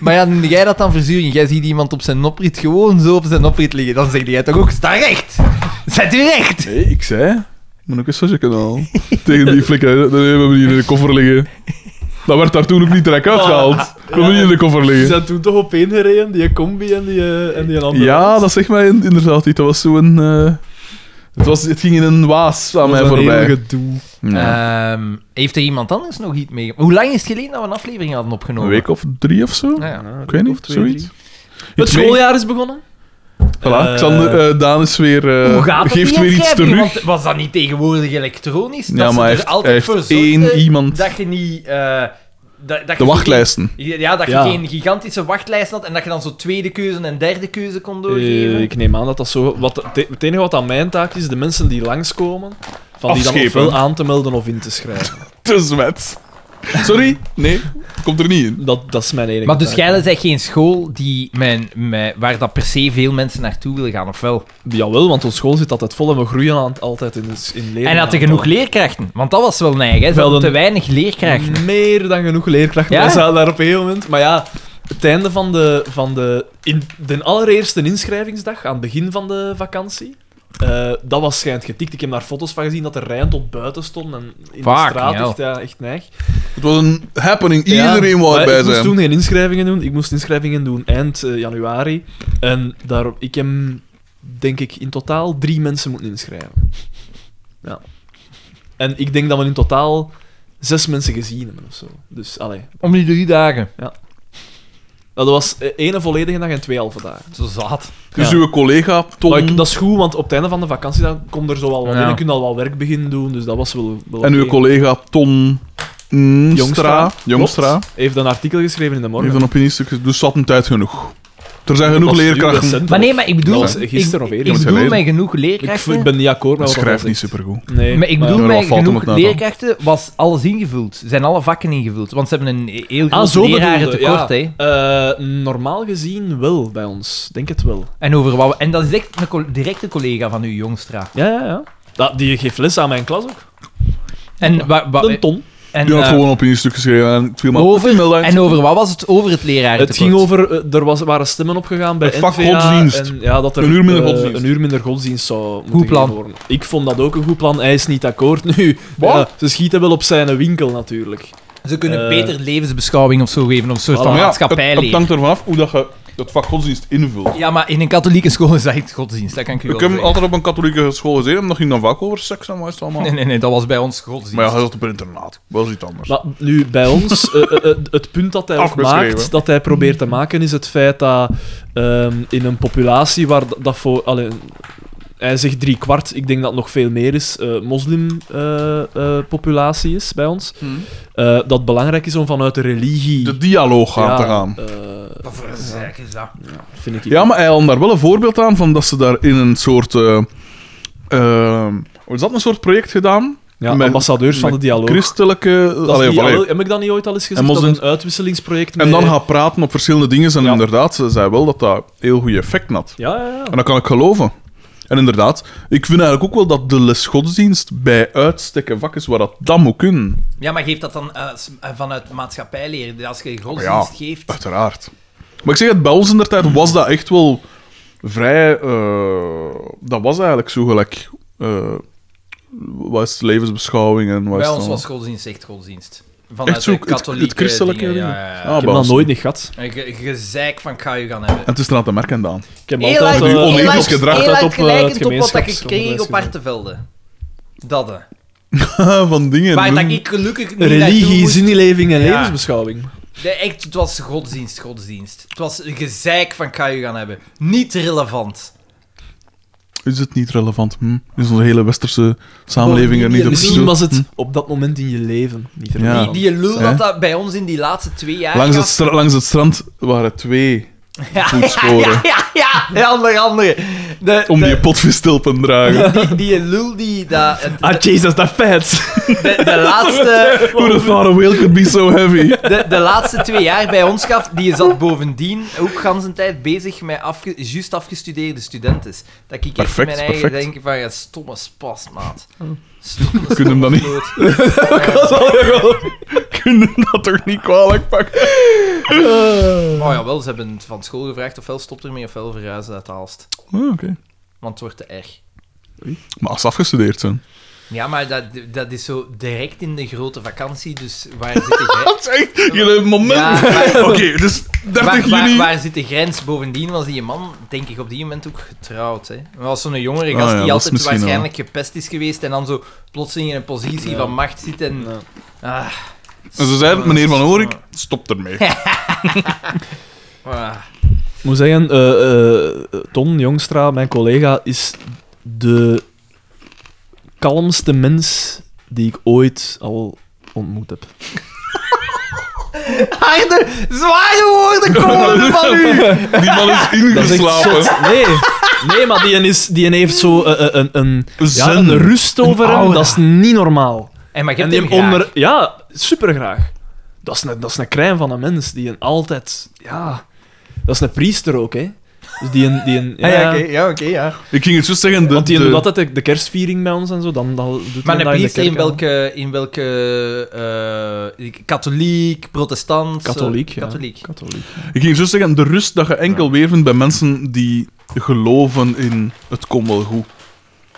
Speaker 1: maar ja, noemde jij dat dan verzuring? Jij ziet iemand op zijn noprit gewoon zo op zijn noprit liggen. Dan zeg jij toch ook, sta recht! Zet u recht!
Speaker 2: Nee, ik zei... Ik moet ook een sosje kunnen halen. Tegen die flikker. Dat hebben we hier in de koffer liggen. Dat werd daar toen ook niet direct uitgehaald.
Speaker 3: Ah.
Speaker 2: Dat hebben we niet in de koffer
Speaker 3: Ze
Speaker 2: liggen.
Speaker 3: zijn toen toch opeen gereden, die combi en die, eh, en die andere.
Speaker 2: Ja, dat zegt mij in- inderdaad niet. Dat was zo'n... eh, het, was, het ging in een waas aan
Speaker 3: was
Speaker 2: mij
Speaker 3: een
Speaker 2: voorbij.
Speaker 3: heel gedoe.
Speaker 2: Ja.
Speaker 1: Ehm, heeft er iemand anders nog iets mee? Hoe lang is het geleden dat we een aflevering hadden opgenomen?
Speaker 2: Een week of drie of zo?
Speaker 3: Eh,
Speaker 1: Ah, ja.
Speaker 2: Ik weet niet, zoiets.
Speaker 7: Het
Speaker 2: Iets
Speaker 7: schooljaar is begonnen.
Speaker 2: mee. Voilà, Xander, eh, Daan is weer, eh,
Speaker 1: Hoe gaat het
Speaker 2: geeft
Speaker 1: die
Speaker 2: weer iets
Speaker 1: inschrijving?
Speaker 2: terug.
Speaker 1: Want was dat niet tegenwoordig elektronisch?
Speaker 2: Ja,
Speaker 1: dat ze
Speaker 2: maar hij
Speaker 1: er
Speaker 2: heeft-
Speaker 1: altijd
Speaker 2: hij heeft
Speaker 1: voor zorgden
Speaker 2: één iemand.
Speaker 1: Dat je niet... eh, dat, dat
Speaker 2: De
Speaker 1: je-
Speaker 2: wachtlijsten.
Speaker 1: Ja, dat je
Speaker 7: Ja.
Speaker 1: geen gigantische wachtlijst had en dat je dan zo tweede keuze en derde keuze kon doorgeven.
Speaker 3: Eh, ik neem aan dat dat zo... Wat, te- het enige wat aan mijn taak is, de mensen die langskomen, van die dan
Speaker 2: Afschepen.
Speaker 3: ofwel aan te melden of in te schrijven.
Speaker 2: Te zwet. Sorry? Nee, komt er niet in.
Speaker 3: Dat, dat is mijn enige
Speaker 1: maar dus
Speaker 3: taak.
Speaker 1: Gijlen zegt geen school die mijn, mijn, waar dat per se veel mensen naartoe willen gaan, of wel?
Speaker 3: Jawel, want onze school zit altijd vol en we groeien aan, altijd in, in leren.
Speaker 1: En had er genoeg leerkrachten? Want dat was wel neig, hè? Ze
Speaker 3: Wel
Speaker 1: hadden
Speaker 3: een-
Speaker 1: te weinig leerkrachten.
Speaker 3: Meer dan genoeg leerkrachten.
Speaker 1: Ja?
Speaker 3: Wij zaten daar op een gegeven moment. Maar ja, het einde van de, van de, in, de allereerste inschrijvingsdag, aan het begin van de vakantie, eh, dat was schijnt getikt. Ik heb daar foto's van gezien dat de rijen tot buiten stonden en in
Speaker 1: Fuck,
Speaker 3: de straat.
Speaker 1: ja.
Speaker 3: Echt, ja, echt neig.
Speaker 2: Het was een happening.
Speaker 3: Ja,
Speaker 2: Iedereen wou
Speaker 3: maar
Speaker 2: erbij
Speaker 3: Ik moest
Speaker 2: zijn.
Speaker 3: toen geen inschrijvingen doen. Ik moest inschrijvingen doen eind eh, januari. En daar, ik heb, denk ik, in totaal drie mensen moeten inschrijven. Ja. En ik denk dat we in totaal zes mensen gezien hebben of zo. Dus, allee.
Speaker 1: Om die drie dagen.
Speaker 3: Nou, dat was eh, één volledige dag en twee halve dagen.
Speaker 1: Zo zat.
Speaker 2: Dus
Speaker 3: Ja.
Speaker 2: uw collega, Tom...
Speaker 3: Maar ik- dat is goed, want op het einde van de vakantie dan komt er zo wel wat
Speaker 1: Ja.
Speaker 3: in. Dan kun je al wat werk beginnen doen, dus dat was wel, wel
Speaker 2: En uw
Speaker 3: oké.
Speaker 2: collega, Tom... Mm,
Speaker 3: Jongstra,
Speaker 2: Stra- Jongstra.
Speaker 3: klopt, heeft een artikel geschreven in de morgen.
Speaker 2: Heeft een opiniestuk. Dus zat een tijd genoeg. Er zijn genoeg
Speaker 3: Dat was
Speaker 2: leerkrachten.
Speaker 3: recent.
Speaker 1: Maar nee, maar ik bedoel...
Speaker 3: Dat was gisteren of
Speaker 1: ik-
Speaker 3: eerder.
Speaker 1: Ik,
Speaker 2: Dat is
Speaker 1: bedoel
Speaker 2: geleden.
Speaker 1: mij genoeg
Speaker 3: Ik
Speaker 1: leerkrachten...
Speaker 3: v- ben niet akkoord met
Speaker 2: Dat
Speaker 3: wat dat
Speaker 2: schrijft
Speaker 3: zegt.
Speaker 2: niet supergoed.
Speaker 3: Nee,
Speaker 1: Maar ik bedoel,
Speaker 2: maar
Speaker 1: mij
Speaker 2: wat valt hem
Speaker 1: genoeg
Speaker 2: het nou dan?
Speaker 1: leerkrachten was alles ingevuld. Zijn alle vakken ingevuld. Want ze hebben een heel
Speaker 3: Ah,
Speaker 1: groot
Speaker 3: zo
Speaker 1: leraren
Speaker 3: bedoelde,
Speaker 1: tekort,
Speaker 3: ja.
Speaker 1: hè.
Speaker 3: Eh, normaal gezien wel bij ons. Denk het wel.
Speaker 1: En, over wat we- en dat is echt een col- directe collega van u, Jongstra.
Speaker 3: Ja, ja, ja. Dat, die geeft les aan mijn klas ook.
Speaker 1: En, wa,
Speaker 2: Ah,
Speaker 1: wa-
Speaker 3: Een ton.
Speaker 1: en,
Speaker 2: Je had
Speaker 1: eh,
Speaker 2: gewoon op een stuk geschreven en het viel maar
Speaker 1: over, en over wat was het? Over het leraren
Speaker 3: Het ging over, eh, er was, waren stemmen opgegaan bij
Speaker 2: Het vak
Speaker 3: NVA
Speaker 2: godsdienst.
Speaker 3: En, ja, dat er,
Speaker 2: Een uur minder
Speaker 3: eh,
Speaker 2: godsdienst.
Speaker 3: een uur minder godsdienst zou moeten
Speaker 1: Goed plan.
Speaker 3: gegeven worden. Ik vond dat ook een goed plan. Hij is niet akkoord nu. Ja, ze schieten wel op zijn winkel natuurlijk.
Speaker 1: Ze kunnen
Speaker 3: eh,
Speaker 1: beter levensbeschouwing of zo geven, of een soort
Speaker 3: Voilà.
Speaker 1: van
Speaker 2: Maar ja, het,
Speaker 1: maatschappijleer.
Speaker 2: het hangt ervan af hoe dat je dat vak godsdienst invult.
Speaker 1: Ja, maar in een katholieke school is dat echt godsdienst, dat kan ik u wel
Speaker 2: Ik heb
Speaker 1: zeggen.
Speaker 2: altijd op een katholieke school gezeten, en dat ging dan vaak over seks en wat is het allemaal.
Speaker 1: Nee, nee, nee, dat was bij ons godsdienst.
Speaker 2: Maar ja, hij zat op een internaat. Wel iets anders.
Speaker 3: Maar nu, bij ons, eh, eh, eh, het punt dat hij ook
Speaker 2: Afgeschreven.
Speaker 3: maakt, dat hij probeert te maken, is het feit dat ehm, in een populatie waar dat, dat voor... allee, hij zegt drie kwart, ik denk dat het nog veel meer is, eh, moslimpopulatie eh, is bij ons. Eh, dat het belangrijk is om vanuit de religie...
Speaker 2: De dialoog aan
Speaker 3: Ja,
Speaker 2: te gaan.
Speaker 3: eh,
Speaker 1: Wat voor zeik is dat?
Speaker 3: vind ik
Speaker 2: Ja, maar hij had daar wel een voorbeeld aan van dat ze daar in een soort. eh eh, is dat een soort project gedaan?
Speaker 3: Ja,
Speaker 2: met-
Speaker 3: ambassadeurs van de
Speaker 2: met
Speaker 3: dialoog.
Speaker 2: Christelijke.
Speaker 3: Dat is
Speaker 2: allee,
Speaker 3: die-
Speaker 2: allee.
Speaker 3: heb ik dat niet ooit al eens gezegd?
Speaker 2: En
Speaker 3: Dat
Speaker 2: moslims-
Speaker 3: een uitwisselingsproject
Speaker 2: En
Speaker 3: met-
Speaker 2: dan gaan praten op verschillende dingen. En inderdaad, ze zei wel dat dat heel goed effect had.
Speaker 3: Ja, ja, ja.
Speaker 2: En dat kan ik geloven. En inderdaad, ik vind eigenlijk ook wel dat de lesgodsdienst bij uitstek een vak is waar dat dan moet kunnen.
Speaker 1: Ja, maar geeft dat dan eh, s- eh, vanuit maatschappijleer? Als je
Speaker 2: Ja.
Speaker 1: godsdienst geeft...
Speaker 2: Uiteraard. Maar ik zeg het, bij ons in der tijd was dat echt wel vrij... eh, dat was eigenlijk zo gelijk... eh wat is het, levensbeschouwing en wat is
Speaker 1: Bij
Speaker 2: het
Speaker 1: ons
Speaker 2: allemaal?
Speaker 1: was godsdienst echt godsdienst.
Speaker 2: Echt
Speaker 1: Vanuit
Speaker 2: zo,
Speaker 1: de
Speaker 2: het- het
Speaker 1: katholieke
Speaker 2: christelijke
Speaker 1: dingen,
Speaker 2: dingen.
Speaker 1: Ja, ja,
Speaker 2: Ah,
Speaker 1: ja.
Speaker 3: Ik heb dat nooit niet gehad.
Speaker 1: En ge- Gezeik van, ik ga je gaan hebben.
Speaker 2: En het is inderdaad te merken dan.
Speaker 3: Ik heb
Speaker 1: Heel
Speaker 3: altijd...
Speaker 1: erg-
Speaker 2: uw
Speaker 3: eh,
Speaker 2: onethisch
Speaker 1: heel
Speaker 3: altijd
Speaker 1: erg-
Speaker 2: gedrag
Speaker 1: heel
Speaker 3: dat
Speaker 1: erg
Speaker 3: op, eh,
Speaker 1: gelijkend
Speaker 3: het
Speaker 1: op wat dat ik
Speaker 3: gemeenschapsonderwijs
Speaker 1: kreeg op
Speaker 3: gedaan.
Speaker 1: Artevelde. Dat, hè.
Speaker 2: Van dingen.
Speaker 1: Waar dat ik gelukkig niet naartoe
Speaker 3: Religie,
Speaker 1: moest.
Speaker 3: zinneleving en
Speaker 1: Ja.
Speaker 3: levensbeschouwing.
Speaker 1: Nee, echt, het was godsdienst, godsdienst. Het was een gezeik van, ik ga je gaan hebben. Niet relevant.
Speaker 2: Is het niet relevant? Hm? Is onze hele westerse samenleving er niet op
Speaker 3: Misschien
Speaker 2: gestoeld?
Speaker 3: was het
Speaker 2: Hm?
Speaker 3: op dat moment in je leven niet
Speaker 2: Ja.
Speaker 3: relevant.
Speaker 1: Die, die lul
Speaker 2: Hè?
Speaker 1: dat, dat bij ons in die laatste twee jaar
Speaker 2: Langs het,
Speaker 1: gaf.
Speaker 2: stra- langs het strand waren twee voetsporen
Speaker 1: Ja, ja, ja, onder andere. De,
Speaker 2: om
Speaker 1: de-
Speaker 2: die potvis te helpen dragen.
Speaker 1: die, die lul die... Dat, het-
Speaker 3: Ah, Jesus, dat vet.
Speaker 1: de, de laatste,
Speaker 2: Who the thought a whale could be so heavy?
Speaker 1: de, de laatste twee jaar bij ons gaf, die zat bovendien ook gans een tijd bezig met afge, juist afgestudeerde studenten. Dat ik echt
Speaker 2: Perfect,
Speaker 1: mijn eigen
Speaker 2: perfect.
Speaker 1: denk van, ja, stomme spas, maat. Stomme
Speaker 2: Kunnen hem dan niet-
Speaker 1: stomme kloot. Eh,
Speaker 2: Kunnen dat toch niet kwalijk pakken?
Speaker 1: Maar Oh ja, wel, ze hebben het van school gevraagd ofwel stop ermee ofwel verhuizen uit Aalst.
Speaker 2: Oh, Oké.
Speaker 1: Want het wordt te erg.
Speaker 2: Maar als ze afgestudeerd zijn.
Speaker 1: Ja, maar dat, dat is zo direct in de grote vakantie, dus waar zit de
Speaker 2: Oh,
Speaker 1: grens?
Speaker 2: Jullie moment.
Speaker 1: Ja, maar-
Speaker 2: Oké, dus 30
Speaker 1: Waar,
Speaker 2: juni.
Speaker 1: waar, waar zit de grens? Bovendien was die man, denk ik, op die moment ook getrouwd. Hè? Er was zo'n jongere
Speaker 2: Ah,
Speaker 1: gast
Speaker 2: ja, dat
Speaker 1: die
Speaker 2: is
Speaker 1: altijd
Speaker 2: misschien
Speaker 1: waarschijnlijk gepest is geweest en dan zo plotseling in een positie van macht zit en...
Speaker 3: Ja.
Speaker 1: Ah,
Speaker 2: En ze zeiden, meneer Van Oorik, stop ermee.
Speaker 1: ah.
Speaker 3: Ik moet zeggen, eh, eh, Ton Jongstra, mijn collega, is de kalmste mens die ik ooit al ontmoet heb.
Speaker 1: Harde, zware woorden komen van u!
Speaker 2: Die man is
Speaker 3: Dat is echt
Speaker 2: ingeslapen.
Speaker 3: zot. Nee. nee, maar die, is, die heeft zo eh, eh, een, een, ja,
Speaker 2: Zen.
Speaker 3: een rust over hem.
Speaker 1: aura.
Speaker 3: Dat is niet normaal.
Speaker 1: En maar je
Speaker 3: en
Speaker 1: hebt
Speaker 3: die
Speaker 1: hem
Speaker 3: hem
Speaker 1: graag.
Speaker 3: onder... Ja, supergraag. Dat is, een, dat is een crème van een mens. Die een altijd... Ja... Dat is een priester ook, hè. Dus die een... Die een ja,
Speaker 1: Ah, ja, oké, ja, oké, ja.
Speaker 2: Ik ging het zo zeggen. De,
Speaker 3: Want die
Speaker 2: de-
Speaker 3: doet altijd de, de kerstviering bij ons en zo. Dan, dan doet hij
Speaker 1: Maar een
Speaker 3: dat in de
Speaker 1: priester in
Speaker 3: kerk, ja.
Speaker 1: welke... In welke eh, katholiek, protestant... eh,
Speaker 3: Katholiek, ja.
Speaker 1: Katholiek.
Speaker 3: Katholiek.
Speaker 2: Ik ging zo zeggen, de rust dat je enkel weer vindt bij mensen die geloven in het komt wel goed.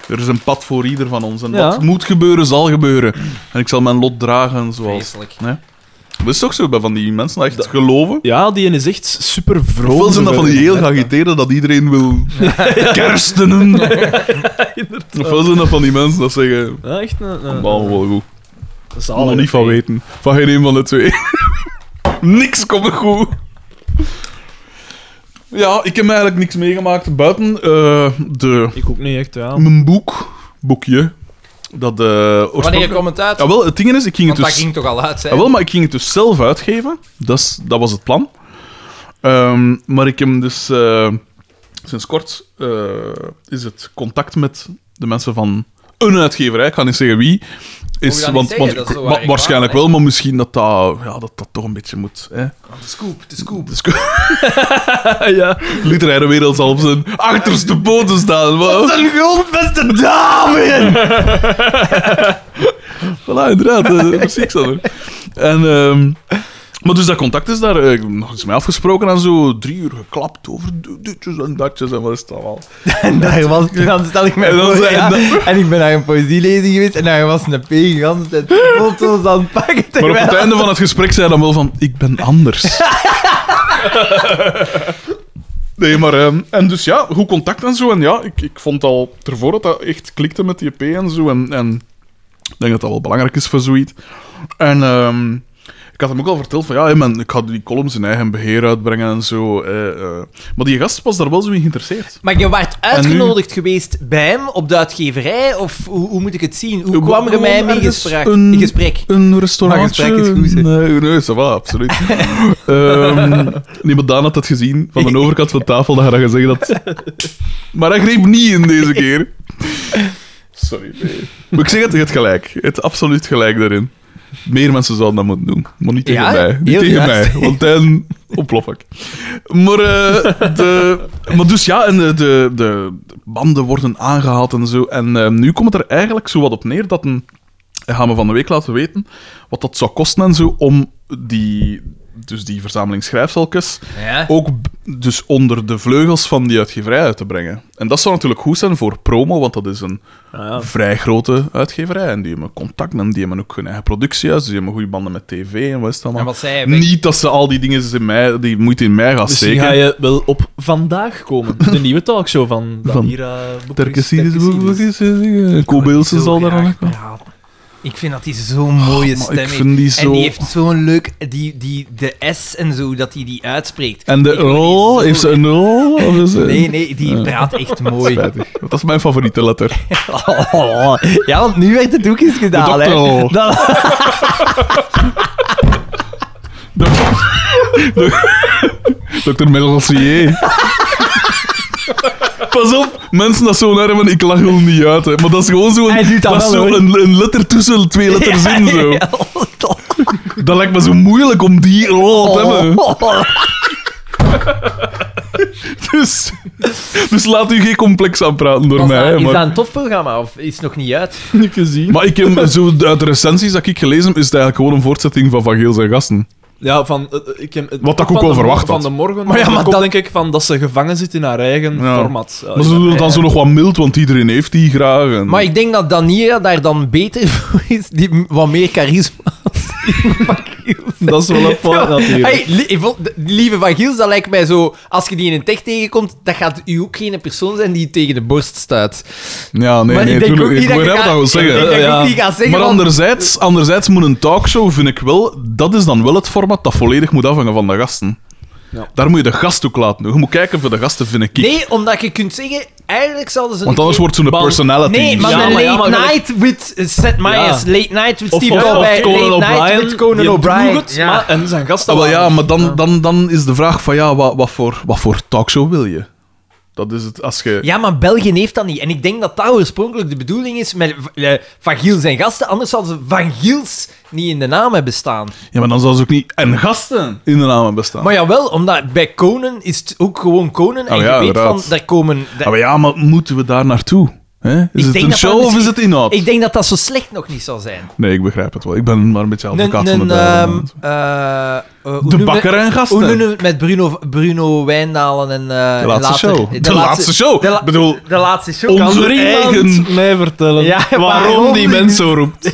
Speaker 2: Er is een pad voor ieder van ons. En
Speaker 3: Ja.
Speaker 2: wat moet gebeuren, zal gebeuren. En ik zal mijn lot dragen zoals...
Speaker 1: Vreselijk.
Speaker 5: Oh,
Speaker 2: Dat is toch zo bij van die mensen die echt geloven?
Speaker 3: Ja, die is echt super vrolijk.
Speaker 2: Ofwel zijn dat van die heel geagiteerden dat iedereen wil kerstenen. Ofwel zijn dat van die mensen dat zeggen...
Speaker 3: Ja, echt een... een,
Speaker 2: Nou, wel goed.
Speaker 3: een zalige
Speaker 2: Nog niet van
Speaker 3: vee.
Speaker 2: weten. Van geen een van de twee. niks komt er goed. Ja, ik heb eigenlijk niks meegemaakt buiten eh, de,
Speaker 3: Ik ook niet echt, ja.
Speaker 2: mijn boek, boekje. Dat, eh
Speaker 1: Wanneer
Speaker 2: oorspronkelijk-
Speaker 1: komt het
Speaker 5: Ah,
Speaker 1: uit?
Speaker 2: Ja, wel, het ding is, ik ging
Speaker 1: Want
Speaker 2: het
Speaker 1: dat
Speaker 2: dus...
Speaker 1: ging toch al uit, hè?
Speaker 2: Ja, wel, maar ik ging het dus zelf uitgeven. Dat, is- dat was het plan. Ehm, maar ik heb dus eh, sinds kort eh, is het contact met de mensen van een uitgeverij, ik ga niet zeggen wie. Is,
Speaker 1: je dat niet
Speaker 2: want,
Speaker 1: zeggen?
Speaker 2: want-
Speaker 1: Dat is zo
Speaker 2: wa-
Speaker 1: waar
Speaker 2: waarschijnlijk
Speaker 1: reclame,
Speaker 2: wel, maar misschien dat dat, ja, dat, dat toch een beetje moet. Hè?
Speaker 1: De scoop, de scoop.
Speaker 2: Dus, literaire wereld zal op zijn achterste poten staan. Wat een grondbeste dame! voilà, inderdaad. eh, Precies, Sander. En, ehm, maar dus dat contact is daar eh, ik heb nog eens mee afgesproken en zo drie uur geklapt over di- ditjes en datjes en wat is dat al.
Speaker 5: En daar was, dan stel ik mij
Speaker 2: En dan
Speaker 5: voor,
Speaker 2: zei-
Speaker 5: ja.
Speaker 2: en
Speaker 5: En ik ben naar een poëzielezing geweest en daar was een P gans en foto's aan het pakken.
Speaker 2: Maar op
Speaker 5: terwijl-
Speaker 2: het einde van het gesprek zei dan wel van, ik ben anders. Nee, maar... ehm, en dus ja, goed contact en zo. En ja, ik, ik vond al ervoor dat dat echt klikte met die EP en zo. En, en ik denk dat dat wel belangrijk is voor zoiets. En ehm, ik had hem ook al verteld van, ja, hé, man, ik ga die columns in eigen beheer uitbrengen en zo. eh, eh. Maar die gast was daar wel zo in geïnteresseerd.
Speaker 1: Maar je werd uitgenodigd geweest bij hem op de uitgeverij? Of hoe, hoe moet ik het zien? Hoe kwam er
Speaker 2: Gewoon
Speaker 1: met hem in
Speaker 2: ergens
Speaker 1: gesprek?
Speaker 2: een-
Speaker 1: in gesprek?
Speaker 2: Een restaurantje.
Speaker 5: Maar gesprek is goed, hè.
Speaker 2: Nee, nee, ça va, absoluut. Ehm, niemand Daan had dat gezien. Van de overkant van de tafel, dan had hij gezegd dat... Maar hij greep niet in deze keer. Sorry, nee. Maar ik zeg het, je hebt gelijk. Je hebt absoluut gelijk daarin. Meer mensen zouden dat moeten doen. Maar niet tegen
Speaker 5: Ja,
Speaker 2: mij. Niet
Speaker 5: heel
Speaker 2: tegen
Speaker 5: juist.
Speaker 2: mij, want dan ontplof ik. Maar, eh, de, maar dus ja, en de, de, de banden worden aangehaald en zo. En eh, nu komt het er eigenlijk zo wat op neer dat een... En gaan we van de week laten weten wat dat zou kosten en zo om die, dus die verzameling schrijfselkes
Speaker 5: Oh,
Speaker 1: Ja.
Speaker 2: ook b- dus onder de vleugels van die uitgeverij uit te brengen. En dat zou natuurlijk goed zijn voor promo, want dat is een vrij grote uitgeverij. En die hebben contact en die hebben ook hun eigen productiehuis, die hebben goede banden met tv en wat is dat
Speaker 1: En
Speaker 2: allemaal.
Speaker 1: wat zei hij?
Speaker 2: Niet dat ze al die dingen in mij, die moeite in mij gaan
Speaker 3: Misschien
Speaker 2: steken.
Speaker 3: Dus ga je wel op vandaag komen. De nieuwe talkshow van
Speaker 1: eh,
Speaker 3: Danira
Speaker 2: Terkesiris,
Speaker 3: Boekjes.
Speaker 2: Kobeelsen
Speaker 1: Zo
Speaker 2: zal daar
Speaker 1: graag
Speaker 2: aan komen.
Speaker 1: praten. Ik vind dat hij zo'n mooie
Speaker 2: maar
Speaker 1: stem
Speaker 2: ik
Speaker 1: heeft.
Speaker 2: vind die zo-
Speaker 1: En die heeft zo'n leuk... Die, die, de S en zo, dat hij die uitspreekt.
Speaker 2: En de
Speaker 1: Ik vind die
Speaker 2: rol,
Speaker 1: zo
Speaker 2: heeft ze
Speaker 1: leuk.
Speaker 2: een rol? Of is het-
Speaker 1: Nee, nee, die praat echt mooi. Oh,
Speaker 2: Spijtig. Dat is mijn favoriete letter.
Speaker 5: Ja, want nu werd het ook eens gedaan, hè.
Speaker 2: Dokter.
Speaker 5: Dan-
Speaker 2: Dr. Melrossier. Pas op, mensen dat zo naar hebben, ik lach wel niet uit. Hè. Maar dat is gewoon zo'n
Speaker 5: Hij doet dat
Speaker 2: dat is
Speaker 5: wel,
Speaker 2: zo
Speaker 5: hoor.
Speaker 2: een, een letter tussen twee letters in. Zo. Dat lijkt me zo moeilijk om die rol te
Speaker 1: Oh.
Speaker 2: hebben. Dus, dus laat u geen complex aanpraten door
Speaker 1: Was
Speaker 2: mij.
Speaker 1: dat-
Speaker 2: hè,
Speaker 1: is
Speaker 2: maar...
Speaker 1: dat een tof programma of is het nog niet uit?
Speaker 3: Niet gezien.
Speaker 2: Maar ik heb, zo, uit de recensies dat ik gelezen heb, is het eigenlijk gewoon een voortzetting van Van Geel zijn gasten.
Speaker 3: Ja, van, eh, eh, ik heb, eh,
Speaker 2: Wat ik
Speaker 3: van
Speaker 2: ook al
Speaker 3: de
Speaker 2: verwacht
Speaker 3: morgen-
Speaker 2: had.
Speaker 3: Van de morgen.
Speaker 5: Maar ja,
Speaker 3: dat
Speaker 5: maar
Speaker 3: komt
Speaker 5: dat-
Speaker 3: denk ik van dat ze gevangen zit in haar eigen
Speaker 2: Ja.
Speaker 3: format. Ja,
Speaker 2: Maar ze doen het dan zo nog wat mild, want iedereen heeft die graag. En...
Speaker 1: Maar ik denk dat Daniela daar dan beter voor is, die m- wat meer charisma
Speaker 3: dat is wel een fout natuurlijk.
Speaker 1: Hey, li- ik vond- de- die lieve Van Giels, dat lijkt mij zo... Als je die in een tech tegenkomt, dat gaat u ook geen persoon zijn die tegen de borst stuit.
Speaker 2: Ja, nee,
Speaker 1: Maar
Speaker 2: nee,
Speaker 1: ik denk
Speaker 2: tuurlijk.
Speaker 1: ook
Speaker 2: Ik
Speaker 1: niet
Speaker 2: hoor
Speaker 1: dat
Speaker 2: dat
Speaker 1: je gaat-
Speaker 2: wel zeggen.
Speaker 1: ik denk dat je
Speaker 2: Ja.
Speaker 1: ook niet gaat zeggen
Speaker 2: Maar
Speaker 1: van-
Speaker 2: anderzijds, anderzijds moet een talkshow, vind ik wel, dat is dan wel het format dat volledig moet afhangen van de gasten.
Speaker 3: Ja.
Speaker 2: Daar moet je de gast ook laten doen. Je moet kijken voor de gasten, vind ik.
Speaker 1: Nee, omdat je kunt zeggen... Eigenlijk zouden ze...
Speaker 2: Want
Speaker 1: een
Speaker 2: anders
Speaker 1: keer-
Speaker 2: wordt zo'n
Speaker 3: Bal-
Speaker 2: personality.
Speaker 1: Nee, maar
Speaker 3: Ja,
Speaker 1: een
Speaker 3: maar
Speaker 1: late
Speaker 3: ja, maar gelijk-
Speaker 1: night with eh, Seth Meyers,
Speaker 3: Ja.
Speaker 1: late night with
Speaker 3: Of-
Speaker 1: Steve
Speaker 3: of- of
Speaker 1: Colbert,
Speaker 3: Conan
Speaker 1: late night
Speaker 3: O'Brien,
Speaker 1: with
Speaker 3: die
Speaker 1: Conan
Speaker 3: droeg
Speaker 1: O'Brien.
Speaker 3: het, maar- en zijn gasten
Speaker 2: Ah, wel, ja,
Speaker 3: waren-
Speaker 2: maar dan, dan, dan is de vraag van ja, wat, wat, voor, wat voor talkshow wil je? Dat is het als je.
Speaker 1: Ja, maar België heeft dat niet. En ik denk dat dat oorspronkelijk de bedoeling is met eh, Van Giel zijn gasten. Anders zouden ze Van Giels niet in de naam hebben staan.
Speaker 2: Ja, maar dan zal ze ook niet. En gasten in de naam bestaan.
Speaker 1: Maar jawel, omdat bij Conan is het ook gewoon Conan. En
Speaker 2: Oh ja,
Speaker 1: je weet
Speaker 2: inderdaad.
Speaker 1: van, daar komen... daar-
Speaker 2: Ah, maar ja, maar moeten we daar naartoe? Hè? Is het
Speaker 1: denk
Speaker 2: een
Speaker 1: dat dat
Speaker 2: show of is
Speaker 1: misschien-
Speaker 2: het inhoud?
Speaker 1: ik denk dat dat zo slecht nog niet zal zijn.
Speaker 2: Nee, ik begrijp het wel. Ik ben maar een beetje advocaat van de
Speaker 1: Een,
Speaker 2: duivel.
Speaker 1: ehm, eh, eh, hoe
Speaker 2: De
Speaker 1: noemen-
Speaker 2: bakker en
Speaker 1: Hoe noemen
Speaker 2: gasten.
Speaker 1: we het met Bruno, Bruno Wijndalen en... eh,
Speaker 2: De laatste
Speaker 1: later-
Speaker 2: show. De, laatste show.
Speaker 1: De, la-
Speaker 2: Ik bedoel,
Speaker 1: de laatste show.
Speaker 2: Onze
Speaker 3: Kan er iemand
Speaker 2: eigen-
Speaker 3: mij vertellen
Speaker 1: Ja,
Speaker 3: waarom
Speaker 1: waarom
Speaker 3: die
Speaker 1: niet?
Speaker 3: mens zo roept?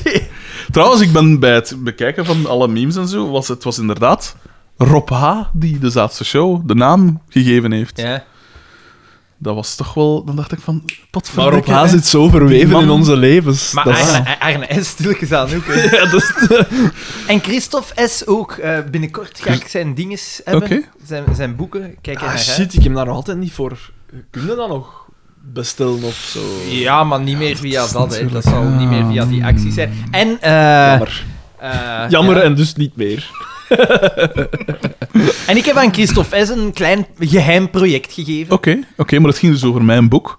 Speaker 2: trouwens, ik ben bij het bekijken van alle memes en zo, was het was inderdaad Rob H. die de laatste show de naam gegeven heeft.
Speaker 1: Ja.
Speaker 2: Dat was toch wel... Dan dacht ik van...
Speaker 3: Maar Rob
Speaker 2: Potverdikke.
Speaker 3: H. zit zo verweven in onze levens.
Speaker 1: Maar
Speaker 3: Dat is-
Speaker 1: Arne, Arne S. stilgezaan ook. hè.
Speaker 3: Ja, dat is-
Speaker 1: En Christophe S. ook. Eh, binnenkort ga ik zijn dinges hebben.
Speaker 2: Oké.
Speaker 1: Zijn, zijn boeken. Kijk er
Speaker 3: Ah,
Speaker 1: naar uit.
Speaker 3: shit, ik heb daar nog altijd niet voor. Kun je dat nog bestellen of zo?
Speaker 1: Ja, maar niet meer via dat. Hè. Dat zal niet meer via die acties zijn. En... eh
Speaker 3: Jammer.
Speaker 1: eh,
Speaker 3: Jammer
Speaker 1: ja.
Speaker 3: en dus niet meer.
Speaker 1: En En ik heb aan Christophe S. een klein geheim project gegeven.
Speaker 2: Oké, oké, maar het ging dus over mijn boek.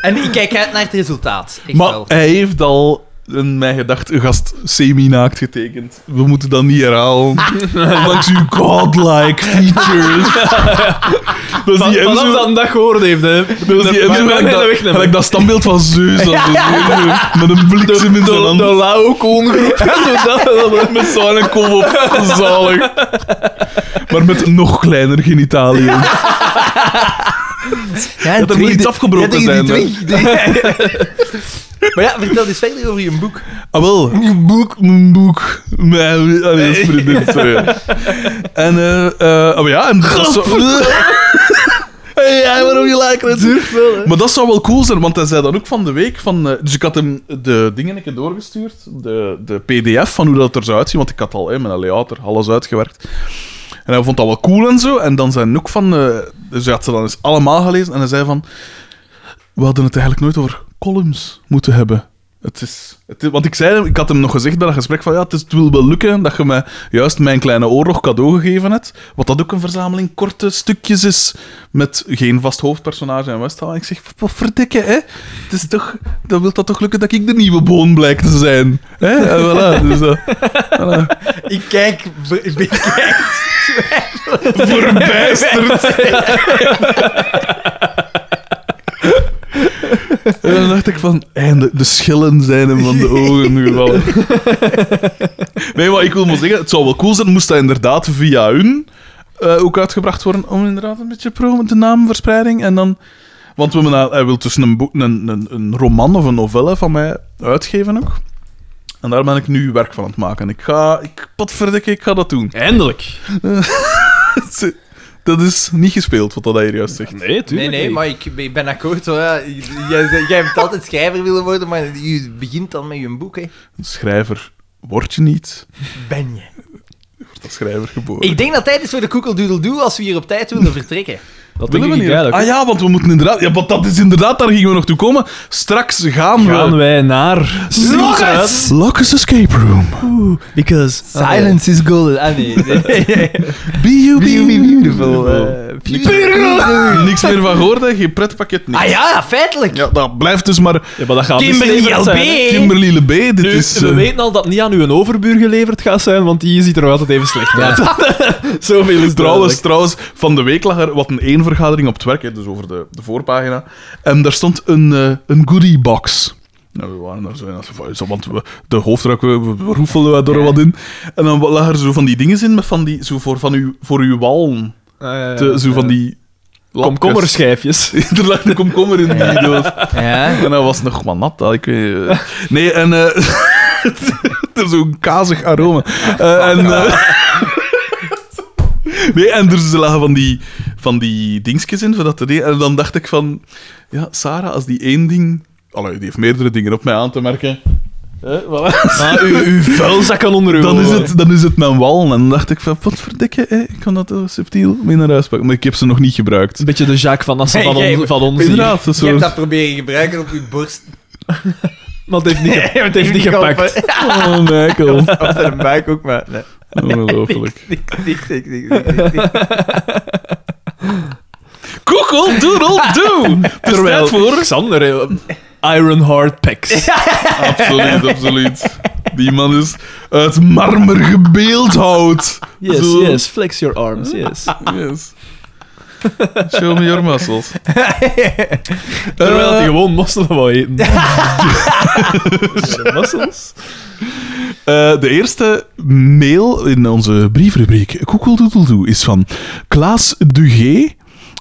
Speaker 1: En ik kijk uit naar het resultaat. Echt
Speaker 2: maar
Speaker 1: wel.
Speaker 2: hij heeft al in mijn gedacht een gast semi-naakt getekend. We moeten dat niet herhalen. Langs uw godlike features. dat is die
Speaker 3: Vanaf
Speaker 2: Enzo...
Speaker 3: dat een dag gehoord heeft, hè.
Speaker 2: Dat is die Enzo gelijk
Speaker 3: Maar- maar- nee,
Speaker 2: dat,
Speaker 3: dat wegnemen.
Speaker 2: gelijk dat standbeeld van Zeus. dus dat zo- Met een bliksem in zijn hand.
Speaker 3: De Lao-koongroep.
Speaker 2: Met zo'n kom op. Zalig. Maar met nog kleiner genitaliën.
Speaker 1: Ja,
Speaker 2: Dat er moet iets afgebroken zijn. hè.
Speaker 1: Maar ja, vertel eens verder over je boek.
Speaker 2: Ah, wel. Een boek. Een boek. Mijn, allee, dat is vriendin, sorry. En, eh, eh, oh ja, en dat zou... Hey, waarom je lijkt het? Maar dat zou wel cool zijn, want hij zei dan ook van de week van... eh, dus ik had hem de dingen een keer doorgestuurd, de, de pdf van hoe dat er zou uitzien, want ik had al hè, mijn layout er alles uitgewerkt. En hij vond dat wel cool en zo. En dan zijn ook van... eh, dus hij had ze dan eens allemaal gelezen en hij zei van... We hadden het eigenlijk nooit over columns moeten hebben. Het is, het is- want ik zei hem, ik had hem nog gezegd bij dat gesprek van ja, het, is, het wil wel lukken dat je mij juist mijn kleine oorlog cadeau gegeven hebt. Wat dat ook een verzameling korte stukjes is met geen vast hoofdpersonage en Westhaal. En ik zeg, wat verdikke, hè? Het is toch, dan wil dat toch lukken dat ik de nieuwe boon blijk te zijn. Hè? En voilà, dus, eh,
Speaker 1: Ik kijk... Ik
Speaker 2: verbijsterd. En dan dacht ik van, en de, de schillen zijn hem van de ogen gevallen. Nee, maar ik wil maar zeggen, het zou wel cool zijn moest dat inderdaad via hun eh, ook uitgebracht worden, om inderdaad een beetje pro de naamverspreiding en dan... Want we hebben, nou- hij wil tussen een, boek, een, een, een roman of een novelle van mij uitgeven ook. En daar ben ik nu werk van aan het maken. Ik ga... Ik, potverdikke, ik ga dat doen.
Speaker 3: Eindelijk.
Speaker 2: Dat is niet gespeeld, wat dat hier juist zegt.
Speaker 3: Nee, tuurlijk.
Speaker 1: Nee, nee,
Speaker 3: niet.
Speaker 1: maar ik, ik ben akkoord hoor. Ja, Jij, zei- jij hebt altijd schrijver willen worden, maar je begint dan met je boek, hè.
Speaker 2: Een schrijver word je niet.
Speaker 1: Ben je.
Speaker 2: Wordt als schrijver geboren.
Speaker 1: Ik denk dat tijd is voor de koekeldoedeldoe als we hier op tijd willen vertrekken.
Speaker 3: Dat
Speaker 2: Willen
Speaker 3: denk
Speaker 2: we
Speaker 3: ik
Speaker 2: niet?
Speaker 3: eigenlijk.
Speaker 2: Ah ja, want we moeten inderdaad... Ja, want dat is inderdaad... Daar gingen we nog toe komen. Straks gaan we...
Speaker 3: Gaan wij naar... Slokker's!
Speaker 2: Locus Escape Ah, Room.
Speaker 3: Because...
Speaker 1: Silence is golden. Ah nee.
Speaker 2: B.U.B.
Speaker 1: Beautiful.
Speaker 2: eh. Niks meer van gehoord, hè. Geen pretpakket, niks.
Speaker 1: Ah ja, feitelijk.
Speaker 2: Ja, dat blijft dus maar...
Speaker 3: Ja, maar dat gaat
Speaker 1: Kimberly
Speaker 3: misleverd zijn, hè.
Speaker 1: LB.
Speaker 2: Kimberly Le B, dit
Speaker 3: Nu,
Speaker 2: is...
Speaker 3: we
Speaker 2: eh,
Speaker 3: weten al dat het niet aan uw overbuur geleverd gaat zijn, want die ziet er nog altijd even slecht uit. Zoveel is
Speaker 2: Trouwens, trouwens, van de week lag er wat een één vergadering op het werk, hè, dus over de, de voorpagina. En daar stond een, eh, een goodie box. Nou, we waren daar zo in, als we van, zo, want we, de hoofdruik, we, we we roefelden daar wat in. En dan lag er zo van die dingen in, met van die, zo voor, van uw, voor uw walm.
Speaker 3: trouwens,
Speaker 2: Te- zo van die... lapjes.
Speaker 3: komkommerschijfjes.
Speaker 2: er lag een komkommer in die doos.
Speaker 1: Ja.
Speaker 2: En dat was nog maar nat, dat ik weet eh. Nee, en... eh het is zo'n kazig aroma. Eh, en... eh, nee, en er lagen van die, van die dingetjes in, van dat te En dan dacht ik van... Ja, Sarah, als die één ding... Allee, die heeft meerdere dingen op mij aan te merken. Eh, voilà.
Speaker 3: Ah, uw, uw vuilzakken onder uw
Speaker 2: Dan is, het, dan is het mijn wal. En dan dacht ik van, wat verdikke, eh, ik kan dat eh, subtiel mee naar huis pakken. Maar ik heb ze nog niet gebruikt.
Speaker 3: Een beetje de Jacques van Assen van,
Speaker 1: Hey,
Speaker 3: ons, van ons hier.
Speaker 2: Inderdaad, dat is
Speaker 1: Je hebt
Speaker 2: zo.
Speaker 1: dat proberen gebruiken op je borst.
Speaker 3: Maar het heeft niet, ge- het heeft niet gepakt.
Speaker 2: Oh, Michael.
Speaker 1: Op zijn buik ook, maar... Nee.
Speaker 2: Ongelooflijk.
Speaker 1: Niks, niks, niks, niks, niks, niks.
Speaker 2: Google Doodle Doe!
Speaker 3: Terwijl Xander, eh, Iron Hard Packs.
Speaker 2: Absoluut, absoluut. Die man is uit marmer gebeeldhouwd.
Speaker 3: Yes,
Speaker 2: Zo.
Speaker 3: yes, flex your arms, yes.
Speaker 2: Yes. Show me your muscles.
Speaker 3: Terwijl hij
Speaker 2: Eh,
Speaker 3: gewoon mosselen wou eten. De mossels?
Speaker 2: Eh, de eerste mail in onze briefrubriek Koekeldoedeldoe is van Klaas Dugé.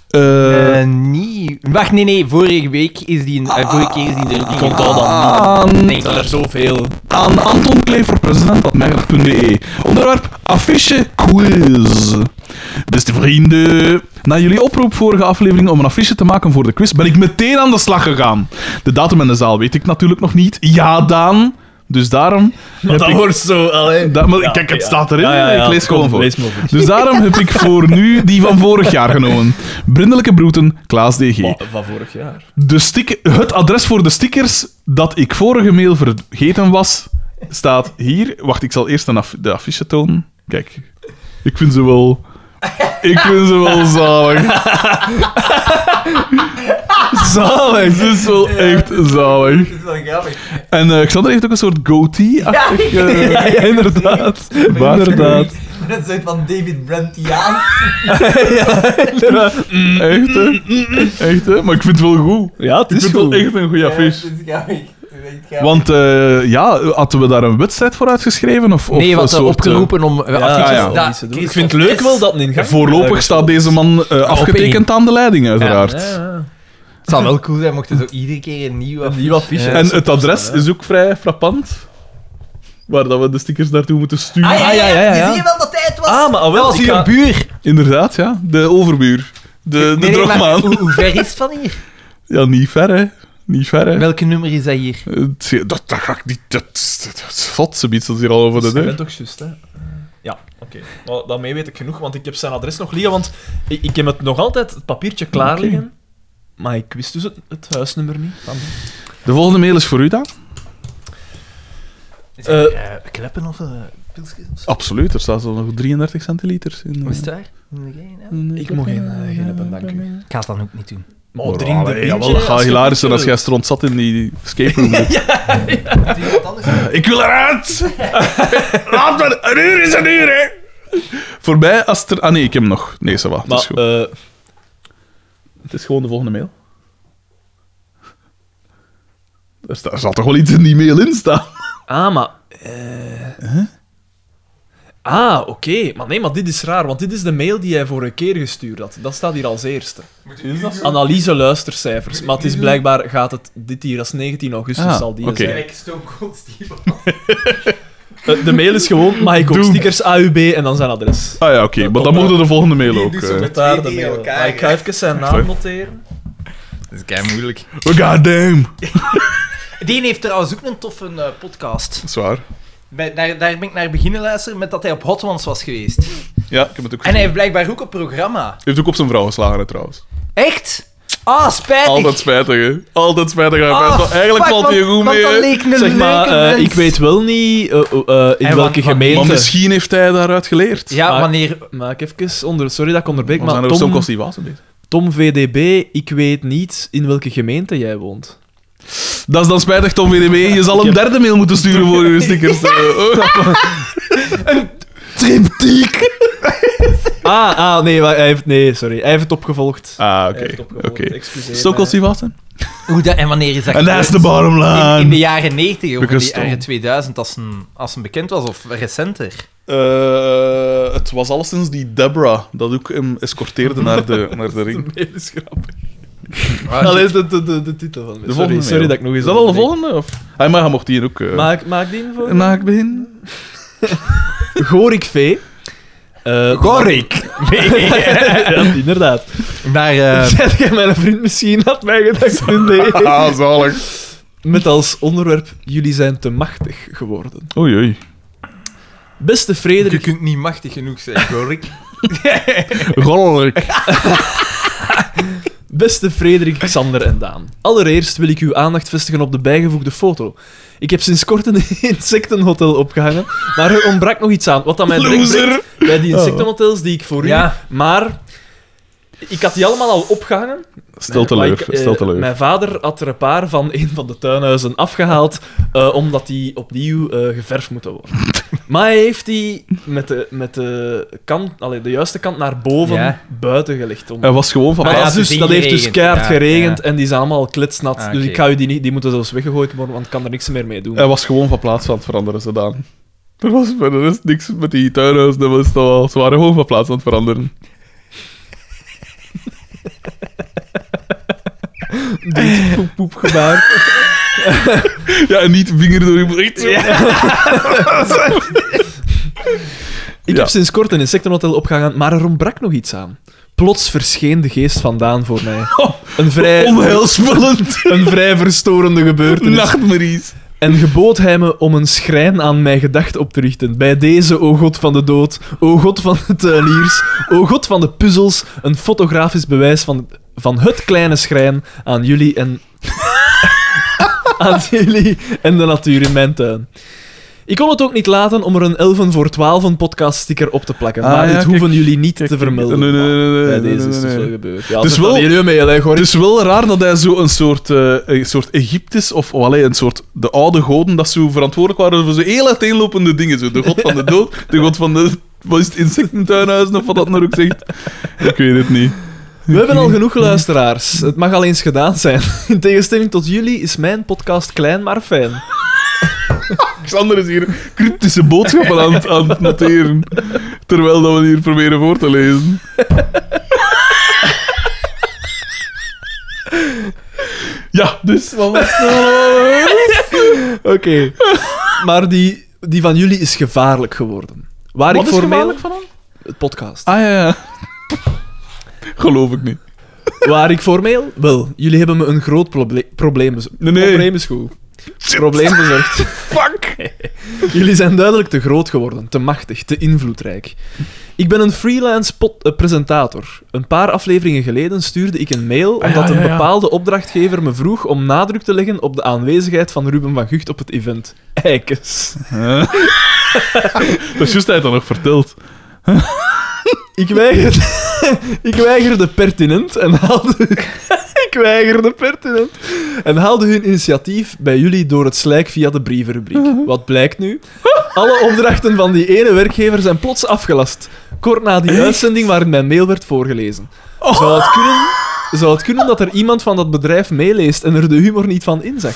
Speaker 2: Eh,
Speaker 1: Eh, nee. Wacht, nee, nee. Vorige week is die... eh, vorige keer is die er niet. Ah,
Speaker 3: Komt al dan.
Speaker 2: aan,
Speaker 3: Er zijn er zoveel.
Speaker 2: aan Anton Klee voor president.mijgraag.be. E Onderwerp affiche quiz. Beste vrienden, na jullie oproep vorige aflevering om een affiche te maken voor de quiz, ben ik meteen aan de slag gegaan. De datum en de zaal weet ik natuurlijk nog niet. Ja, Daan. Dus daarom. heb
Speaker 3: Dat
Speaker 2: ik-
Speaker 3: wordt zo... Allee.
Speaker 2: Da- maar
Speaker 3: Ja,
Speaker 2: kijk, het
Speaker 3: ja.
Speaker 2: staat erin.
Speaker 3: Ja, ja, ja.
Speaker 2: Ik lees
Speaker 3: Kom,
Speaker 2: gewoon voor.
Speaker 3: lees maar voor.
Speaker 2: Dus daarom heb ik voor nu die van vorig jaar genomen. Brindelijke Broeten, Klaas DG.
Speaker 3: Van vorig jaar.
Speaker 2: De stick- het adres voor de stickers dat ik vorige mail vergeten was, staat hier... Wacht, ik zal eerst een af- de affiche tonen. Kijk. Ik vind ze wel... Ik vind ze wel zalig.
Speaker 3: Zalig!
Speaker 2: Ze is wel echt zalig.
Speaker 1: is wel grappig.
Speaker 2: En eh, Xander heeft ook een soort goatee-achtig... eh,
Speaker 3: Ja, ja, inderdaad. Inderdaad.
Speaker 1: Dat is een soort van David Brentiaan.
Speaker 2: Echt, hè? Echt, hè? Maar ik vind het wel goed.
Speaker 3: Ja, het
Speaker 2: Ik
Speaker 3: is
Speaker 2: vind het
Speaker 3: goed.
Speaker 2: wel echt een goede
Speaker 1: dat is
Speaker 2: affiche.
Speaker 1: grappig. Dat is echt grappig.
Speaker 2: Want eh, ja, hadden we daar een wedstrijd voor uitgeschreven? Of, of
Speaker 1: nee,
Speaker 2: een
Speaker 1: wat
Speaker 2: soort,
Speaker 1: er
Speaker 2: eh,
Speaker 1: opgeroepen om eh, affiches.
Speaker 2: ja.
Speaker 1: dat-
Speaker 3: Ik vind het leuk wel dat een ingang
Speaker 2: eh, Voorlopig staat deze man eh, afgetekend aan de leiding, uiteraard.
Speaker 1: Het zou wel cool zijn mocht je zo iedere keer een nieuwe affiche.
Speaker 3: nieuw affiche.
Speaker 2: En het adres is ook vrij frappant. Waar dat we de stickers naartoe moeten sturen.
Speaker 1: Ah, ja, ja, ja,
Speaker 3: ja, ja.
Speaker 1: Je ziet wel dat hij het was.
Speaker 3: Ah, maar ah, wel,
Speaker 1: dat was
Speaker 3: ik
Speaker 1: hier
Speaker 3: ga-
Speaker 1: een buur.
Speaker 2: Inderdaad, ja. De overbuur. De, de
Speaker 1: Nee, nee, maar
Speaker 2: drogmaan.
Speaker 1: hoe, hoe ver is het van hier?
Speaker 2: Ja, niet ver, hè. Niet ver, hè.
Speaker 1: Welke nummer is dat hier?
Speaker 2: Het is- Dat, dat ga ik niet... Dat, dat, dat is zot, ze biedt dat is hier al over de
Speaker 3: Dat
Speaker 2: deur.
Speaker 3: bent toch juist, hè? Eh, Ja, oké. Maar daarmee weet ik genoeg, want ik heb zijn adres nog liggen, want ik, ik heb het nog altijd, het papiertje klaar
Speaker 2: Oké.
Speaker 3: liggen. Maar ik wist dus het, het huisnummer niet. Van.
Speaker 2: De volgende mail is voor u, dan.
Speaker 1: Is
Speaker 3: dat,
Speaker 1: kleppen of pilsjes?
Speaker 2: Absoluut, er staat zo nog 33 centiliters in. eh,
Speaker 1: Hoe is het daar? Moet ik geen, hè?
Speaker 3: Ik mag geen, eh, geen appen, dank u.
Speaker 1: Ik ga het dan ook niet doen.
Speaker 3: Maar drink de
Speaker 2: Allee,
Speaker 3: biertje.
Speaker 2: jawel, dat gaat hilarisch zijn als jij stront zat in die escape room. Ik wil eruit! Laat me... Een uur is een uur, hè! Voor mij, als het er... Ah nee, ik heb hem nog. Nee, ça va. het, is
Speaker 3: Maar,
Speaker 2: goed.
Speaker 3: eh,
Speaker 2: het is gewoon de volgende mail. Er, sta- er zal toch wel iets in die mail in staan?
Speaker 3: ah, maar... eh. Ah, oké. Maar nee, maar dit is raar, want dit is de mail die jij vorige keer gestuurd had. Dat staat hier als eerste. Analyse luistercijfers. Maar het is blijkbaar, gaat het dit hier als 19 augustus
Speaker 2: Ah,
Speaker 3: zal die
Speaker 2: oké.
Speaker 3: zijn.
Speaker 1: Ik stoom cold Steve.
Speaker 3: Eh, De mail is gewoon, mag ik ook
Speaker 2: Doe.
Speaker 3: stickers AUB en dan zijn adres.
Speaker 2: Ah ja, oké. maar dan mochten we de volgende mail ook. eh.
Speaker 3: Tot daar de
Speaker 1: twee
Speaker 3: mail.
Speaker 1: tegen elkaar,
Speaker 3: Maar ik ga even zijn
Speaker 2: hoor.
Speaker 3: naam noteren.
Speaker 1: Dat is kei moeilijk.
Speaker 2: God damn!
Speaker 1: Die heeft trouwens ook een toffe eh, podcast.
Speaker 2: Dat is waar.
Speaker 1: Bij- daar, daar ben ik naar beginnen luisteren met dat hij op Hot Ones was geweest.
Speaker 2: Ja, ik heb het ook
Speaker 1: En hij
Speaker 2: gezien.
Speaker 1: heeft blijkbaar ook een programma.
Speaker 2: Heeft ook op zijn vrouw geslagen, hè, trouwens.
Speaker 1: Echt? Ah, spijtig.
Speaker 2: Altijd spijtig, hè. Altijd spijtig. hè.
Speaker 1: Ah,
Speaker 2: Eigenlijk
Speaker 1: fuck,
Speaker 2: valt hij
Speaker 1: want-
Speaker 2: goed
Speaker 1: want
Speaker 2: mee,
Speaker 1: dat
Speaker 2: hè.
Speaker 1: leek een
Speaker 3: Zeg maar,
Speaker 1: leuke
Speaker 3: eh,
Speaker 1: mens.
Speaker 3: ik weet wel niet eh, eh, eh, in
Speaker 1: En wa-
Speaker 3: welke
Speaker 1: wa-
Speaker 2: Maar
Speaker 3: gemeente.
Speaker 2: misschien heeft hij daaruit geleerd.
Speaker 1: Ja,
Speaker 3: Maar-
Speaker 1: wanneer...
Speaker 3: Maar ik even onder... Sorry dat ik onderbreek,
Speaker 2: maar zijn
Speaker 3: maar
Speaker 2: er zo'n
Speaker 3: Tom,
Speaker 2: kost die was een beetje.
Speaker 3: Tom VDB, ik weet niet in welke gemeente jij woont.
Speaker 2: Dat is dan spijtig, Tom VDB. Je zal een derde mail moeten sturen voor je stickers. Eh, oh.
Speaker 5: Triptiek.
Speaker 3: Ah, ah nee, wa- hij heeft, nee, sorry. Hij heeft het opgevolgd.
Speaker 2: Ah,
Speaker 3: Hij heeft
Speaker 2: oké.
Speaker 3: het opgevolgd,
Speaker 2: Oké.
Speaker 3: excuseer eh.
Speaker 2: Stokos
Speaker 3: mij.
Speaker 2: die was En
Speaker 1: Hoe dat, en wanneer is dat
Speaker 2: dat is
Speaker 1: gebeurd?
Speaker 2: de bottom
Speaker 1: in, in de
Speaker 2: line.
Speaker 1: jaren 90 of in de
Speaker 2: Because
Speaker 1: jaren
Speaker 2: Tom.
Speaker 1: 2000, als een, als een bekend was, of recenter.
Speaker 2: Eh, het was alleszins die Deborah dat ook hem escorteerde naar de, naar de ring.
Speaker 3: Nee, dat is grappig.
Speaker 1: Allee,
Speaker 3: Allee, de, de, de, de titel van
Speaker 2: Ah, De
Speaker 3: sorry,
Speaker 2: volgende
Speaker 3: sorry
Speaker 2: mail.
Speaker 3: dat ik nog eens...
Speaker 2: Is dat al de volgende? Of? Hij mag, hij mocht hier ook... eh,
Speaker 3: Maak, maak die voor.
Speaker 2: Mag ik beginnen?
Speaker 3: Gorik V. Eh,
Speaker 5: Gorik.
Speaker 3: ja, inderdaad.
Speaker 1: Naar...
Speaker 3: Zet jij mijn vriend misschien, had mij gedacht. Nee.
Speaker 2: Ah, zalig.
Speaker 3: Met als onderwerp, jullie zijn te machtig geworden.
Speaker 2: Oei, oei.
Speaker 3: Beste
Speaker 1: je
Speaker 3: Frederik...
Speaker 1: kunt niet machtig genoeg zijn, Gorik.
Speaker 2: Rollerik.
Speaker 3: Beste Frederik, Xander en Daan. Allereerst wil ik uw aandacht vestigen op de bijgevoegde foto. Ik heb sinds kort een insectenhotel opgehangen, maar er ontbrak nog iets aan. Wat aan mij direct
Speaker 2: Loser.
Speaker 3: brengt bij die insectenhotels die ik voor
Speaker 1: Ja.
Speaker 3: u... Maar ik had die allemaal al opgehangen.
Speaker 2: Stel
Speaker 3: Maar
Speaker 2: teleur,
Speaker 3: ik, eh,
Speaker 2: stel teleur.
Speaker 3: Mijn vader had er een paar van een van de tuinhuizen afgehaald, eh, omdat die opnieuw eh, geverfd moeten worden. maar hij heeft die met de, met de, kant, allee, de juiste kant naar boven
Speaker 1: Ja.
Speaker 3: buiten gelegd. Om...
Speaker 2: Hij was gewoon van...
Speaker 3: Maar
Speaker 1: Ah,
Speaker 3: dat, is
Speaker 1: ja,
Speaker 3: dus,
Speaker 1: het is
Speaker 3: dat heeft dus
Speaker 1: ingeregend.
Speaker 3: keihard
Speaker 1: Ja,
Speaker 3: geregend
Speaker 1: ja.
Speaker 3: en die zijn allemaal klitsnat.
Speaker 1: Ah,
Speaker 3: Dus
Speaker 1: oké.
Speaker 3: ik ga u die niet... Die moeten zelfs weggegooid worden, want ik kan er niks meer mee doen.
Speaker 2: Hij was gewoon van plaats aan het veranderen, gedaan. Er was voor de rest niks met die tuinhuis. Dat was toch wel, ze waren gewoon van plaats aan het veranderen.
Speaker 3: poep, poep gebaar.
Speaker 2: Ja, en niet vinger door je briet.
Speaker 3: ik
Speaker 2: Ja.
Speaker 3: heb sinds kort een insectenhotel opgehangen, maar er ontbrak nog iets aan. Plots verscheen de geest vandaan voor mij. Een vrij,
Speaker 2: Onheilspellend.
Speaker 3: een vrij verstorende gebeurtenis.
Speaker 2: Nachtmerries.
Speaker 3: En gebood hij me om een schrijn aan mijn gedachten op te richten. Bij deze, o god van de dood, o god van de tuiniers, o god van de puzzels, een fotografisch bewijs van, van het kleine schrijn aan jullie en... aan jullie en de natuur in mijn tuin. Ik kon het ook niet laten om er een 11 voor 12 een podcast sticker op te plakken.
Speaker 2: Ah,
Speaker 3: maar
Speaker 2: ja,
Speaker 3: dit
Speaker 2: kijk,
Speaker 3: hoeven jullie niet
Speaker 2: kijk,
Speaker 3: te
Speaker 2: kijk.
Speaker 3: vermelden.
Speaker 2: Nee, nee, nee, nee,
Speaker 3: Bij
Speaker 2: nee,
Speaker 3: deze
Speaker 2: nee,
Speaker 3: is het
Speaker 2: nee.
Speaker 3: wel gebeurd. Ja,
Speaker 2: Dus
Speaker 3: dus
Speaker 2: wel-
Speaker 3: wel... jullie mee, hè, Gorik.
Speaker 2: Het is wel raar dat hij zo een soort, eh, een soort Egyptisch of oh, allee, een soort de oude goden dat zo verantwoordelijk waren voor zo heel uiteenlopende dingen. Zo. De god van de dood, de god van de wat is het, insectentuinhuizen of wat dat nou ook zegt. Ik weet het niet.
Speaker 3: We hebben al genoeg luisteraars. Het mag al eens gedaan zijn. In tegenstelling tot jullie is mijn podcast klein maar fijn.
Speaker 2: Xander is hier cryptische boodschappen aan, het- aan het noteren. Terwijl dat we hier proberen voor te lezen. Ja, dus wat was het nou?
Speaker 3: Oké. Maar die, die van jullie is gevaarlijk geworden. Waar
Speaker 2: Wat
Speaker 3: ik
Speaker 2: is
Speaker 3: formeel...
Speaker 2: gevaarlijk
Speaker 3: van Het podcast.
Speaker 2: Ah ja, ja. Geloof ik niet.
Speaker 3: Waar ik formeel... Wel, jullie hebben me een groot proble- probleem bezorgd.
Speaker 2: Nee, nee.
Speaker 3: Probleem is goed. Probleem bezorgd.
Speaker 2: Fuck!
Speaker 3: Jullie zijn duidelijk te groot geworden, te machtig, te invloedrijk. Ik ben een freelance pod- eh, presentator. Een paar afleveringen geleden stuurde ik een
Speaker 2: Ah,
Speaker 3: mail
Speaker 2: ja,
Speaker 3: omdat
Speaker 2: ja,
Speaker 3: een
Speaker 2: ja.
Speaker 3: bepaalde opdrachtgever me vroeg om nadruk te leggen op de aanwezigheid van Ruben van Gucht op het event. Eikes.
Speaker 2: Dat is juist hij dan nog verteld.
Speaker 3: Ik weigerde, ik weigerde pertinent en haalde... ik weigerde pertinent. En haalde hun initiatief bij jullie door het slijk via de brievenrubriek. Wat blijkt nu? Alle opdrachten van die ene werkgever zijn plots afgelast. Kort na die uitzending waarin mijn mail werd voorgelezen.
Speaker 2: Oh.
Speaker 3: Zou het kunnen... Zou het kunnen dat er iemand van dat bedrijf meeleest en er de humor niet van inzag?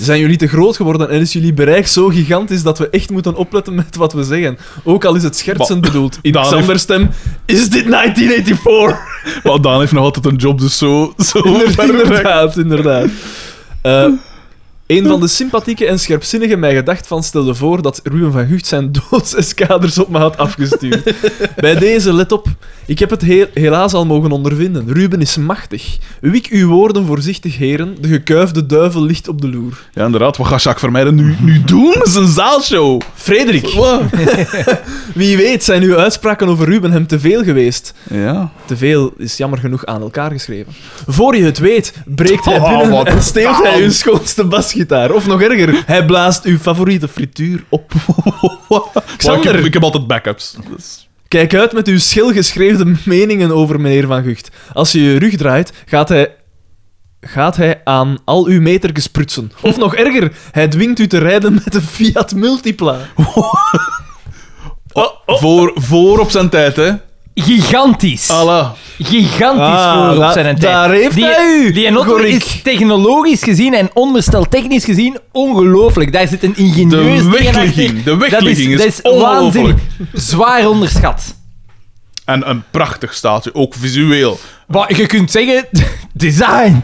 Speaker 3: Zijn jullie te groot geworden en is jullie bereik zo gigantisch dat we echt moeten opletten met wat we zeggen? Ook al is het schertsend bedoeld. In
Speaker 2: Daan heeft-
Speaker 3: Xander's stem is dit 1984?
Speaker 2: Maar Daan heeft nog altijd een job, dus zo... zo
Speaker 3: Inder-
Speaker 2: ver weg.
Speaker 3: inderdaad, inderdaad. Eh, een van de sympathieke en scherpzinnigen mij gedacht van stelde voor dat Ruben van Gucht zijn doodseskaders op me had afgestuurd. Bij deze, let op. Ik heb het he- helaas al mogen ondervinden. Ruben is machtig. Wik uw woorden voorzichtig, heren. De gekuifde duivel ligt op de loer.
Speaker 2: Ja, inderdaad. Wat gaat Jacques Vermeijden nu, nu doen? Dat is een zaalshow.
Speaker 3: Frederik,
Speaker 2: Wat?
Speaker 3: wie weet zijn uw uitspraken over Ruben hem te veel geweest.
Speaker 2: Ja.
Speaker 3: Te veel is jammer genoeg aan elkaar geschreven. Voor je het weet, breekt hij binnen
Speaker 2: wat
Speaker 3: en steelt hij uw schoonste basgitaar. Of nog erger, hij blaast uw favoriete frituur op.
Speaker 2: Maar ik,
Speaker 3: Xander,
Speaker 2: heb, ik heb altijd backups. Dus-
Speaker 3: kijk uit met uw schilgeschreven meningen over meneer Van Gucht. Als je je rug draait, gaat hij... Gaat hij aan al uw metertjes prutsen. Of nog erger, hij dwingt u te rijden met een Fiat Multipla.
Speaker 2: Oh, Voor, voor op zijn tijd, hè.
Speaker 1: Gigantisch.
Speaker 2: Allah.
Speaker 1: Gigantisch
Speaker 3: Ah,
Speaker 1: voor op
Speaker 3: da-
Speaker 1: zijn tijd.
Speaker 3: daar heeft
Speaker 1: die,
Speaker 3: hij u,
Speaker 1: Die Enotto
Speaker 3: Gorik.
Speaker 1: is technologisch gezien en onderstel technisch gezien ongelooflijk. Daar zit een ingenieus
Speaker 2: De
Speaker 1: ding
Speaker 2: wegligging.
Speaker 1: achter.
Speaker 2: De wegligging
Speaker 1: dat
Speaker 2: is,
Speaker 1: dat
Speaker 2: ongelooflijk.
Speaker 1: waanzinnig. Zwaar onderschat.
Speaker 2: En een prachtig staatje, ook visueel.
Speaker 1: Maar je kunt zeggen, design.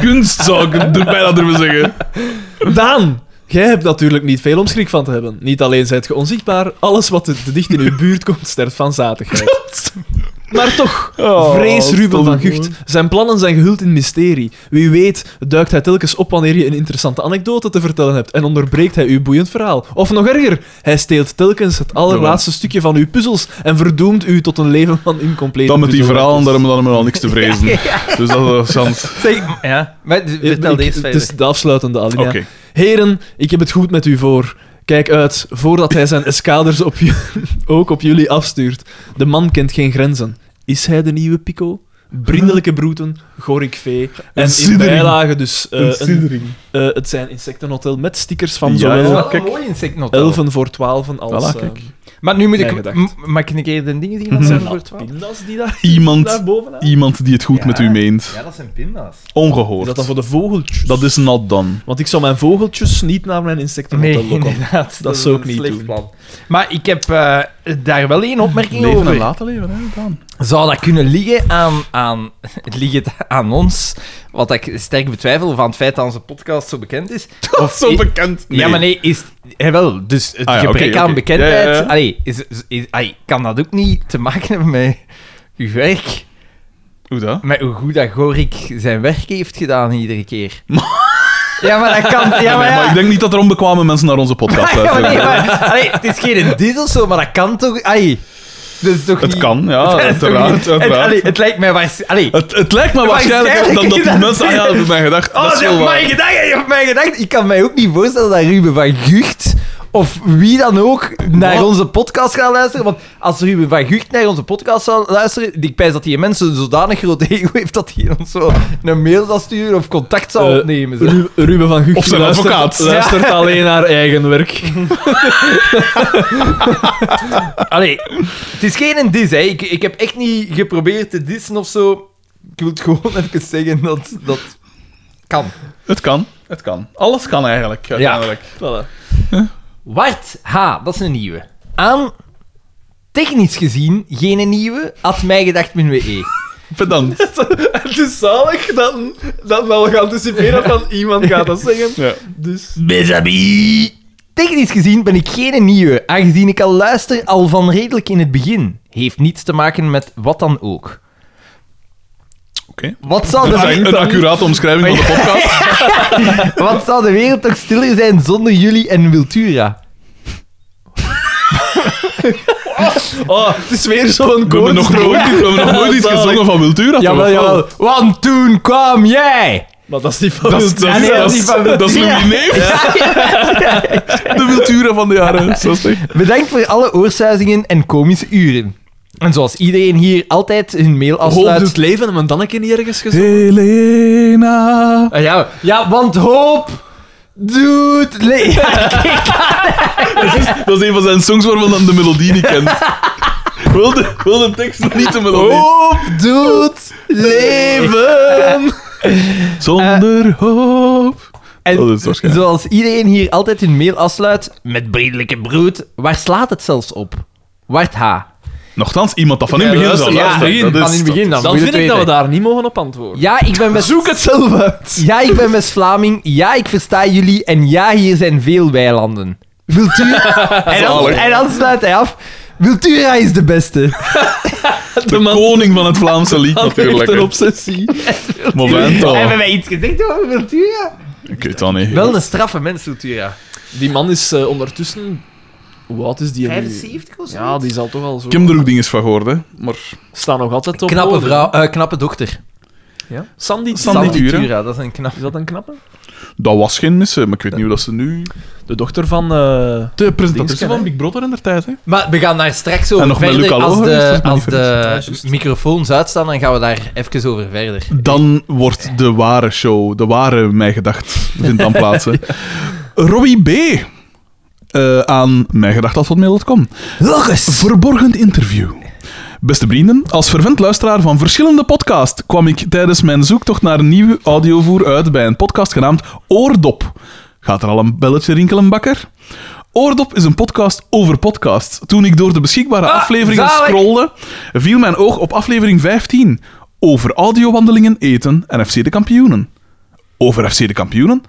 Speaker 2: Kunst zou ik er bijna durven zeggen.
Speaker 3: Daan, jij hebt natuurlijk niet veel om schrik van te hebben. Niet alleen zijt je onzichtbaar, alles wat te te dicht in uw buurt komt sterft van zatigheid. Maar toch, vrees Ruben van Gucht. Zijn plannen zijn gehuld in mysterie. Wie weet duikt hij telkens op wanneer je een interessante anekdote te vertellen hebt en onderbreekt hij uw boeiend verhaal. Of nog erger, hij steelt telkens het allerlaatste stukje van uw puzzels en verdoemt u tot een leven van incomplete
Speaker 2: Dan met die
Speaker 3: puzzelwerkels.
Speaker 2: verhalen, daar hebben we dan al niks te vrezen. Dus dat is chance.
Speaker 1: Zeg, ja, maar d-
Speaker 3: Ja,
Speaker 1: vertel
Speaker 3: ik-
Speaker 1: deze
Speaker 3: Het
Speaker 1: verder.
Speaker 3: is de afsluitende alinea.
Speaker 2: Oké.
Speaker 3: Heren, ik heb het goed met u voor. Kijk uit, voordat hij zijn eskaders op ju- ook op jullie afstuurt. De man kent geen grenzen. Is hij de nieuwe Pico? Vriendelijke broeten, gorik vee. En in
Speaker 2: siddering.
Speaker 3: bijlage dus... eh, een-
Speaker 2: siddering.
Speaker 3: eh, het zijn insectenhotel met stickers van
Speaker 2: Ja,
Speaker 3: zowel
Speaker 2: ja.
Speaker 1: Wel
Speaker 2: kijk.
Speaker 1: een mooi insect nog wel.
Speaker 3: 11 voor 12 als...
Speaker 2: Voilà,
Speaker 3: eh,
Speaker 2: kijk. Hmm.
Speaker 1: Maar nu moet
Speaker 3: Mijn
Speaker 1: ik...
Speaker 3: gedacht.
Speaker 1: m- Mag ik een keer de dingen zien? van
Speaker 3: dat zijn
Speaker 1: zeven voor
Speaker 3: dat
Speaker 1: twaalf?
Speaker 3: pindas die daar,
Speaker 2: Iemand,
Speaker 3: daar bovenaan?
Speaker 2: iemand die het goed met u meent.
Speaker 1: Ja, dat zijn pinda's.
Speaker 3: Is
Speaker 2: Ongehoord.
Speaker 3: dat dan voor de vogeltjes?
Speaker 2: Dat is not done.
Speaker 3: Want ik zou mijn vogeltjes niet naar mijn insectenhotel
Speaker 1: Nee,
Speaker 3: lokken.
Speaker 1: inderdaad.
Speaker 3: Dat zou ik
Speaker 1: een
Speaker 3: niet
Speaker 1: slecht
Speaker 3: doen.
Speaker 1: plan. Maar ik heb eh, daar wel één opmerking
Speaker 2: Leven
Speaker 1: over.
Speaker 2: en laten leven, hè, Daan.
Speaker 1: Zou dat kunnen liggen aan, aan, liggen aan ons? Wat ik sterk betwijfel van het feit dat onze podcast zo bekend is. Of
Speaker 2: Zo
Speaker 1: i-
Speaker 2: bekend.
Speaker 1: Ja, maar nee, is... Jawel, dus het
Speaker 2: Ah ja, oké,
Speaker 1: gebrek aan
Speaker 2: oké.
Speaker 1: bekendheid...
Speaker 2: Ja, ja, ja.
Speaker 1: Allee, is, is, is- allee, kan dat ook niet te maken hebben met uw werk?
Speaker 2: Hoe dat?
Speaker 1: Met hoe goed dat Gorik zijn werk heeft gedaan iedere keer. ja, maar dat kan... Ja, maar
Speaker 2: Maar ik
Speaker 1: ja.
Speaker 2: denk niet dat er onbekwame mensen naar onze podcast
Speaker 1: Ja, maar
Speaker 2: luisteren.
Speaker 1: nee, maar, allee, het is geen dit of zo, maar dat kan toch... Allee, dat is toch
Speaker 2: Het
Speaker 1: niet-
Speaker 2: kan, ja,
Speaker 1: dat is toch
Speaker 2: uiteraard.
Speaker 1: niet- Het,
Speaker 2: uiteraard.
Speaker 1: allee, het lijkt mij... waars- Allee,
Speaker 2: Het, het lijkt me waarschijnlijk dan
Speaker 1: Waarschijnlijk
Speaker 2: dat die
Speaker 1: is dat-
Speaker 2: mensen... Ah ja, dat heb ik mij gedacht.
Speaker 1: Oh,
Speaker 2: dat is
Speaker 1: dat
Speaker 2: wel
Speaker 1: heb
Speaker 2: waar.
Speaker 1: mij gedacht, je hebt mij gedacht. Ik kan mij ook niet voorstellen dat Ruben van Gucht of wie dan ook naar
Speaker 8: Wat?
Speaker 1: onze podcast gaat luisteren. Want als Ruben van Gucht naar onze podcast zou luisteren, ik pijs dat die mensen een zodanig groot ego heeft dat hij ons zo een mail zal sturen of contact zal
Speaker 3: Oh,
Speaker 9: Eh,
Speaker 1: opnemen. zo.
Speaker 9: Ru- Ruben van Gucht
Speaker 2: Of zijn
Speaker 9: luistert,
Speaker 2: advocaat.
Speaker 9: luistert alleen naar eigen werk.
Speaker 1: Allee, het is geen een dis, hè. Ik, ik heb echt niet geprobeerd te dissen of zo. Ik wil het gewoon even zeggen dat dat kan.
Speaker 2: Het kan. Het kan. Alles kan eigenlijk, uiteindelijk.
Speaker 1: Wart H, dat is een nieuwe. Aan technisch gezien geen nieuwe, had mij gedacht min E.
Speaker 2: Pedant.
Speaker 9: Het is zalig dat, dat we al geanticiperen van iemand gaat dat zeggen.
Speaker 2: Ja.
Speaker 9: Dus...
Speaker 1: Technisch gezien ben ik geen nieuwe, aangezien ik al luister al van redelijk in het begin. Heeft niets te maken met wat dan ook.
Speaker 2: Oké.
Speaker 1: Wat zou
Speaker 2: Dat is
Speaker 1: de,
Speaker 2: een accurate omschrijving van de podcast.
Speaker 1: wat zou de wereld toch stiller zijn zonder jullie en Wiltura?
Speaker 9: Oh, het is weer zo'n
Speaker 2: We hebben nog
Speaker 9: koortsdroom.
Speaker 2: nooit, we hebben nog nooit iets
Speaker 9: Zalig.
Speaker 2: gezongen van Wiltura. toch?
Speaker 1: Jawel, jawel. Want toen kwam jij!
Speaker 9: Maar dat is niet van
Speaker 2: Dat is,
Speaker 9: Wiltura.
Speaker 2: dat, is-
Speaker 1: nee,
Speaker 2: dat
Speaker 1: dat is
Speaker 2: is,
Speaker 1: niet van Wiltura.
Speaker 2: dat is Louis Neef. De Wiltura van de jaren 60.
Speaker 1: Bedankt voor alle oorsuizingen en komische uren. En zoals iedereen hier altijd hun mail
Speaker 3: Hoop
Speaker 1: afsluit...
Speaker 3: doet leven en mijn danneke niet ergens gezet.
Speaker 2: Helena.
Speaker 1: Ah, ja, ja, want hoop doet... le-
Speaker 2: Dat is een van zijn songs waarvan dan de melodie niet kent. Wil de, wil de tekst niet de melodie?
Speaker 1: Hoop doet leven.
Speaker 2: Zonder hoop.
Speaker 1: En
Speaker 2: Dat is waarschijnlijk.
Speaker 1: zoals iedereen hier altijd hun mail afsluit, met bredelijke broed, waar slaat het zelfs op? Wart H.
Speaker 2: Nochtans, iemand dat van in het begin
Speaker 3: luister,
Speaker 2: zou
Speaker 3: ja,
Speaker 2: luisteren.
Speaker 3: begin,
Speaker 2: Dus
Speaker 1: Van
Speaker 2: dat
Speaker 1: in het begin dan.
Speaker 3: Dan
Speaker 1: moet je
Speaker 3: vind
Speaker 1: het
Speaker 3: ik dat we
Speaker 1: weten.
Speaker 3: daar niet mogen op antwoorden.
Speaker 1: Ja, ik ben best...
Speaker 9: Zoek het zelf uit.
Speaker 1: Ja, ik ben West Vlaming. Ja, ik versta jullie. En ja, hier zijn veel weilanden. Wiltura... en, dan, en dan sluit hij af. Wiltura is de beste.
Speaker 2: De koning van het Vlaamse lied, natuurlijk.
Speaker 9: Een obsessie.
Speaker 2: Momento.
Speaker 1: Hebben wij iets gezegd over Wiltura?
Speaker 2: Ik weet dat niet.
Speaker 1: Wel een straffe mens, Wiltura.
Speaker 3: Die man is eh, ondertussen... Hoe oud is die nu?
Speaker 1: 75 of zo?
Speaker 3: Ja, die zal toch al zo...
Speaker 2: Ik heb er ook dingen van gehoord, hè. Maar
Speaker 3: Staan nog altijd op.
Speaker 1: Knappe
Speaker 3: boven.
Speaker 1: vrouw, eh, knappe dochter.
Speaker 2: Sandy
Speaker 3: Sandy. Sandy.
Speaker 2: Tura.
Speaker 1: Tura, dat is een knap.
Speaker 3: Is dat een knappe?
Speaker 2: dat was geen missen. Maar ik weet niet hoe dat ze nu...
Speaker 3: De dochter van... eh,
Speaker 2: De
Speaker 3: Dingske,
Speaker 2: presentatie
Speaker 3: hè.
Speaker 2: van Big Brother in der tijd, hè.
Speaker 1: Maar we gaan daar straks
Speaker 2: En
Speaker 1: over
Speaker 2: nog met
Speaker 1: verder.
Speaker 2: Luc Allo,
Speaker 1: Als
Speaker 2: hè, is
Speaker 1: de,
Speaker 2: dat
Speaker 1: als
Speaker 2: niet
Speaker 1: de microfoons uitstaan, dan gaan we daar even over verder.
Speaker 2: Dan wordt de ware show, de ware Mij Gedacht, vindt dan plaats. hè. Robbie B. eh aan mijgedacht.com.
Speaker 1: Logisch!
Speaker 2: Verborgen interview. Beste vrienden, als vervent luisteraar van verschillende podcasts kwam ik tijdens mijn zoektocht naar een nieuwe audiovoer uit bij een podcast genaamd Oordop. Gaat er al een belletje rinkelen, bakker? Oordop is een podcast over podcasts. Toen ik door de beschikbare afleveringen
Speaker 1: zalig.
Speaker 2: scrolde, viel mijn oog op aflevering 15 over audiowandelingen, eten en FC de kampioenen. Over FC de kampioenen?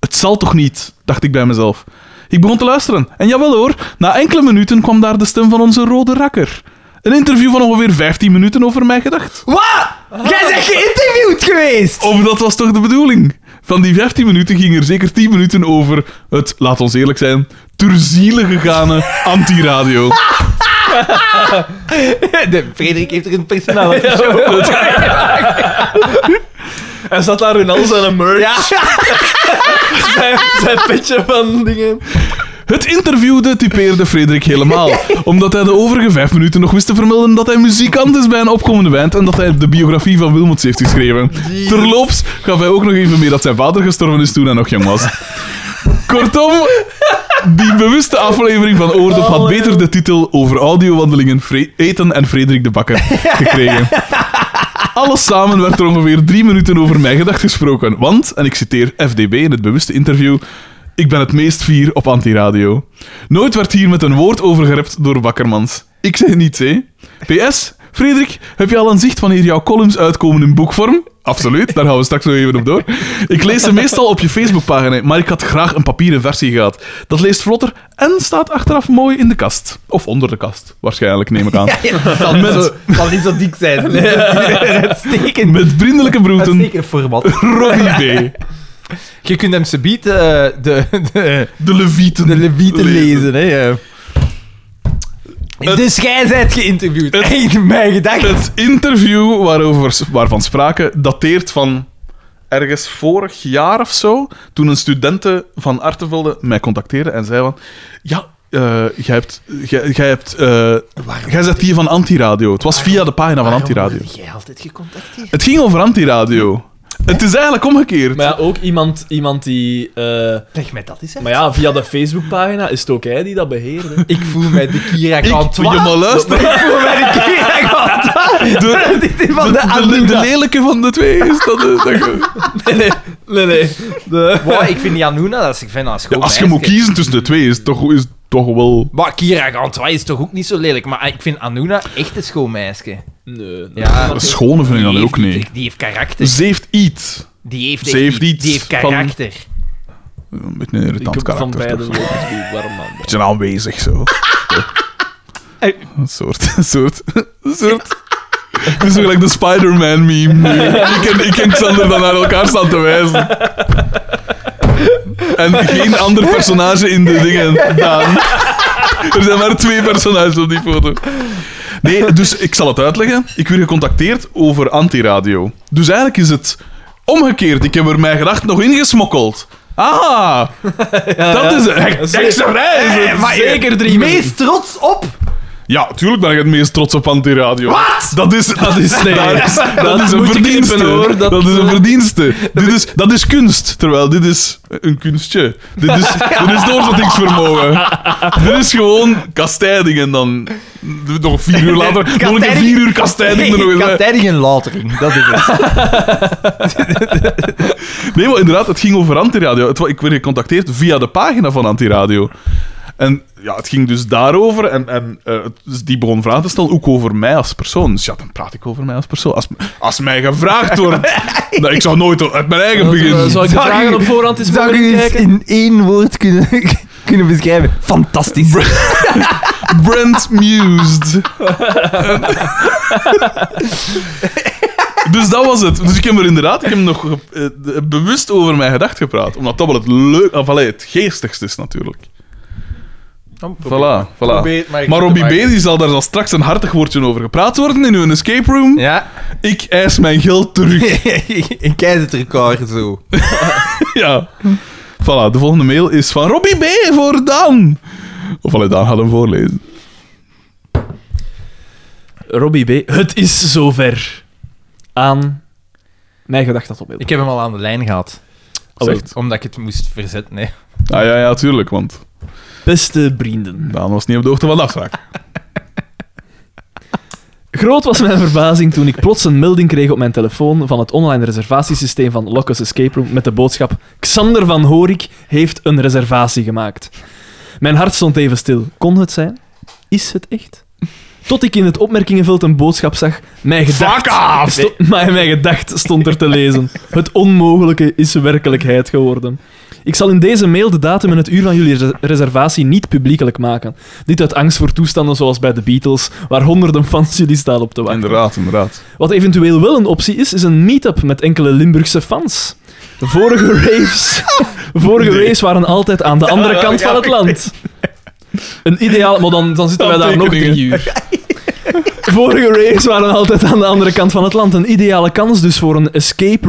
Speaker 2: Het zal toch niet, dacht ik bij mezelf. Ik begon te luisteren. En jawel hoor, na enkele minuten kwam daar de stem van onze rode rakker. Een interview van ongeveer 15 minuten over mij gedacht.
Speaker 1: Wat? Jij bent geïnterviewd geweest!
Speaker 2: Of dat was toch de bedoeling? Van die 15 minuten ging er zeker 10 minuten over het, laat ons eerlijk zijn, ter ziele gegane antiradio.
Speaker 1: De Frederik heeft er een personaal ja,
Speaker 9: Hij zat daar in al zijn merch. zijn, zijn petje van dingen.
Speaker 2: Het interviewde typeerde Frederik helemaal, omdat hij de overige vijf minuten nog wist te vermelden dat hij muzikant is bij een opkomende band en dat hij de biografie van Wilmots heeft geschreven. Terloops gaf hij ook nog even mee dat zijn vader gestorven is toen hij nog jong was. Kortom, die bewuste aflevering van Oordop had beter de titel over audiowandelingen, Fre- eten en Frederik de Bakker gekregen. Alles samen werd er ongeveer drie minuten over mijn gedacht gesproken. Want, en ik citeer FDB in het bewuste interview. Ik ben het meest fier op antiradio. Nooit werd hier met een woord over gerept door Bakkermans. Ik zeg niets, hè? PS, Frederik, heb je al een zicht wanneer jouw columns uitkomen in boekvorm? Absoluut, daar gaan we straks nog even op door. Ik lees ze meestal op je Facebookpagina, maar ik had graag een papieren versie gehad. Dat leest vlotter en staat achteraf mooi in de kast. Of onder de kast, waarschijnlijk, neem ik aan.
Speaker 1: Dat zal niet zo- zal niet zo dik zijn. Uitstekend.
Speaker 2: Met vriendelijke broeten,
Speaker 1: Uitstekend format.
Speaker 2: Robbie B.
Speaker 1: Je kunt hem subiet eh, de, de,
Speaker 2: De Levieten.
Speaker 1: de levieten
Speaker 2: Lezen.
Speaker 1: lezen. Hè, ja.
Speaker 2: Het-
Speaker 1: dus jij bent geïnterviewd.
Speaker 2: Het-
Speaker 1: Echt mijn gedachten.
Speaker 2: Het interview waarover, waarvan sprake dateert van ergens vorig jaar of zo, toen een studenten van Artevelde mij contacteerde en zei van... Ja, eh, jij hebt... Jij, jij hebt... eh, jij zet hier van Antiradio. Het was via de pagina van Antiradio.
Speaker 1: Jij altijd gecontacteerd.
Speaker 2: Het ging over Antiradio. Het is eigenlijk omgekeerd.
Speaker 3: Maar ja, ook iemand, iemand die... eh,
Speaker 1: Leg mij dat eens uit.
Speaker 3: maar ja, via de Facebookpagina is het ook hij die dat beheerde.
Speaker 1: Ik voel mij de Kira
Speaker 2: ik, je
Speaker 1: Kwantois.
Speaker 2: maar luisteren.
Speaker 1: Ik voel mij de Kira Kwantois.
Speaker 2: De,
Speaker 1: Dit is van
Speaker 2: de,
Speaker 1: de
Speaker 2: de, de
Speaker 1: Anuda.
Speaker 2: lelijke van de twee is dat... eh, dat je-
Speaker 3: Nee, nee. De...
Speaker 1: Wow, ik vind die Anuna, dat is, ik vind dat een
Speaker 2: Ja,
Speaker 1: schoon
Speaker 2: als je moet
Speaker 1: meisje.
Speaker 2: kiezen tussen de twee, is het toch, is het toch wel...
Speaker 1: Maar Kira Kwantois is toch ook niet zo lelijk, maar ah, ik vind Anuna echt een schoon meisje.
Speaker 3: Nee, nee.
Speaker 1: Ja,
Speaker 2: Een schone vind ik dan
Speaker 1: die
Speaker 2: ook
Speaker 1: heeft-
Speaker 2: niet.
Speaker 1: Die heeft karakter.
Speaker 2: Ze heeft iets.
Speaker 1: Die heeft,
Speaker 2: Ze
Speaker 1: echt
Speaker 2: heeft
Speaker 1: niet-
Speaker 2: iets
Speaker 1: die heeft
Speaker 2: van-
Speaker 1: karakter.
Speaker 2: Een beetje een
Speaker 3: Ik
Speaker 2: irritant
Speaker 3: heb van
Speaker 2: karakter.
Speaker 3: beide
Speaker 2: Een
Speaker 3: lopers die warm man.
Speaker 2: beetje aanwezig, zo. Een soort, een soort, een soort... Het is zo gelijk de Spider-Man-meme. Ik en, ik en Xander dan naar elkaar staan te wijzen. En geen ander personage in de dingen, Daan. Er zijn maar twee personages op die foto. Nee, dus ik zal het uitleggen. Ik werd gecontacteerd over Antiradio. Dus eigenlijk is het omgekeerd. Ik heb er mijn gedachten nog ingesmokkeld. Ah, dat is een hekse
Speaker 3: Zeker drie minuten.
Speaker 1: Meest trots op.
Speaker 2: Eh, Ja, tuurlijk ben ik het meest trots op Antiradio. Wat? Dat is, dat is, daar is- dat is een
Speaker 3: moet je
Speaker 2: verdienste.
Speaker 3: knippen, hoor.
Speaker 2: Dat,
Speaker 3: Dat-
Speaker 2: is een verdienste. dit is, dat is kunst, terwijl dit is een kunstje. Dit is, dit is doorzettingsvermogen. dit is gewoon kastijdingen dan. Nog vier uur later, nog een keer vier uur kastijding er nog eens bij.
Speaker 1: Kastijding en latering, dat is het.
Speaker 2: Nee, maar inderdaad, het ging over Antiradio. Het, wa- ik werd gecontacteerd via de pagina van Antiradio. En ja, het ging dus daarover. En, en eh, het- dus die begon vragen te stellen, ook over mij als persoon. Dus ja, dan praat ik over mij als persoon. Als, als mij gevraagd wordt... nou, ik zou nooit uit mijn eigen beginnen.
Speaker 3: Zou Eh, ik de
Speaker 10: Zou
Speaker 3: vragen
Speaker 10: u-
Speaker 3: op voorhand eens
Speaker 10: Zou
Speaker 3: mogen
Speaker 10: ik u eens
Speaker 3: kijken?
Speaker 10: in één woord kunnen, kunnen beschrijven? Fantastisch.
Speaker 2: Brand Mused. dus dat was het. Dus ik heb er inderdaad ik heb nog eh, de- bewust over mijn gedacht gepraat. Omdat dat wel het leuk... Of allee, het geestigste is natuurlijk. Voilà, voilà. Maar Oh, Robbie B. die zal daar dan straks een hartig woordje over gepraat worden in uw escape room.
Speaker 10: Ja.
Speaker 2: Ik eis mijn geld terug.
Speaker 10: ik kijk het record zo.
Speaker 2: ja. Voilà, de volgende mail is van Robbie B. voor Daan. Of allee, Daan gaat hem voorlezen.
Speaker 3: Robbie B. Het is zover. Aan... Mijn gedacht dat opbeeld.
Speaker 1: Ik heb hem al aan de lijn gehad.
Speaker 3: Oh, echt?
Speaker 1: Omdat ik het moest verzetten. Nee.
Speaker 2: Ah ja, ja, tuurlijk, want
Speaker 3: Beste vrienden.
Speaker 2: Daan was niet op de hoogte van de afspraak.
Speaker 3: Groot was mijn verbazing toen ik plots een melding kreeg op mijn telefoon van het online reservatiesysteem van Locus Escape Room met de boodschap Xander van Horik heeft een reservatie gemaakt. Mijn hart stond even stil. Kon het zijn? Is het echt? Tot ik in het opmerkingenveld een boodschap zag. Mijn gedacht, sto- maar mijn gedacht stond er te lezen. Het onmogelijke is werkelijkheid geworden. Ik zal in deze mail de datum en het uur van jullie res- reservatie niet publiekelijk maken. Dit uit angst voor toestanden zoals bij de Beatles, waar honderden fans jullie staan op te wachten.
Speaker 2: Inderdaad, inderdaad.
Speaker 3: Wat eventueel wel een optie is, is een meet-up met enkele Limburgse fans. Vorige raves, vorige raves waren altijd aan de andere kant van het land. Een ideaal, maar dan, dan zitten wij daar nog drie
Speaker 2: Handtekeningen.
Speaker 3: uur. Vorige raves waren altijd aan de andere kant van het land. Een ideale kans dus voor een escape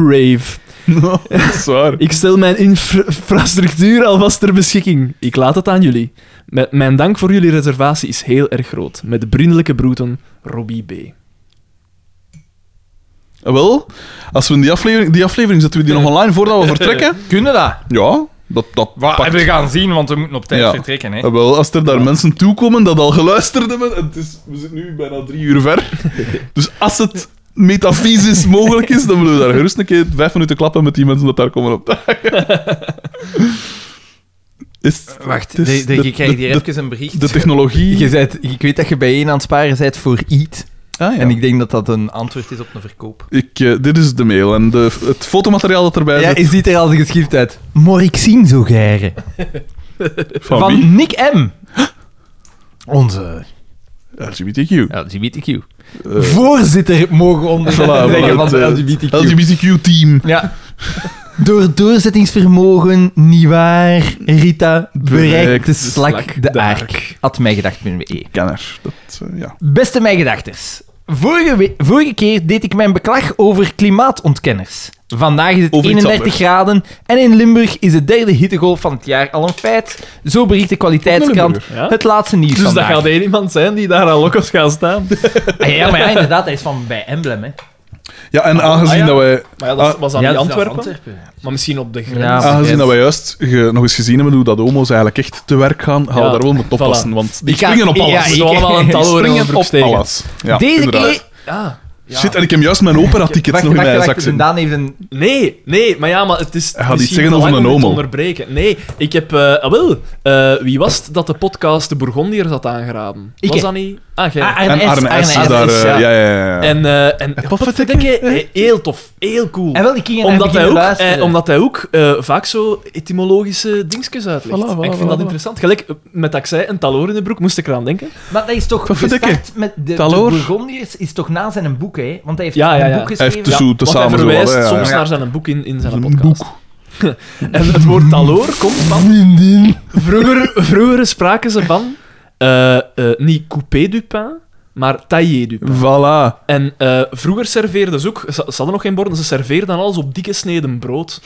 Speaker 3: rave.
Speaker 2: No, dat is waar.
Speaker 3: Ik stel mijn infra- infrastructuur alvast ter beschikking. Ik laat het aan jullie. Met mijn dank voor jullie reservatie is heel erg groot. Met de vriendelijke broeten, Robbie B.
Speaker 2: Ah, Wel, als we in die aflevering... Die aflevering zetten we die nog online voordat we vertrekken?
Speaker 1: Kunnen dat?
Speaker 2: Ja, dat... dat pakt.
Speaker 1: We gaan zien, want we moeten op tijd
Speaker 2: Ja.
Speaker 1: vertrekken. Hè.
Speaker 2: Ah, Wel, als er daar mensen toekomen dat al geluisterd hebben... en Het is, we zitten nu bijna drie uur ver. Dus als het metafysisch mogelijk is, dan willen we daar gerust een keer vijf minuten klappen met die mensen dat daar komen opdagen. Is,
Speaker 1: Wacht,
Speaker 2: het is
Speaker 1: de- de- je krijgt
Speaker 2: de-
Speaker 1: hier
Speaker 2: de,
Speaker 1: even een bericht.
Speaker 2: de technologie...
Speaker 1: Je bent, ik weet dat je bijeen aan het sparen bent voor EAT.
Speaker 2: Ah, ja.
Speaker 1: En ik denk dat dat een antwoord is op een verkoop.
Speaker 2: Ik, eh, dit is de mail en de, het fotomateriaal dat erbij
Speaker 1: Ja,
Speaker 2: zit.
Speaker 1: je ziet er al geschift uit. Mor ik zien zo garen.
Speaker 2: van
Speaker 1: Van
Speaker 2: wie?
Speaker 1: Nick M. Onze
Speaker 2: LGBTQ.
Speaker 1: LGBTQ.
Speaker 2: Eh,
Speaker 1: Voorzitter mogen we onder
Speaker 2: Voilà,
Speaker 1: zeggen van
Speaker 2: het,
Speaker 1: de
Speaker 2: eh,
Speaker 1: LGBTQ.
Speaker 2: LGBTQ-team.
Speaker 1: Ja. Door doorzettingsvermogen, nietwaar, Rita, bereikt
Speaker 2: Bereikt
Speaker 1: de
Speaker 2: de
Speaker 1: slak de aark. Had mijgedacht.be.
Speaker 2: Kenner. Dat, eh, ja.
Speaker 1: Beste mijgedachters. Vorige, we- vorige keer deed ik mijn beklag over klimaatontkenners. Vandaag is het
Speaker 2: Over iets
Speaker 1: 31
Speaker 2: anders.
Speaker 1: graden en in Limburg is de derde hittegolf van het jaar al een feit. Zo bericht de kwaliteitskrant
Speaker 3: Ja?
Speaker 1: het laatste nieuws
Speaker 3: Dus dat
Speaker 1: vandaag.
Speaker 3: gaat één iemand zijn die daar aan lokkers gaat staan.
Speaker 1: Ah, ja, maar ja, inderdaad, hij is van bij Emblem, hè.
Speaker 2: Ja, en
Speaker 1: Ah,
Speaker 2: aangezien
Speaker 3: ja.
Speaker 2: dat wij
Speaker 3: Maar ja, dat
Speaker 2: Ah,
Speaker 3: was aan
Speaker 1: Ja,
Speaker 3: die
Speaker 1: dat is
Speaker 3: Antwerpen.
Speaker 1: Antwerpen.
Speaker 3: Maar misschien op de grens.
Speaker 1: Ja, maar-
Speaker 2: Aangezien dat wij juist ge- nog eens gezien hebben hoe dat homo's eigenlijk echt te werk gaan, gaan
Speaker 3: Ja,
Speaker 2: we daar wel moeten
Speaker 3: voilà.
Speaker 2: oppassen. Want die
Speaker 1: Ik ga-
Speaker 2: springen op
Speaker 1: ja,
Speaker 2: alles.
Speaker 1: ik-
Speaker 3: Moeten we allemaal een tal horen
Speaker 2: springen
Speaker 3: over
Speaker 2: op
Speaker 3: steken. Ah,
Speaker 2: alles. Ja,
Speaker 1: Deze
Speaker 2: inderdaad.
Speaker 1: keer...
Speaker 2: Shit, en ik heb juist mijn opera-tickets
Speaker 1: Wacht,
Speaker 2: nog in
Speaker 1: wacht,
Speaker 2: mijn
Speaker 1: wacht.
Speaker 2: zak zitten.
Speaker 1: Daan heeft een...
Speaker 3: Nee, nee, maar ja, maar het is
Speaker 2: Hij gaat iets
Speaker 3: misschien
Speaker 2: zeggen
Speaker 3: te
Speaker 2: over
Speaker 3: lang
Speaker 2: een
Speaker 3: om u te
Speaker 2: homo.
Speaker 3: onderbreken. Nee, ik heb... eh, ah, wel, eh, wie was het dat de podcast De Bourgondiërs had aangeraden?
Speaker 1: Ik,
Speaker 3: Was
Speaker 1: hè.
Speaker 3: dat niet? Ah, jij.
Speaker 1: Ah,
Speaker 2: En Arne S. is
Speaker 3: Arne
Speaker 2: daar... eh,
Speaker 3: S, ja.
Speaker 2: Ja, ja, ja. ja.
Speaker 3: en eh en potverdikke, he- heel tof, heel cool.
Speaker 1: En wel, ik ging
Speaker 3: omdat, hij ook, eh,
Speaker 1: luisteren.
Speaker 3: omdat hij ook eh, vaak zo etymologische dingetjes uitlegt.
Speaker 2: Voilà, voilà,
Speaker 3: En ik vind
Speaker 2: voilà,
Speaker 3: dat
Speaker 2: voilà.
Speaker 3: interessant. Gelijk, eh, met dat ik zei, een taloor in de broek, moest ik eraan denken.
Speaker 1: Maar dat is toch
Speaker 2: Verdikke.
Speaker 1: gestart met de, de
Speaker 2: Taloor.
Speaker 1: Bourgondiërs is toch na zijn boek, hè? Want hij heeft
Speaker 3: Ja, ja, ja.
Speaker 1: een boek
Speaker 3: Hij
Speaker 2: Hij heeft
Speaker 1: geschreven.
Speaker 2: dus zo te
Speaker 3: Want
Speaker 2: samen
Speaker 3: hij
Speaker 2: zo wel,
Speaker 3: verwijst
Speaker 2: hè, ja,
Speaker 3: soms
Speaker 2: ja.
Speaker 3: naar zijn boek in, in zijn
Speaker 2: Een
Speaker 3: podcast.
Speaker 2: boek.
Speaker 3: En het woord taloor komt van... Vroeger, vroeger spraken ze van... eh, eh, niet coupé du pain, maar taillé du pain.
Speaker 2: Voilà.
Speaker 3: En eh, vroeger serveerden ze ook... Ze, ze hadden nog geen borden, ze serveerden alles op dikke sneden brood.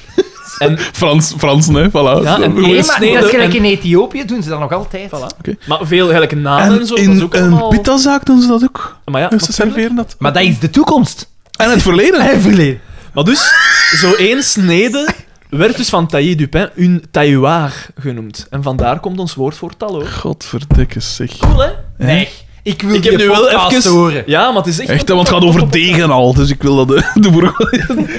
Speaker 3: En,
Speaker 2: Frans, Frans, nee, voilà.
Speaker 3: Ja, en-
Speaker 1: Nee,
Speaker 3: Goeie
Speaker 1: maar
Speaker 3: snede
Speaker 1: dat is gelijk in
Speaker 3: en-
Speaker 1: Ethiopië, doen ze dat nog altijd.
Speaker 3: voilà. Maar veel gelijk naden en
Speaker 2: En
Speaker 3: zo, dat is
Speaker 2: in
Speaker 3: ook
Speaker 2: een
Speaker 3: allemaal...
Speaker 2: pitazaak doen ze dat ook.
Speaker 3: Maar ja,
Speaker 2: Ze
Speaker 3: natuurlijk.
Speaker 2: serveren dat.
Speaker 1: Maar dat is de toekomst.
Speaker 2: En het verleden.
Speaker 3: Maar dus, zo één snede werd dus van taillé du pain een tailloir genoemd. En vandaar komt ons woord voor taloor.
Speaker 2: Godverdikke zeg.
Speaker 3: Cool, hè?
Speaker 1: Nee, ik wil
Speaker 3: Ik heb
Speaker 1: die
Speaker 3: nu wel
Speaker 1: podcast
Speaker 3: even...
Speaker 1: horen.
Speaker 3: Ja, maar het is echt...
Speaker 2: Echt, hè, want het gaat over deeg en al. Dus ik wil dat de, de boer-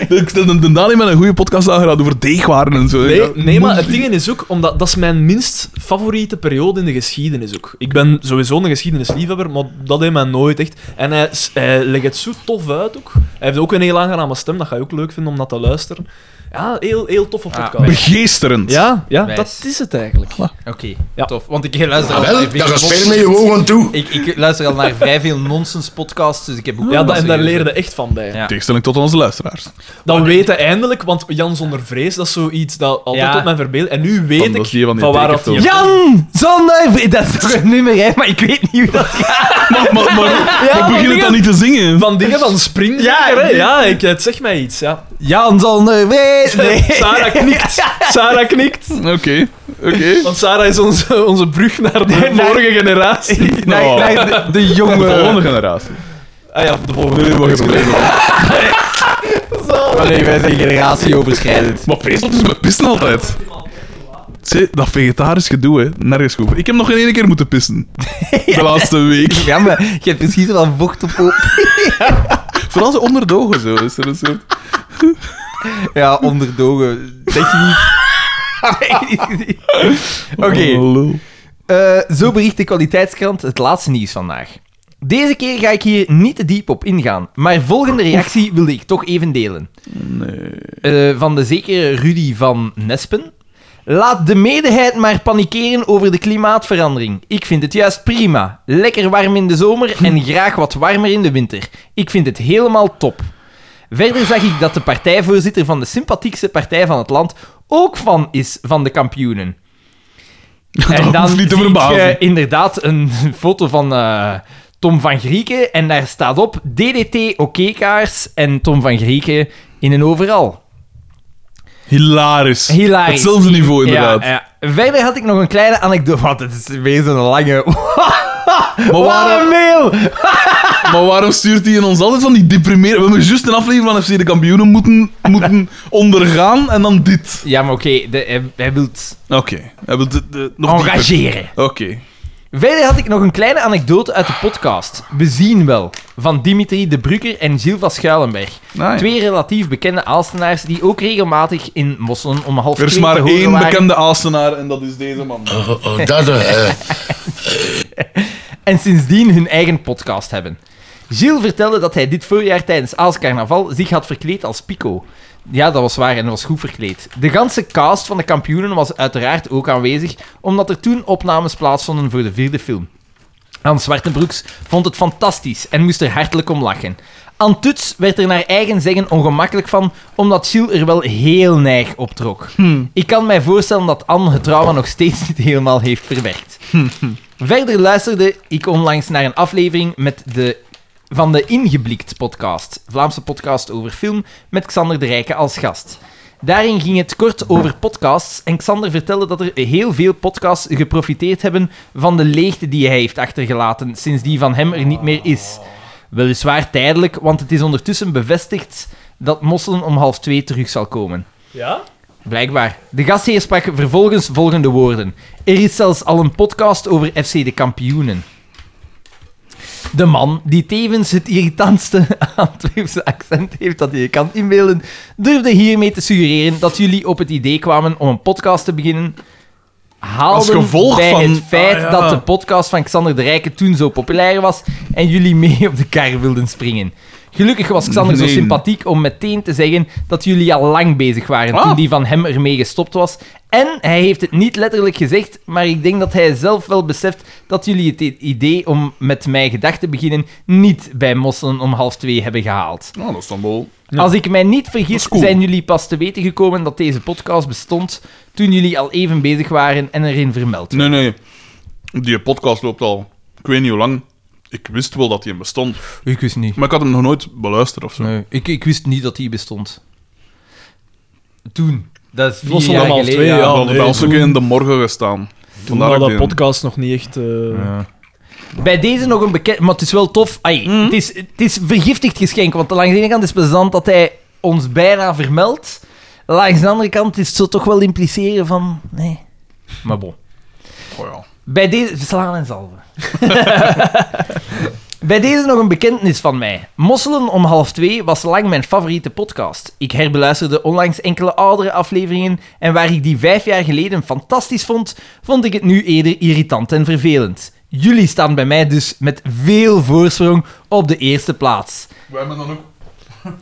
Speaker 2: Ik stel de, de Daan heeft mij een goede podcast aangeraden over deegwaren en zo.
Speaker 3: Nee,
Speaker 2: Ja.
Speaker 3: nee, maar het ding is ook, omdat dat is mijn minst favoriete periode in de geschiedenis ook. Ik ben sowieso een geschiedenisliefhebber, maar dat heeft mij nooit echt. En hij, s- hij legt het zo tof uit ook. Hij heeft ook een heel aangename stem, dat ga je ook leuk vinden om dat te luisteren. Ja, heel, heel toffe
Speaker 1: Ah,
Speaker 3: podcast.
Speaker 2: Begeesterend.
Speaker 3: ja, ja
Speaker 1: Wijs.
Speaker 3: dat is het eigenlijk.
Speaker 1: Oké,
Speaker 3: Ja.
Speaker 1: tof. Want ik luister
Speaker 4: Ah,
Speaker 1: al
Speaker 4: wel,
Speaker 1: naar
Speaker 4: daar
Speaker 1: veel
Speaker 4: gaat spelen met
Speaker 1: nonsens-
Speaker 4: je ogen toe.
Speaker 1: ik, ik luister al naar vrij veel nonsens podcasts, dus ik heb ook
Speaker 3: Ja,
Speaker 1: wel
Speaker 3: dat, en daar
Speaker 1: serieuze-
Speaker 3: leerde echt van bij.
Speaker 1: Ja.
Speaker 2: In Tegenstelling tot onze luisteraars.
Speaker 3: Dat weten eindelijk, want Jan zonder vrees, dat is zoiets dat altijd
Speaker 1: Ja.
Speaker 3: op mijn verbeeld. En nu weet
Speaker 2: Van, dat
Speaker 3: ik
Speaker 2: is die van
Speaker 3: van,
Speaker 2: die
Speaker 3: waar dat
Speaker 2: tekenfilm.
Speaker 3: hier-
Speaker 1: Jan! Zonder... Dat is toch een nummer, hè? Maar ik weet niet hoe dat...
Speaker 2: Maar, maar, maar, maar begin het
Speaker 3: dingen-
Speaker 2: dan niet te zingen.
Speaker 3: Van dingen van spring. Ja,
Speaker 1: Ja,
Speaker 3: ja ik, het zegt mij iets. Ja.
Speaker 1: Jan zonder... weet- Nee.
Speaker 3: Sarah knikt. Sarah knikt.
Speaker 2: Oké, oké.
Speaker 3: Want Sarah is onze, onze brug naar de
Speaker 1: Nee,
Speaker 3: vorige generatie.
Speaker 1: Nee,
Speaker 2: Nou.
Speaker 1: nee, de, de jonge...
Speaker 2: De volgende generatie.
Speaker 3: Ah ja, de volgende.
Speaker 2: Nee, mag je
Speaker 1: Nee, wij zijn generatieoverschrijdend.
Speaker 2: Maar pees, dat is met pissen altijd. Zie, dat vegetarisch gedoe, hè. Nergens goed. Ik heb nog geen ene keer moeten pissen. De laatste week.
Speaker 1: Ja, maar je hebt precies wel vocht op... op.
Speaker 2: Vooral zo onder de ogen, zo. Is er een soort...
Speaker 1: Ja, onderdogen. Dat je niet... Oké.
Speaker 2: Oh, lul.
Speaker 1: Eh, zo bericht de kwaliteitskrant het laatste nieuws vandaag. Deze keer ga ik hier niet te diep op ingaan, maar volgende reactie wilde ik toch even delen. Eh, van de zekere Rudy van Nespen. Laat de medeheid maar panikeren over de klimaatverandering. Ik vind het juist prima. Lekker warm in de zomer en graag wat warmer in de winter. Ik vind het helemaal top. Verder zag ik dat de partijvoorzitter van de sympathiekste partij van het land ook fan is van de kampioenen. En dan
Speaker 2: hoeft niet te
Speaker 1: zie
Speaker 2: verbazen.
Speaker 1: je inderdaad een foto van eh, Tom van Grieken en daar staat op DDT oké-kaars en Tom van Grieken in een overal.
Speaker 2: Hilarisch.
Speaker 1: Hilarisch.
Speaker 2: Hetzelfde niveau, inderdaad.
Speaker 1: Ja, ja. Verder had ik nog een kleine anekdote. Want het is weer zo'n lange.
Speaker 2: Oh, Maar,
Speaker 1: Wat
Speaker 2: waarom,
Speaker 1: een mail!
Speaker 2: maar waarom stuurt hij in ons altijd van die deprimerende... We hebben juist een aflevering van FC de Kampioenen moeten, moeten ondergaan en dan dit.
Speaker 1: Ja, maar oké, de- hij, hij wil het
Speaker 2: Oké. Hebben we de, de, nog dieper.
Speaker 1: engageren.
Speaker 2: Oké.
Speaker 1: Verder had ik nog een kleine anekdote uit de podcast. We zien wel. Van Dimitri de Brugger en Gilles van Schuilenberg.
Speaker 2: Nice.
Speaker 1: Twee relatief bekende Aalstenaars die ook regelmatig in Mosselen om half
Speaker 2: Er is
Speaker 1: twee
Speaker 2: maar
Speaker 1: te horen
Speaker 2: één
Speaker 1: waren.
Speaker 2: bekende Aastenaar en dat is deze man.
Speaker 4: Oh, oh, dat, eh, eh,
Speaker 1: en sindsdien hun eigen podcast hebben. Gilles vertelde dat hij dit voorjaar tijdens Aals Carnaval zich had verkleed als Pico. Ja, dat was waar en dat was goed verkleed. De ganse cast van de kampioenen was uiteraard ook aanwezig, omdat er toen opnames plaatsvonden voor de vierde film. Anne Zwartenbroeks vond het fantastisch en moest er hartelijk om lachen. Anne Tuts werd er naar eigen zeggen ongemakkelijk van, omdat Gilles er wel heel neig op trok. Ik kan mij voorstellen dat Anne het trauma nog steeds niet helemaal heeft verwerkt. Verder luisterde ik onlangs naar een aflevering met de van de Ingeblikt podcast, Vlaamse podcast over film, met Xander de Rijke als gast. Daarin ging het kort over podcasts en Xander vertelde dat er heel veel podcasts geprofiteerd hebben van de leegte die hij heeft achtergelaten sinds die van hem er niet meer is. Weliswaar tijdelijk, want het is ondertussen bevestigd dat Mosselen om half twee terug zal komen.
Speaker 3: Ja?
Speaker 1: Blijkbaar. De gastheer sprak vervolgens volgende woorden. Er is zelfs al een podcast over FC de kampioenen. De man, die tevens het irritantste Antwerpse accent heeft dat je kan inbeelden, durfde hiermee te suggereren dat jullie op het idee kwamen om een podcast te beginnen. Haalden
Speaker 2: Als gevolg
Speaker 1: bij
Speaker 2: van-
Speaker 1: het feit
Speaker 2: Ah, ja.
Speaker 1: dat de podcast van Xander de Rijke toen zo populair was en jullie mee op de kar wilden springen. Gelukkig was Xander zo
Speaker 2: Nee.
Speaker 1: sympathiek om meteen te zeggen dat jullie al lang bezig waren toen
Speaker 2: Ah.
Speaker 1: die van hem ermee gestopt was. En hij heeft het niet letterlijk gezegd, maar ik denk dat hij zelf wel beseft dat jullie het i- idee om met mij gedacht te beginnen niet bij Mosselen om half twee hebben gehaald.
Speaker 2: Nou, dat is dan wel...
Speaker 1: Als ik mij niet
Speaker 2: Dat
Speaker 1: vergis,
Speaker 2: is cool.
Speaker 1: zijn jullie pas te weten gekomen dat deze podcast bestond toen jullie al even bezig waren en erin vermeld.
Speaker 2: Nee, nee. Die podcast loopt al... Ik weet niet hoe lang. Ik wist wel dat die bestond.
Speaker 1: Ik wist niet.
Speaker 2: Maar ik had hem nog nooit beluisterd of zo.
Speaker 1: Nee, ik, ik wist niet dat die bestond. Toen. Dat is vier
Speaker 3: was al
Speaker 1: jaar
Speaker 3: om half
Speaker 1: geleden.
Speaker 3: twee,
Speaker 2: Ja,
Speaker 3: ja.
Speaker 2: we hadden
Speaker 3: nee,
Speaker 2: bij ons ook
Speaker 3: toen-
Speaker 2: in de morgen gestaan.
Speaker 7: Toen
Speaker 2: Vandaar
Speaker 7: had
Speaker 2: dat
Speaker 7: dat
Speaker 2: ik die-
Speaker 7: podcast nog niet echt... eh,
Speaker 1: Bij deze nog een bekend... Maar het is wel tof. Ai, het, is, het is vergiftigd geschenk, want langs de ene kant is het plezant dat hij ons bijna vermeldt. Langs de andere kant is het zo toch wel impliceren van... Nee. Maar bon.
Speaker 2: Oh ja.
Speaker 1: Bij deze... Slaan en zalven. Bij deze nog een bekentenis van mij. Mosselen om half twee was lang mijn favoriete podcast. Ik herbeluisterde onlangs enkele oudere afleveringen en waar ik die vijf jaar geleden fantastisch vond, vond ik het nu eerder irritant en vervelend. Jullie staan bij mij dus met veel voorsprong op de eerste plaats.
Speaker 2: Wij hebben dan ook...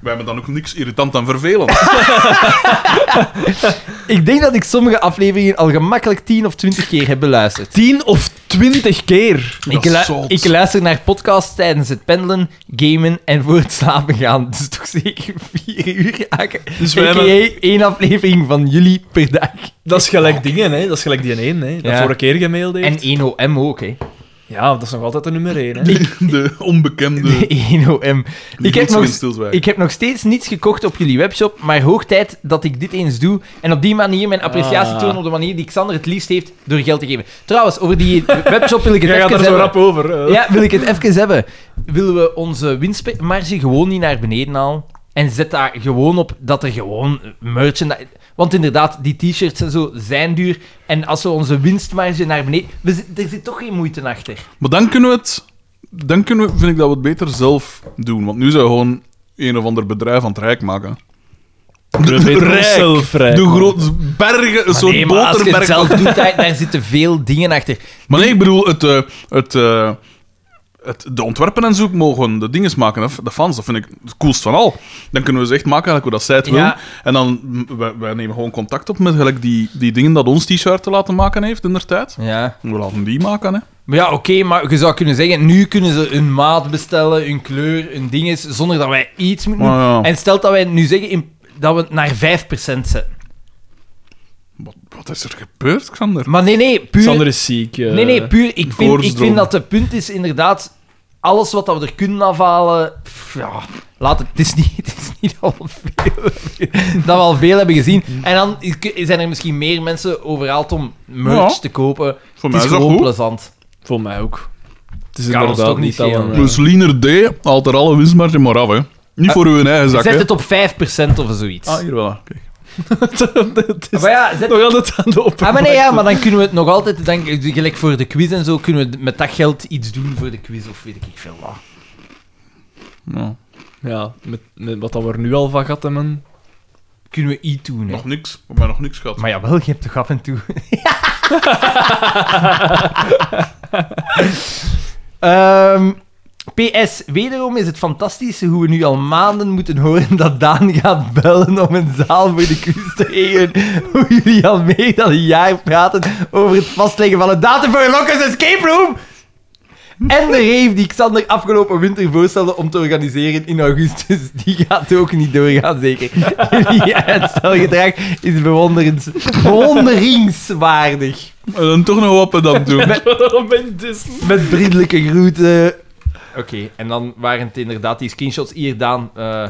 Speaker 2: Wij hebben dan ook niks irritant en vervelend.
Speaker 1: Ik denk dat ik sommige afleveringen al gemakkelijk 10 of 20 keer heb beluisterd.
Speaker 7: Tien of twintig keer.
Speaker 1: Ik, lu- ik luister naar podcasts tijdens het pendelen, gamen en voor het slapen gaan. Dus toch zeker vier uur. Dus
Speaker 7: we hebben-
Speaker 1: één aflevering van jullie per dag.
Speaker 7: Dat is gelijk dingen, hè. Dat is gelijk die één, hè. Dat
Speaker 1: Ja.
Speaker 7: vorige keer gemaild heeft.
Speaker 1: En 1OM ook, hè.
Speaker 7: Ja, dat is nog altijd de nummer één, hè.
Speaker 2: De onbekende...
Speaker 1: De 1OM.
Speaker 2: Die
Speaker 1: Ik heb,
Speaker 2: mensen
Speaker 1: nog,
Speaker 2: in stilzwijgen.
Speaker 1: ik heb nog steeds niets gekocht op jullie webshop, maar hoog tijd dat ik dit eens doe en op die manier mijn appreciatie
Speaker 7: Ah.
Speaker 1: toon op de manier die Xander het liefst heeft door geld te geven. Trouwens, over die webshop wil ik het
Speaker 7: Jij
Speaker 1: even
Speaker 7: gaat daar zo
Speaker 1: hebben.
Speaker 7: rap over. eh.
Speaker 1: Ja, wil ik het even hebben. Willen we onze winstmarge gewoon niet naar beneden halen? En zet daar gewoon op dat er gewoon merchandise... Want inderdaad, die t-shirts en zo zijn duur. En als we onze winstmarge naar beneden... we zit- er zit toch geen moeite achter.
Speaker 2: Maar dan kunnen we het... Dan kunnen we, vind ik dat we het beter zelf doen. Want nu zou je gewoon een of ander bedrijf aan het rijk maken.
Speaker 7: Dat weet
Speaker 2: Rijk.
Speaker 7: onszelf, Rijk.
Speaker 2: De grote bergen, een soort
Speaker 1: nee, maar als je het
Speaker 2: boterberg.
Speaker 1: zelf doet, daar, daar zitten veel dingen achter.
Speaker 2: Maar nee, ik bedoel, het, eh, het, eh, het, de ontwerpen en zo mogen de dinges maken, hè, de fans. Dat vind ik het coolst van al. Dan kunnen we ze echt maken eigenlijk hoe dat zij het
Speaker 1: Ja.
Speaker 2: willen. En dan, mm, wij, wij nemen gewoon contact op met gelijk die, die dingen dat ons t-shirt te laten maken heeft in der tijd.
Speaker 1: Ja.
Speaker 2: We laten die maken, hè.
Speaker 1: Maar ja, oké, maar je zou kunnen zeggen... Nu kunnen ze hun maat bestellen, hun kleur, hun dinges... Zonder dat wij iets moeten doen.
Speaker 2: Maar Oh, ja,
Speaker 1: En stelt dat wij nu zeggen in- dat we het naar 5% zetten.
Speaker 2: wat, wat is er gebeurd, Xander?
Speaker 1: Maar nee, nee, puur...
Speaker 7: Sander is ziek. eh.
Speaker 1: Nee, nee, puur. Ik vind, ik
Speaker 2: koortsdroom.
Speaker 1: vind dat het punt is inderdaad. Alles wat dat we er kunnen afhalen. pff, ja, laat het. Het is niet, het is niet al veel. dat we al veel hebben gezien. En dan is- zijn er misschien meer mensen overhaald om merch
Speaker 2: Ja.
Speaker 1: te kopen.
Speaker 2: Voor
Speaker 1: het
Speaker 2: mij
Speaker 1: is
Speaker 2: is dat
Speaker 1: gewoon
Speaker 2: goed.
Speaker 1: plezant.
Speaker 7: Voor mij ook. Het is
Speaker 1: Kan ons
Speaker 7: inderdaad
Speaker 1: toch niet
Speaker 7: niet al
Speaker 1: schelen.
Speaker 7: een... eh,
Speaker 2: Dus Liener D haalt er alle winstmarge maar af, hè. Niet voor uw eigen zak,
Speaker 1: Zet
Speaker 2: hè.
Speaker 1: Ah, het op 5% of zoiets.
Speaker 2: Ah, hier wel. Kijk.
Speaker 7: het is
Speaker 1: maar ja, zet...
Speaker 7: nog altijd aan de oppervlakte.
Speaker 1: Ah, maar nee, ja, maar dan kunnen we het nog altijd, denk ik, gelijk voor de quiz en zo, kunnen we met dat geld iets doen voor de quiz of weet ik veel wat.
Speaker 2: Nou,
Speaker 7: Ja, met, met wat dat we er nu al van gehad hebben.
Speaker 1: Kunnen we iets doen, hè.
Speaker 2: nog niks. Voor mij nog niks gehad.
Speaker 1: Maar jawel, je hebt toch af en toe. Ehm, PS, wederom is het fantastisch hoe we nu al maanden moeten horen dat Daan gaat bellen om een zaal voor de quiz te regelen. Hoe jullie al meer dan een jaar praten over het vastleggen van een datum voor een Lockers Escape Room. En de rave die Xander afgelopen winter voorstelde om te organiseren in augustus, die gaat ook niet doorgaan, zeker. Jullie uitstelgedrag is bewonderens, bewonderingswaardig.
Speaker 2: En dan toch nog wat pedant doen.
Speaker 7: Waarom ben je dus...
Speaker 1: Met vriendelijke groeten, Oké, en dan waren het inderdaad die screenshots hier, Daan. eh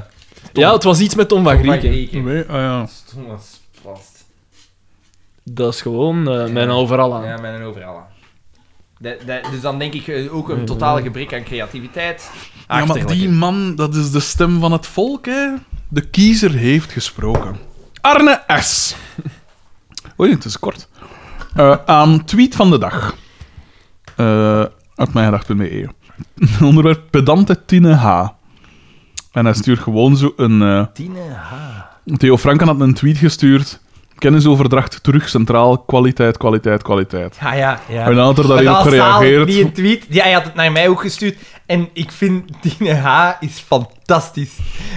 Speaker 3: Ja, het was iets met Tom van Grieken.
Speaker 2: Nee, ah ja.
Speaker 1: Thomas Plast.
Speaker 3: Dat is gewoon eh mijn overal aan.
Speaker 1: Ja, met een overal aan. De- de- dus dan denk ik eh, ook een totale gebrek aan creativiteit.
Speaker 2: Ja, maar die man, dat is de stem van het volk, hè? De kiezer heeft gesproken. Arne S. Oei, het is kort. Eh, aan tweet van de dag. Eh uit mijngedacht.be. e. Onderwerp pedante Tine H. En hij stuurt gewoon zo een... eh,
Speaker 1: Tine H.
Speaker 2: Theo Franken had een tweet gestuurd. Kennisoverdracht terug centraal. Kwaliteit, kwaliteit, kwaliteit.
Speaker 1: Ja, Ah, ja, ja.
Speaker 2: En dan had er
Speaker 1: Maar
Speaker 2: daarin op
Speaker 1: dat was zalig,
Speaker 2: gereageerd.
Speaker 1: Die een tweet, ja, hij had het naar mij ook gestuurd. En ik vind Tine H. is fantastisch.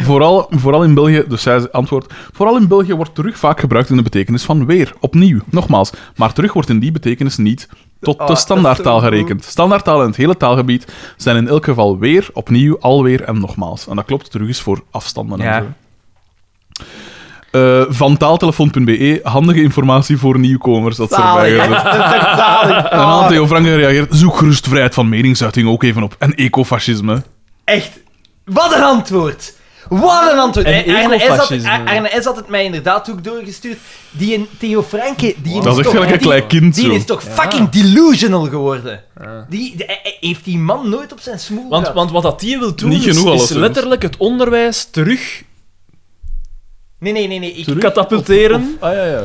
Speaker 2: Vooral, vooral in België, dus zij antwoordt. Vooral in België wordt terug vaak gebruikt in de betekenis van weer, opnieuw, nogmaals. Maar terug wordt in die betekenis niet tot
Speaker 1: Oh,
Speaker 2: de
Speaker 1: dat is
Speaker 2: standaardtaal
Speaker 1: zo goed.
Speaker 2: gerekend. Standaardtaal in het hele taalgebied zijn in elk geval weer, opnieuw, alweer en nogmaals. En dat klopt, terug is voor afstanden en
Speaker 1: Ja.
Speaker 2: zo. Eh, van taaltelefoon.be, handige informatie voor nieuwkomers. Dat is erbij
Speaker 1: Zalig.
Speaker 2: gezet.
Speaker 1: Dat is echt zalig.
Speaker 2: En dan had Theo Franken gereageerd. Zoek gerust vrijheid van meningsuiting ook even op. En ecofascisme.
Speaker 1: Echt, wat een antwoord! Wat een antwoord!
Speaker 3: En
Speaker 1: Eh, Arne S. had,
Speaker 3: ecofascisme.
Speaker 1: Ar- Arne S. had het mij inderdaad ook doorgestuurd. Die in Theo Franke... Die
Speaker 2: Dat is echt gelijk een
Speaker 1: die-
Speaker 2: klein kind,
Speaker 1: Die
Speaker 2: zo.
Speaker 1: is toch fucking delusional geworden. Die, de- eh, eh, heeft die man nooit op zijn smoel
Speaker 3: Want,
Speaker 1: gehad?
Speaker 3: want wat dat die wil doen,
Speaker 2: Niet
Speaker 3: is-
Speaker 2: genoeg,
Speaker 3: is,
Speaker 2: alleszins.
Speaker 3: letterlijk het onderwijs terug
Speaker 1: Nee, nee, nee. nee ik,
Speaker 3: katapulteren.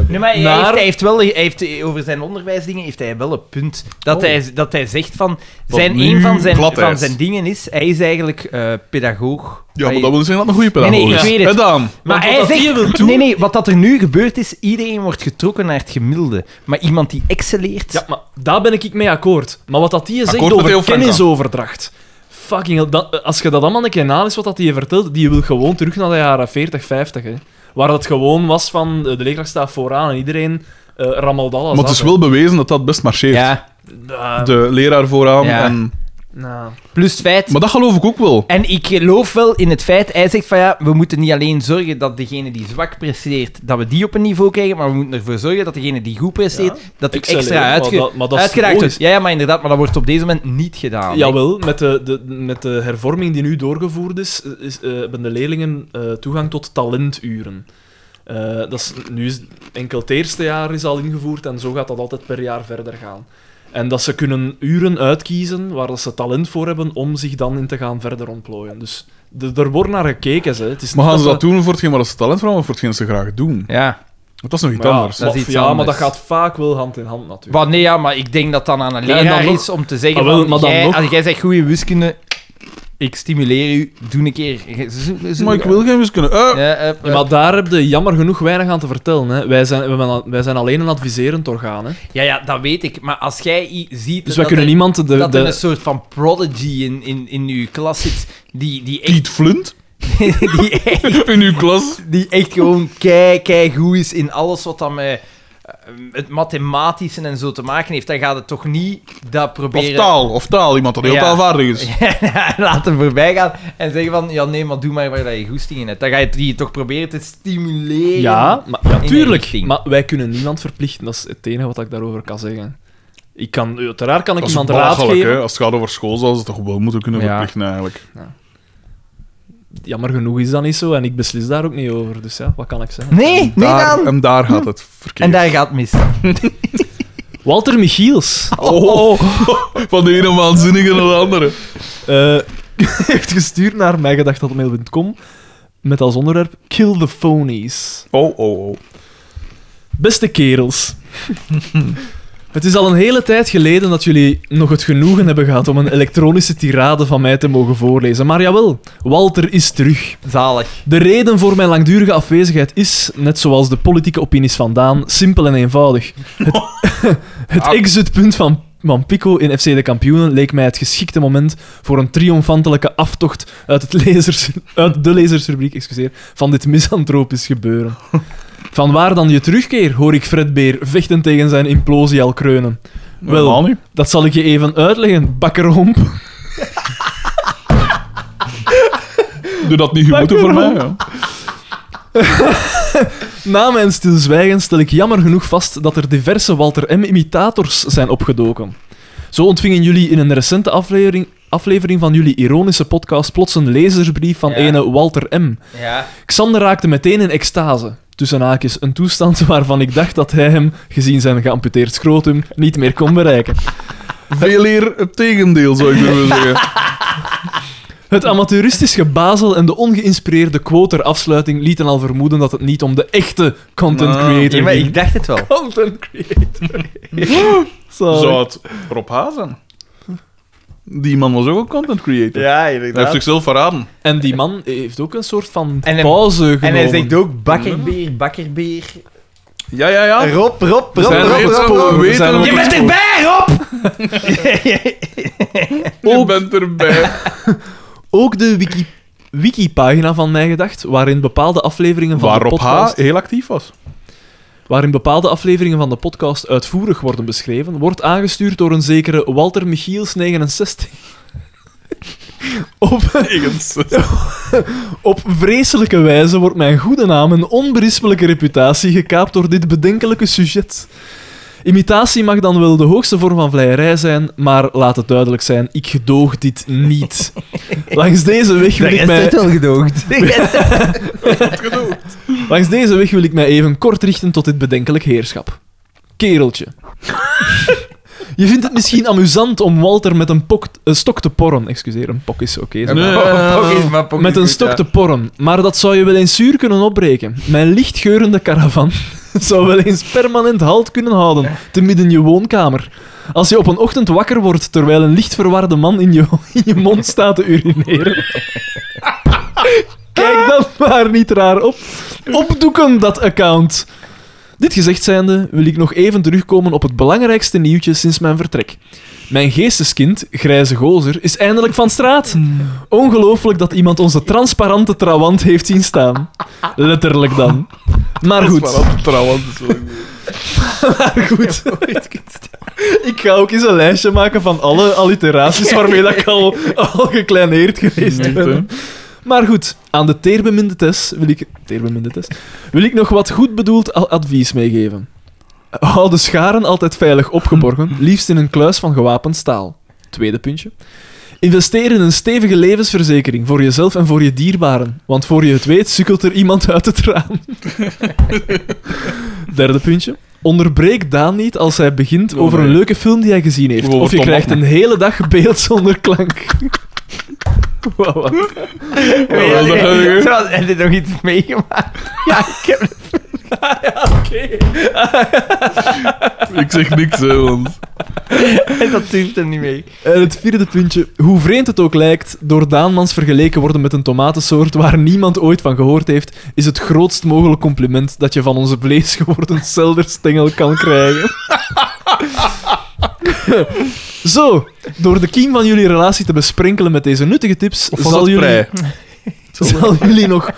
Speaker 1: Nee, maar hij,
Speaker 3: Naar-
Speaker 1: heeft, hij heeft wel, hij heeft, eh, over zijn onderwijsdingen heeft hij wel een punt. Dat,
Speaker 2: Oh.
Speaker 1: hij, dat hij zegt van. Zijn,
Speaker 2: nu
Speaker 1: een van zijn,
Speaker 2: gladheid.
Speaker 1: van zijn dingen is. Hij is eigenlijk eh, pedagoog.
Speaker 2: Ja, maar
Speaker 1: Hij-
Speaker 2: dat wil zeggen dat het een goede
Speaker 1: Nee,
Speaker 2: pedagoog
Speaker 1: nee, ik
Speaker 2: is.
Speaker 1: weet het.
Speaker 2: Hè, Daan?
Speaker 1: Maar hij zegt, nee, nee, wat dat er nu gebeurt is, iedereen wordt getrokken naar het gemiddelde. Maar iemand die excelleert...
Speaker 3: Ja, maar daar ben ik mee akkoord. Maar wat dat die zegt
Speaker 2: Akkoord met Theo
Speaker 3: over
Speaker 2: Franka.
Speaker 3: kennisoverdracht. Fucking hell, dat- eh, als je dat allemaal een keer naleest, wat dat die vertelt, die wil gewoon terug naar de jaren 40, 50. Hè. Waar dat gewoon was van eh, de leerkracht staat vooraan en iedereen eh rammelt alles.
Speaker 2: Maar het
Speaker 3: af,
Speaker 2: is
Speaker 3: hè.
Speaker 2: wel bewezen dat dat best marcheert.
Speaker 1: Ja,
Speaker 3: Ah,
Speaker 2: De leraar vooraan.
Speaker 1: Ja.
Speaker 2: En...
Speaker 3: nou.
Speaker 1: plus het feit...
Speaker 2: Maar dat geloof ik ook wel.
Speaker 1: En ik geloof wel in het feit, hij zegt van ja, we moeten niet alleen zorgen dat degene die zwak presteert, dat we die op een niveau krijgen, maar we moeten ervoor zorgen dat degene die goed presteert, dat die
Speaker 3: Excelleer,
Speaker 1: extra
Speaker 3: maar
Speaker 1: uitge
Speaker 3: dat- maar dat is
Speaker 1: uitgedaagd wordt.
Speaker 3: logisch.
Speaker 1: Ja, ja, maar inderdaad, maar dat wordt op deze moment niet gedaan.
Speaker 3: Jawel, met de, de, met de hervorming die nu doorgevoerd is, is eh, hebben de leerlingen eh, toegang tot talenturen. Eh, dat is, nu is enkel het eerste jaar is al ingevoerd en zo gaat dat altijd per jaar verder gaan. En dat ze kunnen uren uitkiezen waar dat ze talent voor hebben om zich dan in te gaan verder ontplooien. Dus de, er wordt naar gekeken. Ze. Het is
Speaker 2: Maar
Speaker 3: niet
Speaker 2: gaan ze dat
Speaker 3: we-
Speaker 2: doen voor hetgeen waar ze talent voor hebben, of voor hetgeen ze graag doen?
Speaker 1: Ja.
Speaker 2: Want dat is nog iets
Speaker 3: Maar ja,
Speaker 2: anders.
Speaker 3: maar-
Speaker 1: Dat is iets
Speaker 3: ja, maar dat
Speaker 1: anders.
Speaker 3: gaat vaak wel hand in hand natuurlijk.
Speaker 1: Maar nee, ja, maar ik denk dat dan aan een
Speaker 3: Ja, en dan
Speaker 1: leraar
Speaker 3: nog-
Speaker 1: is om te zeggen
Speaker 3: Ah, wel,
Speaker 1: van,
Speaker 3: maar dan
Speaker 1: jij,
Speaker 3: nog-
Speaker 1: als jij zegt goede wiskunde, ik stimuleer u, doe een keer... zo- zo-
Speaker 2: Maar ik wil geen wiskunde. Eh,
Speaker 1: Ja, eh, eh.
Speaker 3: Ja, maar daar heb je jammer genoeg weinig aan te vertellen. Hè. Wij, zijn, we hebben al- wij zijn alleen een adviserend orgaan. Hè.
Speaker 1: Ja, ja, dat weet ik. Maar als jij i- ziet
Speaker 3: Dus wij
Speaker 1: dat,
Speaker 3: kunnen
Speaker 1: er,
Speaker 3: niemand de,
Speaker 1: dat er
Speaker 3: de,
Speaker 1: een soort van prodigy in, in, in uw klas zit, die, die, echt,
Speaker 2: Piet Flunt
Speaker 1: die, echt,
Speaker 2: in uw klas.
Speaker 1: die echt gewoon kei, kei goed is in alles wat dan met eh, het mathematische en zo te maken heeft, dan gaat het toch niet dat
Speaker 2: Of
Speaker 1: proberen
Speaker 2: taal, of taal. Iemand dat heel
Speaker 1: Ja.
Speaker 2: taalvaardig is.
Speaker 1: laten voorbij gaan en zeggen van, ja nee, maar doe maar waar dat je goesting in hebt. Dan ga je die toch proberen te stimuleren.
Speaker 3: Ja, maar,
Speaker 1: één
Speaker 3: tuurlijk.
Speaker 1: richting.
Speaker 3: Maar wij kunnen niemand verplichten. Dat is het enige wat ik daarover kan zeggen. Ik kan, uiteraard kan ik
Speaker 2: Dat is
Speaker 3: iemand raad
Speaker 2: belachelijk,
Speaker 3: geven.
Speaker 2: hè. Als het gaat over school, zouden ze het toch wel moeten kunnen
Speaker 1: Ja.
Speaker 2: verplichten, eigenlijk.
Speaker 3: Jammer genoeg is dat niet zo en ik beslis daar ook niet over. Dus ja, wat kan ik zeggen?
Speaker 1: Nee, nee
Speaker 2: daar,
Speaker 1: dan.
Speaker 2: en daar gaat het verkeerd.
Speaker 1: En daar gaat het mis.
Speaker 3: Walter Michiels
Speaker 2: Oh, van de ene waanzinnige naar de andere.
Speaker 3: eh, heeft gestuurd naar mijgedacht.mail.com met als onderwerp Kill the Phonies.
Speaker 2: Oh, oh, oh.
Speaker 3: Beste kerels. Het is al een hele tijd geleden dat jullie nog het genoegen hebben gehad om een elektronische tirade van mij te mogen voorlezen. Maar jawel, Walter is terug.
Speaker 1: Zalig.
Speaker 3: De reden voor mijn langdurige afwezigheid is, net zoals de politieke opinies vandaan, simpel en eenvoudig. Het, het exitpunt van, van Pico in FC de Kampioenen leek mij het geschikte moment voor een triomfantelijke aftocht uit, het lezers, uit de lezersrubriek excuseer, van dit misantropisch gebeuren. Vanwaar dan je terugkeer, hoor ik Fred Beer vechten tegen zijn implosie al kreunen.
Speaker 2: Helemaal niet.
Speaker 3: Dat zal ik je even uitleggen, bakkerhomp.
Speaker 2: Doe dat niet gemoeten voor mij. Ja.
Speaker 3: Na mijn stilzwijgen stel ik jammer genoeg vast dat er diverse Walter M. imitators zijn opgedoken. Zo ontvingen jullie in een recente aflevering, aflevering van jullie ironische podcast plots een lezersbrief van
Speaker 1: Ja.
Speaker 3: ene Walter M.
Speaker 1: Ja.
Speaker 3: Xander raakte meteen in extase. Tussen haakjes, een toestand waarvan ik dacht dat hij hem, gezien zijn geamputeerd scrotum, niet meer kon bereiken.
Speaker 2: Veel eer het tegendeel, zou ik willen zeggen.
Speaker 3: Het amateuristisch gebazel en de ongeïnspireerde quoter-afsluiting lieten al vermoeden dat het niet om de echte content
Speaker 2: Ah.
Speaker 3: creator
Speaker 1: Ja, maar
Speaker 3: ging.
Speaker 1: ik dacht het wel.
Speaker 3: Content creator. Zalig.
Speaker 2: Zou het Rob H. zijn? Die man was ook een content creator.
Speaker 1: Ja,
Speaker 2: Hij heeft zichzelf verraden.
Speaker 3: En die man heeft ook een soort van
Speaker 1: En hem-
Speaker 3: pauze genomen.
Speaker 1: En hij zegt ook bakkerbier, bakkerbier.
Speaker 2: Ja, ja, ja.
Speaker 1: Rob, Rob, Rob,
Speaker 3: We zijn
Speaker 2: Rob,
Speaker 3: op het
Speaker 2: Rob,
Speaker 3: spoor,
Speaker 2: Rob,
Speaker 3: we
Speaker 2: Rob.
Speaker 3: zijn op
Speaker 2: Je
Speaker 3: het
Speaker 2: bent
Speaker 3: spoor.
Speaker 1: erbij, Rob!
Speaker 2: Je bent erbij.
Speaker 3: Ook de wiki... Wiki-pagina van Mijn Gedacht, waarin bepaalde afleveringen van
Speaker 2: Waar
Speaker 3: de
Speaker 2: Rob H.
Speaker 3: podcast...
Speaker 2: heel actief was.
Speaker 3: waarin bepaalde afleveringen van de podcast uitvoerig worden beschreven, wordt aangestuurd door een zekere Walter Michiels 69. Op, op vreselijke wijze wordt mijn goede naam en onberispelijke reputatie gekaapt door dit bedenkelijke sujet. Imitatie mag dan wel de hoogste vorm van vleierij zijn, maar laat het duidelijk zijn, ik gedoog dit niet. Langs deze weg wil ik mij...
Speaker 1: wel gedoogd.
Speaker 3: Langs deze weg wil ik mij even kort richten tot dit bedenkelijk heerschap. Kereltje. Je vindt het misschien amusant om Walter met een, pok, een stok te porren. Excuseer, een pok is oké. zeg maar. Met een stok te porren. Maar dat zou je wel eens zuur kunnen opbreken. Mijn lichtgeurende caravan zou wel eens permanent halt kunnen houden, te midden je woonkamer. Als je op een ochtend wakker wordt terwijl een lichtverwarde man in je, in je mond staat te urineren. Kijk dan maar niet raar op. Opdoeken dat account. Dit gezegd zijnde wil ik nog even terugkomen op het belangrijkste nieuwtje sinds mijn vertrek. Mijn geesteskind, Grijze Gozer, is eindelijk van straat. Ongelooflijk dat iemand onze transparante trawant heeft zien staan. Letterlijk dan. Maar goed,
Speaker 2: Trouwens.
Speaker 3: maar goed. Ik ga ook eens een lijstje maken van alle alliteraties waarmee dat ik al, al gekleineerd geweest ben. Maar goed, aan de teerbeminde Tess wil ik, teerbeminde Tess, wil ik nog wat goed bedoeld a- advies meegeven. Hou de scharen altijd veilig opgeborgen, liefst in een kluis van gewapend staal. Tweede puntje. Investeer in een stevige levensverzekering voor jezelf en voor je dierbaren, want voor je het weet sukkelt er iemand uit het raam. Derde puntje. Onderbreek Daan niet als hij begint over een
Speaker 2: Oh, nee.
Speaker 3: leuke film die hij gezien heeft.
Speaker 2: Over
Speaker 3: Of je
Speaker 2: tomaten.
Speaker 3: krijgt een hele dag beeld zonder klank. Wauw, wat
Speaker 1: nou Heb je nog iets meegemaakt?
Speaker 2: Ik zeg niks, hè, want...
Speaker 1: En dat duurt hem niet mee.
Speaker 3: En Eh, het vierde puntje. Hoe vreemd het ook lijkt, door Daanmans vergeleken worden met een tomatensoort waar niemand ooit van gehoord heeft, is het grootst mogelijk compliment dat je van onze vleesgeworden selderstengel kan krijgen. Zo, door de kiem van jullie relatie te besprenkelen met deze nuttige tips,
Speaker 2: Of was dat
Speaker 3: zal jullie,
Speaker 2: prei?
Speaker 3: zal jullie nog...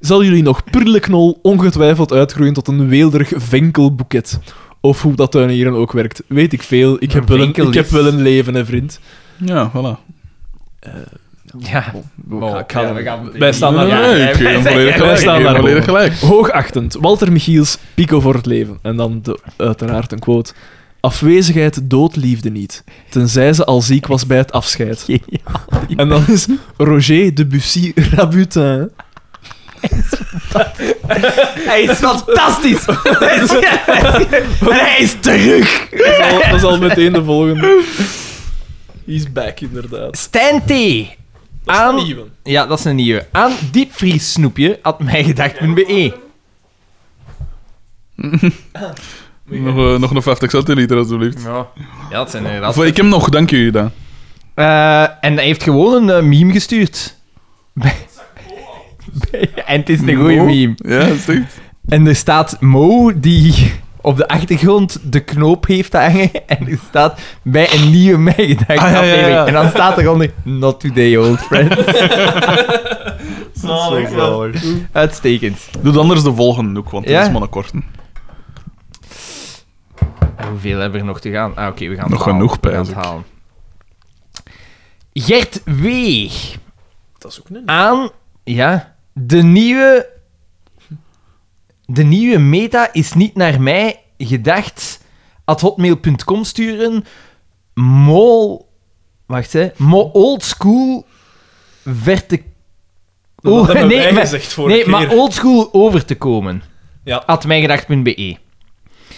Speaker 3: Zal jullie nog prillenknol ongetwijfeld uitgroeien tot een weelderig venkelboeket? Of hoe dat tuinieren ook werkt, weet ik veel. Ik heb, wel een, ik heb wel een leven, hè, vriend.
Speaker 2: Ja, voilà.
Speaker 1: Ja. Oh,
Speaker 3: Ja,
Speaker 1: we gaan
Speaker 3: Wij staan daar.
Speaker 2: Nee, nee, ik geef hem volledig
Speaker 3: Wij
Speaker 2: gelijk. Ik
Speaker 3: staan
Speaker 2: geef hem
Speaker 3: daar
Speaker 2: volledig
Speaker 3: boven.
Speaker 2: gelijk.
Speaker 3: Hoogachtend, Walter Michiels, Pico voor het leven. En dan de, uiteraard een quote. Afwezigheid doodt liefde niet, tenzij ze al ziek was bij het afscheid. En dan is Roger Debussy Rabutin.
Speaker 1: Hij is fantastisch! Hij is- En hij is terug!
Speaker 3: Dat is al, dat is al meteen de volgende. He's back, inderdaad.
Speaker 1: Stijn T.
Speaker 3: Dat is
Speaker 1: Aan-
Speaker 3: een nieuwe.
Speaker 1: Ja, dat is een nieuwe. Aan diepvriessnoepje had mijgedacht.be.
Speaker 2: Nog, eh, nog een 50 centiliter, alsjeblieft.
Speaker 1: Ja. ja, dat zijn inderdaad...
Speaker 2: Of, eh, ik heb nog, dank jullie dan.
Speaker 1: Eh, en hij heeft gewoon een eh, meme gestuurd. Bij- bij- en het is een goede
Speaker 2: Mo?
Speaker 1: meme.
Speaker 2: Ja, dat is echt.
Speaker 1: En er staat Mo die op de achtergrond de knoop heeft hangen. En er staat bij een nieuwe mijgedacht
Speaker 2: Ah, ja, ja, ja.
Speaker 1: aflevering. En dan staat eronder Not today, old friend.
Speaker 3: Ah,
Speaker 1: Uitstekend.
Speaker 2: Doe dan anders de volgende ook, want
Speaker 1: Ja?
Speaker 2: dat is maar een korte.
Speaker 1: En hoeveel hebben we er nog te gaan? Ah, oké, we gaan het
Speaker 2: Nog
Speaker 1: halen.
Speaker 2: genoeg,
Speaker 1: We gaan
Speaker 2: pijs
Speaker 1: het
Speaker 2: ik.
Speaker 1: halen. Gert W.
Speaker 3: Dat is ook een
Speaker 1: Aan, ja, de nieuwe... De nieuwe meta is niet naar mij gedacht. At hotmail.com sturen. Mol Wacht, hè. Mo old school verte...
Speaker 3: Dat
Speaker 1: Oeh,
Speaker 3: hebben wij
Speaker 1: maar-
Speaker 3: gezegd vorige
Speaker 1: nee, maar
Speaker 3: keer.
Speaker 1: old school over te komen.
Speaker 3: Ja.
Speaker 1: At mijngedacht.be.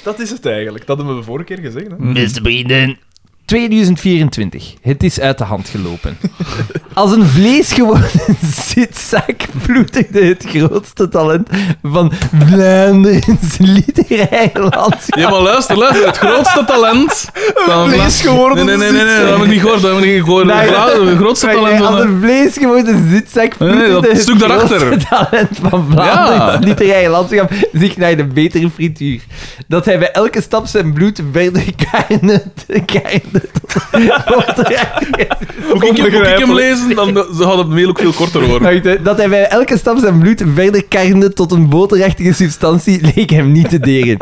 Speaker 3: Dat is het eigenlijk. Dat hebben we vorige keer gezegd. Hè?
Speaker 1: Beste vrienden. 2024. Het is uit de hand gelopen. Als een vlees geworden zitzak bloedigde het grootste talent van Vlaanderen in zijn literaire landschap.
Speaker 2: Ja, maar luister, luister. Het grootste talent... Van
Speaker 3: vlees geworden
Speaker 2: Nee, nee, nee, nee, nee, dat heb ik niet gehoord. Dat heb ik niet gehoord.
Speaker 1: Nee,
Speaker 2: Vlaanderen, het grootste
Speaker 1: Nee,
Speaker 2: talent van...
Speaker 1: als
Speaker 2: de-
Speaker 1: een vlees geworden zitzak
Speaker 2: Nee, nee,
Speaker 1: bloedigde
Speaker 2: dat
Speaker 1: het
Speaker 2: stuk daarachter.
Speaker 1: grootste talent van Vlaanderen in zijn literaire landschap zich naar de betere frituur. Dat hij bij elke stap zijn bloed verder karende tot
Speaker 2: Moet ik, hem- moet ik hem
Speaker 3: Onbegrijpelijk.
Speaker 2: lezen? Dan dan zou het mail ook veel korter worden.
Speaker 1: Wacht, hè. Dat hij bij elke stap zijn bloed verder karnde tot een boterachtige substantie leek hem niet te deren.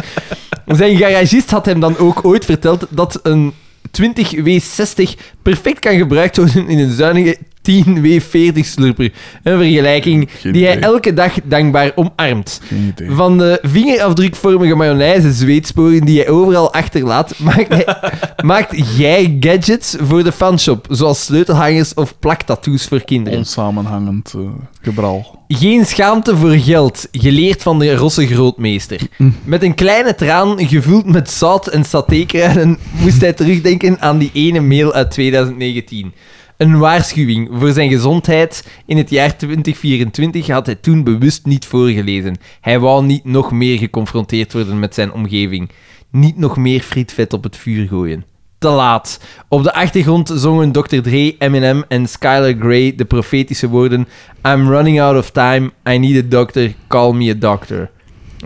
Speaker 1: Zijn garagist had hem dan ook ooit verteld dat een 20 W60 perfect kan gebruikt worden in een zuinige 10 W40 slurper. Een vergelijking
Speaker 2: Geen
Speaker 1: die hij
Speaker 2: idee.
Speaker 1: elke dag dankbaar omarmt.
Speaker 2: Geen idee.
Speaker 1: Van de vingerafdrukvormige mayonaise zweetsporen die hij overal achterlaat, maakt, hij- maakt jij gadgets voor de fanshop, zoals sleutelhangers of plaktattoos voor kinderen.
Speaker 2: Onsamenhangend eh, gebral.
Speaker 1: Geen schaamte voor geld, geleerd van de Rosse grootmeester. Met een kleine traan, gevuld met zout en satékruiden, moest hij terugdenken aan die ene mail uit 2019. Een waarschuwing voor zijn gezondheid in het jaar 2024 had hij toen bewust niet voorgelezen. Hij wou niet nog meer geconfronteerd worden met zijn omgeving. Niet nog meer frietvet op het vuur gooien. Te laat. Op de achtergrond zongen Dr. Dre, Eminem en Skylar Grey de profetische woorden I'm running out of time, I need a doctor, call me a doctor.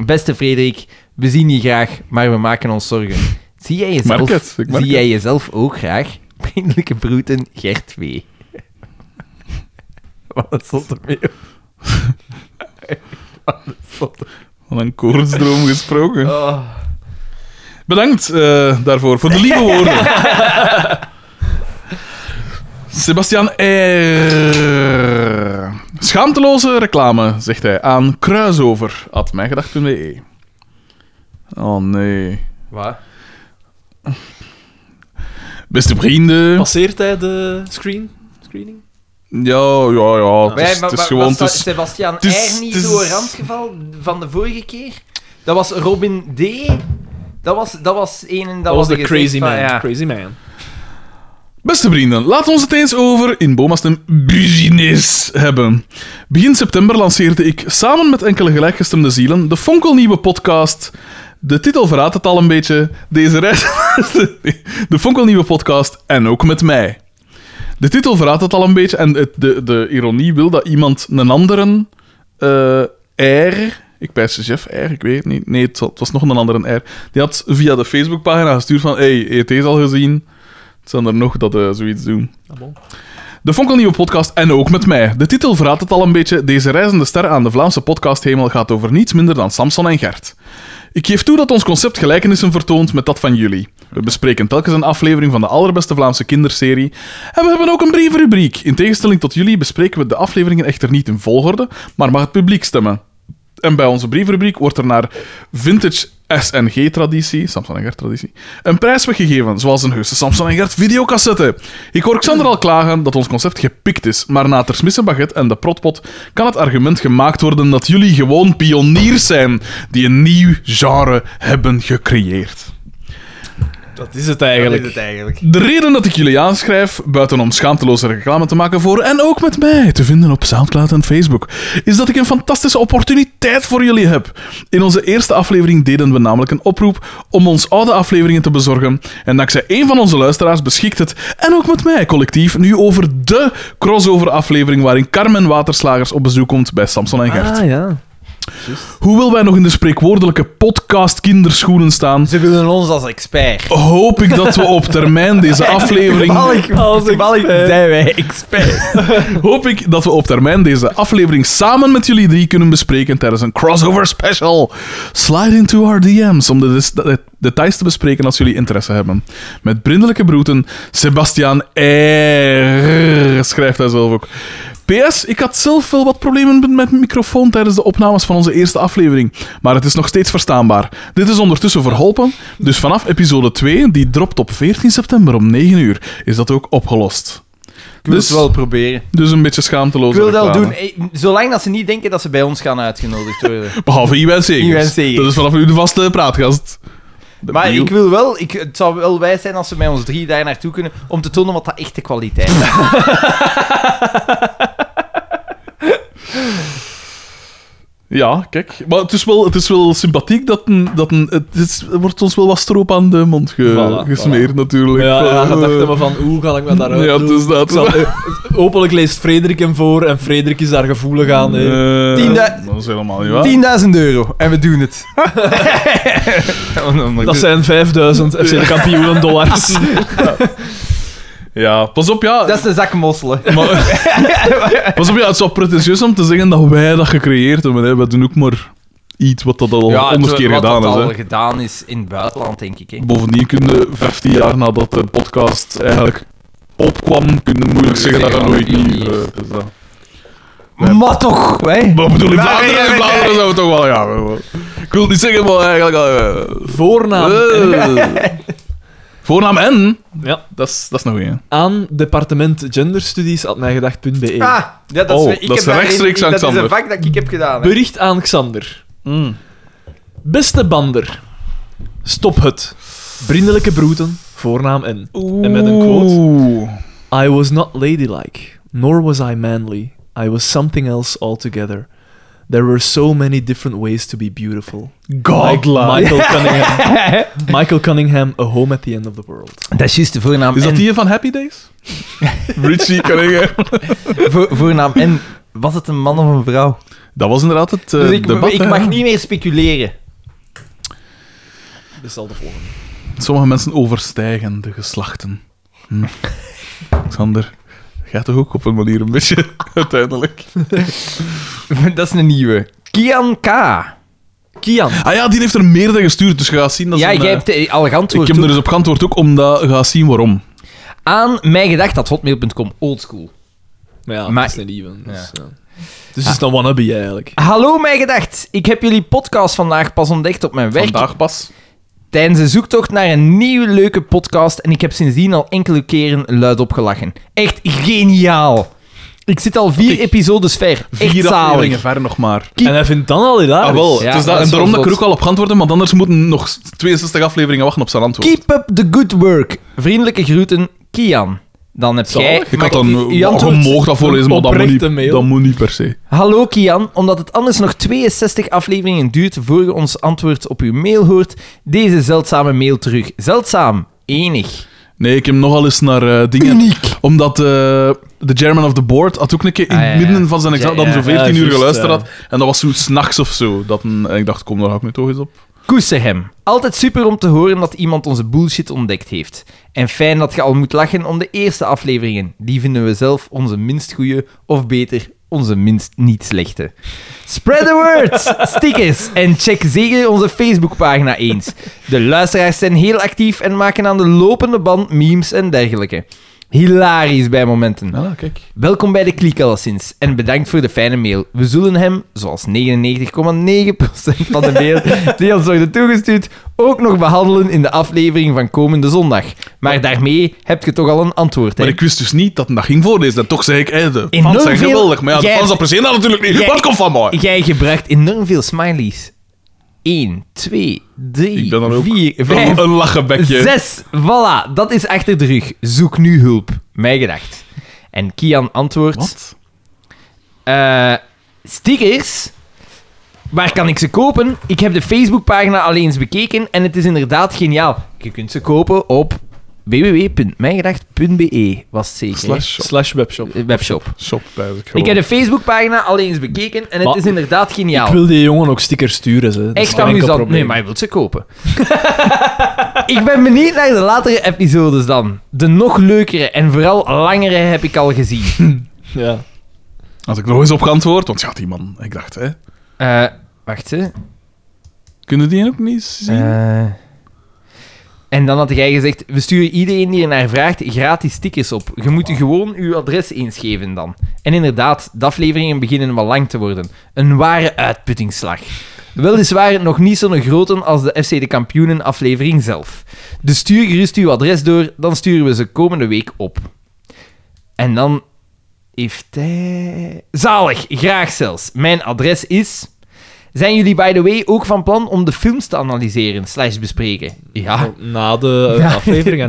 Speaker 1: Beste Frederik, we zien je graag, maar we maken ons zorgen. Zie jij
Speaker 2: Merk
Speaker 1: jezelf,
Speaker 2: het, ik merk
Speaker 1: zie jij jezelf ook graag? Vriendelijke broeten, Gert W. Wat een zotte mail.
Speaker 2: Van een koortsdroom gesproken.
Speaker 1: Oh.
Speaker 2: Bedankt eh, daarvoor, voor de lieve woorden. Sebastian R. Schaamteloze reclame, zegt hij, aan kruisover, at mijngedacht.be. E. Oh nee.
Speaker 1: Wat?
Speaker 2: Beste vrienden.
Speaker 3: Passeert hij de screen? screening?
Speaker 2: Ja, ja, ja. Het
Speaker 1: Maar-
Speaker 2: is, het
Speaker 1: maar-
Speaker 2: is gewoon...
Speaker 1: was
Speaker 2: Het is,
Speaker 1: Sebastian
Speaker 2: het is-
Speaker 1: R. niet
Speaker 2: het is-
Speaker 1: zo'n randgeval van de vorige keer? Dat was Robin D. Dat was, dat was een en dat,
Speaker 3: Dat was de
Speaker 1: gezegd
Speaker 3: crazy
Speaker 1: van,
Speaker 3: man.
Speaker 1: ja.
Speaker 3: Crazy man.
Speaker 2: Beste vrienden, laten we het eens over in Boma's stem business hebben. Begin september lanceerde ik samen met enkele gelijkgestemde zielen de fonkelnieuwe podcast. De titel verraadt het al een beetje. Deze reis. de fonkelnieuwe podcast en ook met mij. De titel verraadt het al een beetje en het, de, de ironie wil dat iemand een anderen eh R. Ik pijs de chef R, ik weet het niet. Nee, het wa- het was nog een andere R. Die had via de Facebookpagina gestuurd van... Hey, ET is al gezien. Het zijn er nog dat eh, zoiets doen. De Fonkelnieuwe podcast en ook met mij. De titel verraadt het al een beetje. Deze reizende ster aan de Vlaamse podcasthemel gaat over niets minder dan Samson en Gert. Ik geef toe dat ons concept gelijkenissen vertoont met dat van jullie. We bespreken telkens een aflevering van de allerbeste Vlaamse kinderserie. En we hebben ook een brievenrubriek. In tegenstelling tot jullie bespreken we de afleveringen echter niet in volgorde, maar mag het publiek stemmen. En bij onze brievenrubriek wordt er naar vintage SNG-traditie, Samson en Gert-traditie, een prijs weggegeven, zoals een heuse Samson en Gert videocassette. Ik hoor Xander al klagen dat ons concept gepikt is, maar na Tersmisse Baguette en de Protpot kan het argument gemaakt worden dat jullie gewoon pioniers zijn die een nieuw genre hebben gecreëerd.
Speaker 3: Dat is het eigenlijk. Dat is het eigenlijk.
Speaker 2: De reden dat ik jullie aanschrijf, buiten om schaamteloze reclame te maken voor en ook met mij te vinden op Soundcloud en Facebook, is dat ik een fantastische opportuniteit voor jullie heb. In onze eerste aflevering deden we namelijk een oproep om ons oude afleveringen te bezorgen. En dankzij een van onze luisteraars beschikt het, en ook met mij collectief, nu over de crossover-aflevering waarin Carmen Waterslagers op bezoek komt bij Samson en Gert.
Speaker 7: Ah ja.
Speaker 2: Hoewel wij nog in de spreekwoordelijke podcast kinderschoenen staan,
Speaker 1: Ze willen ons als expert.
Speaker 2: hoop ik dat we op termijn deze aflevering.
Speaker 1: Als Toevallig zijn wij expert.
Speaker 2: hoop ik dat we op termijn deze aflevering samen met jullie drie kunnen bespreken tijdens een crossover special. Slide into our DM's om de, des- de details te bespreken als jullie interesse hebben. Met brindelijke broeten, Sebastian R. schrijft hij zelf ook. PS, ik had zelf wel wat problemen met mijn microfoon tijdens de opnames van onze eerste aflevering, maar het is nog steeds verstaanbaar. Dit is ondertussen verholpen, dus vanaf episode 2, die dropt op 14 september om 9 uur, is dat ook opgelost.
Speaker 1: Ik wil
Speaker 2: Dus,
Speaker 1: het wel proberen.
Speaker 2: dus een beetje schaamteloos.
Speaker 1: Ik wil dat doen. eh, Zolang dat ze niet denken dat ze bij ons gaan uitgenodigd worden.
Speaker 2: Behalve Iwan Segers.
Speaker 1: Iwan Segers.
Speaker 2: Dat is vanaf nu de vaste praatgast.
Speaker 1: Maar
Speaker 2: Debiel.
Speaker 1: ik wil wel, ik, het zou wel wijs zijn als ze met ons drie daar naartoe kunnen om te tonen wat dat echte kwaliteit is.
Speaker 2: Ja, kijk. Maar het is wel, het is wel sympathiek dat, een, dat een, het is, er wordt ons wel wat stroop aan de mond ge-
Speaker 7: Voilà,
Speaker 2: gesmeerd, natuurlijk.
Speaker 7: Ja,
Speaker 2: Van,
Speaker 7: ja,
Speaker 2: eh,
Speaker 7: gedachten me van hoe ga ik me daaruit
Speaker 2: ja,
Speaker 7: doen?
Speaker 2: dus dat.
Speaker 7: Ik zal- eh, hopelijk leest Frederik hem voor en Frederik is daar gevoelig aan. hè.
Speaker 2: Eh,
Speaker 1: Tienda-
Speaker 2: dat is helemaal niet waar.
Speaker 5: 10.000 euro en we doen het.
Speaker 7: Dat zijn 5000 FC de kampioenen dollars.
Speaker 2: Ja, pas op, ja.
Speaker 1: Dat is een zak mosselen.
Speaker 2: maar, pas op, ja. Het is wel pretentieus om te zeggen dat wij dat gecreëerd hebben. Hè. We doen ook maar iets wat dat al honderd keer
Speaker 1: wat
Speaker 2: gedaan
Speaker 1: dat
Speaker 2: is.
Speaker 1: al
Speaker 2: Hè.
Speaker 1: gedaan is in het buitenland, denk ik. Hè.
Speaker 2: Bovendien kunnen 15 jaar nadat de podcast eigenlijk opkwam, kunnen moeilijk zeggen dat dat nooit nieuw eh, is. Dat.
Speaker 1: Maar toch, hè?
Speaker 2: Maar ik bedoel, in Vlaanderen, in Vlaanderen zijn we toch wel, ja. wel- Ik wil het niet zeggen, maar eigenlijk... eh,
Speaker 7: Voornaam
Speaker 2: eh, voornaam en...
Speaker 7: Ja.
Speaker 2: Dat is, dat is nog één.
Speaker 7: aan departement genderstudies.mijgedacht.be.
Speaker 1: Ah, ja, dat is,
Speaker 2: Oh,
Speaker 1: ik
Speaker 2: dat is
Speaker 1: heb daarin-
Speaker 2: rechtstreeks aan
Speaker 1: Dat is
Speaker 2: Xander.
Speaker 1: een vak dat ik heb gedaan. Hè.
Speaker 7: Bericht aan Xander.
Speaker 2: Mm.
Speaker 7: Beste bander, stop het. Vriendelijke broeten, voornaam en. En met een quote.
Speaker 2: Oeh.
Speaker 7: I was not ladylike, nor was I manly. I was something else altogether. There were so many different ways to be beautiful. Like
Speaker 2: Godlike.
Speaker 7: Michael Cunningham. Michael Cunningham, a home at the end of the world.
Speaker 1: Dat is juist de voornaam.
Speaker 2: Is dat
Speaker 1: en-
Speaker 2: die van Happy Days? Richie Cunningham.
Speaker 1: Vo- voornaam en was het een man of een vrouw?
Speaker 2: Dat was inderdaad het eh,
Speaker 1: Dus ik,
Speaker 2: debat.
Speaker 1: ik
Speaker 2: hè.
Speaker 1: mag niet meer speculeren.
Speaker 7: Dat is al de volgende.
Speaker 2: Sommige mensen overstijgen de geslachten. Hm. Xander, gaat toch ook op een manier een beetje, uiteindelijk.
Speaker 1: dat is een nieuwe. Kian K.
Speaker 7: Kian.
Speaker 2: Ah ja, die heeft er meerdere gestuurd, dus je gaat zien dat ze
Speaker 1: Ja,
Speaker 2: een,
Speaker 1: jij
Speaker 2: eh,
Speaker 1: hebt eh, al
Speaker 2: Ik
Speaker 1: geantwoord
Speaker 2: heb
Speaker 1: toe.
Speaker 2: er eens op geantwoord ook, omdat je gaat zien waarom.
Speaker 1: aan mijgedacht.hotmail.com. Oldschool.
Speaker 7: Maar ja,
Speaker 1: Maar- Ah,
Speaker 7: dat is niet even. Dus,
Speaker 3: eh,
Speaker 7: ja. dus het is een wannabe eigenlijk.
Speaker 1: Hallo Mijgedacht. Ik heb jullie podcast vandaag pas ontdekt op mijn werk.
Speaker 2: Vandaag pas.
Speaker 1: Tijdens een zoektocht naar een nieuwe leuke podcast en ik heb sindsdien al enkele keren luidop gelachen. Echt geniaal. Ik zit al vier episodes ver. Echt
Speaker 2: Vier afleveringen
Speaker 1: zalig.
Speaker 2: ver nog maar.
Speaker 7: En hij vindt dan al hilarisch.
Speaker 2: Ah, wel.
Speaker 1: Ja,
Speaker 2: het is dat,
Speaker 1: dat
Speaker 2: en
Speaker 1: is
Speaker 2: daarom
Speaker 1: wel
Speaker 2: dat ik er ook
Speaker 1: zot.
Speaker 2: al op geantwoord heb, want anders moeten nog 62 afleveringen wachten op zijn antwoord.
Speaker 1: Keep up the good work. Vriendelijke groeten, Kian. Dan heb jij...
Speaker 2: Ik had
Speaker 1: maar
Speaker 2: dan
Speaker 1: je
Speaker 2: je
Speaker 1: antwoord-
Speaker 2: mocht dat voorlezen, maar dat moet, niet,
Speaker 7: oprechte mail.
Speaker 2: dat moet niet per se.
Speaker 1: Hallo Kian, omdat het anders nog 62 afleveringen duurt voor je ons antwoord op uw mail hoort, deze zeldzame mail terug. Zeldzaam, enig.
Speaker 2: Nee, ik heb nogal eens naar eh, dingen.
Speaker 1: Uniek.
Speaker 2: Omdat eh, de chairman of the board had ook een keer in
Speaker 1: Ah, ja,
Speaker 2: het
Speaker 1: ja.
Speaker 2: midden van zijn examen
Speaker 1: Ja,
Speaker 2: dan
Speaker 1: ja,
Speaker 2: zo 14
Speaker 7: ja,
Speaker 2: uur
Speaker 7: juist,
Speaker 2: geluisterd
Speaker 7: ja.
Speaker 2: had. En dat was zo s'nachts of zo. Dat een, en ik dacht, kom, daar hou ik nu toch eens op.
Speaker 1: Koester hem. Altijd super om te horen dat iemand onze bullshit ontdekt heeft. En fijn dat je al moet lachen om de eerste afleveringen. Die vinden we zelf onze minst goede, of beter, onze minst niet slechte. Spread the word! Stickers! En check zeker onze Facebookpagina eens. De luisteraars zijn heel actief en maken aan de lopende band memes en dergelijke. Hilarisch bij momenten.
Speaker 2: Ja, kijk.
Speaker 1: Welkom bij de Kliek alleszins en bedankt voor de fijne mail. We zullen hem, zoals 99,9% van de mail die ons worden toegestuurd, ook nog behandelen in de aflevering van komende zondag. Maar daarmee heb je toch al een antwoord, hè?
Speaker 2: Maar ik wist dus niet dat hij dat ging voorlezen. En toch zei ik, hey, de
Speaker 1: Enorm
Speaker 2: fans zijn
Speaker 1: veel-
Speaker 2: geweldig. Maar ja, de
Speaker 1: Jij-
Speaker 2: fans appreciëren dat natuurlijk niet.
Speaker 1: Jij-
Speaker 2: Dat komt van mij.
Speaker 1: Jij gebruikt enorm veel smileys. 1, 2, 3,
Speaker 2: Ik ben dan ook
Speaker 1: 4, 5,
Speaker 2: Een, een lachenbekje.
Speaker 1: Zes. Voilà, dat is achter de rug. Zoek nu hulp. Mij gedacht. En Kian antwoordt...
Speaker 2: Wat?
Speaker 1: eh stickers... Waar kan ik ze kopen? Ik heb de Facebookpagina al eens bekeken en het is inderdaad geniaal. Je kunt ze kopen op www.mijgedacht.be. Was zeker. hè?
Speaker 2: Slash shop.
Speaker 7: Slash webshop.
Speaker 1: Eh, Webshop.
Speaker 2: Shop, eigenlijk.
Speaker 1: Ik
Speaker 2: gewoon.
Speaker 1: heb de Facebookpagina al eens bekeken en het
Speaker 7: Maar-
Speaker 1: is inderdaad geniaal.
Speaker 7: Ik wil die jongen ook stickers sturen. Ze. Dat is
Speaker 1: Echt
Speaker 7: geen enkel
Speaker 1: amusant.
Speaker 7: probleem.
Speaker 1: Nee, maar je wilt ze kopen. ik ben benieuwd naar de latere episodes dan. De nog leukere en vooral langere heb ik al gezien.
Speaker 7: Ja.
Speaker 2: Had ik nog eens op geantwoord, want ja, die man, ik dacht, hè.
Speaker 1: Eh, wacht, hè.
Speaker 2: Kunnen die ook niet zien?
Speaker 1: Eh, En dan had jij gezegd, we sturen iedereen die ernaar vraagt gratis tickets op. Je moet gewoon uw adres inschrijven dan. En inderdaad, de afleveringen beginnen wat lang te worden. Een ware uitputtingsslag. Weliswaar nog niet zo'n grote als de FC de Kampioenen aflevering zelf. Dus stuur gerust uw adres door, dan sturen we ze komende week op. En dan heeft hij... Zalig, graag zelfs. Mijn adres is... Zijn jullie, by the way, ook van plan om de films te analyseren slash bespreken? Ja,
Speaker 3: Na de eh,
Speaker 1: Ja,
Speaker 3: afleveringen.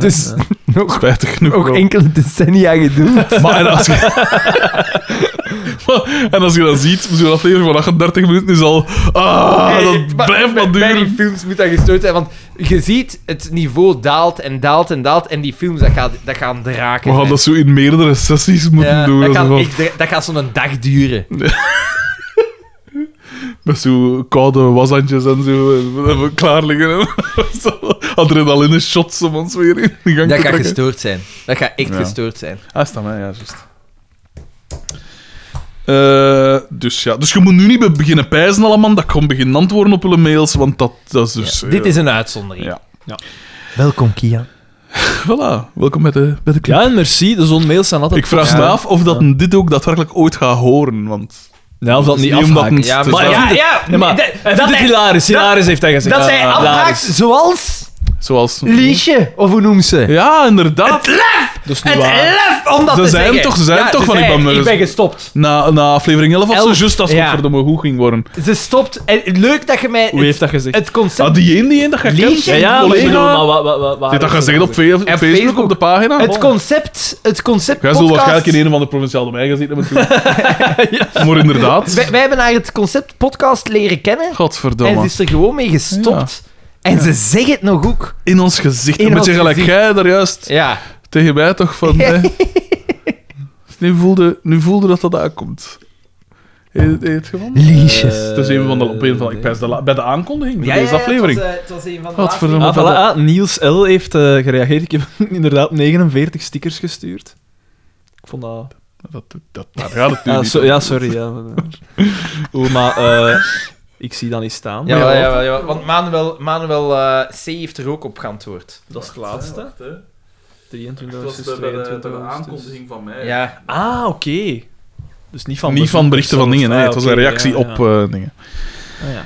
Speaker 1: dus-
Speaker 3: hè.
Speaker 1: nog,
Speaker 2: Spijtig genoeg.
Speaker 1: nog enkele decennia gedoe.
Speaker 2: Maar eh, en als je... Maar- en als je dat ziet, zo'n aflevering van 38 minuten is al... Ah, dat blijft maar
Speaker 1: Bij
Speaker 2: duren.
Speaker 1: die films moet dat gestoord zijn, want je ziet, het niveau daalt en daalt en daalt en die films, dat, gaat, dat gaan draken.
Speaker 2: We gaan dat zo in meerdere sessies moeten
Speaker 1: Ja,
Speaker 2: doen.
Speaker 1: dat,
Speaker 2: Dat is
Speaker 1: gaat
Speaker 2: wel-
Speaker 1: echt dra- dat gaat zo'n dag duren.
Speaker 2: Met zo'n koude washandjes en zo. En we hebben klaar liggen. Zo, Adrenaline shots om ons weer in de
Speaker 1: Dat
Speaker 2: gang te
Speaker 1: gaat
Speaker 2: trekken.
Speaker 1: gestoord zijn. Dat gaat echt
Speaker 2: Ja.
Speaker 1: gestoord zijn.
Speaker 2: Ah, is dat mij? Ja, juist. Eh, dus ja, dus je moet nu niet be- beginnen pijzen allemaal, dat kan beginnen antwoorden op hun mails, want dat, dat is dus... eh,
Speaker 1: Dit is een uitzondering.
Speaker 2: Ja.
Speaker 1: Welkom, Kia.
Speaker 2: Voilà, welkom bij de, bij de club.
Speaker 3: Ja, en merci. De zo'n mails zijn altijd...
Speaker 2: Ik vraag me af of dat dit ook daadwerkelijk ooit gaat horen, want...
Speaker 3: Ja, of dat
Speaker 2: Het is
Speaker 3: niet
Speaker 2: niet omdat
Speaker 3: afhaakt.
Speaker 2: het- Ja,
Speaker 3: maar
Speaker 2: maar
Speaker 3: hij
Speaker 2: ja,
Speaker 3: vindt het- ja, maar hij vindt het hilarisch. Hilarisch heeft hij gezegd.
Speaker 1: Dat
Speaker 3: Ja,
Speaker 1: zij
Speaker 3: ja,
Speaker 1: afhaakt,
Speaker 3: hilarisch.
Speaker 1: zoals
Speaker 2: Zoals...
Speaker 1: Liesje, of hoe noem ze?
Speaker 2: Ja, inderdaad.
Speaker 3: Dat is niet
Speaker 1: Het
Speaker 3: waar.
Speaker 1: lef om dat
Speaker 2: Ze
Speaker 1: te
Speaker 2: zijn
Speaker 1: zeggen.
Speaker 2: toch- ze zijn
Speaker 1: Ja,
Speaker 2: toch
Speaker 1: ze
Speaker 2: van, ik
Speaker 1: zei
Speaker 2: ben
Speaker 1: het,
Speaker 2: me-
Speaker 1: ik ben gestopt.
Speaker 2: Na, na aflevering 11 of zo,
Speaker 1: Elf,
Speaker 2: juist als
Speaker 1: ja.
Speaker 2: het verdomme hoe ging worden.
Speaker 1: Ze stopt. En leuk dat je mij...
Speaker 3: Hoe heeft dat gezegd?
Speaker 1: Het concept...
Speaker 2: Ah, die een die een dat je kent?
Speaker 1: Liesje?
Speaker 3: Ja, ja, maar ik
Speaker 2: collega.
Speaker 3: bedoel, maar wa- wa- wa- waar
Speaker 2: Dit dat
Speaker 3: is
Speaker 2: gaat zeggen op
Speaker 3: gezegd?
Speaker 2: Facebook,
Speaker 1: En
Speaker 2: Facebook, op
Speaker 1: Facebook.
Speaker 2: de pagina? Oh.
Speaker 1: Het concept... Het concept
Speaker 2: Jij zult
Speaker 1: podcast-
Speaker 2: waarschijnlijk in een van de provinciale domeinen gaan zitten. maar toen- Maar inderdaad.
Speaker 1: Wij, wij hebben haar het concept podcast leren kennen. en
Speaker 2: Godverdomme.
Speaker 1: ze is er gewoon mee gestopt. En ze zeggen het nog ook.
Speaker 2: In ons gezicht.
Speaker 1: In
Speaker 2: Een beetje
Speaker 1: ons
Speaker 2: gelijk
Speaker 1: gezicht.
Speaker 2: jij daar juist
Speaker 1: Ja.
Speaker 2: tegen mij toch van... hè. Dus nu, voelde, nu voelde dat dat aankomt. Heet het, heet het gewoon?
Speaker 1: Liesjes.
Speaker 3: Eh,
Speaker 2: het is een van de... Op een van, ik pijs de la- bij de aankondiging, bij Eh, deze aflevering.
Speaker 1: Het was, eh, het was een van de laatste.
Speaker 2: Godverdomme.
Speaker 3: Ah, voilà, ah, Niels L. heeft eh, gereageerd. Ik heb inderdaad 49 stickers gestuurd. Ik vond dat...
Speaker 1: eh,
Speaker 2: Dat, dat, dat, daar gaat het nu
Speaker 3: Ja,
Speaker 2: niet
Speaker 3: so-
Speaker 2: om.
Speaker 3: ja, sorry. Ja. Oeh, maar eh, ik zie dat niet staan.
Speaker 1: Ja, ja, ja, want Manuel, Manuel eh, C heeft er ook op geantwoord.
Speaker 3: Dat is het laatste. 23
Speaker 2: van mij.
Speaker 1: Ja.
Speaker 3: Ah, oké. Dus niet van,
Speaker 2: Niet van berichten van dingen, nee. Het was een reactie op eh, dingen.
Speaker 1: Oh,
Speaker 3: Ah, ja.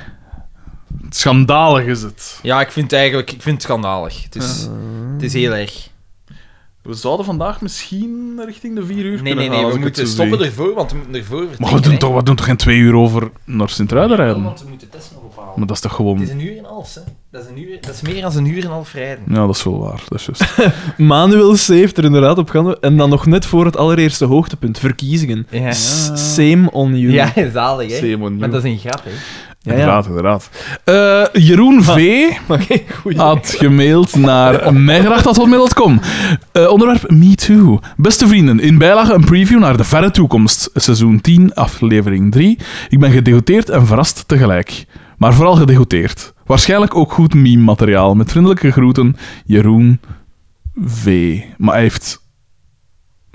Speaker 2: Schandalig is het.
Speaker 1: ja, ik vind het eigenlijk ik vind het schandalig. Het is,
Speaker 3: Eh.
Speaker 1: het is heel erg.
Speaker 2: We zouden vandaag misschien richting de vier
Speaker 1: Nee,
Speaker 2: uur kunnen
Speaker 1: nee,
Speaker 2: gaan,
Speaker 1: nee,
Speaker 2: als
Speaker 1: we
Speaker 2: ik het
Speaker 1: moeten
Speaker 2: zo
Speaker 1: stoppen dus.
Speaker 2: zie.
Speaker 1: ervoor, want we moeten ervoor
Speaker 2: Maar we
Speaker 1: vertrekken,
Speaker 2: doen,
Speaker 1: hè.
Speaker 2: toch, we doen toch geen twee uur over naar Sint-Truiden rijden?
Speaker 1: Want we moeten testen nog ophalen.
Speaker 2: Maar dat is toch
Speaker 1: Het is
Speaker 2: gewoon...
Speaker 1: een uur en een half, hè. Dat is, een uur, dat is meer dan een uur en een half rijden.
Speaker 2: Ja, dat is wel waar. Dat is juist.
Speaker 3: Manuel C. heeft er inderdaad op geantwoord. En dan nog net voor het allereerste hoogtepunt, verkiezingen.
Speaker 1: Ja,
Speaker 3: S- Same on you.
Speaker 1: ja zalig, hè.
Speaker 2: Same on
Speaker 1: Maar
Speaker 2: you.
Speaker 1: dat is een grap, hè.
Speaker 3: ja.
Speaker 2: Inderdaad, inderdaad. Eh, Jeroen V. had gemaild naar mijgedacht.hotmail.com. Eh onderwerp Me Too. Beste vrienden, in bijlage een preview naar de verre toekomst. Seizoen 10, aflevering 3. Ik ben gedegoteerd en verrast tegelijk. Maar vooral gedegoteerd. Waarschijnlijk ook goed meme-materiaal. Met vriendelijke groeten, Jeroen V. Maar hij heeft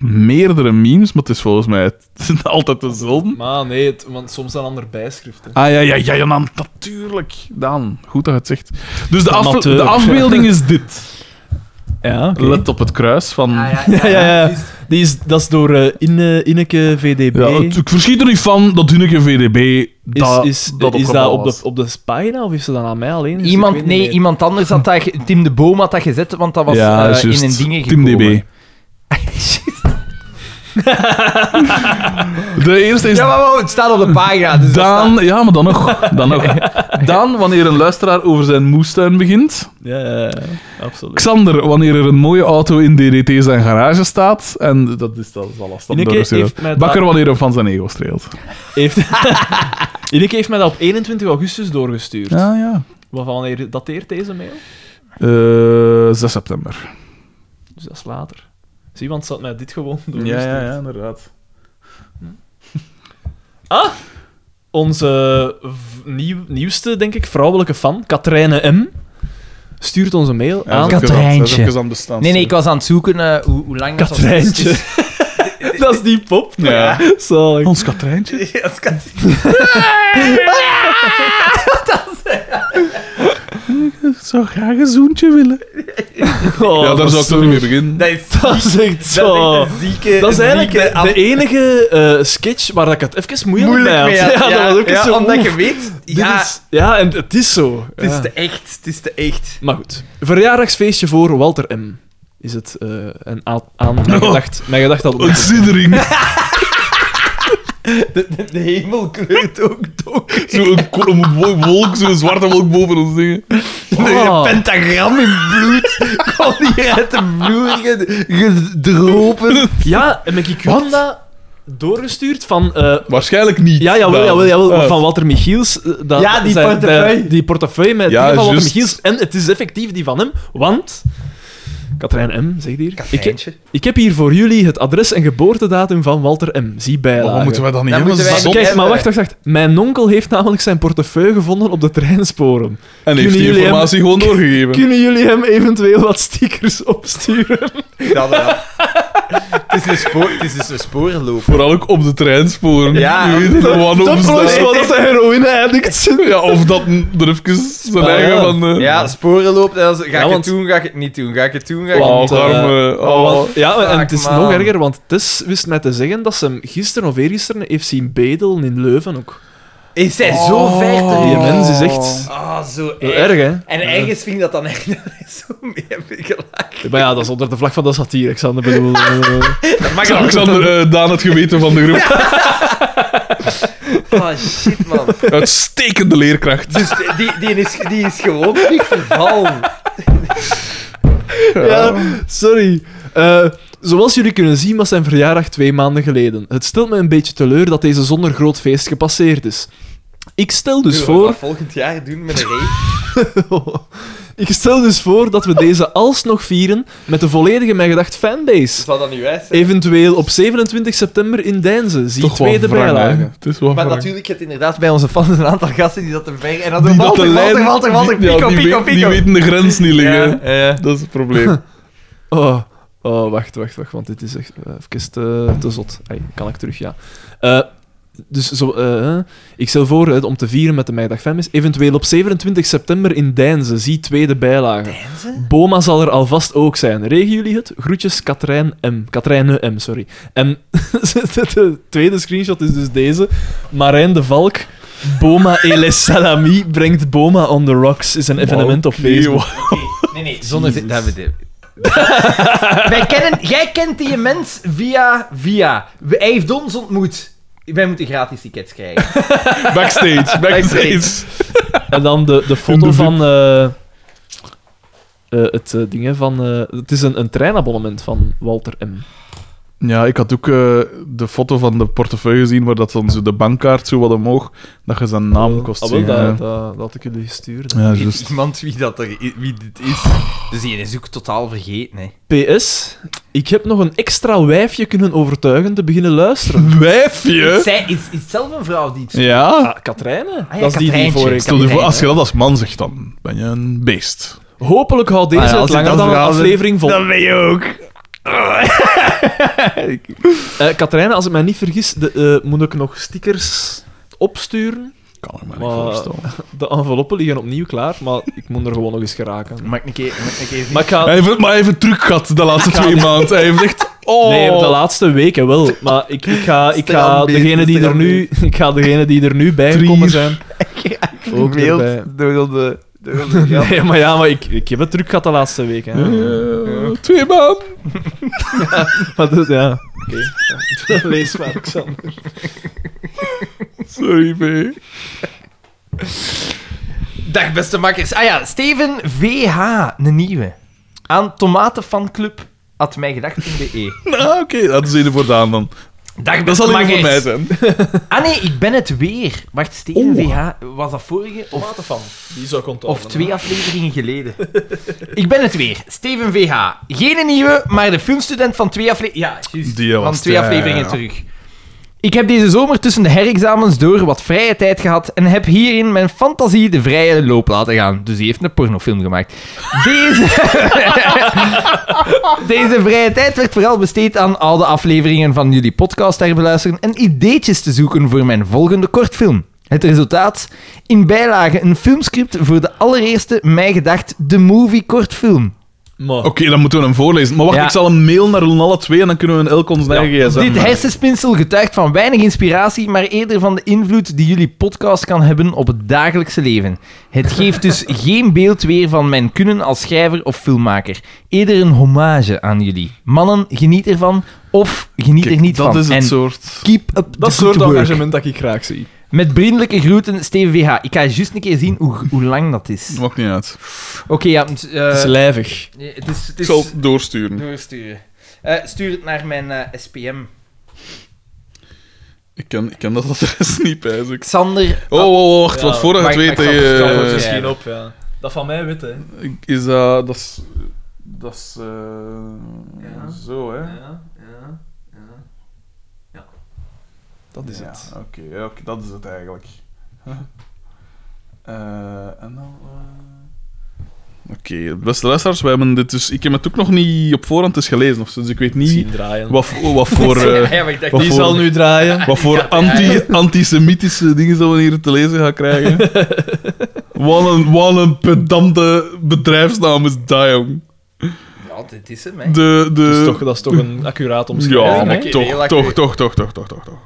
Speaker 2: meerdere memes, maar het is volgens mij altijd dezelfde.
Speaker 3: Maar nee, het- want soms zijn ander bijschriften.
Speaker 2: Ah ja, ja, ja, ja, dan, natuurlijk. Daan, goed dat je het zegt. Dus de, af,
Speaker 3: Amateur.
Speaker 2: de afbeelding is dit.
Speaker 3: Ja, oké.
Speaker 2: Let op het kruis van...
Speaker 3: Ja, ja, ja. Die is, dat is door eh, Inne, Inneke VDB.
Speaker 2: Ja, het- ik verschiet er niet van dat Hunneke VDB
Speaker 3: is,
Speaker 2: dat
Speaker 3: is,
Speaker 2: dat,
Speaker 3: is dat op de,
Speaker 2: was.
Speaker 3: op de pagina of is ze dat aan mij alleen? Dus ik
Speaker 1: Iemand,
Speaker 3: weet niet
Speaker 1: nee,
Speaker 3: meer.
Speaker 1: iemand anders had dat... ge- Tim de Boom had dat gezet, want dat was
Speaker 2: Ja,
Speaker 1: eh,
Speaker 2: juist.
Speaker 1: in een dingen
Speaker 2: Tim
Speaker 1: gekomen.
Speaker 2: DB. De eerste is
Speaker 1: Ja, maar wow, het staat op de pagina. Dus dat staat-
Speaker 2: Daan... Ja, maar dan nog. Dan nog. Daan, wanneer een luisteraar over zijn moestuin begint.
Speaker 3: Ja, ja, ja, absoluut.
Speaker 2: Xander, wanneer er een mooie auto in DDT zijn garage staat. En dat is, dat is al lastig.
Speaker 3: Ineke heeft mij
Speaker 2: Bakker,
Speaker 3: dat-
Speaker 2: wanneer er van zijn ego streelt.
Speaker 3: Heeft, Ineke heeft mij dat op 21 augustus doorgestuurd.
Speaker 2: Ja, ja.
Speaker 3: Waarvan wanneer dateert deze mail?
Speaker 2: Eh, 6 september.
Speaker 3: Dus dat is later. Zie, want ze had mij dit gewoon
Speaker 2: Ja,
Speaker 3: doorgestuurd.
Speaker 2: ja, ja, inderdaad.
Speaker 3: Onze eh, v- nieuw- nieuwste, denk ik, vrouwelijke fan, Katrijne M., stuurt ons een mail aan...
Speaker 1: Katrijntje.
Speaker 2: bestaan.
Speaker 1: Nee, nee, ik was aan het zoeken eh, hoe, hoe lang dat was. Dus
Speaker 3: Katrijntje. dat is die pop.
Speaker 2: Ja.
Speaker 3: Zalig.
Speaker 2: Ons Katrijntje? zou graag een zoentje willen. ja, daar zou ik toch niet mee beginnen.
Speaker 1: Dat is,
Speaker 3: Dat is echt zo...
Speaker 1: dat is een zieke...
Speaker 3: Dat is eigenlijk
Speaker 1: zieke
Speaker 3: de,
Speaker 1: af-
Speaker 3: de enige eh, sketch waar ik het even moeilijk,
Speaker 1: moeilijk
Speaker 3: mee
Speaker 1: mee.
Speaker 3: had. Ja, dat was ook
Speaker 1: ja,
Speaker 3: eens zo.
Speaker 1: Omdat
Speaker 3: oeh,
Speaker 1: je weet...
Speaker 3: dit
Speaker 1: Ja,
Speaker 3: is- ja, en het is zo.
Speaker 1: het
Speaker 3: Ja.
Speaker 1: is te echt. Het is te echt.
Speaker 3: Maar goed. Verjaardagsfeestje voor Walter M. Is het eh, een aan... aan
Speaker 1: Oh.
Speaker 3: mijn gedacht, mijn gedacht had
Speaker 2: Een siddering.
Speaker 1: De hemel kleurt ook donker.
Speaker 2: Zo'n ko- een wo- wolk, zo'n zwarte wolk boven ons dingen.
Speaker 3: Oh.
Speaker 1: Een pentagram in bloed. Kom hier uit de vloer ged- gedropen.
Speaker 3: Ja, en ik had dat doorgestuurd van... eh,
Speaker 2: Waarschijnlijk niet.
Speaker 3: ja, jawel,
Speaker 2: Daan.
Speaker 3: jawel, jawel,
Speaker 2: Ah.
Speaker 3: van Walter Michiels. eh, Dat,
Speaker 1: Ja, die
Speaker 3: zijn-
Speaker 1: portefeuille.
Speaker 3: die- die portefeuille met
Speaker 2: Ja,
Speaker 3: dingen van Walter
Speaker 2: juist.
Speaker 3: Michiels. En het is effectief die van hem, want... Katrijn M, zegt hier. Ik, ik heb hier voor jullie het adres en geboortedatum van Walter M. Zie bijlagen.
Speaker 2: Waarom moeten wij dan niet
Speaker 1: Dan
Speaker 2: hebben?
Speaker 1: moeten wij
Speaker 2: Dat is
Speaker 1: niet
Speaker 2: zot.
Speaker 3: Kijk, maar wacht, wacht, wacht. Mijn onkel heeft namelijk zijn portefeuille gevonden op de treinsporen.
Speaker 2: En heeft die
Speaker 3: jullie
Speaker 2: informatie gewoon doorgegeven.
Speaker 3: Kunnen jullie hem eventueel wat stickers opsturen?
Speaker 1: Dat wel. Het is een, spoor, het is dus een sporenloop.
Speaker 2: Vooral ook op de treinsporen.
Speaker 1: Ja,
Speaker 2: Je weet niet waar op
Speaker 3: Dat is
Speaker 2: staat.
Speaker 3: wel dat de heroïne eindigt.
Speaker 2: Ja, of dat een- er even zijn
Speaker 3: Ah,
Speaker 2: eigen
Speaker 3: ja.
Speaker 2: van... eh,
Speaker 1: Ja, sporenloop. Dat is, ga ik
Speaker 3: want-
Speaker 1: het doen, ga ik het niet doen? Ga ik het doen, ga ik
Speaker 2: Oh,
Speaker 1: het
Speaker 3: Want, eh,
Speaker 2: arme, oh.
Speaker 3: Want- ja, en het is
Speaker 1: fuck, man.
Speaker 3: nog erger, want Tess wist mij te zeggen dat ze hem gisteren of eergisteren heeft zien bedelen in Leuven ook.
Speaker 1: niet Is hij zo ver
Speaker 3: eh, Oh. Die
Speaker 1: terug?
Speaker 3: mens is echt
Speaker 1: Ah, zo
Speaker 3: heel
Speaker 1: erg.
Speaker 3: erg, hè?
Speaker 1: En ergens vind ik dat dan echt zo mee heb ik gelachen.
Speaker 3: Maar ja, dat is onder de vlag van de satire, Xander. Bedoel, eh,
Speaker 2: Is Alexander eh, Daan het geweten van de groep.
Speaker 1: Ah, shit, man.
Speaker 2: Uitstekende leerkracht.
Speaker 1: Dus die, die, is, die is gewoon niet vervallen.
Speaker 3: Dus Ja, sorry. Eh, zoals jullie kunnen zien was zijn verjaardag twee maanden geleden. Het stelt me een beetje teleur dat deze zonder groot feest gepasseerd is. Ik stel dus
Speaker 1: Zullen we
Speaker 3: voor...
Speaker 1: dat volgend jaar doen met een reet?
Speaker 3: ik stel dus voor dat we deze alsnog vieren met de volledige Mijn Gedacht fanbase.
Speaker 1: Zal dat nu wijs zijn?
Speaker 3: Eventueel op 27 september in Deinzen. Zie
Speaker 2: Toch wel
Speaker 3: tweede
Speaker 2: wrang, hè.
Speaker 3: bijlage.
Speaker 2: Het is wel
Speaker 1: Maar
Speaker 2: wrang.
Speaker 1: natuurlijk, je hebt inderdaad bij onze fans een aantal gasten die dat er ver... En dan doen
Speaker 2: Die dat
Speaker 1: Walter,
Speaker 2: de
Speaker 1: Walter,
Speaker 2: lijn-
Speaker 1: Walter, Walter,
Speaker 2: die- ja,
Speaker 1: Pico,
Speaker 2: die
Speaker 1: Pico,
Speaker 2: weet- Die
Speaker 1: Pico.
Speaker 2: weten de grens niet liggen.
Speaker 1: Ja, ja.
Speaker 2: Dat is het probleem.
Speaker 3: Oh, oh, wacht, wacht, wacht, want dit is echt eh, even te, te zot. Ai, kan ik terug, ja. Eh, dus zo, eh, ik stel voor eh, om te vieren met de Meidag Femmes. Eventueel op 27 september in Deinzen. Zie tweede bijlage. Boma zal er alvast ook zijn. Regen jullie het? Groetjes, Katrijn M. Katrijne M, sorry. En de tweede screenshot is dus deze. Marijn de Valk. Boma Ele Salami brengt Boma on the Rocks. Is een evenement op
Speaker 2: Oh, Nee,
Speaker 3: Facebook.
Speaker 2: joh.
Speaker 1: Nee, nee, zonder... zin- Dat bedoel Wij kennen, jij kent die mens via, via. We- Hij heeft ons ontmoet. Wij moeten gratis tickets krijgen.
Speaker 2: Backstage, backstage.
Speaker 1: Backstage.
Speaker 3: En dan de, de
Speaker 2: In
Speaker 3: foto
Speaker 2: de
Speaker 3: van. eh, eh, het eh, ding hè, van. eh, het is een, een treinabonnement van Walter M.
Speaker 2: Ja, ik had ook eh, de foto van de portefeuille gezien waar dat dan zo de bankkaart zo wat omhoog, dat je zijn naam kost
Speaker 3: Ah, wel,
Speaker 2: zien,
Speaker 3: dat,
Speaker 2: ja.
Speaker 3: dat, dat had ik jullie gestuurd.
Speaker 2: Ja,
Speaker 1: Weet
Speaker 2: juist.
Speaker 1: iemand wie, dat er, wie dit is? Dus die is ook totaal vergeten, hè.
Speaker 3: PS, ik heb nog een extra wijfje kunnen overtuigen te beginnen luisteren.
Speaker 2: Wijfje?
Speaker 1: Zij is, is zelf een vrouw die iets...
Speaker 2: Ja?
Speaker 3: Ah, Katrijne?
Speaker 1: ja,
Speaker 3: dat is die die
Speaker 1: Katrijntje.
Speaker 3: voor ik.
Speaker 2: Stel je voor, als je dat als man zegt, dan ben je een beest.
Speaker 3: Hopelijk houdt deze
Speaker 2: Ah, ja,
Speaker 3: het
Speaker 2: als ik
Speaker 3: langer
Speaker 2: dat
Speaker 3: dan een
Speaker 2: verhaal vind,
Speaker 3: aflevering vol.
Speaker 2: ben je ook.
Speaker 3: Eh, Katrijne, als ik mij niet vergis, de, eh, moet ik nog stickers opsturen.
Speaker 2: Kan ik me
Speaker 3: Maar-
Speaker 2: niet voorstellen.
Speaker 3: De enveloppen liggen opnieuw klaar, maar ik moet er gewoon nog eens geraken.
Speaker 1: Mag ik een keer... Mag ik een keer zien?
Speaker 3: Maar ik ga,
Speaker 2: Hij heeft het maar even truc gehad de laatste twee maanden. Hij heeft echt... Oh.
Speaker 3: Nee, de laatste weken wel. Maar ik, ik ga, ik ga
Speaker 1: Strandbeest,
Speaker 3: degene die er nu, ik ga degene die er nu bij gekomen zijn. Ook erbij.
Speaker 1: Beeld door de... Door de grap.
Speaker 3: Nee, maar ja, maar ik, ik heb het druk gehad de laatste weken. hè.
Speaker 2: Eh, twee maanden.
Speaker 3: Maar dat- ja. Oké. Ja. Lees maar, Xander.
Speaker 2: Sorry, mee.
Speaker 1: Dag beste makkers. Ah ja, Steven VH, een nieuwe. Aan tomatenfanclub at mijgedacht.be.
Speaker 2: Nou, oké, dat is een voor Daan dan.
Speaker 1: E. Dag
Speaker 2: Dat
Speaker 1: beste
Speaker 2: zal
Speaker 1: makkers.
Speaker 2: alleen voor mij zijn.
Speaker 1: Ah nee, ik ben het weer. Wacht, Steven VH, was dat vorige of,
Speaker 3: van. Die zou komt
Speaker 1: of twee afleveringen geleden? ik ben het weer, Steven VH. Geen nieuwe, maar de filmstudent van twee afleveringen... Ja, juist.
Speaker 2: Die
Speaker 1: van
Speaker 2: was
Speaker 1: twee
Speaker 2: het, ja,
Speaker 1: afleveringen
Speaker 2: ja.
Speaker 1: terug. Ik heb deze zomer tussen de herexamens door wat vrije tijd gehad en heb hierin mijn fantasie de vrije loop laten gaan. Dus die heeft een pornofilm gemaakt. Deze... deze vrije tijd werd vooral besteed aan oude afleveringen van jullie podcast herbeluisteren en ideetjes te zoeken voor mijn volgende kortfilm. Het resultaat? In bijlage een filmscript voor de allereerste, mij gedacht, de movie kortfilm.
Speaker 3: Maar,
Speaker 2: Oh. Oké, dan moeten we hem voorlezen. Maar wacht,
Speaker 1: Ja.
Speaker 2: ik zal een mail naar hun alle twee en dan kunnen we een elk ons eigen gsm
Speaker 1: Dit
Speaker 2: maken.
Speaker 1: hersenspinsel getuigt van weinig inspiratie, maar eerder van de invloed die jullie podcast kan hebben op het dagelijkse leven. Het geeft dus geen beeld weer van mijn kunnen als schrijver of filmmaker. Eerder een hommage aan jullie. Mannen, geniet ervan of geniet
Speaker 2: Kijk,
Speaker 1: er niet
Speaker 2: dat
Speaker 1: van.
Speaker 2: is het
Speaker 1: en
Speaker 2: soort.
Speaker 1: keep up the
Speaker 3: dat
Speaker 1: good
Speaker 3: soort
Speaker 1: work.
Speaker 3: engagement dat ik graag zie.
Speaker 1: Met vriendelijke groeten, Steven VH. Ik ga juist een keer zien hoe, hoe lang dat is.
Speaker 2: Maakt niet uit.
Speaker 1: Oké, ja, het, eh,
Speaker 3: Het is lijvig.
Speaker 1: het is... Het
Speaker 2: Ik
Speaker 1: is
Speaker 2: zal het doorsturen.
Speaker 1: doorsturen. Eh, stuur het naar mijn eh, SPM.
Speaker 2: Ik ken, ik ken dat adres niet, pijs ik.
Speaker 1: Xander... Ah,
Speaker 2: Oh, oh, oh, wacht,
Speaker 3: Ja,
Speaker 2: wat vorige
Speaker 1: maar-
Speaker 2: twee
Speaker 1: maar ik ga-
Speaker 2: tegen...
Speaker 1: ik ga het
Speaker 2: eh,
Speaker 1: misschien
Speaker 3: op, ja. Dat van mij witte. hè.
Speaker 2: Is dat... Dat is... Dat is... eh, Zo, hè?
Speaker 3: Dat is het.
Speaker 2: Oké, ja, oké, dat is het eigenlijk. Huh? Eh, en dan... eh, Oké, beste luisteraars, wij hebben dit dus... Ik heb het ook nog niet op voorhand eens gelezen, of zo, dus ik weet niet
Speaker 3: Zien draaien.
Speaker 2: wat, voor- wat voor... eh,
Speaker 1: Ja, maar ik dacht...
Speaker 2: wat
Speaker 3: Die
Speaker 2: voor-
Speaker 3: zal nu draaien.
Speaker 2: Wat voor anti, antisemitische dingen zullen we hier te lezen gaan krijgen? wat, een, wat een pedante bedrijfsnaam is dat, jong.
Speaker 1: Ja, dit is hem, hè.
Speaker 2: De, de...
Speaker 3: Dat is toch, dat is toch een accuraat
Speaker 2: Eh, Ja,
Speaker 3: omschrijving.
Speaker 2: maar
Speaker 3: hè?
Speaker 1: Heel
Speaker 2: toch,
Speaker 1: accuraat.
Speaker 2: toch, toch, toch, toch, toch, toch, toch.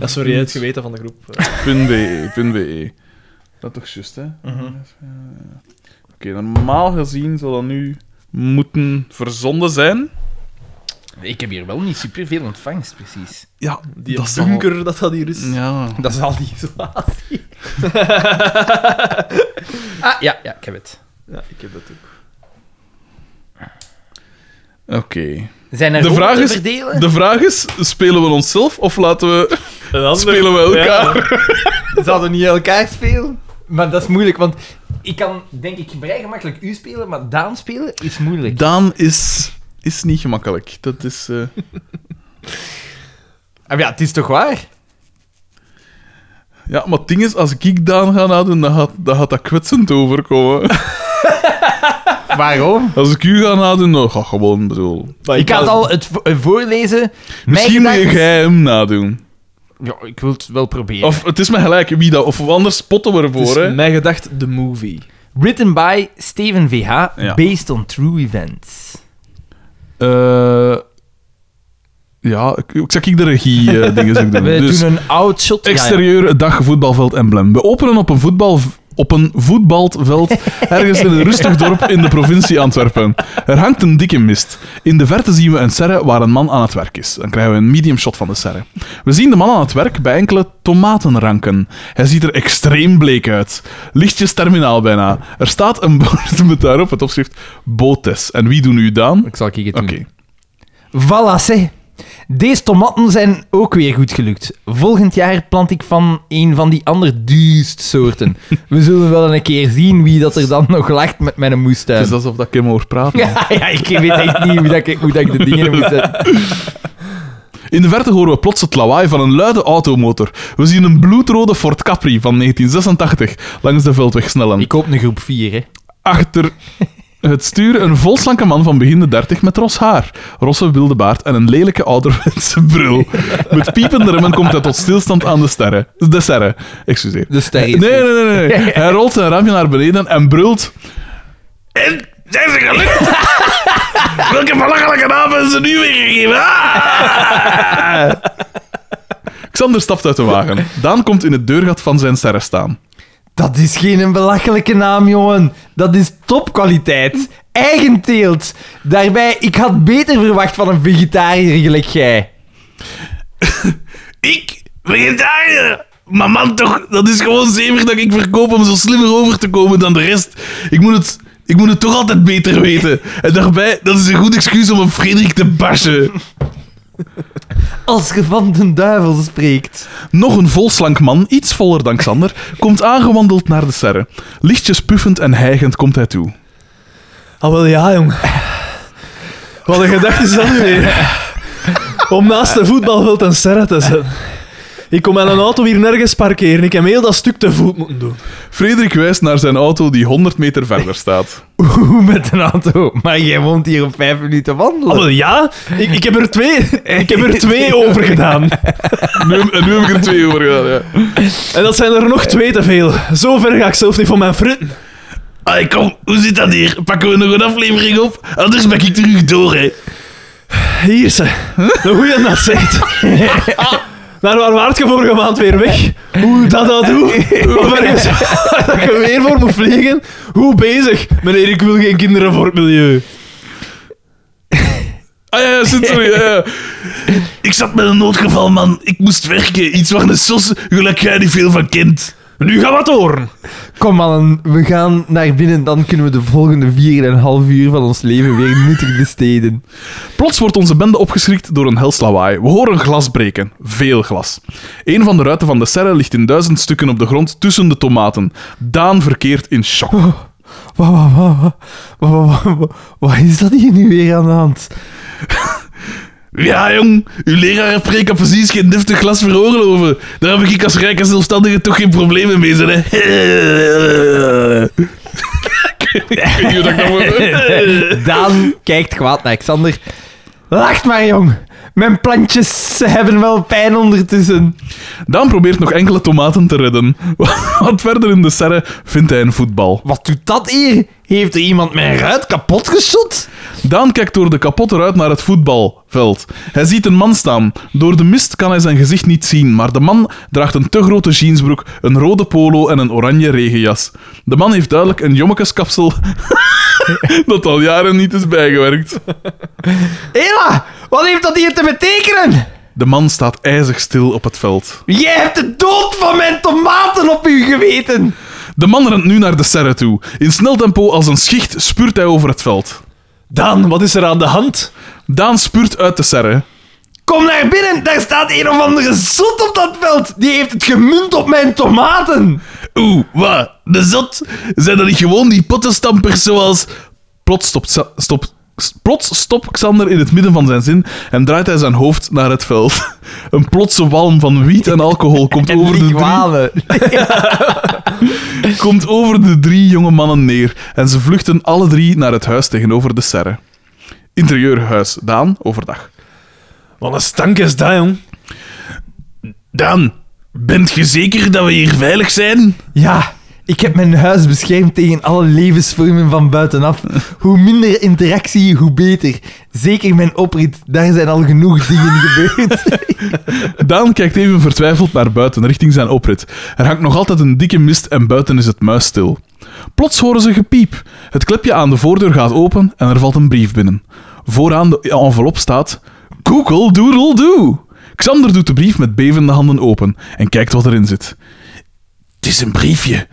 Speaker 3: Ja, sorry, het geweten van de groep. Eh,
Speaker 2: .be, .be. Dat toch juist, hè?
Speaker 1: Mhm.
Speaker 2: Oké, normaal gezien zou dat nu moeten verzonden zijn.
Speaker 1: Ik heb hier wel niet superveel ontvangst, precies.
Speaker 2: Ja,
Speaker 3: Die
Speaker 2: dat zal-
Speaker 3: bunker dat dat hier is.
Speaker 2: Ja.
Speaker 3: Dat is al die zwaar.
Speaker 1: Ah, ja, ja, ik heb het.
Speaker 3: Ja, ik heb dat ook.
Speaker 2: Oké.
Speaker 1: Zijn er
Speaker 2: De vraag
Speaker 1: ronden
Speaker 2: is-
Speaker 1: verdelen?
Speaker 2: De vraag is, spelen we onszelf of laten we...
Speaker 3: Een ander-
Speaker 2: Spelen we elkaar?
Speaker 1: Ze hadden niet elkaar spelen. Maar dat is moeilijk, want ik kan denk ik vrij gemakkelijk u spelen, maar Daan spelen is moeilijk.
Speaker 2: Daan is, is niet gemakkelijk. Dat is... eh,
Speaker 1: Ah, ja, het is toch waar?
Speaker 2: Ja, maar het ding is, als ik Daan ga nadoen, dan gaat, dan gaat dat kwetsend overkomen.
Speaker 1: Waarom?
Speaker 2: Als ik u ga nadoen, dan ga ik gewoon bedoel...
Speaker 3: Maar
Speaker 1: Ik had al het vo- eh, voorlezen. Mijn
Speaker 2: Misschien moet
Speaker 1: gedachten-
Speaker 2: jij hem nadoen.
Speaker 1: Ja, ik wil het wel proberen.
Speaker 2: Of het is me gelijk wie dat... Of anders spotten we
Speaker 3: Het is
Speaker 2: ervoor, hè.
Speaker 3: mijn gedacht, de movie.
Speaker 1: Written by Steven VH,
Speaker 2: Ja.
Speaker 1: based on true events.
Speaker 2: Eh, ja, ik, ik zag ik de regie eh, dingen zo doen.
Speaker 1: We
Speaker 2: Dus
Speaker 1: doen een outshot. Ja, ja.
Speaker 2: exterieur dag voetbalveld emblem. We openen op een voetbal op een voetbalveld ergens in een rustig dorp in de provincie Antwerpen. Er hangt een dikke mist. In de verte zien we een serre waar een man aan het werk is. Dan krijgen we een medium shot van de serre. We zien de man aan het werk bij enkele tomatenranken. Hij ziet er extreem bleek uit. Lichtjes terminaal bijna. Er staat een bord met daarop het opschrift Botes. En wie doen u dan?
Speaker 1: Ik zal het
Speaker 2: Oké.
Speaker 1: doen. Voilà, zeg. Deze tomaten zijn ook weer goed gelukt. Volgend jaar plant ik van een van die andere duurst soorten. We zullen wel een keer zien wie dat er dan nog lacht met mijn moestuin.
Speaker 2: Het is alsof dat ik hem hoor praten.
Speaker 1: Ja, ja, ik weet echt niet hoe, dat ik, hoe dat ik de dingen moet zetten.
Speaker 2: In de verte horen we plots het lawaai van een luide automotor. We zien een bloedrode Ford Capri van 1986 langs de veldweg snellen.
Speaker 1: Ik hoop een groep 4, hè.
Speaker 2: Achter het stuur een volslanke man van begin de 30 met ros haar, rosse wilde baard en een lelijke ouderwetse bril. Met piepende remmen komt hij tot stilstand aan de sterren. De serre, excuseer.
Speaker 1: De ster is
Speaker 2: Nee, nee, nee, nee. Hij rolt zijn rampje naar beneden en brult. En zijn ze gelukt? Welke belachelijke naam hebben ze nu weer gegeven? Ah! Xander stapt uit de wagen. Daan komt in het deurgat van zijn serre staan.
Speaker 1: Dat is geen een belachelijke naam, jongen. Dat is topkwaliteit. Eigen teelt. Daarbij, ik had beter verwacht van een vegetariër gelijk jij.
Speaker 2: Ik? Vegetariër? Maar man, toch, dat is gewoon zever dat ik verkoop om zo slimmer over te komen dan de rest. Ik moet het, ik moet het toch altijd beter weten. En daarbij, dat is een goed excuus om een Frederik te bashen.
Speaker 1: Als je van den duivel spreekt.
Speaker 2: Nog een volslank man, iets voller dan Xander, komt aangewandeld naar de serre. Lichtjes puffend en hijgend komt hij toe.
Speaker 3: Ah, wel ja, jong. Wat een gedachte is dat nu weer? Om naast de voetbalveld een serre te zetten. Ik kon mijn auto hier nergens parkeren. Ik heb heel dat stuk te voet moeten doen.
Speaker 2: Frederik wijst naar zijn auto die 100 meter verder staat.
Speaker 1: Hoe met een auto? Maar jij woont hier op vijf minuten wandelen.
Speaker 3: Ah, wel, ja, ik, ik heb er twee, ik heb er twee over gedaan.
Speaker 2: Nu, en nu heb ik er twee over gedaan, ja.
Speaker 3: En dat zijn er nog twee te veel. Zo ver ga ik zelf niet van mijn fritten.
Speaker 2: Allee, kom, hoe zit dat hier? Pakken we nog een aflevering op? Anders ben ik terug door, hè.
Speaker 3: Hier ze. De goeie dat zegt. Naar waar waart je vorige maand weer weg? Hoe dat dat doet? Of ergens waar dat je weer voor moet vliegen? Hoe bezig? Meneer, ik wil geen kinderen voor het milieu.
Speaker 2: Ah ja, ja, zit zo, ja, ja. Ik zat met een noodgeval, man. Ik moest werken. Iets waar een sos gelijk jij niet veel van kent.
Speaker 3: Nu gaan we het horen.
Speaker 1: Kom man, we gaan naar binnen. Dan kunnen we de volgende vier en een half uur van ons leven weer nuttig besteden.
Speaker 2: Plots wordt onze bende opgeschrikt door een hels lawaai. We horen glas breken. Veel glas. Een van de ruiten van de serre ligt in duizend stukken op de grond tussen de tomaten. Daan verkeert in shock.
Speaker 1: Wat, wat, wat, wat, wat, wat, wat, wat, wat is dat hier nu weer aan de hand?
Speaker 2: Ja, jong. Uw leraar preek precies geen deftig glas veroorloven. Daar heb ik als rijke zelfstandige toch geen problemen mee, zijn, hè.
Speaker 1: Daan kijkt kwaad naar Xander. Lacht maar, jong. Mijn plantjes ze hebben wel pijn ondertussen.
Speaker 2: Daan probeert nog enkele tomaten te redden. Wat verder in de serre vindt hij een voetbal.
Speaker 1: Wat doet dat hier? Heeft er iemand mijn ruit kapot geschot?
Speaker 2: Daan kijkt door de kapotte ruit naar het voetbalveld. Hij ziet een man staan. Door de mist kan hij zijn gezicht niet zien, maar de man draagt een te grote jeansbroek, een rode polo en een oranje regenjas. De man heeft duidelijk een jommekeskapsel dat al jaren niet is bijgewerkt.
Speaker 1: Hela, wat heeft dat hier te betekenen?
Speaker 2: De man staat ijzig stil op het veld.
Speaker 1: Jij hebt de dood van mijn tomaten op u geweten.
Speaker 2: De man rent nu naar de serre toe. In snel tempo als een schicht spuurt hij over het veld.
Speaker 3: Daan, wat is er aan de hand?
Speaker 2: Daan spuurt uit de serre.
Speaker 1: Kom naar binnen, daar staat een of andere zot op dat veld. Die heeft het gemunt op mijn tomaten.
Speaker 2: Oeh, wat? De zot? Zijn dat niet gewoon die pottenstampers zoals... Plots stopt, Sa- stopt, s- plots stopt Xander in het midden van zijn zin en draait hij zijn hoofd naar het veld. Een plotse walm van wiet en alcohol komt, over de, drie,
Speaker 1: Likwalen.
Speaker 2: komt over de drie jonge mannen neer en ze vluchten alle drie naar het huis tegenover de serre. Interieurhuis, Daan, overdag.
Speaker 3: Wat een stank is dat, jong.
Speaker 2: Daan, bent je zeker dat we hier veilig zijn?
Speaker 1: Ja, ik heb mijn huis beschermd tegen alle levensvormen van buitenaf. Hoe minder interactie, hoe beter. Zeker mijn oprit, daar zijn al genoeg dingen gebeurd.
Speaker 2: Daan kijkt even vertwijfeld naar buiten, richting zijn oprit. Er hangt nog altijd een dikke mist en buiten is het muisstil. Plots horen ze gepiep. Het klepje aan de voordeur gaat open en er valt een brief binnen. Vooraan de envelop staat... Google doodle doe. Xander doet de brief met bevende handen open en kijkt wat erin zit. Het is een briefje.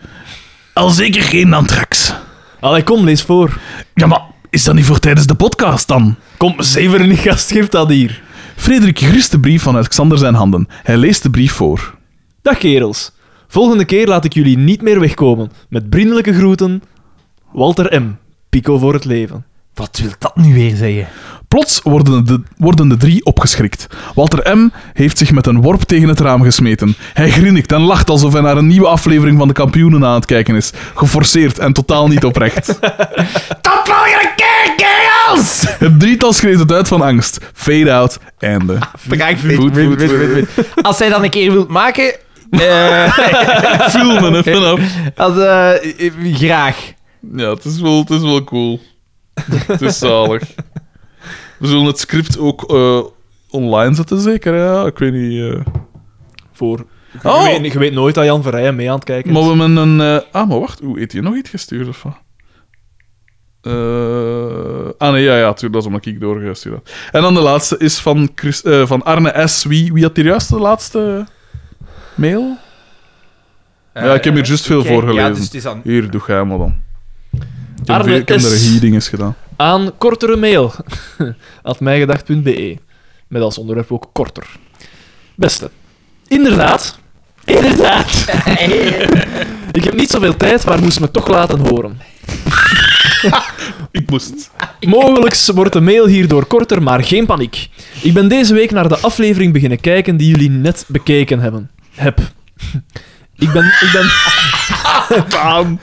Speaker 2: Al zeker geen antrax.
Speaker 3: Allee, kom, lees voor.
Speaker 2: Ja, maar is dat niet voor tijdens de podcast dan?
Speaker 3: Kom, zeven niet gast, geef dat hier.
Speaker 2: Frederik grist de brief vanuit Xander zijn handen. Hij leest de brief voor.
Speaker 3: Dag kerels. Volgende keer laat ik jullie niet meer wegkomen. Met vriendelijke groeten, Walter M. Pico voor het leven.
Speaker 1: Wat wil dat nu weer zeggen?
Speaker 2: Plots worden de, worden de drie opgeschrikt. Walter M. heeft zich met een worp tegen het raam gesmeten. Hij grinnikt en lacht alsof hij naar een nieuwe aflevering van de kampioenen aan het kijken is. Geforceerd en totaal niet oprecht.
Speaker 1: Tot volgende keer, kerels!
Speaker 2: Het drietal schreeuwt het uit van angst. Fade out, einde.
Speaker 1: Bedankt, wit,
Speaker 2: Goed,
Speaker 1: wit,
Speaker 2: goed,
Speaker 1: wit, wit, wit. Als zij dat een keer wilt maken, eh,
Speaker 2: Filmen, hè, vanaf.
Speaker 1: als, eh, eh, graag.
Speaker 2: Ja, het is wel, het is wel cool. Het is zalig. We zullen het script ook eh, online zetten, zeker? hè? Ja, ik weet niet... eh.
Speaker 3: Voor.
Speaker 2: Oh!
Speaker 3: Je, weet, je weet nooit dat Jan Verrijen mee aan het kijken is.
Speaker 2: Maar we hebben een... eh, Ah, maar wacht. Hoe heeft je nog iets gestuurd of wat? Eh, ah nee, ja, ja, tuurlijk, dat is omdat ik doorgestuurd had. En dan de laatste is van, Chris, eh, van Arne S. Wie, wie had hier juist de laatste mail? ja, ik heb hier juist veel
Speaker 11: Eh, Oké,
Speaker 2: voorgelezen.
Speaker 11: Ja, dus het is aan...
Speaker 2: Hier, doe jij maar dan. Ik heb,
Speaker 3: Arne
Speaker 2: veel- ik heb
Speaker 3: S.
Speaker 2: er hier dingen gedaan.
Speaker 3: Aan kortere mail. At mijgedacht.be. Met als onderwerp ook korter. Beste. Inderdaad. Inderdaad. Ik heb niet zoveel tijd, maar moest me toch laten horen.
Speaker 2: Ik moest.
Speaker 3: Mogelijk wordt de mail hierdoor korter, maar geen paniek. Ik ben deze week naar de aflevering beginnen kijken die jullie net bekeken hebben. Heb. Ik ben... Ik ben...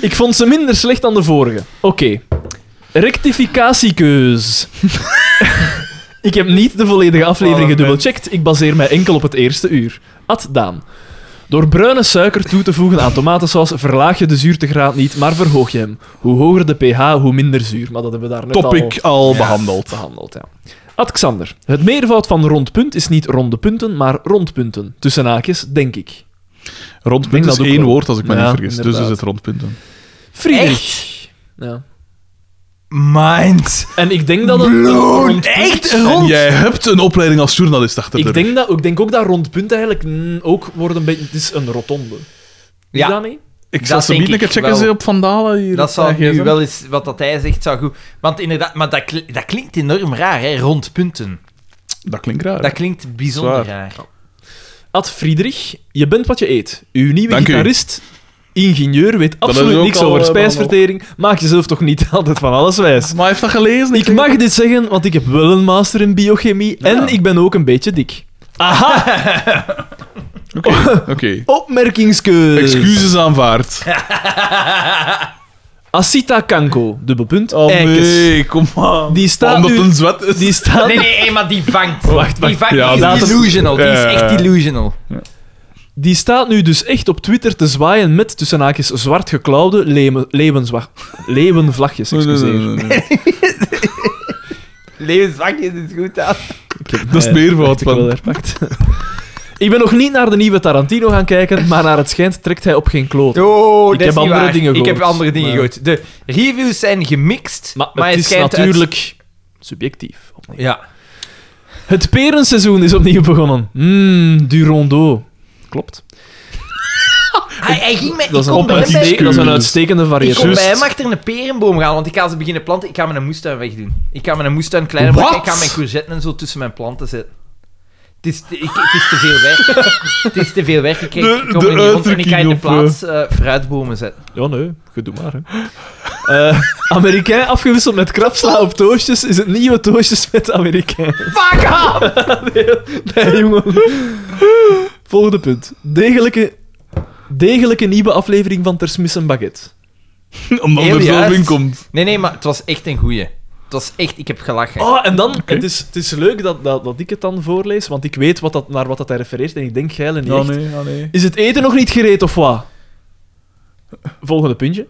Speaker 3: Ik vond ze minder slecht dan de vorige. Oké. Rectificatiekeus. ik heb niet de volledige aflevering gedubbelcheckt. Ik baseer mij enkel op het eerste uur. Ad Daan. Door bruine suiker toe te voegen aan tomatensaus verlaag je de zuurtegraad niet, maar verhoog je hem. Hoe hoger de pH, hoe minder zuur. Maar dat hebben we daar net al...
Speaker 2: Topic al behandeld.
Speaker 3: Behandeld, ja. Ad Xander. Het meervoud van rond punt is niet ronde punten, maar rondpunten. Tussen haakjes, denk ik.
Speaker 2: Rondpunt
Speaker 3: Ik denk
Speaker 2: is
Speaker 3: dat ook
Speaker 2: één
Speaker 3: wel.
Speaker 2: woord, als ik me
Speaker 3: Ja,
Speaker 2: niet vergis. Dus
Speaker 3: inderdaad.
Speaker 2: is het rondpunten.
Speaker 3: Friedrich. Ja.
Speaker 12: Mind.
Speaker 3: En ik denk dat het... een rond punt-
Speaker 12: Echt
Speaker 2: En
Speaker 12: rond.
Speaker 2: jij hebt een opleiding als journalist achter de
Speaker 3: Ik
Speaker 2: rug.
Speaker 3: denk, dat, ik denk ook dat rond punt eigenlijk mm, ook wordt een beetje... Het is een rotonde.
Speaker 1: Ja.
Speaker 3: Ja. Is dat niet?
Speaker 2: Ik zal
Speaker 1: dat
Speaker 2: ze
Speaker 1: denk
Speaker 2: een keer
Speaker 1: ik
Speaker 2: checken
Speaker 1: wel.
Speaker 2: ze op Vandalen hier.
Speaker 1: Dat
Speaker 2: op
Speaker 1: zou
Speaker 2: mijn
Speaker 1: nu
Speaker 2: gsm.
Speaker 1: wel eens, wat dat hij zegt, zou goed... Want inderdaad, maar dat, kli- dat klinkt enorm raar, hè, rond punten.
Speaker 2: Dat klinkt raar.
Speaker 1: Dat klinkt bijzonder
Speaker 2: Zwaar.
Speaker 1: raar.
Speaker 3: Ad Friedrich, je bent wat je eet. Uw nieuwe
Speaker 2: Dank u.
Speaker 3: gitarist, ingenieur, weet
Speaker 2: is
Speaker 3: absoluut
Speaker 2: ook
Speaker 3: niks
Speaker 2: al,
Speaker 3: over
Speaker 2: eh,
Speaker 3: spijsvertering. Maak jezelf toch niet altijd van alles wijs.
Speaker 2: Maar hij heeft dat gelezen.
Speaker 3: Ik mag dit zeggen, want ik heb wel een master in biochemie en ik ben ook een beetje dik. Aha,
Speaker 2: Oké. oké.
Speaker 3: opmerkingskeus.
Speaker 2: Excuses aanvaard.
Speaker 3: Asita Kanko, dubbelpunt.
Speaker 2: Oh
Speaker 3: Eikes.
Speaker 2: nee, kom aan.
Speaker 3: Die staat
Speaker 2: Omdat
Speaker 3: nu-
Speaker 2: het een zwet is.
Speaker 3: Die staat...
Speaker 1: Nee, nee, nee, maar die vangt. die vangt,
Speaker 2: ja,
Speaker 1: die
Speaker 3: dat
Speaker 1: is
Speaker 3: is-
Speaker 1: delusional. Die is
Speaker 2: Ja.
Speaker 1: echt delusional.
Speaker 3: Die staat nu dus echt op Twitter te zwaaien met tussen haakjes zwart geklauwde leeuwen- leeuwenzwa- leeuwenvlagjes.
Speaker 2: Nee, nee, nee,
Speaker 3: Excuseer.
Speaker 2: nee, nee.
Speaker 1: Levensvangjes is goed aan.
Speaker 2: Dat is het meervoud
Speaker 3: Ik wel
Speaker 2: van...
Speaker 3: herpakt. Eh, Ik ben nog niet naar de nieuwe Tarantino gaan kijken, maar naar het schijnt trekt hij op geen kloot.
Speaker 1: Oh,
Speaker 3: Ik
Speaker 1: dat is
Speaker 3: heb
Speaker 1: niet
Speaker 3: andere
Speaker 1: waar.
Speaker 3: dingen
Speaker 1: Ik
Speaker 3: gehoord,
Speaker 1: heb andere dingen
Speaker 3: maar-
Speaker 1: gehoord. De reviews zijn gemixt,
Speaker 3: Maar,
Speaker 1: maar,
Speaker 3: het is
Speaker 1: schijnt uit-
Speaker 3: natuurlijk subjectief. opnieuw.
Speaker 1: Ja.
Speaker 3: Het perenseizoen is opnieuw begonnen. Mmm, du rondeau. Klopt.
Speaker 1: Hij, hij ging mij... Ik
Speaker 3: Dat is, een
Speaker 1: kon bij hem bij-
Speaker 3: uitste- dat is een uitstekende
Speaker 1: ik kon
Speaker 3: variëteit.
Speaker 1: bij hem achter een perenboom gaan, want ik ga ze beginnen planten. Ik ga mijn moestuin wegdoen. Ik ga mijn moestuin kleiner maken. Ik ga mijn courgetten en zo tussen mijn planten zetten. Het is te, ik, het is te veel werk. het is te veel werk. Ik, ik,
Speaker 2: De-
Speaker 1: kom
Speaker 2: de
Speaker 1: er niet rond en ik ga in de
Speaker 2: uitdrukking op,
Speaker 1: plaats eh, fruitbomen zetten.
Speaker 3: Ja, nee, goed doe maar. Hè. Eh, Amerikain afgewisseld met krapsla op toastjes is het nieuwe toastjes met Amerikain.
Speaker 1: Fuck off!
Speaker 3: Nee, jongen. Volgende punt. Degelijke, degelijke nieuwe aflevering van Tersmis en Baguette.
Speaker 2: Omdat
Speaker 1: Heel
Speaker 2: er veel
Speaker 1: juist.
Speaker 2: in komt.
Speaker 1: Nee, nee, maar het was echt een goeie. Het was echt... Ik heb gelachen.
Speaker 3: Oh, en dan, het, is, het is leuk dat, dat, dat ik het dan voorlees, want ik weet wat dat, naar wat dat hij refereert en ik denk, geil en niet echt.
Speaker 2: Ah, nee, ja, nee.
Speaker 3: Is het eten nog niet gereed of wat? Volgende puntje.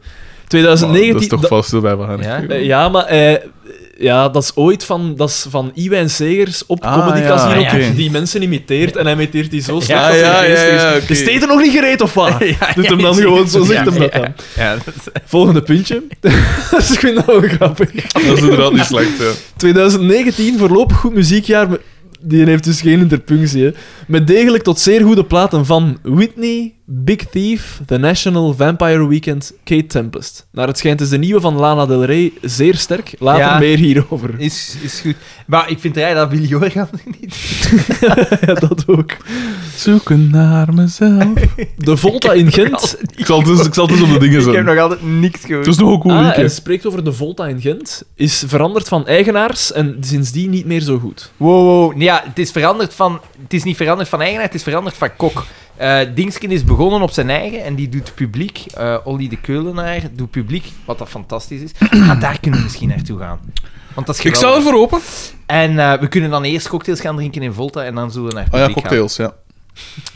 Speaker 3: 2019.
Speaker 2: Dat is toch
Speaker 3: da-
Speaker 2: vast bij we gaan.
Speaker 1: Ja.
Speaker 2: geven.
Speaker 3: Eh, ja, maar eh, ja, dat is ooit van, dat is van Iwijn Segers op
Speaker 2: Ah,
Speaker 3: Comedy
Speaker 2: ja,
Speaker 3: Casino,
Speaker 2: ja, oké.
Speaker 3: die mensen imiteert en hij imiteert die zo sterk
Speaker 2: Ja,
Speaker 3: dat hij
Speaker 2: ja, ja,
Speaker 3: geestig is.
Speaker 2: ja, oké.
Speaker 3: Is het eten nog niet gereed of wat? Doet hem dan gewoon zo, zegt hem dat dan. Volgende puntje. dus ik vind dat wel grappig.
Speaker 2: Dat is inderdaad niet slecht, ja.
Speaker 3: 2019, voorlopig goed muziekjaar. maar Die heeft dus geen interpunctie. Hè. Met degelijk tot zeer goede platen van Whitney, Big Thief, The National, Vampire Weekend, Kate Tempest. Naar het schijnt is de nieuwe van Lana Del Rey zeer sterk. Later
Speaker 1: Ja.
Speaker 3: meer hierover.
Speaker 1: Is, is goed. Maar ik vind rij dat Willy Jorgan niet...
Speaker 3: Ja, dat ook.
Speaker 2: Zoeken naar mezelf.
Speaker 3: De Volta in Gent.
Speaker 2: Ik zal het dus, ik zal het dus op de dingen
Speaker 1: Ik heb
Speaker 2: zetten.
Speaker 1: nog altijd niks
Speaker 2: Het
Speaker 1: gehoord.
Speaker 2: is nog een cool
Speaker 3: Ah, en
Speaker 2: weekend.
Speaker 3: spreekt over de Volta in Gent. Is veranderd van eigenaars en sindsdien niet meer zo goed.
Speaker 1: Wow, wow. Nee, Ja, het is veranderd van... Het is niet veranderd van eigenaar, het is veranderd van kok. Eh Dingsken is begonnen op zijn eigen en die doet publiek. eh Olly de Keulenaar doet publiek, wat dat fantastisch is. Ah, daar kunnen we misschien naartoe gaan. Want dat is
Speaker 2: Ik
Speaker 1: geweldig.
Speaker 2: sta ervoor open.
Speaker 1: En eh, we kunnen dan eerst cocktails gaan drinken in Volta en dan zullen we naar
Speaker 2: Ah
Speaker 1: publiek
Speaker 2: ja, cocktails, ja.
Speaker 1: gaan.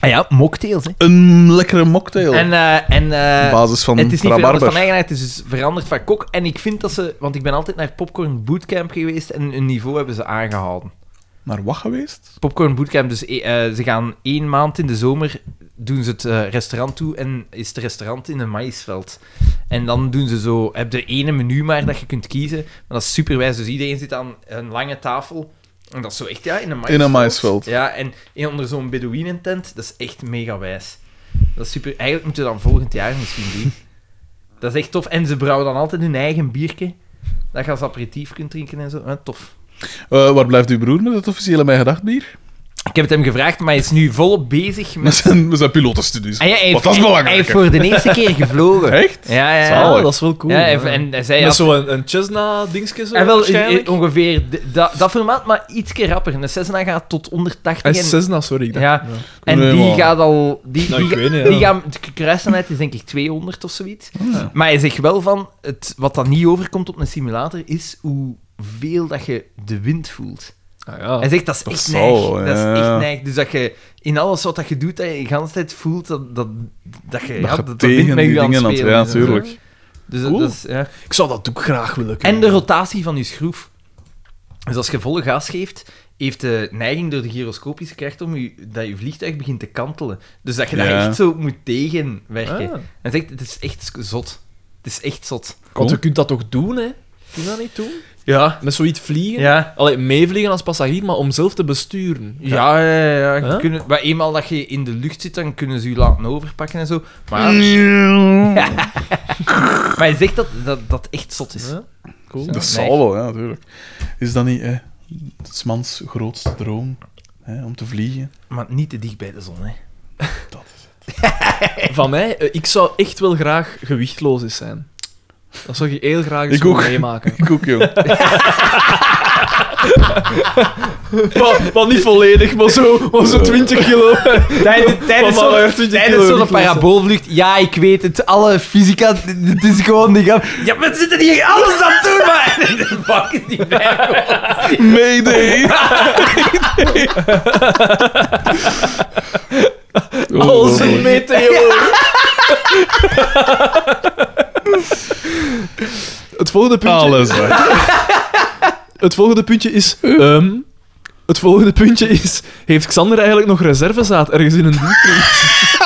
Speaker 1: Ah ja, mocktails, hè.
Speaker 2: Een lekkere mocktail.
Speaker 1: En, eh, en
Speaker 2: op
Speaker 1: eh,
Speaker 2: basis van
Speaker 1: het is niet veranderd
Speaker 2: rabarber.
Speaker 1: van eigenaar, het is dus veranderd van kok. En ik vind dat ze... Want ik ben altijd naar Popcorn Bootcamp geweest en hun niveau hebben ze aangehouden.
Speaker 2: Naar wat geweest?
Speaker 1: Popcorn Bootcamp, dus eh, eh, ze gaan één maand in de zomer doen ze het eh, restaurant toe en is het restaurant in een maïsveld. En dan doen ze zo, heb de ene menu maar dat je kunt kiezen, maar dat is superwijs. Dus iedereen zit aan een lange tafel en dat is zo echt ja, in een maïsveld.
Speaker 2: maïsveld.
Speaker 1: Ja, en in- onder zo'n Bedouinentent, dat is echt mega wijs. Dat is super. Eigenlijk moeten we dat volgend jaar misschien doen. Dat is echt tof. En ze brouwen dan altijd hun eigen biertje. Dat je als aperitief kunt drinken en zo. Eh, tof.
Speaker 2: Eh, waar blijft uw broer met het officiële Mijn Gedacht bier?
Speaker 1: Ik heb het hem gevraagd, maar hij is nu volop bezig
Speaker 2: Met
Speaker 1: met...
Speaker 2: zijn, met zijn pilotenstudies.
Speaker 1: Ah ja, hij
Speaker 2: Want
Speaker 1: heeft-
Speaker 2: dat is
Speaker 1: hij- Hij heeft
Speaker 2: belangrijk.
Speaker 1: voor de eerste keer gevlogen.
Speaker 2: Echt?
Speaker 1: Ja, ja, ja.
Speaker 3: Ah, dat is wel cool.
Speaker 1: Ja,
Speaker 3: Ja,
Speaker 1: hij- en hij zei...
Speaker 3: Met
Speaker 1: af-
Speaker 3: zo'n een Cessna-dingetje zo,
Speaker 1: hij wel,
Speaker 3: waarschijnlijk.
Speaker 1: eh, ongeveer d- dat, dat formaat, maar iets keer rapper. Een Cessna gaat tot 180
Speaker 3: Hij
Speaker 1: en-
Speaker 3: is Eh, Cessna, sorry. ik dacht-
Speaker 1: Ja, en
Speaker 2: Nee,
Speaker 1: die
Speaker 2: maar-
Speaker 1: gaat al... Die,
Speaker 3: Nou,
Speaker 1: die,
Speaker 3: ik weet niet,
Speaker 1: die
Speaker 3: ja.
Speaker 1: gaan... De kruissnelheid is denk ik 200 of zoiets. Maar hij zegt wel van... Het, wat dat niet overkomt op een simulator, is hoeveel dat je de wind voelt.
Speaker 3: Ah, ja.
Speaker 1: Hij zegt, dat is echt
Speaker 2: zal
Speaker 1: neig.
Speaker 2: wel,
Speaker 1: Dat is
Speaker 2: ja.
Speaker 1: echt neig. Dus dat je in alles wat dat je doet, dat je de hele tijd voelt dat, dat, dat je ja,
Speaker 2: Dat je
Speaker 1: dat, dat wind
Speaker 2: tegen
Speaker 1: met
Speaker 2: die
Speaker 1: je aan het
Speaker 2: dingen aan het...
Speaker 1: spelen
Speaker 2: Ja,
Speaker 1: is en zo.
Speaker 2: natuurlijk.
Speaker 1: Dus, dat-
Speaker 3: Cool.
Speaker 1: dat is, ja.
Speaker 3: Ik zou dat ook graag willen kunnen.
Speaker 1: En de rotatie van je schroef. Dus als je volle gas geeft, heeft de neiging door de gyroscopische kracht om je, dat je vliegtuig begint te kantelen. Dus dat je daar
Speaker 2: Ja.
Speaker 1: echt zo moet tegenwerken.
Speaker 3: Ah.
Speaker 1: Hij zegt, het is echt zot. Het is echt zot.
Speaker 3: Want je kunt dat toch doen, hè? Kun je dat niet doen?
Speaker 1: Ja.
Speaker 3: Met zoiets vliegen?
Speaker 1: Ja.
Speaker 3: Allee, meevliegen als passagier, maar om zelf te besturen.
Speaker 1: Ja, ja, ja. ja. Je
Speaker 3: Huh?
Speaker 1: kunt het- maar eenmaal dat je in de lucht zit, dan kunnen ze je laten overpakken en zo. Maar Maar hij zegt dat dat, dat echt zot is.
Speaker 3: Ja. Cool.
Speaker 2: Dat
Speaker 1: Nee.
Speaker 2: zal wel, ja, natuurlijk. Is dat niet hè, het is mans grootste droom? Hè, om te vliegen?
Speaker 1: Maar niet te dicht bij de zon, hè.
Speaker 3: Van mij, eh, ik zou echt wel graag gewichtloos eens zijn. Dat zou je heel graag eens
Speaker 2: Ik ook.
Speaker 3: willen meemaken.
Speaker 2: Ik ook, joh.
Speaker 3: maar, maar niet volledig, maar zo, maar zo 20 kilo.
Speaker 1: Tijdens
Speaker 3: Van maar
Speaker 1: zo'n
Speaker 3: 20
Speaker 1: tijdens
Speaker 3: kilo
Speaker 1: zo'n
Speaker 3: gewichtloos.
Speaker 1: paraboolvlucht, ja, ik weet het, alle fysica, het is gewoon niet grap. Ja, maar we zitten hier alles aan toe, maar... De bak is niet bij.
Speaker 2: Mayday! Als een
Speaker 3: meteor. Het volgende puntje,
Speaker 2: Alles weg.
Speaker 3: het volgende puntje is... ehm, het volgende puntje is... Heeft Xander eigenlijk nog reservezaad ergens in een diep?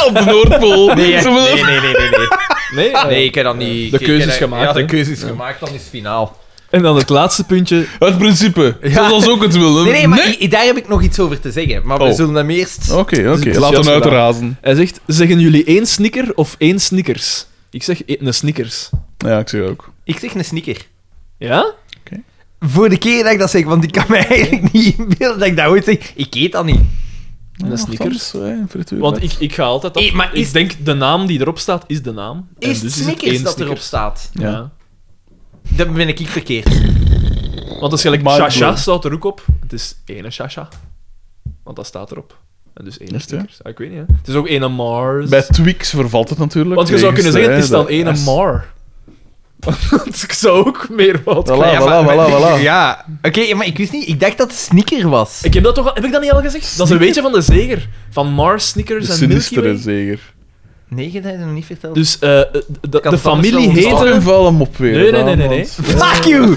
Speaker 2: Op de Noordpool.
Speaker 1: Nee,
Speaker 2: Zo van-
Speaker 1: nee, nee, nee, nee.
Speaker 3: Nee, eh,
Speaker 1: Nee, ik heb dat niet...
Speaker 3: De
Speaker 1: ik- ik
Speaker 3: keuze
Speaker 1: heb
Speaker 3: is
Speaker 1: dat-
Speaker 3: gemaakt,
Speaker 1: Ja, de
Speaker 3: hè. Ehm,
Speaker 1: keuze is gemaakt, dan is het finaal.
Speaker 3: En dan het laatste puntje.
Speaker 2: Het principe. Zoals ons ook het willen.
Speaker 1: Nee, nee, maar i- daar heb ik nog iets over te zeggen. Maar
Speaker 2: Oh.
Speaker 1: we zullen hem eerst...
Speaker 2: Oké, oké.
Speaker 3: Dus het
Speaker 2: Laten
Speaker 3: is
Speaker 2: we
Speaker 3: juist
Speaker 2: uitrazen.
Speaker 3: Hij zegt, zeggen jullie één snicker of één snickers? Ik zeg e- een snickers.
Speaker 2: Ja, ik zie ook.
Speaker 1: Ik zeg een sneaker.
Speaker 3: Ja?
Speaker 1: Voor de keer dat ik dat zeg, want ik kan me eigenlijk niet inbeelden dat ik dat ooit zeg. Ik eet dat niet.
Speaker 3: Een snickers.
Speaker 2: eh,
Speaker 3: Want
Speaker 2: Want
Speaker 3: ik, ik ga altijd af.
Speaker 1: Eh, maar is-
Speaker 3: Ik denk, de naam die erop staat, is de naam. En
Speaker 1: Is
Speaker 3: dus het
Speaker 1: sneakers
Speaker 3: één
Speaker 1: dat
Speaker 3: Snickers.
Speaker 1: erop staat?
Speaker 3: Ja.
Speaker 1: Dan ben ik verkeerd.
Speaker 3: Want als gelijk
Speaker 2: Maar-
Speaker 3: Shasha staat er ook op. Het is ene Shasha. Want dat staat erop. En dus ene
Speaker 2: Is het, ja?
Speaker 3: Snickers. Ah, ik weet niet, hè. Het is ook ene Mars.
Speaker 2: Bij Twix vervalt het natuurlijk.
Speaker 3: Want je zou kunnen zeggen, het is dan
Speaker 2: één
Speaker 3: ene Mar. Want ik zou ook meer wat
Speaker 2: Voilà, voilà, voilà, voilà.
Speaker 1: Ja, oké, maar ik wist niet. Ik dacht dat het sneaker was.
Speaker 3: Ik heb dat toch al, heb ik dat niet al gezegd? Dat is een beetje van de zeger. Van Mars, Snickers
Speaker 2: De
Speaker 3: en Milky
Speaker 2: sinistere
Speaker 3: Way.
Speaker 2: zeker.
Speaker 1: Nee, je hebt het nog niet verteld.
Speaker 3: Dus eh, eh, de- de,
Speaker 1: het
Speaker 3: familie
Speaker 1: anders wel
Speaker 3: heette...
Speaker 2: Peter en val hem op weer.
Speaker 3: Nee, nee,
Speaker 2: dan,
Speaker 3: nee, nee, nee.
Speaker 2: want-
Speaker 1: Fuck you!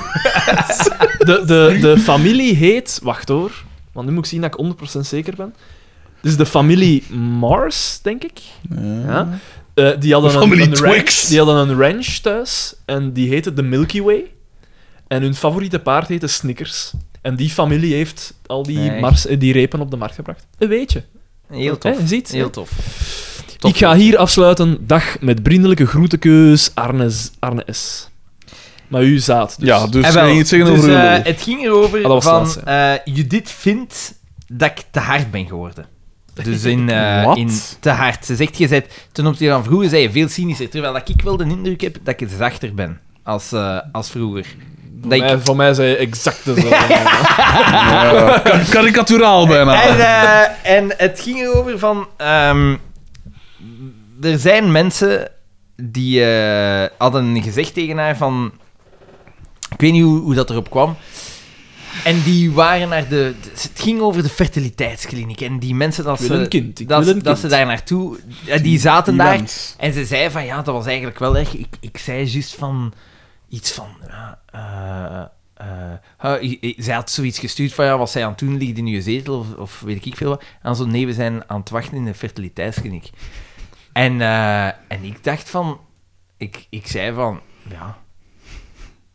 Speaker 3: De, de, de familie heet... Wacht hoor. Want nu moet ik zien dat ik 100% zeker ben. Dus de familie Mars, denk ik. Ja. Eh, die hadden
Speaker 2: De
Speaker 3: een,
Speaker 2: familie
Speaker 3: een ranch,
Speaker 2: Twix.
Speaker 3: die hadden een ranch thuis. En die heette de Milky Way. En hun favoriete paard heette Snickers. En die familie heeft al die,
Speaker 1: Nee.
Speaker 3: mars, eh, die repen op de markt gebracht. Een weetje.
Speaker 1: Heel
Speaker 3: Hè, je
Speaker 1: tof.
Speaker 3: ziet,
Speaker 1: Heel
Speaker 3: hè?
Speaker 1: tof. Tof.
Speaker 3: Ik ga hier afsluiten. Dag met vriendelijke groetekeus Arne, Z- Arne S. Maar u zaad. Dus.
Speaker 2: Ja, dus
Speaker 1: Eh,
Speaker 2: ik
Speaker 1: wel.
Speaker 2: ging iets zeggen
Speaker 1: Dus,
Speaker 2: over
Speaker 1: eh,
Speaker 2: jullie.
Speaker 1: het ging erover
Speaker 3: Ah, dat was
Speaker 1: van...
Speaker 3: het
Speaker 1: eh, Judith vindt dat ik te hard ben geworden. Dus in, eh,
Speaker 2: Wat?
Speaker 1: in te hard. Ze zegt, je bent, ten opzichte van vroeger zei je veel cynischer. Terwijl dat ik wel de indruk heb dat ik zachter ben als, eh, als vroeger. Dat ik
Speaker 3: Mij- Voor mij zei je exact dezelfde.
Speaker 2: Ja. eh, Kar- Karikaturaal bijna.
Speaker 1: En, eh, en het ging erover van... ehm, er zijn mensen die eh, hadden gezegd tegen haar van... Ik weet niet hoe, hoe dat erop kwam. En die waren naar de... Het ging over de fertiliteitskliniek. En die mensen dat
Speaker 3: Ik
Speaker 1: ze...
Speaker 3: wil een kind, ik
Speaker 1: dat,
Speaker 3: wil
Speaker 1: ze-
Speaker 3: een
Speaker 1: dat ze
Speaker 3: kind.
Speaker 1: daar naartoe... ja, die zaten
Speaker 2: Die
Speaker 1: daar.
Speaker 2: mens.
Speaker 1: En ze zei van... Ja, dat was eigenlijk wel erg. Ik, ik zei juist van... Iets van... ja, eh, eh, ha, i- i- zij had zoiets gestuurd van, ja, was zij aan het doen, ligt in je zetel of, of weet ik veel wat. En zo, nee, we zijn aan het wachten in de fertiliteitskliniek. En, eh, en ik dacht van, ik, ik zei van, ja.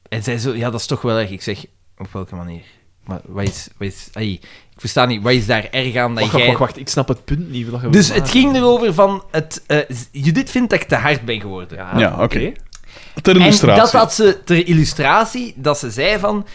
Speaker 1: En zij zo, ja, dat is toch wel erg. Ik zeg, op welke manier? Maar wat is, wat is, ai, ik versta niet, wat is daar erg aan dat
Speaker 3: Wacht, wacht,
Speaker 1: jij...
Speaker 3: wacht, wacht, ik snap het punt niet. wat je
Speaker 1: Dus
Speaker 3: wilt
Speaker 1: het
Speaker 3: maken.
Speaker 1: ging erover van, het, eh, Judith vindt dat ik te hard ben geworden.
Speaker 2: Ja, oké.
Speaker 3: Ah, oké.
Speaker 2: Ter
Speaker 1: En dat
Speaker 2: illustratie.
Speaker 1: had ze ter illustratie, dat ze zei van...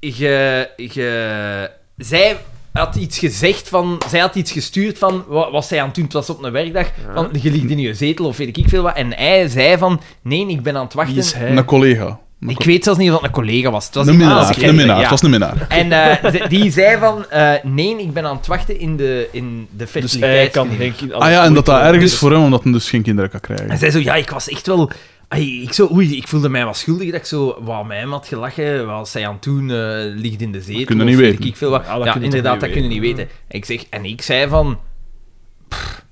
Speaker 1: Je, je, zij had iets gezegd van... Zij had iets gestuurd van wat, wat zij aan het doen was op een werkdag. Van, je ligt in je zetel of weet ik veel wat. En hij zei van, nee, ik ben aan het wachten.
Speaker 3: Wie is hij?
Speaker 2: Een collega.
Speaker 1: Ik weet zelfs niet of dat een collega was. Het was
Speaker 2: Een
Speaker 1: iemand als
Speaker 3: Ah,
Speaker 1: ik
Speaker 2: minnaar.
Speaker 1: kende,
Speaker 2: Een minnaar.
Speaker 1: ja.
Speaker 2: Het was een minnaar.
Speaker 1: En eh, ze- die zei van, eh, nee, ik ben aan het wachten in de, in de
Speaker 3: Dus hij kan
Speaker 1: fertiliteitskliniek.
Speaker 3: geen kind...
Speaker 2: Ah ja, en dat dat erg is voor hem, omdat hij dus geen kinderen kan krijgen.
Speaker 1: En zij zo, ja, ik was echt wel... Ai, ik, zo, oei, ik voelde mij wat schuldig dat ik zo wat mij had gelachen. Wat zij aan het doen eh, ligt in de zetel.
Speaker 2: Dat kunnen
Speaker 1: of
Speaker 2: niet
Speaker 1: weet
Speaker 2: weten.
Speaker 1: Ik veel wat.
Speaker 3: Ja,
Speaker 1: Ja,
Speaker 3: dat kunnen we
Speaker 1: inderdaad,
Speaker 3: toch
Speaker 1: dat
Speaker 3: niet
Speaker 1: kunnen we niet weten. En ik, zeg, en ik zei van... pff,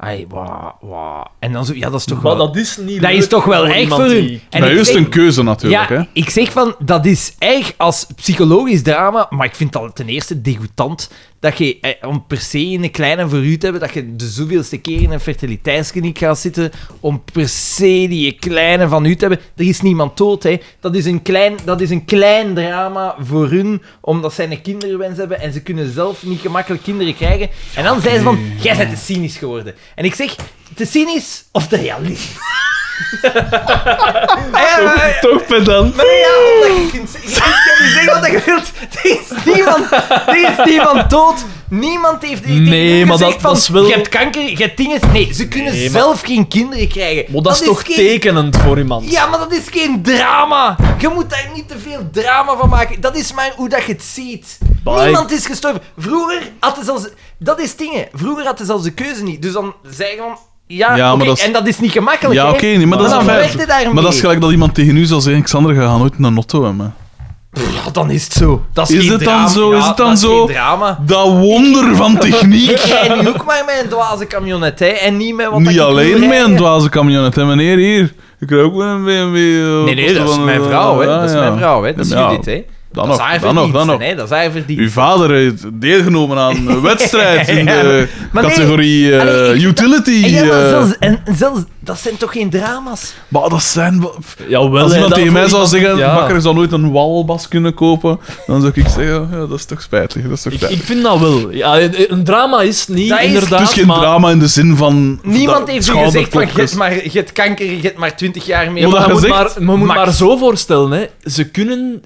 Speaker 1: Ai, wa, wa. En dan zo, ja, dat is toch
Speaker 3: Maar
Speaker 1: wel...
Speaker 3: dat is niet
Speaker 1: Dat
Speaker 3: leuk
Speaker 1: is toch wel
Speaker 3: voor
Speaker 1: erg
Speaker 3: iemand
Speaker 1: voor hun.
Speaker 3: die-
Speaker 1: En
Speaker 2: Bij
Speaker 1: ik
Speaker 2: u is het
Speaker 1: zeg-
Speaker 2: een keuze natuurlijk. hè.
Speaker 1: ja, ik zeg van, dat is erg als psychologisch drama, maar ik vind dat ten eerste degoutant dat je, eh, om per se in een kleine voor u te hebben, dat je de zoveelste keer in een fertiliteitskliniek gaat zitten, om per se die kleine van u te hebben. Er is niemand dood, hè. Dat is een klein, dat is een klein drama voor hun, omdat zij een kinderwens hebben en ze kunnen zelf niet gemakkelijk kinderen krijgen. En dan zijn ze van, jij bent te cynisch geworden. En ik zeg, te cynisch of te realist? Ja, maar-
Speaker 3: Toch pedant.
Speaker 1: maar nee, ja, omdat je kunt zeggen- je kunt zeggen wat je wilt. Er is niemand, er is niemand dood. Niemand heeft tegen
Speaker 3: Nee,
Speaker 1: hun
Speaker 3: maar
Speaker 1: gezegd
Speaker 3: dat-
Speaker 1: van,
Speaker 3: dat is wel-
Speaker 1: Je hebt kanker, je hebt dingen... Nee, ze kunnen
Speaker 3: Nee, maar-
Speaker 1: zelf geen kinderen krijgen.
Speaker 3: Maar dat is toch
Speaker 1: geen-
Speaker 3: tekenend voor iemand.
Speaker 1: Ja, maar dat is geen drama. Je moet daar niet te veel drama van maken. Dat is maar hoe dat je het ziet.
Speaker 3: Bye.
Speaker 1: Niemand is gestorven. Vroeger hadden ze zelfs... Dat is dingen. Vroeger hadden ze zelfs de keuze niet. Dus dan zeggen van... Ja,
Speaker 2: Ja, maar
Speaker 1: oké,
Speaker 2: dat is-
Speaker 1: en dat is niet gemakkelijk,
Speaker 2: Ja,
Speaker 1: hè.
Speaker 2: oké, nee, maar dat is
Speaker 1: dan
Speaker 2: een
Speaker 1: werkt het
Speaker 2: feit.
Speaker 1: daarmee.
Speaker 2: Maar dat is gelijk dat iemand tegen u zal zeggen: Xander, je gaat nooit een auto hebben.
Speaker 1: Ja, Ah, dan is het zo. Dat is,
Speaker 2: Is
Speaker 1: geen
Speaker 2: het dan
Speaker 1: drama.
Speaker 2: zo?
Speaker 1: Ja,
Speaker 2: Is het dan
Speaker 1: dat is
Speaker 2: zo?
Speaker 1: geen drama.
Speaker 2: Dat wonder van
Speaker 1: Ik
Speaker 2: techniek.
Speaker 1: rij nu ook maar met een dwaze camionet, hè. En niet met wat dat
Speaker 2: Niet
Speaker 1: ik wil
Speaker 2: alleen met
Speaker 1: rijden.
Speaker 2: een dwaze camionet, hè, meneer hier. Ik krijg ook wel een BMW. eh,
Speaker 1: Nee, nee,
Speaker 2: kosten
Speaker 1: dat is
Speaker 2: van,
Speaker 1: mijn
Speaker 2: eh,
Speaker 1: vrouw, hè.
Speaker 2: ja,
Speaker 1: Dat is
Speaker 2: ja.
Speaker 1: mijn vrouw, hè. Dat is
Speaker 2: Ja,
Speaker 1: Judith, hè.
Speaker 2: Dan
Speaker 1: dat
Speaker 2: nog,
Speaker 1: is haar
Speaker 2: dan nog,
Speaker 1: verdiensten,
Speaker 2: dan nog.
Speaker 1: hè. Dat is haar verdienst.
Speaker 2: Uw vader heeft deelgenomen aan een wedstrijd in de
Speaker 1: maar nee,
Speaker 2: categorie eh,
Speaker 1: allee, ik-
Speaker 2: utility.
Speaker 1: En, ja, maar
Speaker 2: eh.
Speaker 1: zelfs, en zelfs, dat zijn toch geen drama's?
Speaker 2: maar dat zijn... wel-
Speaker 3: Jawel,
Speaker 2: Als
Speaker 3: hè,
Speaker 2: iemand
Speaker 3: dat
Speaker 2: tegen
Speaker 3: voor
Speaker 2: mij zou zeggen,
Speaker 3: iemand- Ja.
Speaker 2: bakker zou nooit een walbas kunnen kopen, dan zou ik zeggen, ja, dat is toch spijtig, dat is toch
Speaker 3: Ik,
Speaker 2: spijtig.
Speaker 3: ik vind dat wel. Ja, een drama is het niet,
Speaker 1: Dat is-
Speaker 3: inderdaad.
Speaker 2: het is geen
Speaker 3: maar...
Speaker 2: drama in de zin van...
Speaker 1: Niemand
Speaker 2: dat
Speaker 1: heeft u gezegd van, je
Speaker 2: schouderklopjes.
Speaker 1: hebt maar, je hebt kanker, je hebt maar 20 jaar meer.
Speaker 2: Ja,
Speaker 3: Maar
Speaker 2: dat
Speaker 3: je moet,
Speaker 2: gezegd,
Speaker 3: maar, maar je moet
Speaker 1: Max.
Speaker 3: maar zo voorstellen, hè. ze kunnen.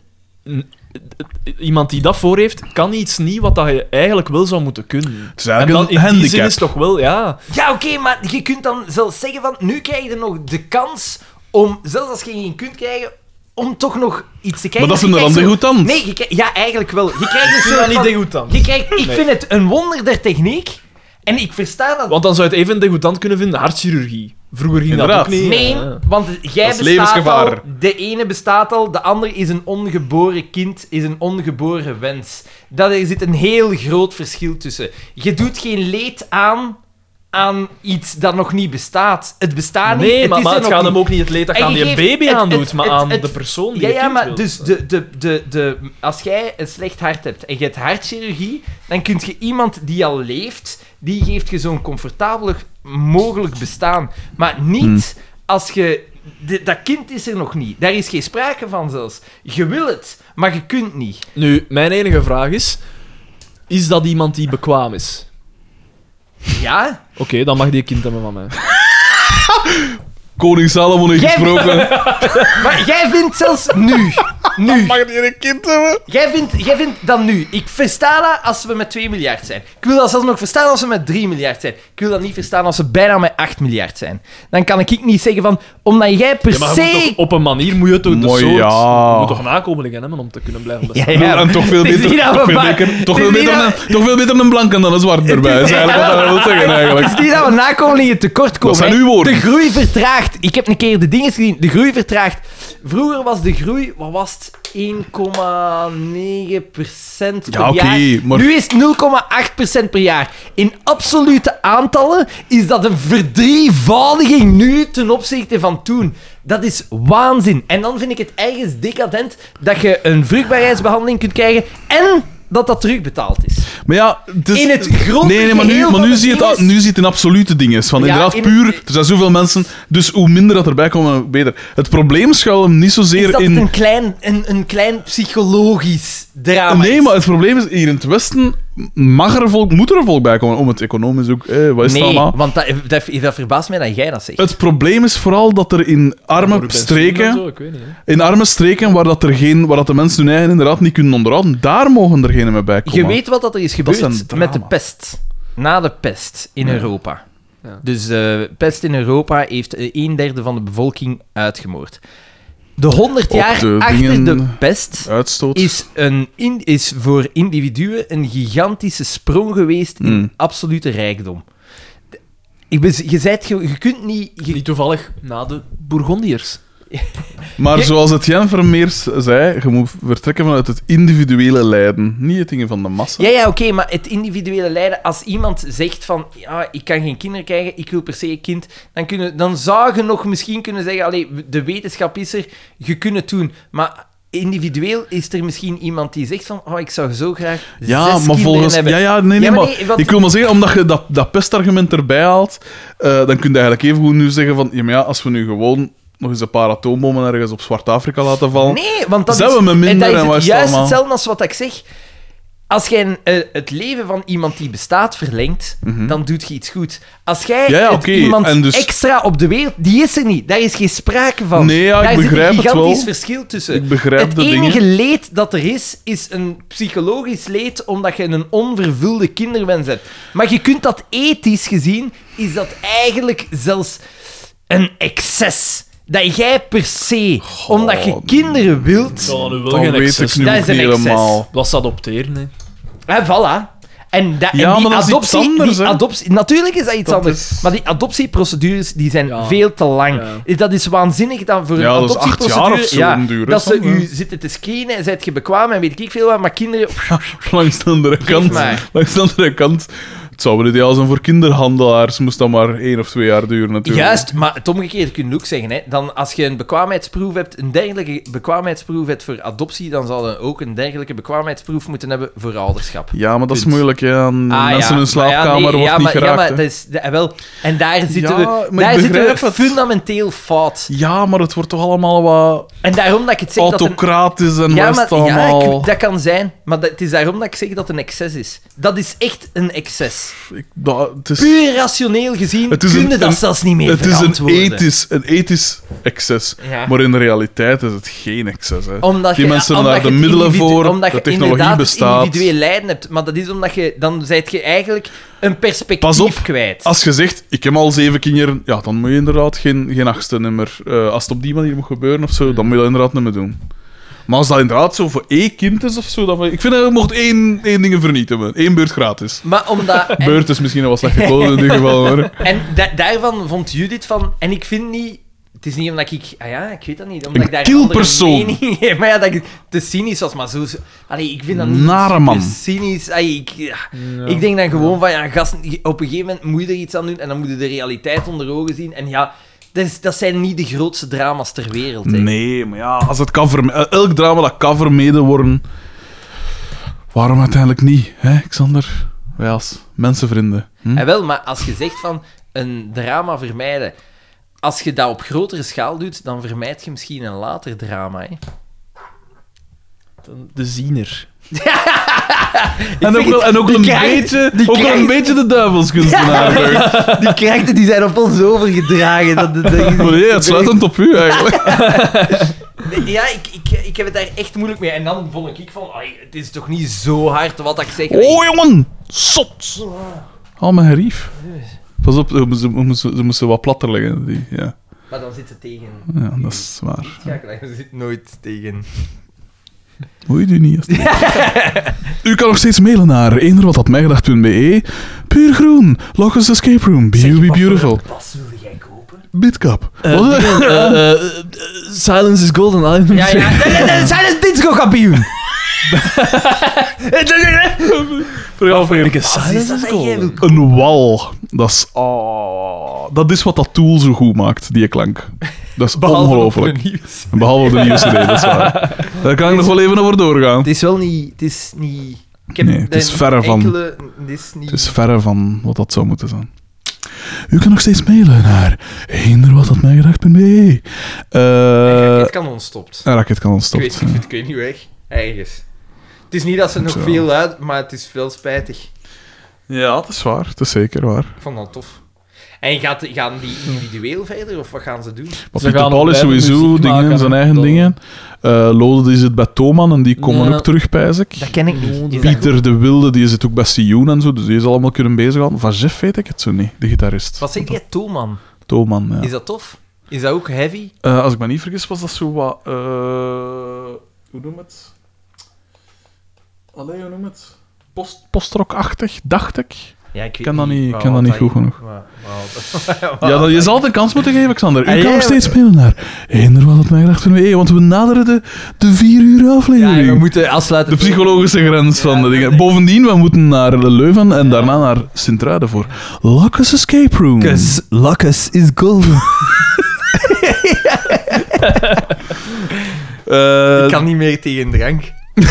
Speaker 3: Iemand die dat voor heeft, kan iets niet wat dat je eigenlijk wel zou moeten kunnen.
Speaker 2: Het is eigenlijk
Speaker 3: in
Speaker 2: een
Speaker 3: die zin
Speaker 2: handicap.
Speaker 3: is toch wel, ja.
Speaker 1: Ja, oké, maar je kunt dan zelfs zeggen van, nu krijg je nog de kans om, zelfs als je geen kunt krijgen, om toch nog iets te krijgen.
Speaker 2: Maar dat
Speaker 1: Dus je
Speaker 2: vinden we dan
Speaker 1: krijgt zo-
Speaker 2: degoutant.
Speaker 1: Nee, je krijgt- ja, eigenlijk wel. Je krijgt een
Speaker 3: Ik vind dat
Speaker 1: soort
Speaker 3: niet
Speaker 1: van...
Speaker 3: degoutant.
Speaker 1: Je krijgt, ik vind het een wonder der techniek. En ik versta dat.
Speaker 3: Want dan zou je het even degoutant kunnen vinden, hartchirurgie. Vroeger ging
Speaker 2: Inderdaad.
Speaker 3: dat ook niet. eh.
Speaker 1: nee, Ah,
Speaker 3: ja.
Speaker 1: want jij
Speaker 2: Dat is
Speaker 1: bestaat al.
Speaker 2: levensgevaar.
Speaker 1: De ene bestaat al, de ander is een ongeboren kind, is een ongeboren wens. Dat, er zit een heel groot verschil tussen. Je doet geen leed aan aan iets dat nog niet bestaat. Het bestaat niet.
Speaker 3: Nee,
Speaker 1: het
Speaker 3: maar,
Speaker 1: is
Speaker 3: maar
Speaker 1: er
Speaker 3: het
Speaker 1: nog
Speaker 3: gaat
Speaker 1: niet.
Speaker 3: hem ook niet het leed dat
Speaker 1: En
Speaker 3: je aan
Speaker 1: je
Speaker 3: die
Speaker 1: geeft
Speaker 3: baby
Speaker 1: het-
Speaker 3: aandoet,
Speaker 1: het-
Speaker 3: maar
Speaker 1: het-
Speaker 3: aan
Speaker 1: het-
Speaker 3: de persoon die
Speaker 1: Ja,
Speaker 3: je
Speaker 1: ja,
Speaker 3: kind
Speaker 1: maar
Speaker 3: wil.
Speaker 1: dus de, de, de, de, als jij een slecht hart hebt en je hebt hartchirurgie, dan kun je iemand die al leeft, die geeft je zo'n comfortabel mogelijk bestaan. Maar niet als je... de- dat kind is er nog niet. Daar is geen sprake van zelfs. Je wil het, maar je kunt niet.
Speaker 3: Nu, mijn enige vraag is: is dat iemand die bekwaam is?
Speaker 1: Ja?
Speaker 3: Oké, dan mag die een kind hebben van mij.
Speaker 2: Koning Salomon heeft
Speaker 1: Jij-
Speaker 2: gesproken.
Speaker 1: Maar jij vindt zelfs nu... Nu.
Speaker 2: Mag die een kind hebben?
Speaker 1: Jij vindt, jij vindt dat nu. Ik versta dat als we met 2 miljard zijn. Ik wil dat zelfs nog verstaan als we met 3 miljard zijn. Ik wil dat niet verstaan als we bijna met 8 miljard zijn. Dan kan ik niet zeggen van... Omdat jij per
Speaker 3: Ja, maar je moet
Speaker 1: se...
Speaker 3: toch op een manier moet je toch de
Speaker 2: Mooi,
Speaker 3: soort...
Speaker 2: ja.
Speaker 3: Je moet toch een nakomelingen hebben om te kunnen blijven bestaan.
Speaker 2: Ja, en toch veel
Speaker 1: Het is
Speaker 2: beter,
Speaker 1: niet dat
Speaker 2: toch
Speaker 1: we
Speaker 2: veel
Speaker 1: ba-
Speaker 2: beter, toch
Speaker 1: het
Speaker 2: veel
Speaker 1: is niet
Speaker 2: beter,
Speaker 1: dat-
Speaker 2: een, toch veel beter een blanke dan een zwart erbij. is eigenlijk wat dat wil zeggen eigenlijk.
Speaker 1: Het is niet dat we nakomelingen tekort komen.
Speaker 2: zijn
Speaker 1: hè.
Speaker 2: uw woorden.
Speaker 1: De groei vertraagt. Ik heb een keer de dingen gezien. De groei vertraagt. Vroeger was de groei, wat was het? 1,9% per
Speaker 2: Ja, oké,
Speaker 1: jaar.
Speaker 2: maar-
Speaker 1: Nu is het 0,8% per jaar. In absolute aantallen is dat een verdrievoudiging nu ten opzichte van toen. Dat is waanzin. En dan vind ik het ergens decadent dat je een vruchtbaarheidsbehandeling kunt krijgen en dat dat terugbetaald is.
Speaker 2: Maar ja, het is-
Speaker 1: In het grote
Speaker 2: Nee, nee, maar nu,
Speaker 1: geheel
Speaker 2: maar
Speaker 1: van
Speaker 2: nu
Speaker 1: het
Speaker 2: zie je het,
Speaker 1: ding
Speaker 2: al-
Speaker 1: is-
Speaker 2: nu zie je het in absolute dingen. Van
Speaker 1: Ja,
Speaker 2: inderdaad,
Speaker 1: in-
Speaker 2: puur, er zijn zoveel mensen, dus hoe minder dat erbij komen, hoe beter. Het probleem schuilt hem niet
Speaker 1: is
Speaker 2: zozeer
Speaker 1: dat het
Speaker 2: in...
Speaker 1: een klein, een, een klein psychologisch drama
Speaker 2: Ah, Nee,
Speaker 1: is.
Speaker 2: maar het probleem is, hier in het Westen mag er volk, moet er volk bij komen om het economisch ook... Eh, wat is het
Speaker 1: nee,
Speaker 2: allemaal?
Speaker 1: want dat, dat, dat verbaast mij dat jij dat zegt.
Speaker 2: Het probleem is vooral dat er in arme streken...
Speaker 7: ik weet niet. hè.
Speaker 2: In arme streken waar, dat er geen, waar dat de mensen hun eigen inderdaad niet kunnen onderhouden, daar mogen er geen mee bij komen.
Speaker 1: Je weet wat dat er is
Speaker 2: Dat is
Speaker 1: gebeurd
Speaker 2: een drama.
Speaker 1: met de pest. Na de pest in Europa.
Speaker 7: Ja.
Speaker 1: Dus eh, pest in Europa heeft eh, een derde van de bevolking uitgemoord. De 100
Speaker 2: Op
Speaker 1: jaar
Speaker 2: de
Speaker 1: achter
Speaker 2: dingen-
Speaker 1: de pest
Speaker 2: Uitstoot.
Speaker 1: is, een in- is voor individuen een gigantische sprong geweest
Speaker 2: Mm.
Speaker 1: in absolute rijkdom. Ik ben, je, zijt, ge- je, kunt niet... je-
Speaker 7: Niet toevallig na de Bourgondiërs.
Speaker 2: Maar
Speaker 1: Je-
Speaker 2: zoals het Jan Vermeers zei, je moet vertrekken vanuit het individuele lijden. Niet het dingen van de massa.
Speaker 1: Ja, ja, oké, maar het individuele lijden... Als iemand zegt van, ja, ik kan geen kinderen krijgen, ik wil per se een kind, dan, kunnen, dan zou je nog misschien kunnen zeggen, allee, de wetenschap is er, je kunt het doen. Maar individueel is er misschien iemand die zegt van, oh, ik zou zo graag
Speaker 2: Ja,
Speaker 1: zes
Speaker 2: maar
Speaker 1: kinderen
Speaker 2: volgens...
Speaker 1: hebben.
Speaker 2: Ja, ja, nee, nee,
Speaker 1: Ja, maar
Speaker 2: maar,
Speaker 1: nee, want-
Speaker 2: ik wil maar zeggen, omdat je dat, dat pestargument erbij haalt, eh, dan kun je eigenlijk even goed nu zeggen van, ja, maar ja, als we nu gewoon nog eens een paar atoombommen ergens op Zwart-Afrika laten vallen...
Speaker 1: Nee, want dat
Speaker 2: Zijn
Speaker 1: is,
Speaker 2: we met minder
Speaker 1: en dat
Speaker 2: en
Speaker 1: is
Speaker 2: wat
Speaker 1: het
Speaker 2: is het
Speaker 1: juist
Speaker 2: allemaal?
Speaker 1: hetzelfde als wat ik zeg. Als jij een, eh, het leven van iemand die bestaat verlengt, dan doet je iets goed. Als jij
Speaker 2: Mhm. Ja, ja,
Speaker 1: het
Speaker 2: oké, en
Speaker 1: iemand
Speaker 2: dus-
Speaker 1: extra op de wereld... Die is er niet. Daar is geen sprake van.
Speaker 2: Nee, ja, ik
Speaker 1: Daar
Speaker 2: begrijp
Speaker 1: zit
Speaker 2: het
Speaker 1: een gigantisch
Speaker 2: wel.
Speaker 1: verschil tussen.
Speaker 2: Ik begrijp
Speaker 1: het
Speaker 2: de dingen.
Speaker 1: enige leed dat er is, is een psychologisch leed omdat je een onvervulde kinderwens hebt. Maar je kunt dat ethisch gezien, is dat eigenlijk zelfs een excess. Dat jij per se, omdat je kinderen wilt...
Speaker 7: nu
Speaker 2: Dan weet ik nu
Speaker 1: Dat
Speaker 2: ook
Speaker 1: is een excess.
Speaker 2: niet helemaal.
Speaker 7: Dat is adopteren, hè.
Speaker 1: Hè, voilà. En, da-
Speaker 2: Ja,
Speaker 1: en die
Speaker 2: maar dat is iets
Speaker 1: adoptie,
Speaker 2: anders,
Speaker 1: die
Speaker 2: hè?
Speaker 1: adoptie, natuurlijk is dat iets
Speaker 2: Dat
Speaker 1: anders.
Speaker 2: is-
Speaker 1: Maar die adoptieprocedures die zijn
Speaker 7: Ja.
Speaker 1: veel te lang.
Speaker 7: Ja.
Speaker 1: Dat is waanzinnig dan voor
Speaker 2: Ja,
Speaker 1: een
Speaker 2: dat is acht jaar
Speaker 1: adoptieprocedure.
Speaker 2: of zo een duur, hè,
Speaker 1: dat ze
Speaker 2: soms, hè.
Speaker 1: u zitten te screenen en zijt je bekwaam en weet ik veel wat, maar kinderen.
Speaker 2: Langs de andere kant.
Speaker 1: maar.
Speaker 2: Langs de andere kant. Het zou wel ideaal zijn voor kinderhandelaars. Moest dat maar één of twee jaar duren, natuurlijk.
Speaker 1: Juist, maar het omgekeerde kun je ook zeggen. Hè. Dan, als je een bekwaamheidsproef hebt, een dergelijke bekwaamheidsproef hebt voor adoptie, dan zal je ook een dergelijke bekwaamheidsproef moeten hebben voor ouderschap.
Speaker 2: Ja, maar dat is moeilijk. Ja. Mensen
Speaker 1: maar
Speaker 2: in hun
Speaker 1: Ah, ja,
Speaker 2: slaapkamer
Speaker 1: nee,
Speaker 2: wordt
Speaker 1: ja,
Speaker 2: niet
Speaker 1: maar,
Speaker 2: geraakt.
Speaker 1: Ja, maar
Speaker 2: hè.
Speaker 1: dat is, dat- wel, en daar zitten
Speaker 2: maar ik
Speaker 1: we, daar zitten we
Speaker 2: begrijp het.
Speaker 1: fundamenteel fout.
Speaker 2: Ja, maar het wordt toch allemaal wat
Speaker 1: En daarom dat ik het zeg dat een...
Speaker 2: autocratisch en
Speaker 1: Ja,
Speaker 2: wat is
Speaker 1: maar,
Speaker 2: het allemaal...
Speaker 1: ja ik- dat kan zijn. Maar dat, het is daarom dat ik zeg dat het een excess is. Dat is echt een excess.
Speaker 2: Ik- dat- het is,
Speaker 1: Puur rationeel gezien
Speaker 2: Het is
Speaker 1: kun je
Speaker 2: een-
Speaker 1: dat
Speaker 2: een-
Speaker 1: zelfs niet meer
Speaker 2: het is een
Speaker 1: verantwoorden.
Speaker 2: ethisch, een ethisch excess.
Speaker 1: Ja.
Speaker 2: Maar in de realiteit is het geen excess. Hè.
Speaker 1: Omdat
Speaker 2: Die
Speaker 1: je-
Speaker 2: mensen hebben
Speaker 1: omdat
Speaker 2: daar de
Speaker 1: je het
Speaker 2: middelen
Speaker 1: individu-
Speaker 2: voor,
Speaker 1: omdat
Speaker 2: de
Speaker 1: je
Speaker 2: technologie
Speaker 1: inderdaad het
Speaker 2: bestaat.
Speaker 1: individueel lijden hebt. Maar dat is omdat je... Dan zijt je eigenlijk een perspectief
Speaker 2: Pas op,
Speaker 1: kwijt.
Speaker 2: Als je zegt, ik heb al zeven kinderen, ja, dan moet je inderdaad geen, geen achtste nummer... eh, als het op die manier moet gebeuren of zo, dan moet je dat inderdaad niet meer doen. Maar als dat inderdaad zo voor één kind is of zo... Dan, ik vind dat je mocht één, één ding vernietigen. hebben. Één beurt gratis.
Speaker 1: Maar omdat... en-
Speaker 2: Beurt is misschien wel slecht gekozen in dit geval, maar...
Speaker 1: En da- daarvan vond Judith van... En ik vind niet... Het is niet omdat ik... Ah ja, ik weet dat niet. Omdat
Speaker 2: Een
Speaker 1: ik daar
Speaker 2: kiel
Speaker 1: andere
Speaker 2: persoon.
Speaker 1: mening- Ja, maar ja, dat ik te cynisch was. Maar zo... Allee, ik vind dat niet
Speaker 2: Nare
Speaker 1: super
Speaker 2: man.
Speaker 1: cynisch. Allee, ik, ja. ik denk dan gewoon van... Ja, gast, op een gegeven moment moet je er iets aan doen. En dan moet je de realiteit onder ogen zien. En ja... Dat, is- dat zijn niet de grootste drama's ter wereld. hè.
Speaker 2: Nee, maar ja, als het kan verme- eh, elk drama dat kan vermeden worden, waarom uiteindelijk niet, hè, Xander? Wij als mensenvrienden. Hm?
Speaker 1: En wel, maar als je zegt van een drama vermijden... Als je dat op grotere schaal doet, dan vermijd je misschien een later drama. Hè.
Speaker 7: De ziener.
Speaker 2: En ook wel, en ook een,
Speaker 1: krijgt-
Speaker 2: beetje,
Speaker 1: die
Speaker 2: ook wel een
Speaker 1: krijgt-
Speaker 2: beetje de duivelskunstenaar. Beuk.
Speaker 1: Die krijgen die zijn op ons overgedragen. Dat, dat, dat-
Speaker 2: Maar nee, het sluit dan op u eigenlijk.
Speaker 1: Ja, ik, ik, ik heb het daar echt moeilijk mee. En dan vond ik van, "Ai, het is toch niet zo hard wat ik zeg.
Speaker 2: Oh jongen, zot! Al mijn gerief. Pas op, ze, ze, moesten- ze moesten wat platter liggen. Die, ja.
Speaker 1: Maar dan zit het tegen.
Speaker 2: ja, dat is waar.
Speaker 1: Schakelaar zit nooit tegen.
Speaker 2: Moet je nu niet. alsjeblieft. U kan nog steeds mailen naar eenderwatatmijgedacht.be. Puur groen, Locust Escape Room, You Be Beautiful,
Speaker 1: Pas wilde jij kopen?
Speaker 2: Bitcap.
Speaker 7: Eh,
Speaker 2: Wat is dat?
Speaker 7: dingen, eh, eh, eh, eh, silence is golden. Ah,
Speaker 1: Ja, ja. Nee, nee, nee, Zijn het disco kampioen?
Speaker 7: Ik is
Speaker 1: Wat is
Speaker 7: silence
Speaker 1: dat
Speaker 7: is
Speaker 1: dat jij
Speaker 7: golden.
Speaker 1: wil
Speaker 2: Een wal. Dat is, ah, dat is wat dat tool zo goed maakt, die klank. Dat is ongelooflijk.
Speaker 1: nieuws.
Speaker 2: Behalve op de nieuwe CD, dat is waar. Daar kan ik nog wel even over doorgaan.
Speaker 1: Het is wel niet... Het is niet... Ik heb
Speaker 2: Nee, het is
Speaker 1: een
Speaker 2: verre van.
Speaker 1: enkele- Het is niet...
Speaker 2: Het is verre van wat dat zou moeten zijn. U kan nog steeds mailen naar eenderwatatmijgedacht.be. Eh
Speaker 1: Het kan ontstopt.
Speaker 2: een raket kan
Speaker 1: Ik
Speaker 2: ontstopt.
Speaker 1: weet, ik, vind, ik weet niet weg. Ergens. Het is niet dat ze nog
Speaker 2: Zo.
Speaker 1: veel uit, maar het is veel spijtig.
Speaker 2: Ja, dat is waar. Dat is zeker waar.
Speaker 1: Ik vond dat tof. En gaat, gaan die individueel verder, of wat gaan ze doen?
Speaker 2: Maar
Speaker 7: Ze
Speaker 2: Pieter
Speaker 7: gaan
Speaker 2: Paul is
Speaker 7: blijven
Speaker 2: sowieso
Speaker 7: muziek
Speaker 2: dingen,
Speaker 7: maken,
Speaker 2: zijn eigen
Speaker 7: dat-
Speaker 2: dingen. Eh Lode die zit bij Thoman en die komen
Speaker 7: Ja.
Speaker 2: ook terug, pijs ik.
Speaker 1: ken ik niet.
Speaker 2: Pieter de Wilde die zit ook bij Sioen en zo, dus die is allemaal kunnen bezighouden. Van Jeff weet ik het zo niet, de gitarist.
Speaker 1: Wat zeg jij, Toolman?
Speaker 2: Thoman, ja.
Speaker 1: Is dat tof? Is dat ook heavy?
Speaker 2: Eh, als ik me niet vergis, was dat zo wat... eh, hoe noem het? Allee, hoe noem het? Post, postrockachtig, dacht ik.
Speaker 1: Ja, ik weet
Speaker 2: Ik ken dat niet, ik
Speaker 1: wat
Speaker 2: ken dat niet
Speaker 1: dat
Speaker 2: goed
Speaker 1: is.
Speaker 2: genoeg.
Speaker 1: Wat-
Speaker 2: Ja, dat, je zal het een kans moeten geven, Xander. U
Speaker 7: Ah,
Speaker 2: kan
Speaker 7: ja,
Speaker 2: nog
Speaker 7: ja,
Speaker 2: steeds spelen naar Eender wat het mij gedacht van hey, want we naderen de, de vier uur
Speaker 5: Ja,
Speaker 2: aflevering.
Speaker 5: we moeten afsluiten.
Speaker 2: de psychologische grens van de dingen. Bovendien, we moeten naar Leuven en daarna naar Sint-Truiden voor Locus Escape Room.
Speaker 5: Lucas, Lucas is golden.
Speaker 2: Eh,
Speaker 1: Ik kan niet meer tegen drank.
Speaker 2: we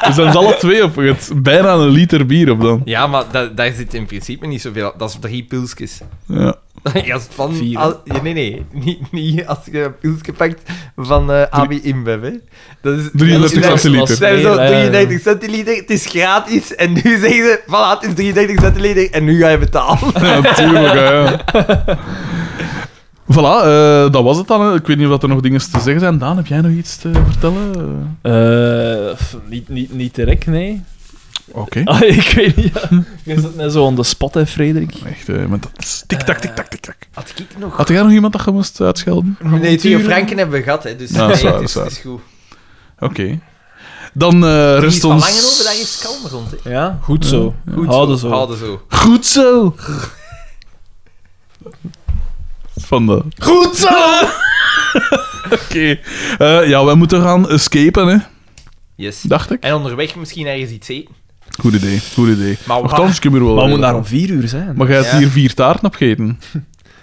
Speaker 2: zijn ze dus alle twee op. het Bijna een liter bier op dan.
Speaker 1: Ja, maar da- daar zit in principe niet zoveel. Dat is drie pilsjes.
Speaker 2: Ja.
Speaker 1: Als het van,
Speaker 7: Vier, hè?
Speaker 1: al- ja, nee, nee. Niet, niet als je een pilsje pakt van eh AB InBev, hè. Dat is...
Speaker 2: 33
Speaker 1: dat is-
Speaker 2: centiliter.
Speaker 1: Dat is
Speaker 7: Nee,
Speaker 1: al
Speaker 7: ja, ja, ja.
Speaker 1: 33 centiliter, het is gratis. En nu zeggen ze, voilà, het is 33 centiliter en nu ga je betalen.
Speaker 2: Natuurlijk, ja. Voilà, eh, dat was het dan. hè. Ik weet niet of er nog dingen te zeggen zijn. Daan, heb jij nog iets te vertellen?
Speaker 7: Eh, f- niet, niet, niet direct, nee.
Speaker 2: Oké.
Speaker 7: Ah, ik weet niet. Ja. Je zit net zo aan de spot, hè, Frederik.
Speaker 2: Echt, eh, met dat tik-tak, tik-tak, tik-tak.
Speaker 1: Had ik nog...
Speaker 2: Had jij nog iemand dat je moest uitschelden?
Speaker 1: Nee, twee Franken hebben we gehad, hè. Dus
Speaker 2: Ja,
Speaker 1: nee,
Speaker 2: zo,
Speaker 1: het is,
Speaker 2: zo.
Speaker 1: het is goed.
Speaker 2: Oké. Dan eh
Speaker 1: Er is
Speaker 2: rest
Speaker 1: van
Speaker 2: ons...
Speaker 1: langer over, daar is kalm rond, hè.
Speaker 7: Ja, goed zo.
Speaker 1: Goed
Speaker 7: Houden zo.
Speaker 1: Houden zo.
Speaker 2: Goed zo! Van de... Goed zo! Oké. Eh, ja, wij moeten gaan escapen, hè.
Speaker 1: Yes.
Speaker 2: Dacht ik.
Speaker 1: En onderweg misschien ergens iets eten.
Speaker 2: Goed idee, goed idee.
Speaker 1: Maar waar-
Speaker 2: Nochtans, ik heb hier wel...
Speaker 7: ah. Maar we moeten daar om vier uur zijn.
Speaker 2: Maar jij hebt
Speaker 1: Ja.
Speaker 2: hier vier taarten op gegeten.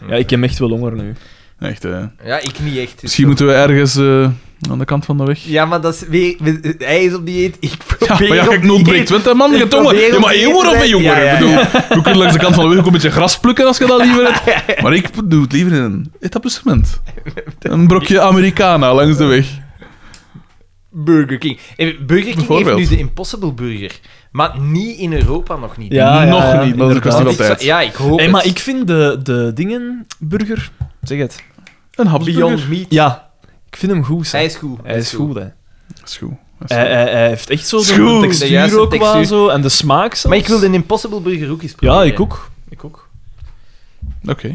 Speaker 7: Ja, ik heb echt wel honger nu.
Speaker 2: Echt, eh.
Speaker 1: Ja, ik niet echt. dus
Speaker 2: Misschien
Speaker 1: zo.
Speaker 2: moeten we ergens eh, aan de kant van de weg.
Speaker 1: Ja, maar dat is weer... we- Hij is op dieet, ik probeer
Speaker 2: Ja, maar ja,
Speaker 1: op
Speaker 2: kijk, nooit
Speaker 1: dieet.
Speaker 2: breekt wind, hè, man. Je
Speaker 1: Ik
Speaker 2: tongen.
Speaker 1: probeer
Speaker 2: Je
Speaker 1: op
Speaker 2: mag
Speaker 1: dieet
Speaker 2: eeuwen
Speaker 1: te
Speaker 2: of een
Speaker 1: zijn. Ja,
Speaker 2: jongere.
Speaker 1: ja,
Speaker 2: Ik bedoel, We kunnen langs de kant van de weg ook een beetje gras plukken als je dat liever hebt. Maar ik doe het liever in een etablissement. Een brokje Americana langs de weg.
Speaker 1: Burger King. Eh, Burger King heeft
Speaker 2: Bijvoorbeeld.
Speaker 1: nu de Impossible Burger. Maar niet in Europa nog niet.
Speaker 7: Ja, ja,
Speaker 2: Nog
Speaker 7: ja,
Speaker 2: niet, maar dat is een kwestie
Speaker 7: inderdaad.
Speaker 2: van tijd.
Speaker 1: Ja, ik hoop
Speaker 7: Hey,
Speaker 1: het.
Speaker 7: maar ik vind de, de dingen... Burger... Zeg het.
Speaker 2: Een hapsburger.
Speaker 1: Beyond Meat.
Speaker 7: Ja. Ik vind hem goed, zeg.
Speaker 1: Hij is goed.
Speaker 7: Hij is goed, hè.
Speaker 2: Dat is goed. Dat is
Speaker 7: Hij,
Speaker 2: goed.
Speaker 7: hij- hij heeft echt zo de-
Speaker 2: Schoen.
Speaker 7: de
Speaker 1: De juiste
Speaker 7: textuur ook
Speaker 1: textuur.
Speaker 7: wel zo, en de smaak zelfs.
Speaker 1: Maar ik wil de Impossible Burger ook eens proberen.
Speaker 7: Ja, ik ook. Ik ook.
Speaker 2: Oké,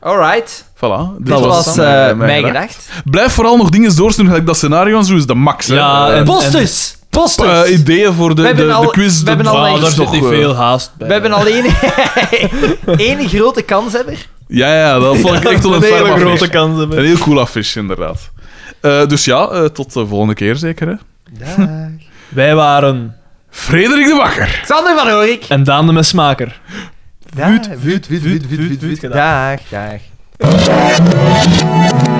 Speaker 1: Alright.
Speaker 2: voilà. Dit
Speaker 1: Dat
Speaker 2: het
Speaker 1: was
Speaker 2: dan.
Speaker 1: eh,
Speaker 2: Eh,
Speaker 1: mijn
Speaker 2: gedacht.
Speaker 1: gedacht.
Speaker 2: Blijf vooral nog dingen doorsturen. gelijk Dat scenario en zo is de max. hè.
Speaker 7: Ja,
Speaker 2: Eh,
Speaker 7: en-
Speaker 1: Posters! Posters!
Speaker 2: eh, ideeën voor de,
Speaker 1: We
Speaker 2: de,
Speaker 1: hebben al-
Speaker 2: de quiz.
Speaker 1: we hebben
Speaker 2: de-
Speaker 1: al
Speaker 2: Ah,
Speaker 1: een-
Speaker 2: daar
Speaker 7: Daar
Speaker 2: is
Speaker 7: zit
Speaker 2: toch
Speaker 7: niet
Speaker 2: eh,
Speaker 7: veel haast bij.
Speaker 1: We hebben alleen één grote kanshebber.
Speaker 2: Ja, ja, dat vond ik echt wel een ferm affiche.
Speaker 7: kans
Speaker 2: Een heel cool affiche, inderdaad. Eh, dus ja, eh, tot de volgende keer zeker. Hè?
Speaker 7: Wij waren...
Speaker 2: Frederik de Bakker.
Speaker 1: Xander van Oorik.
Speaker 7: En Daan de Mesmaker.
Speaker 1: Vuut, vuut, vuut, vuut,
Speaker 7: vuut, vuut gedaan.
Speaker 1: Dag, dag.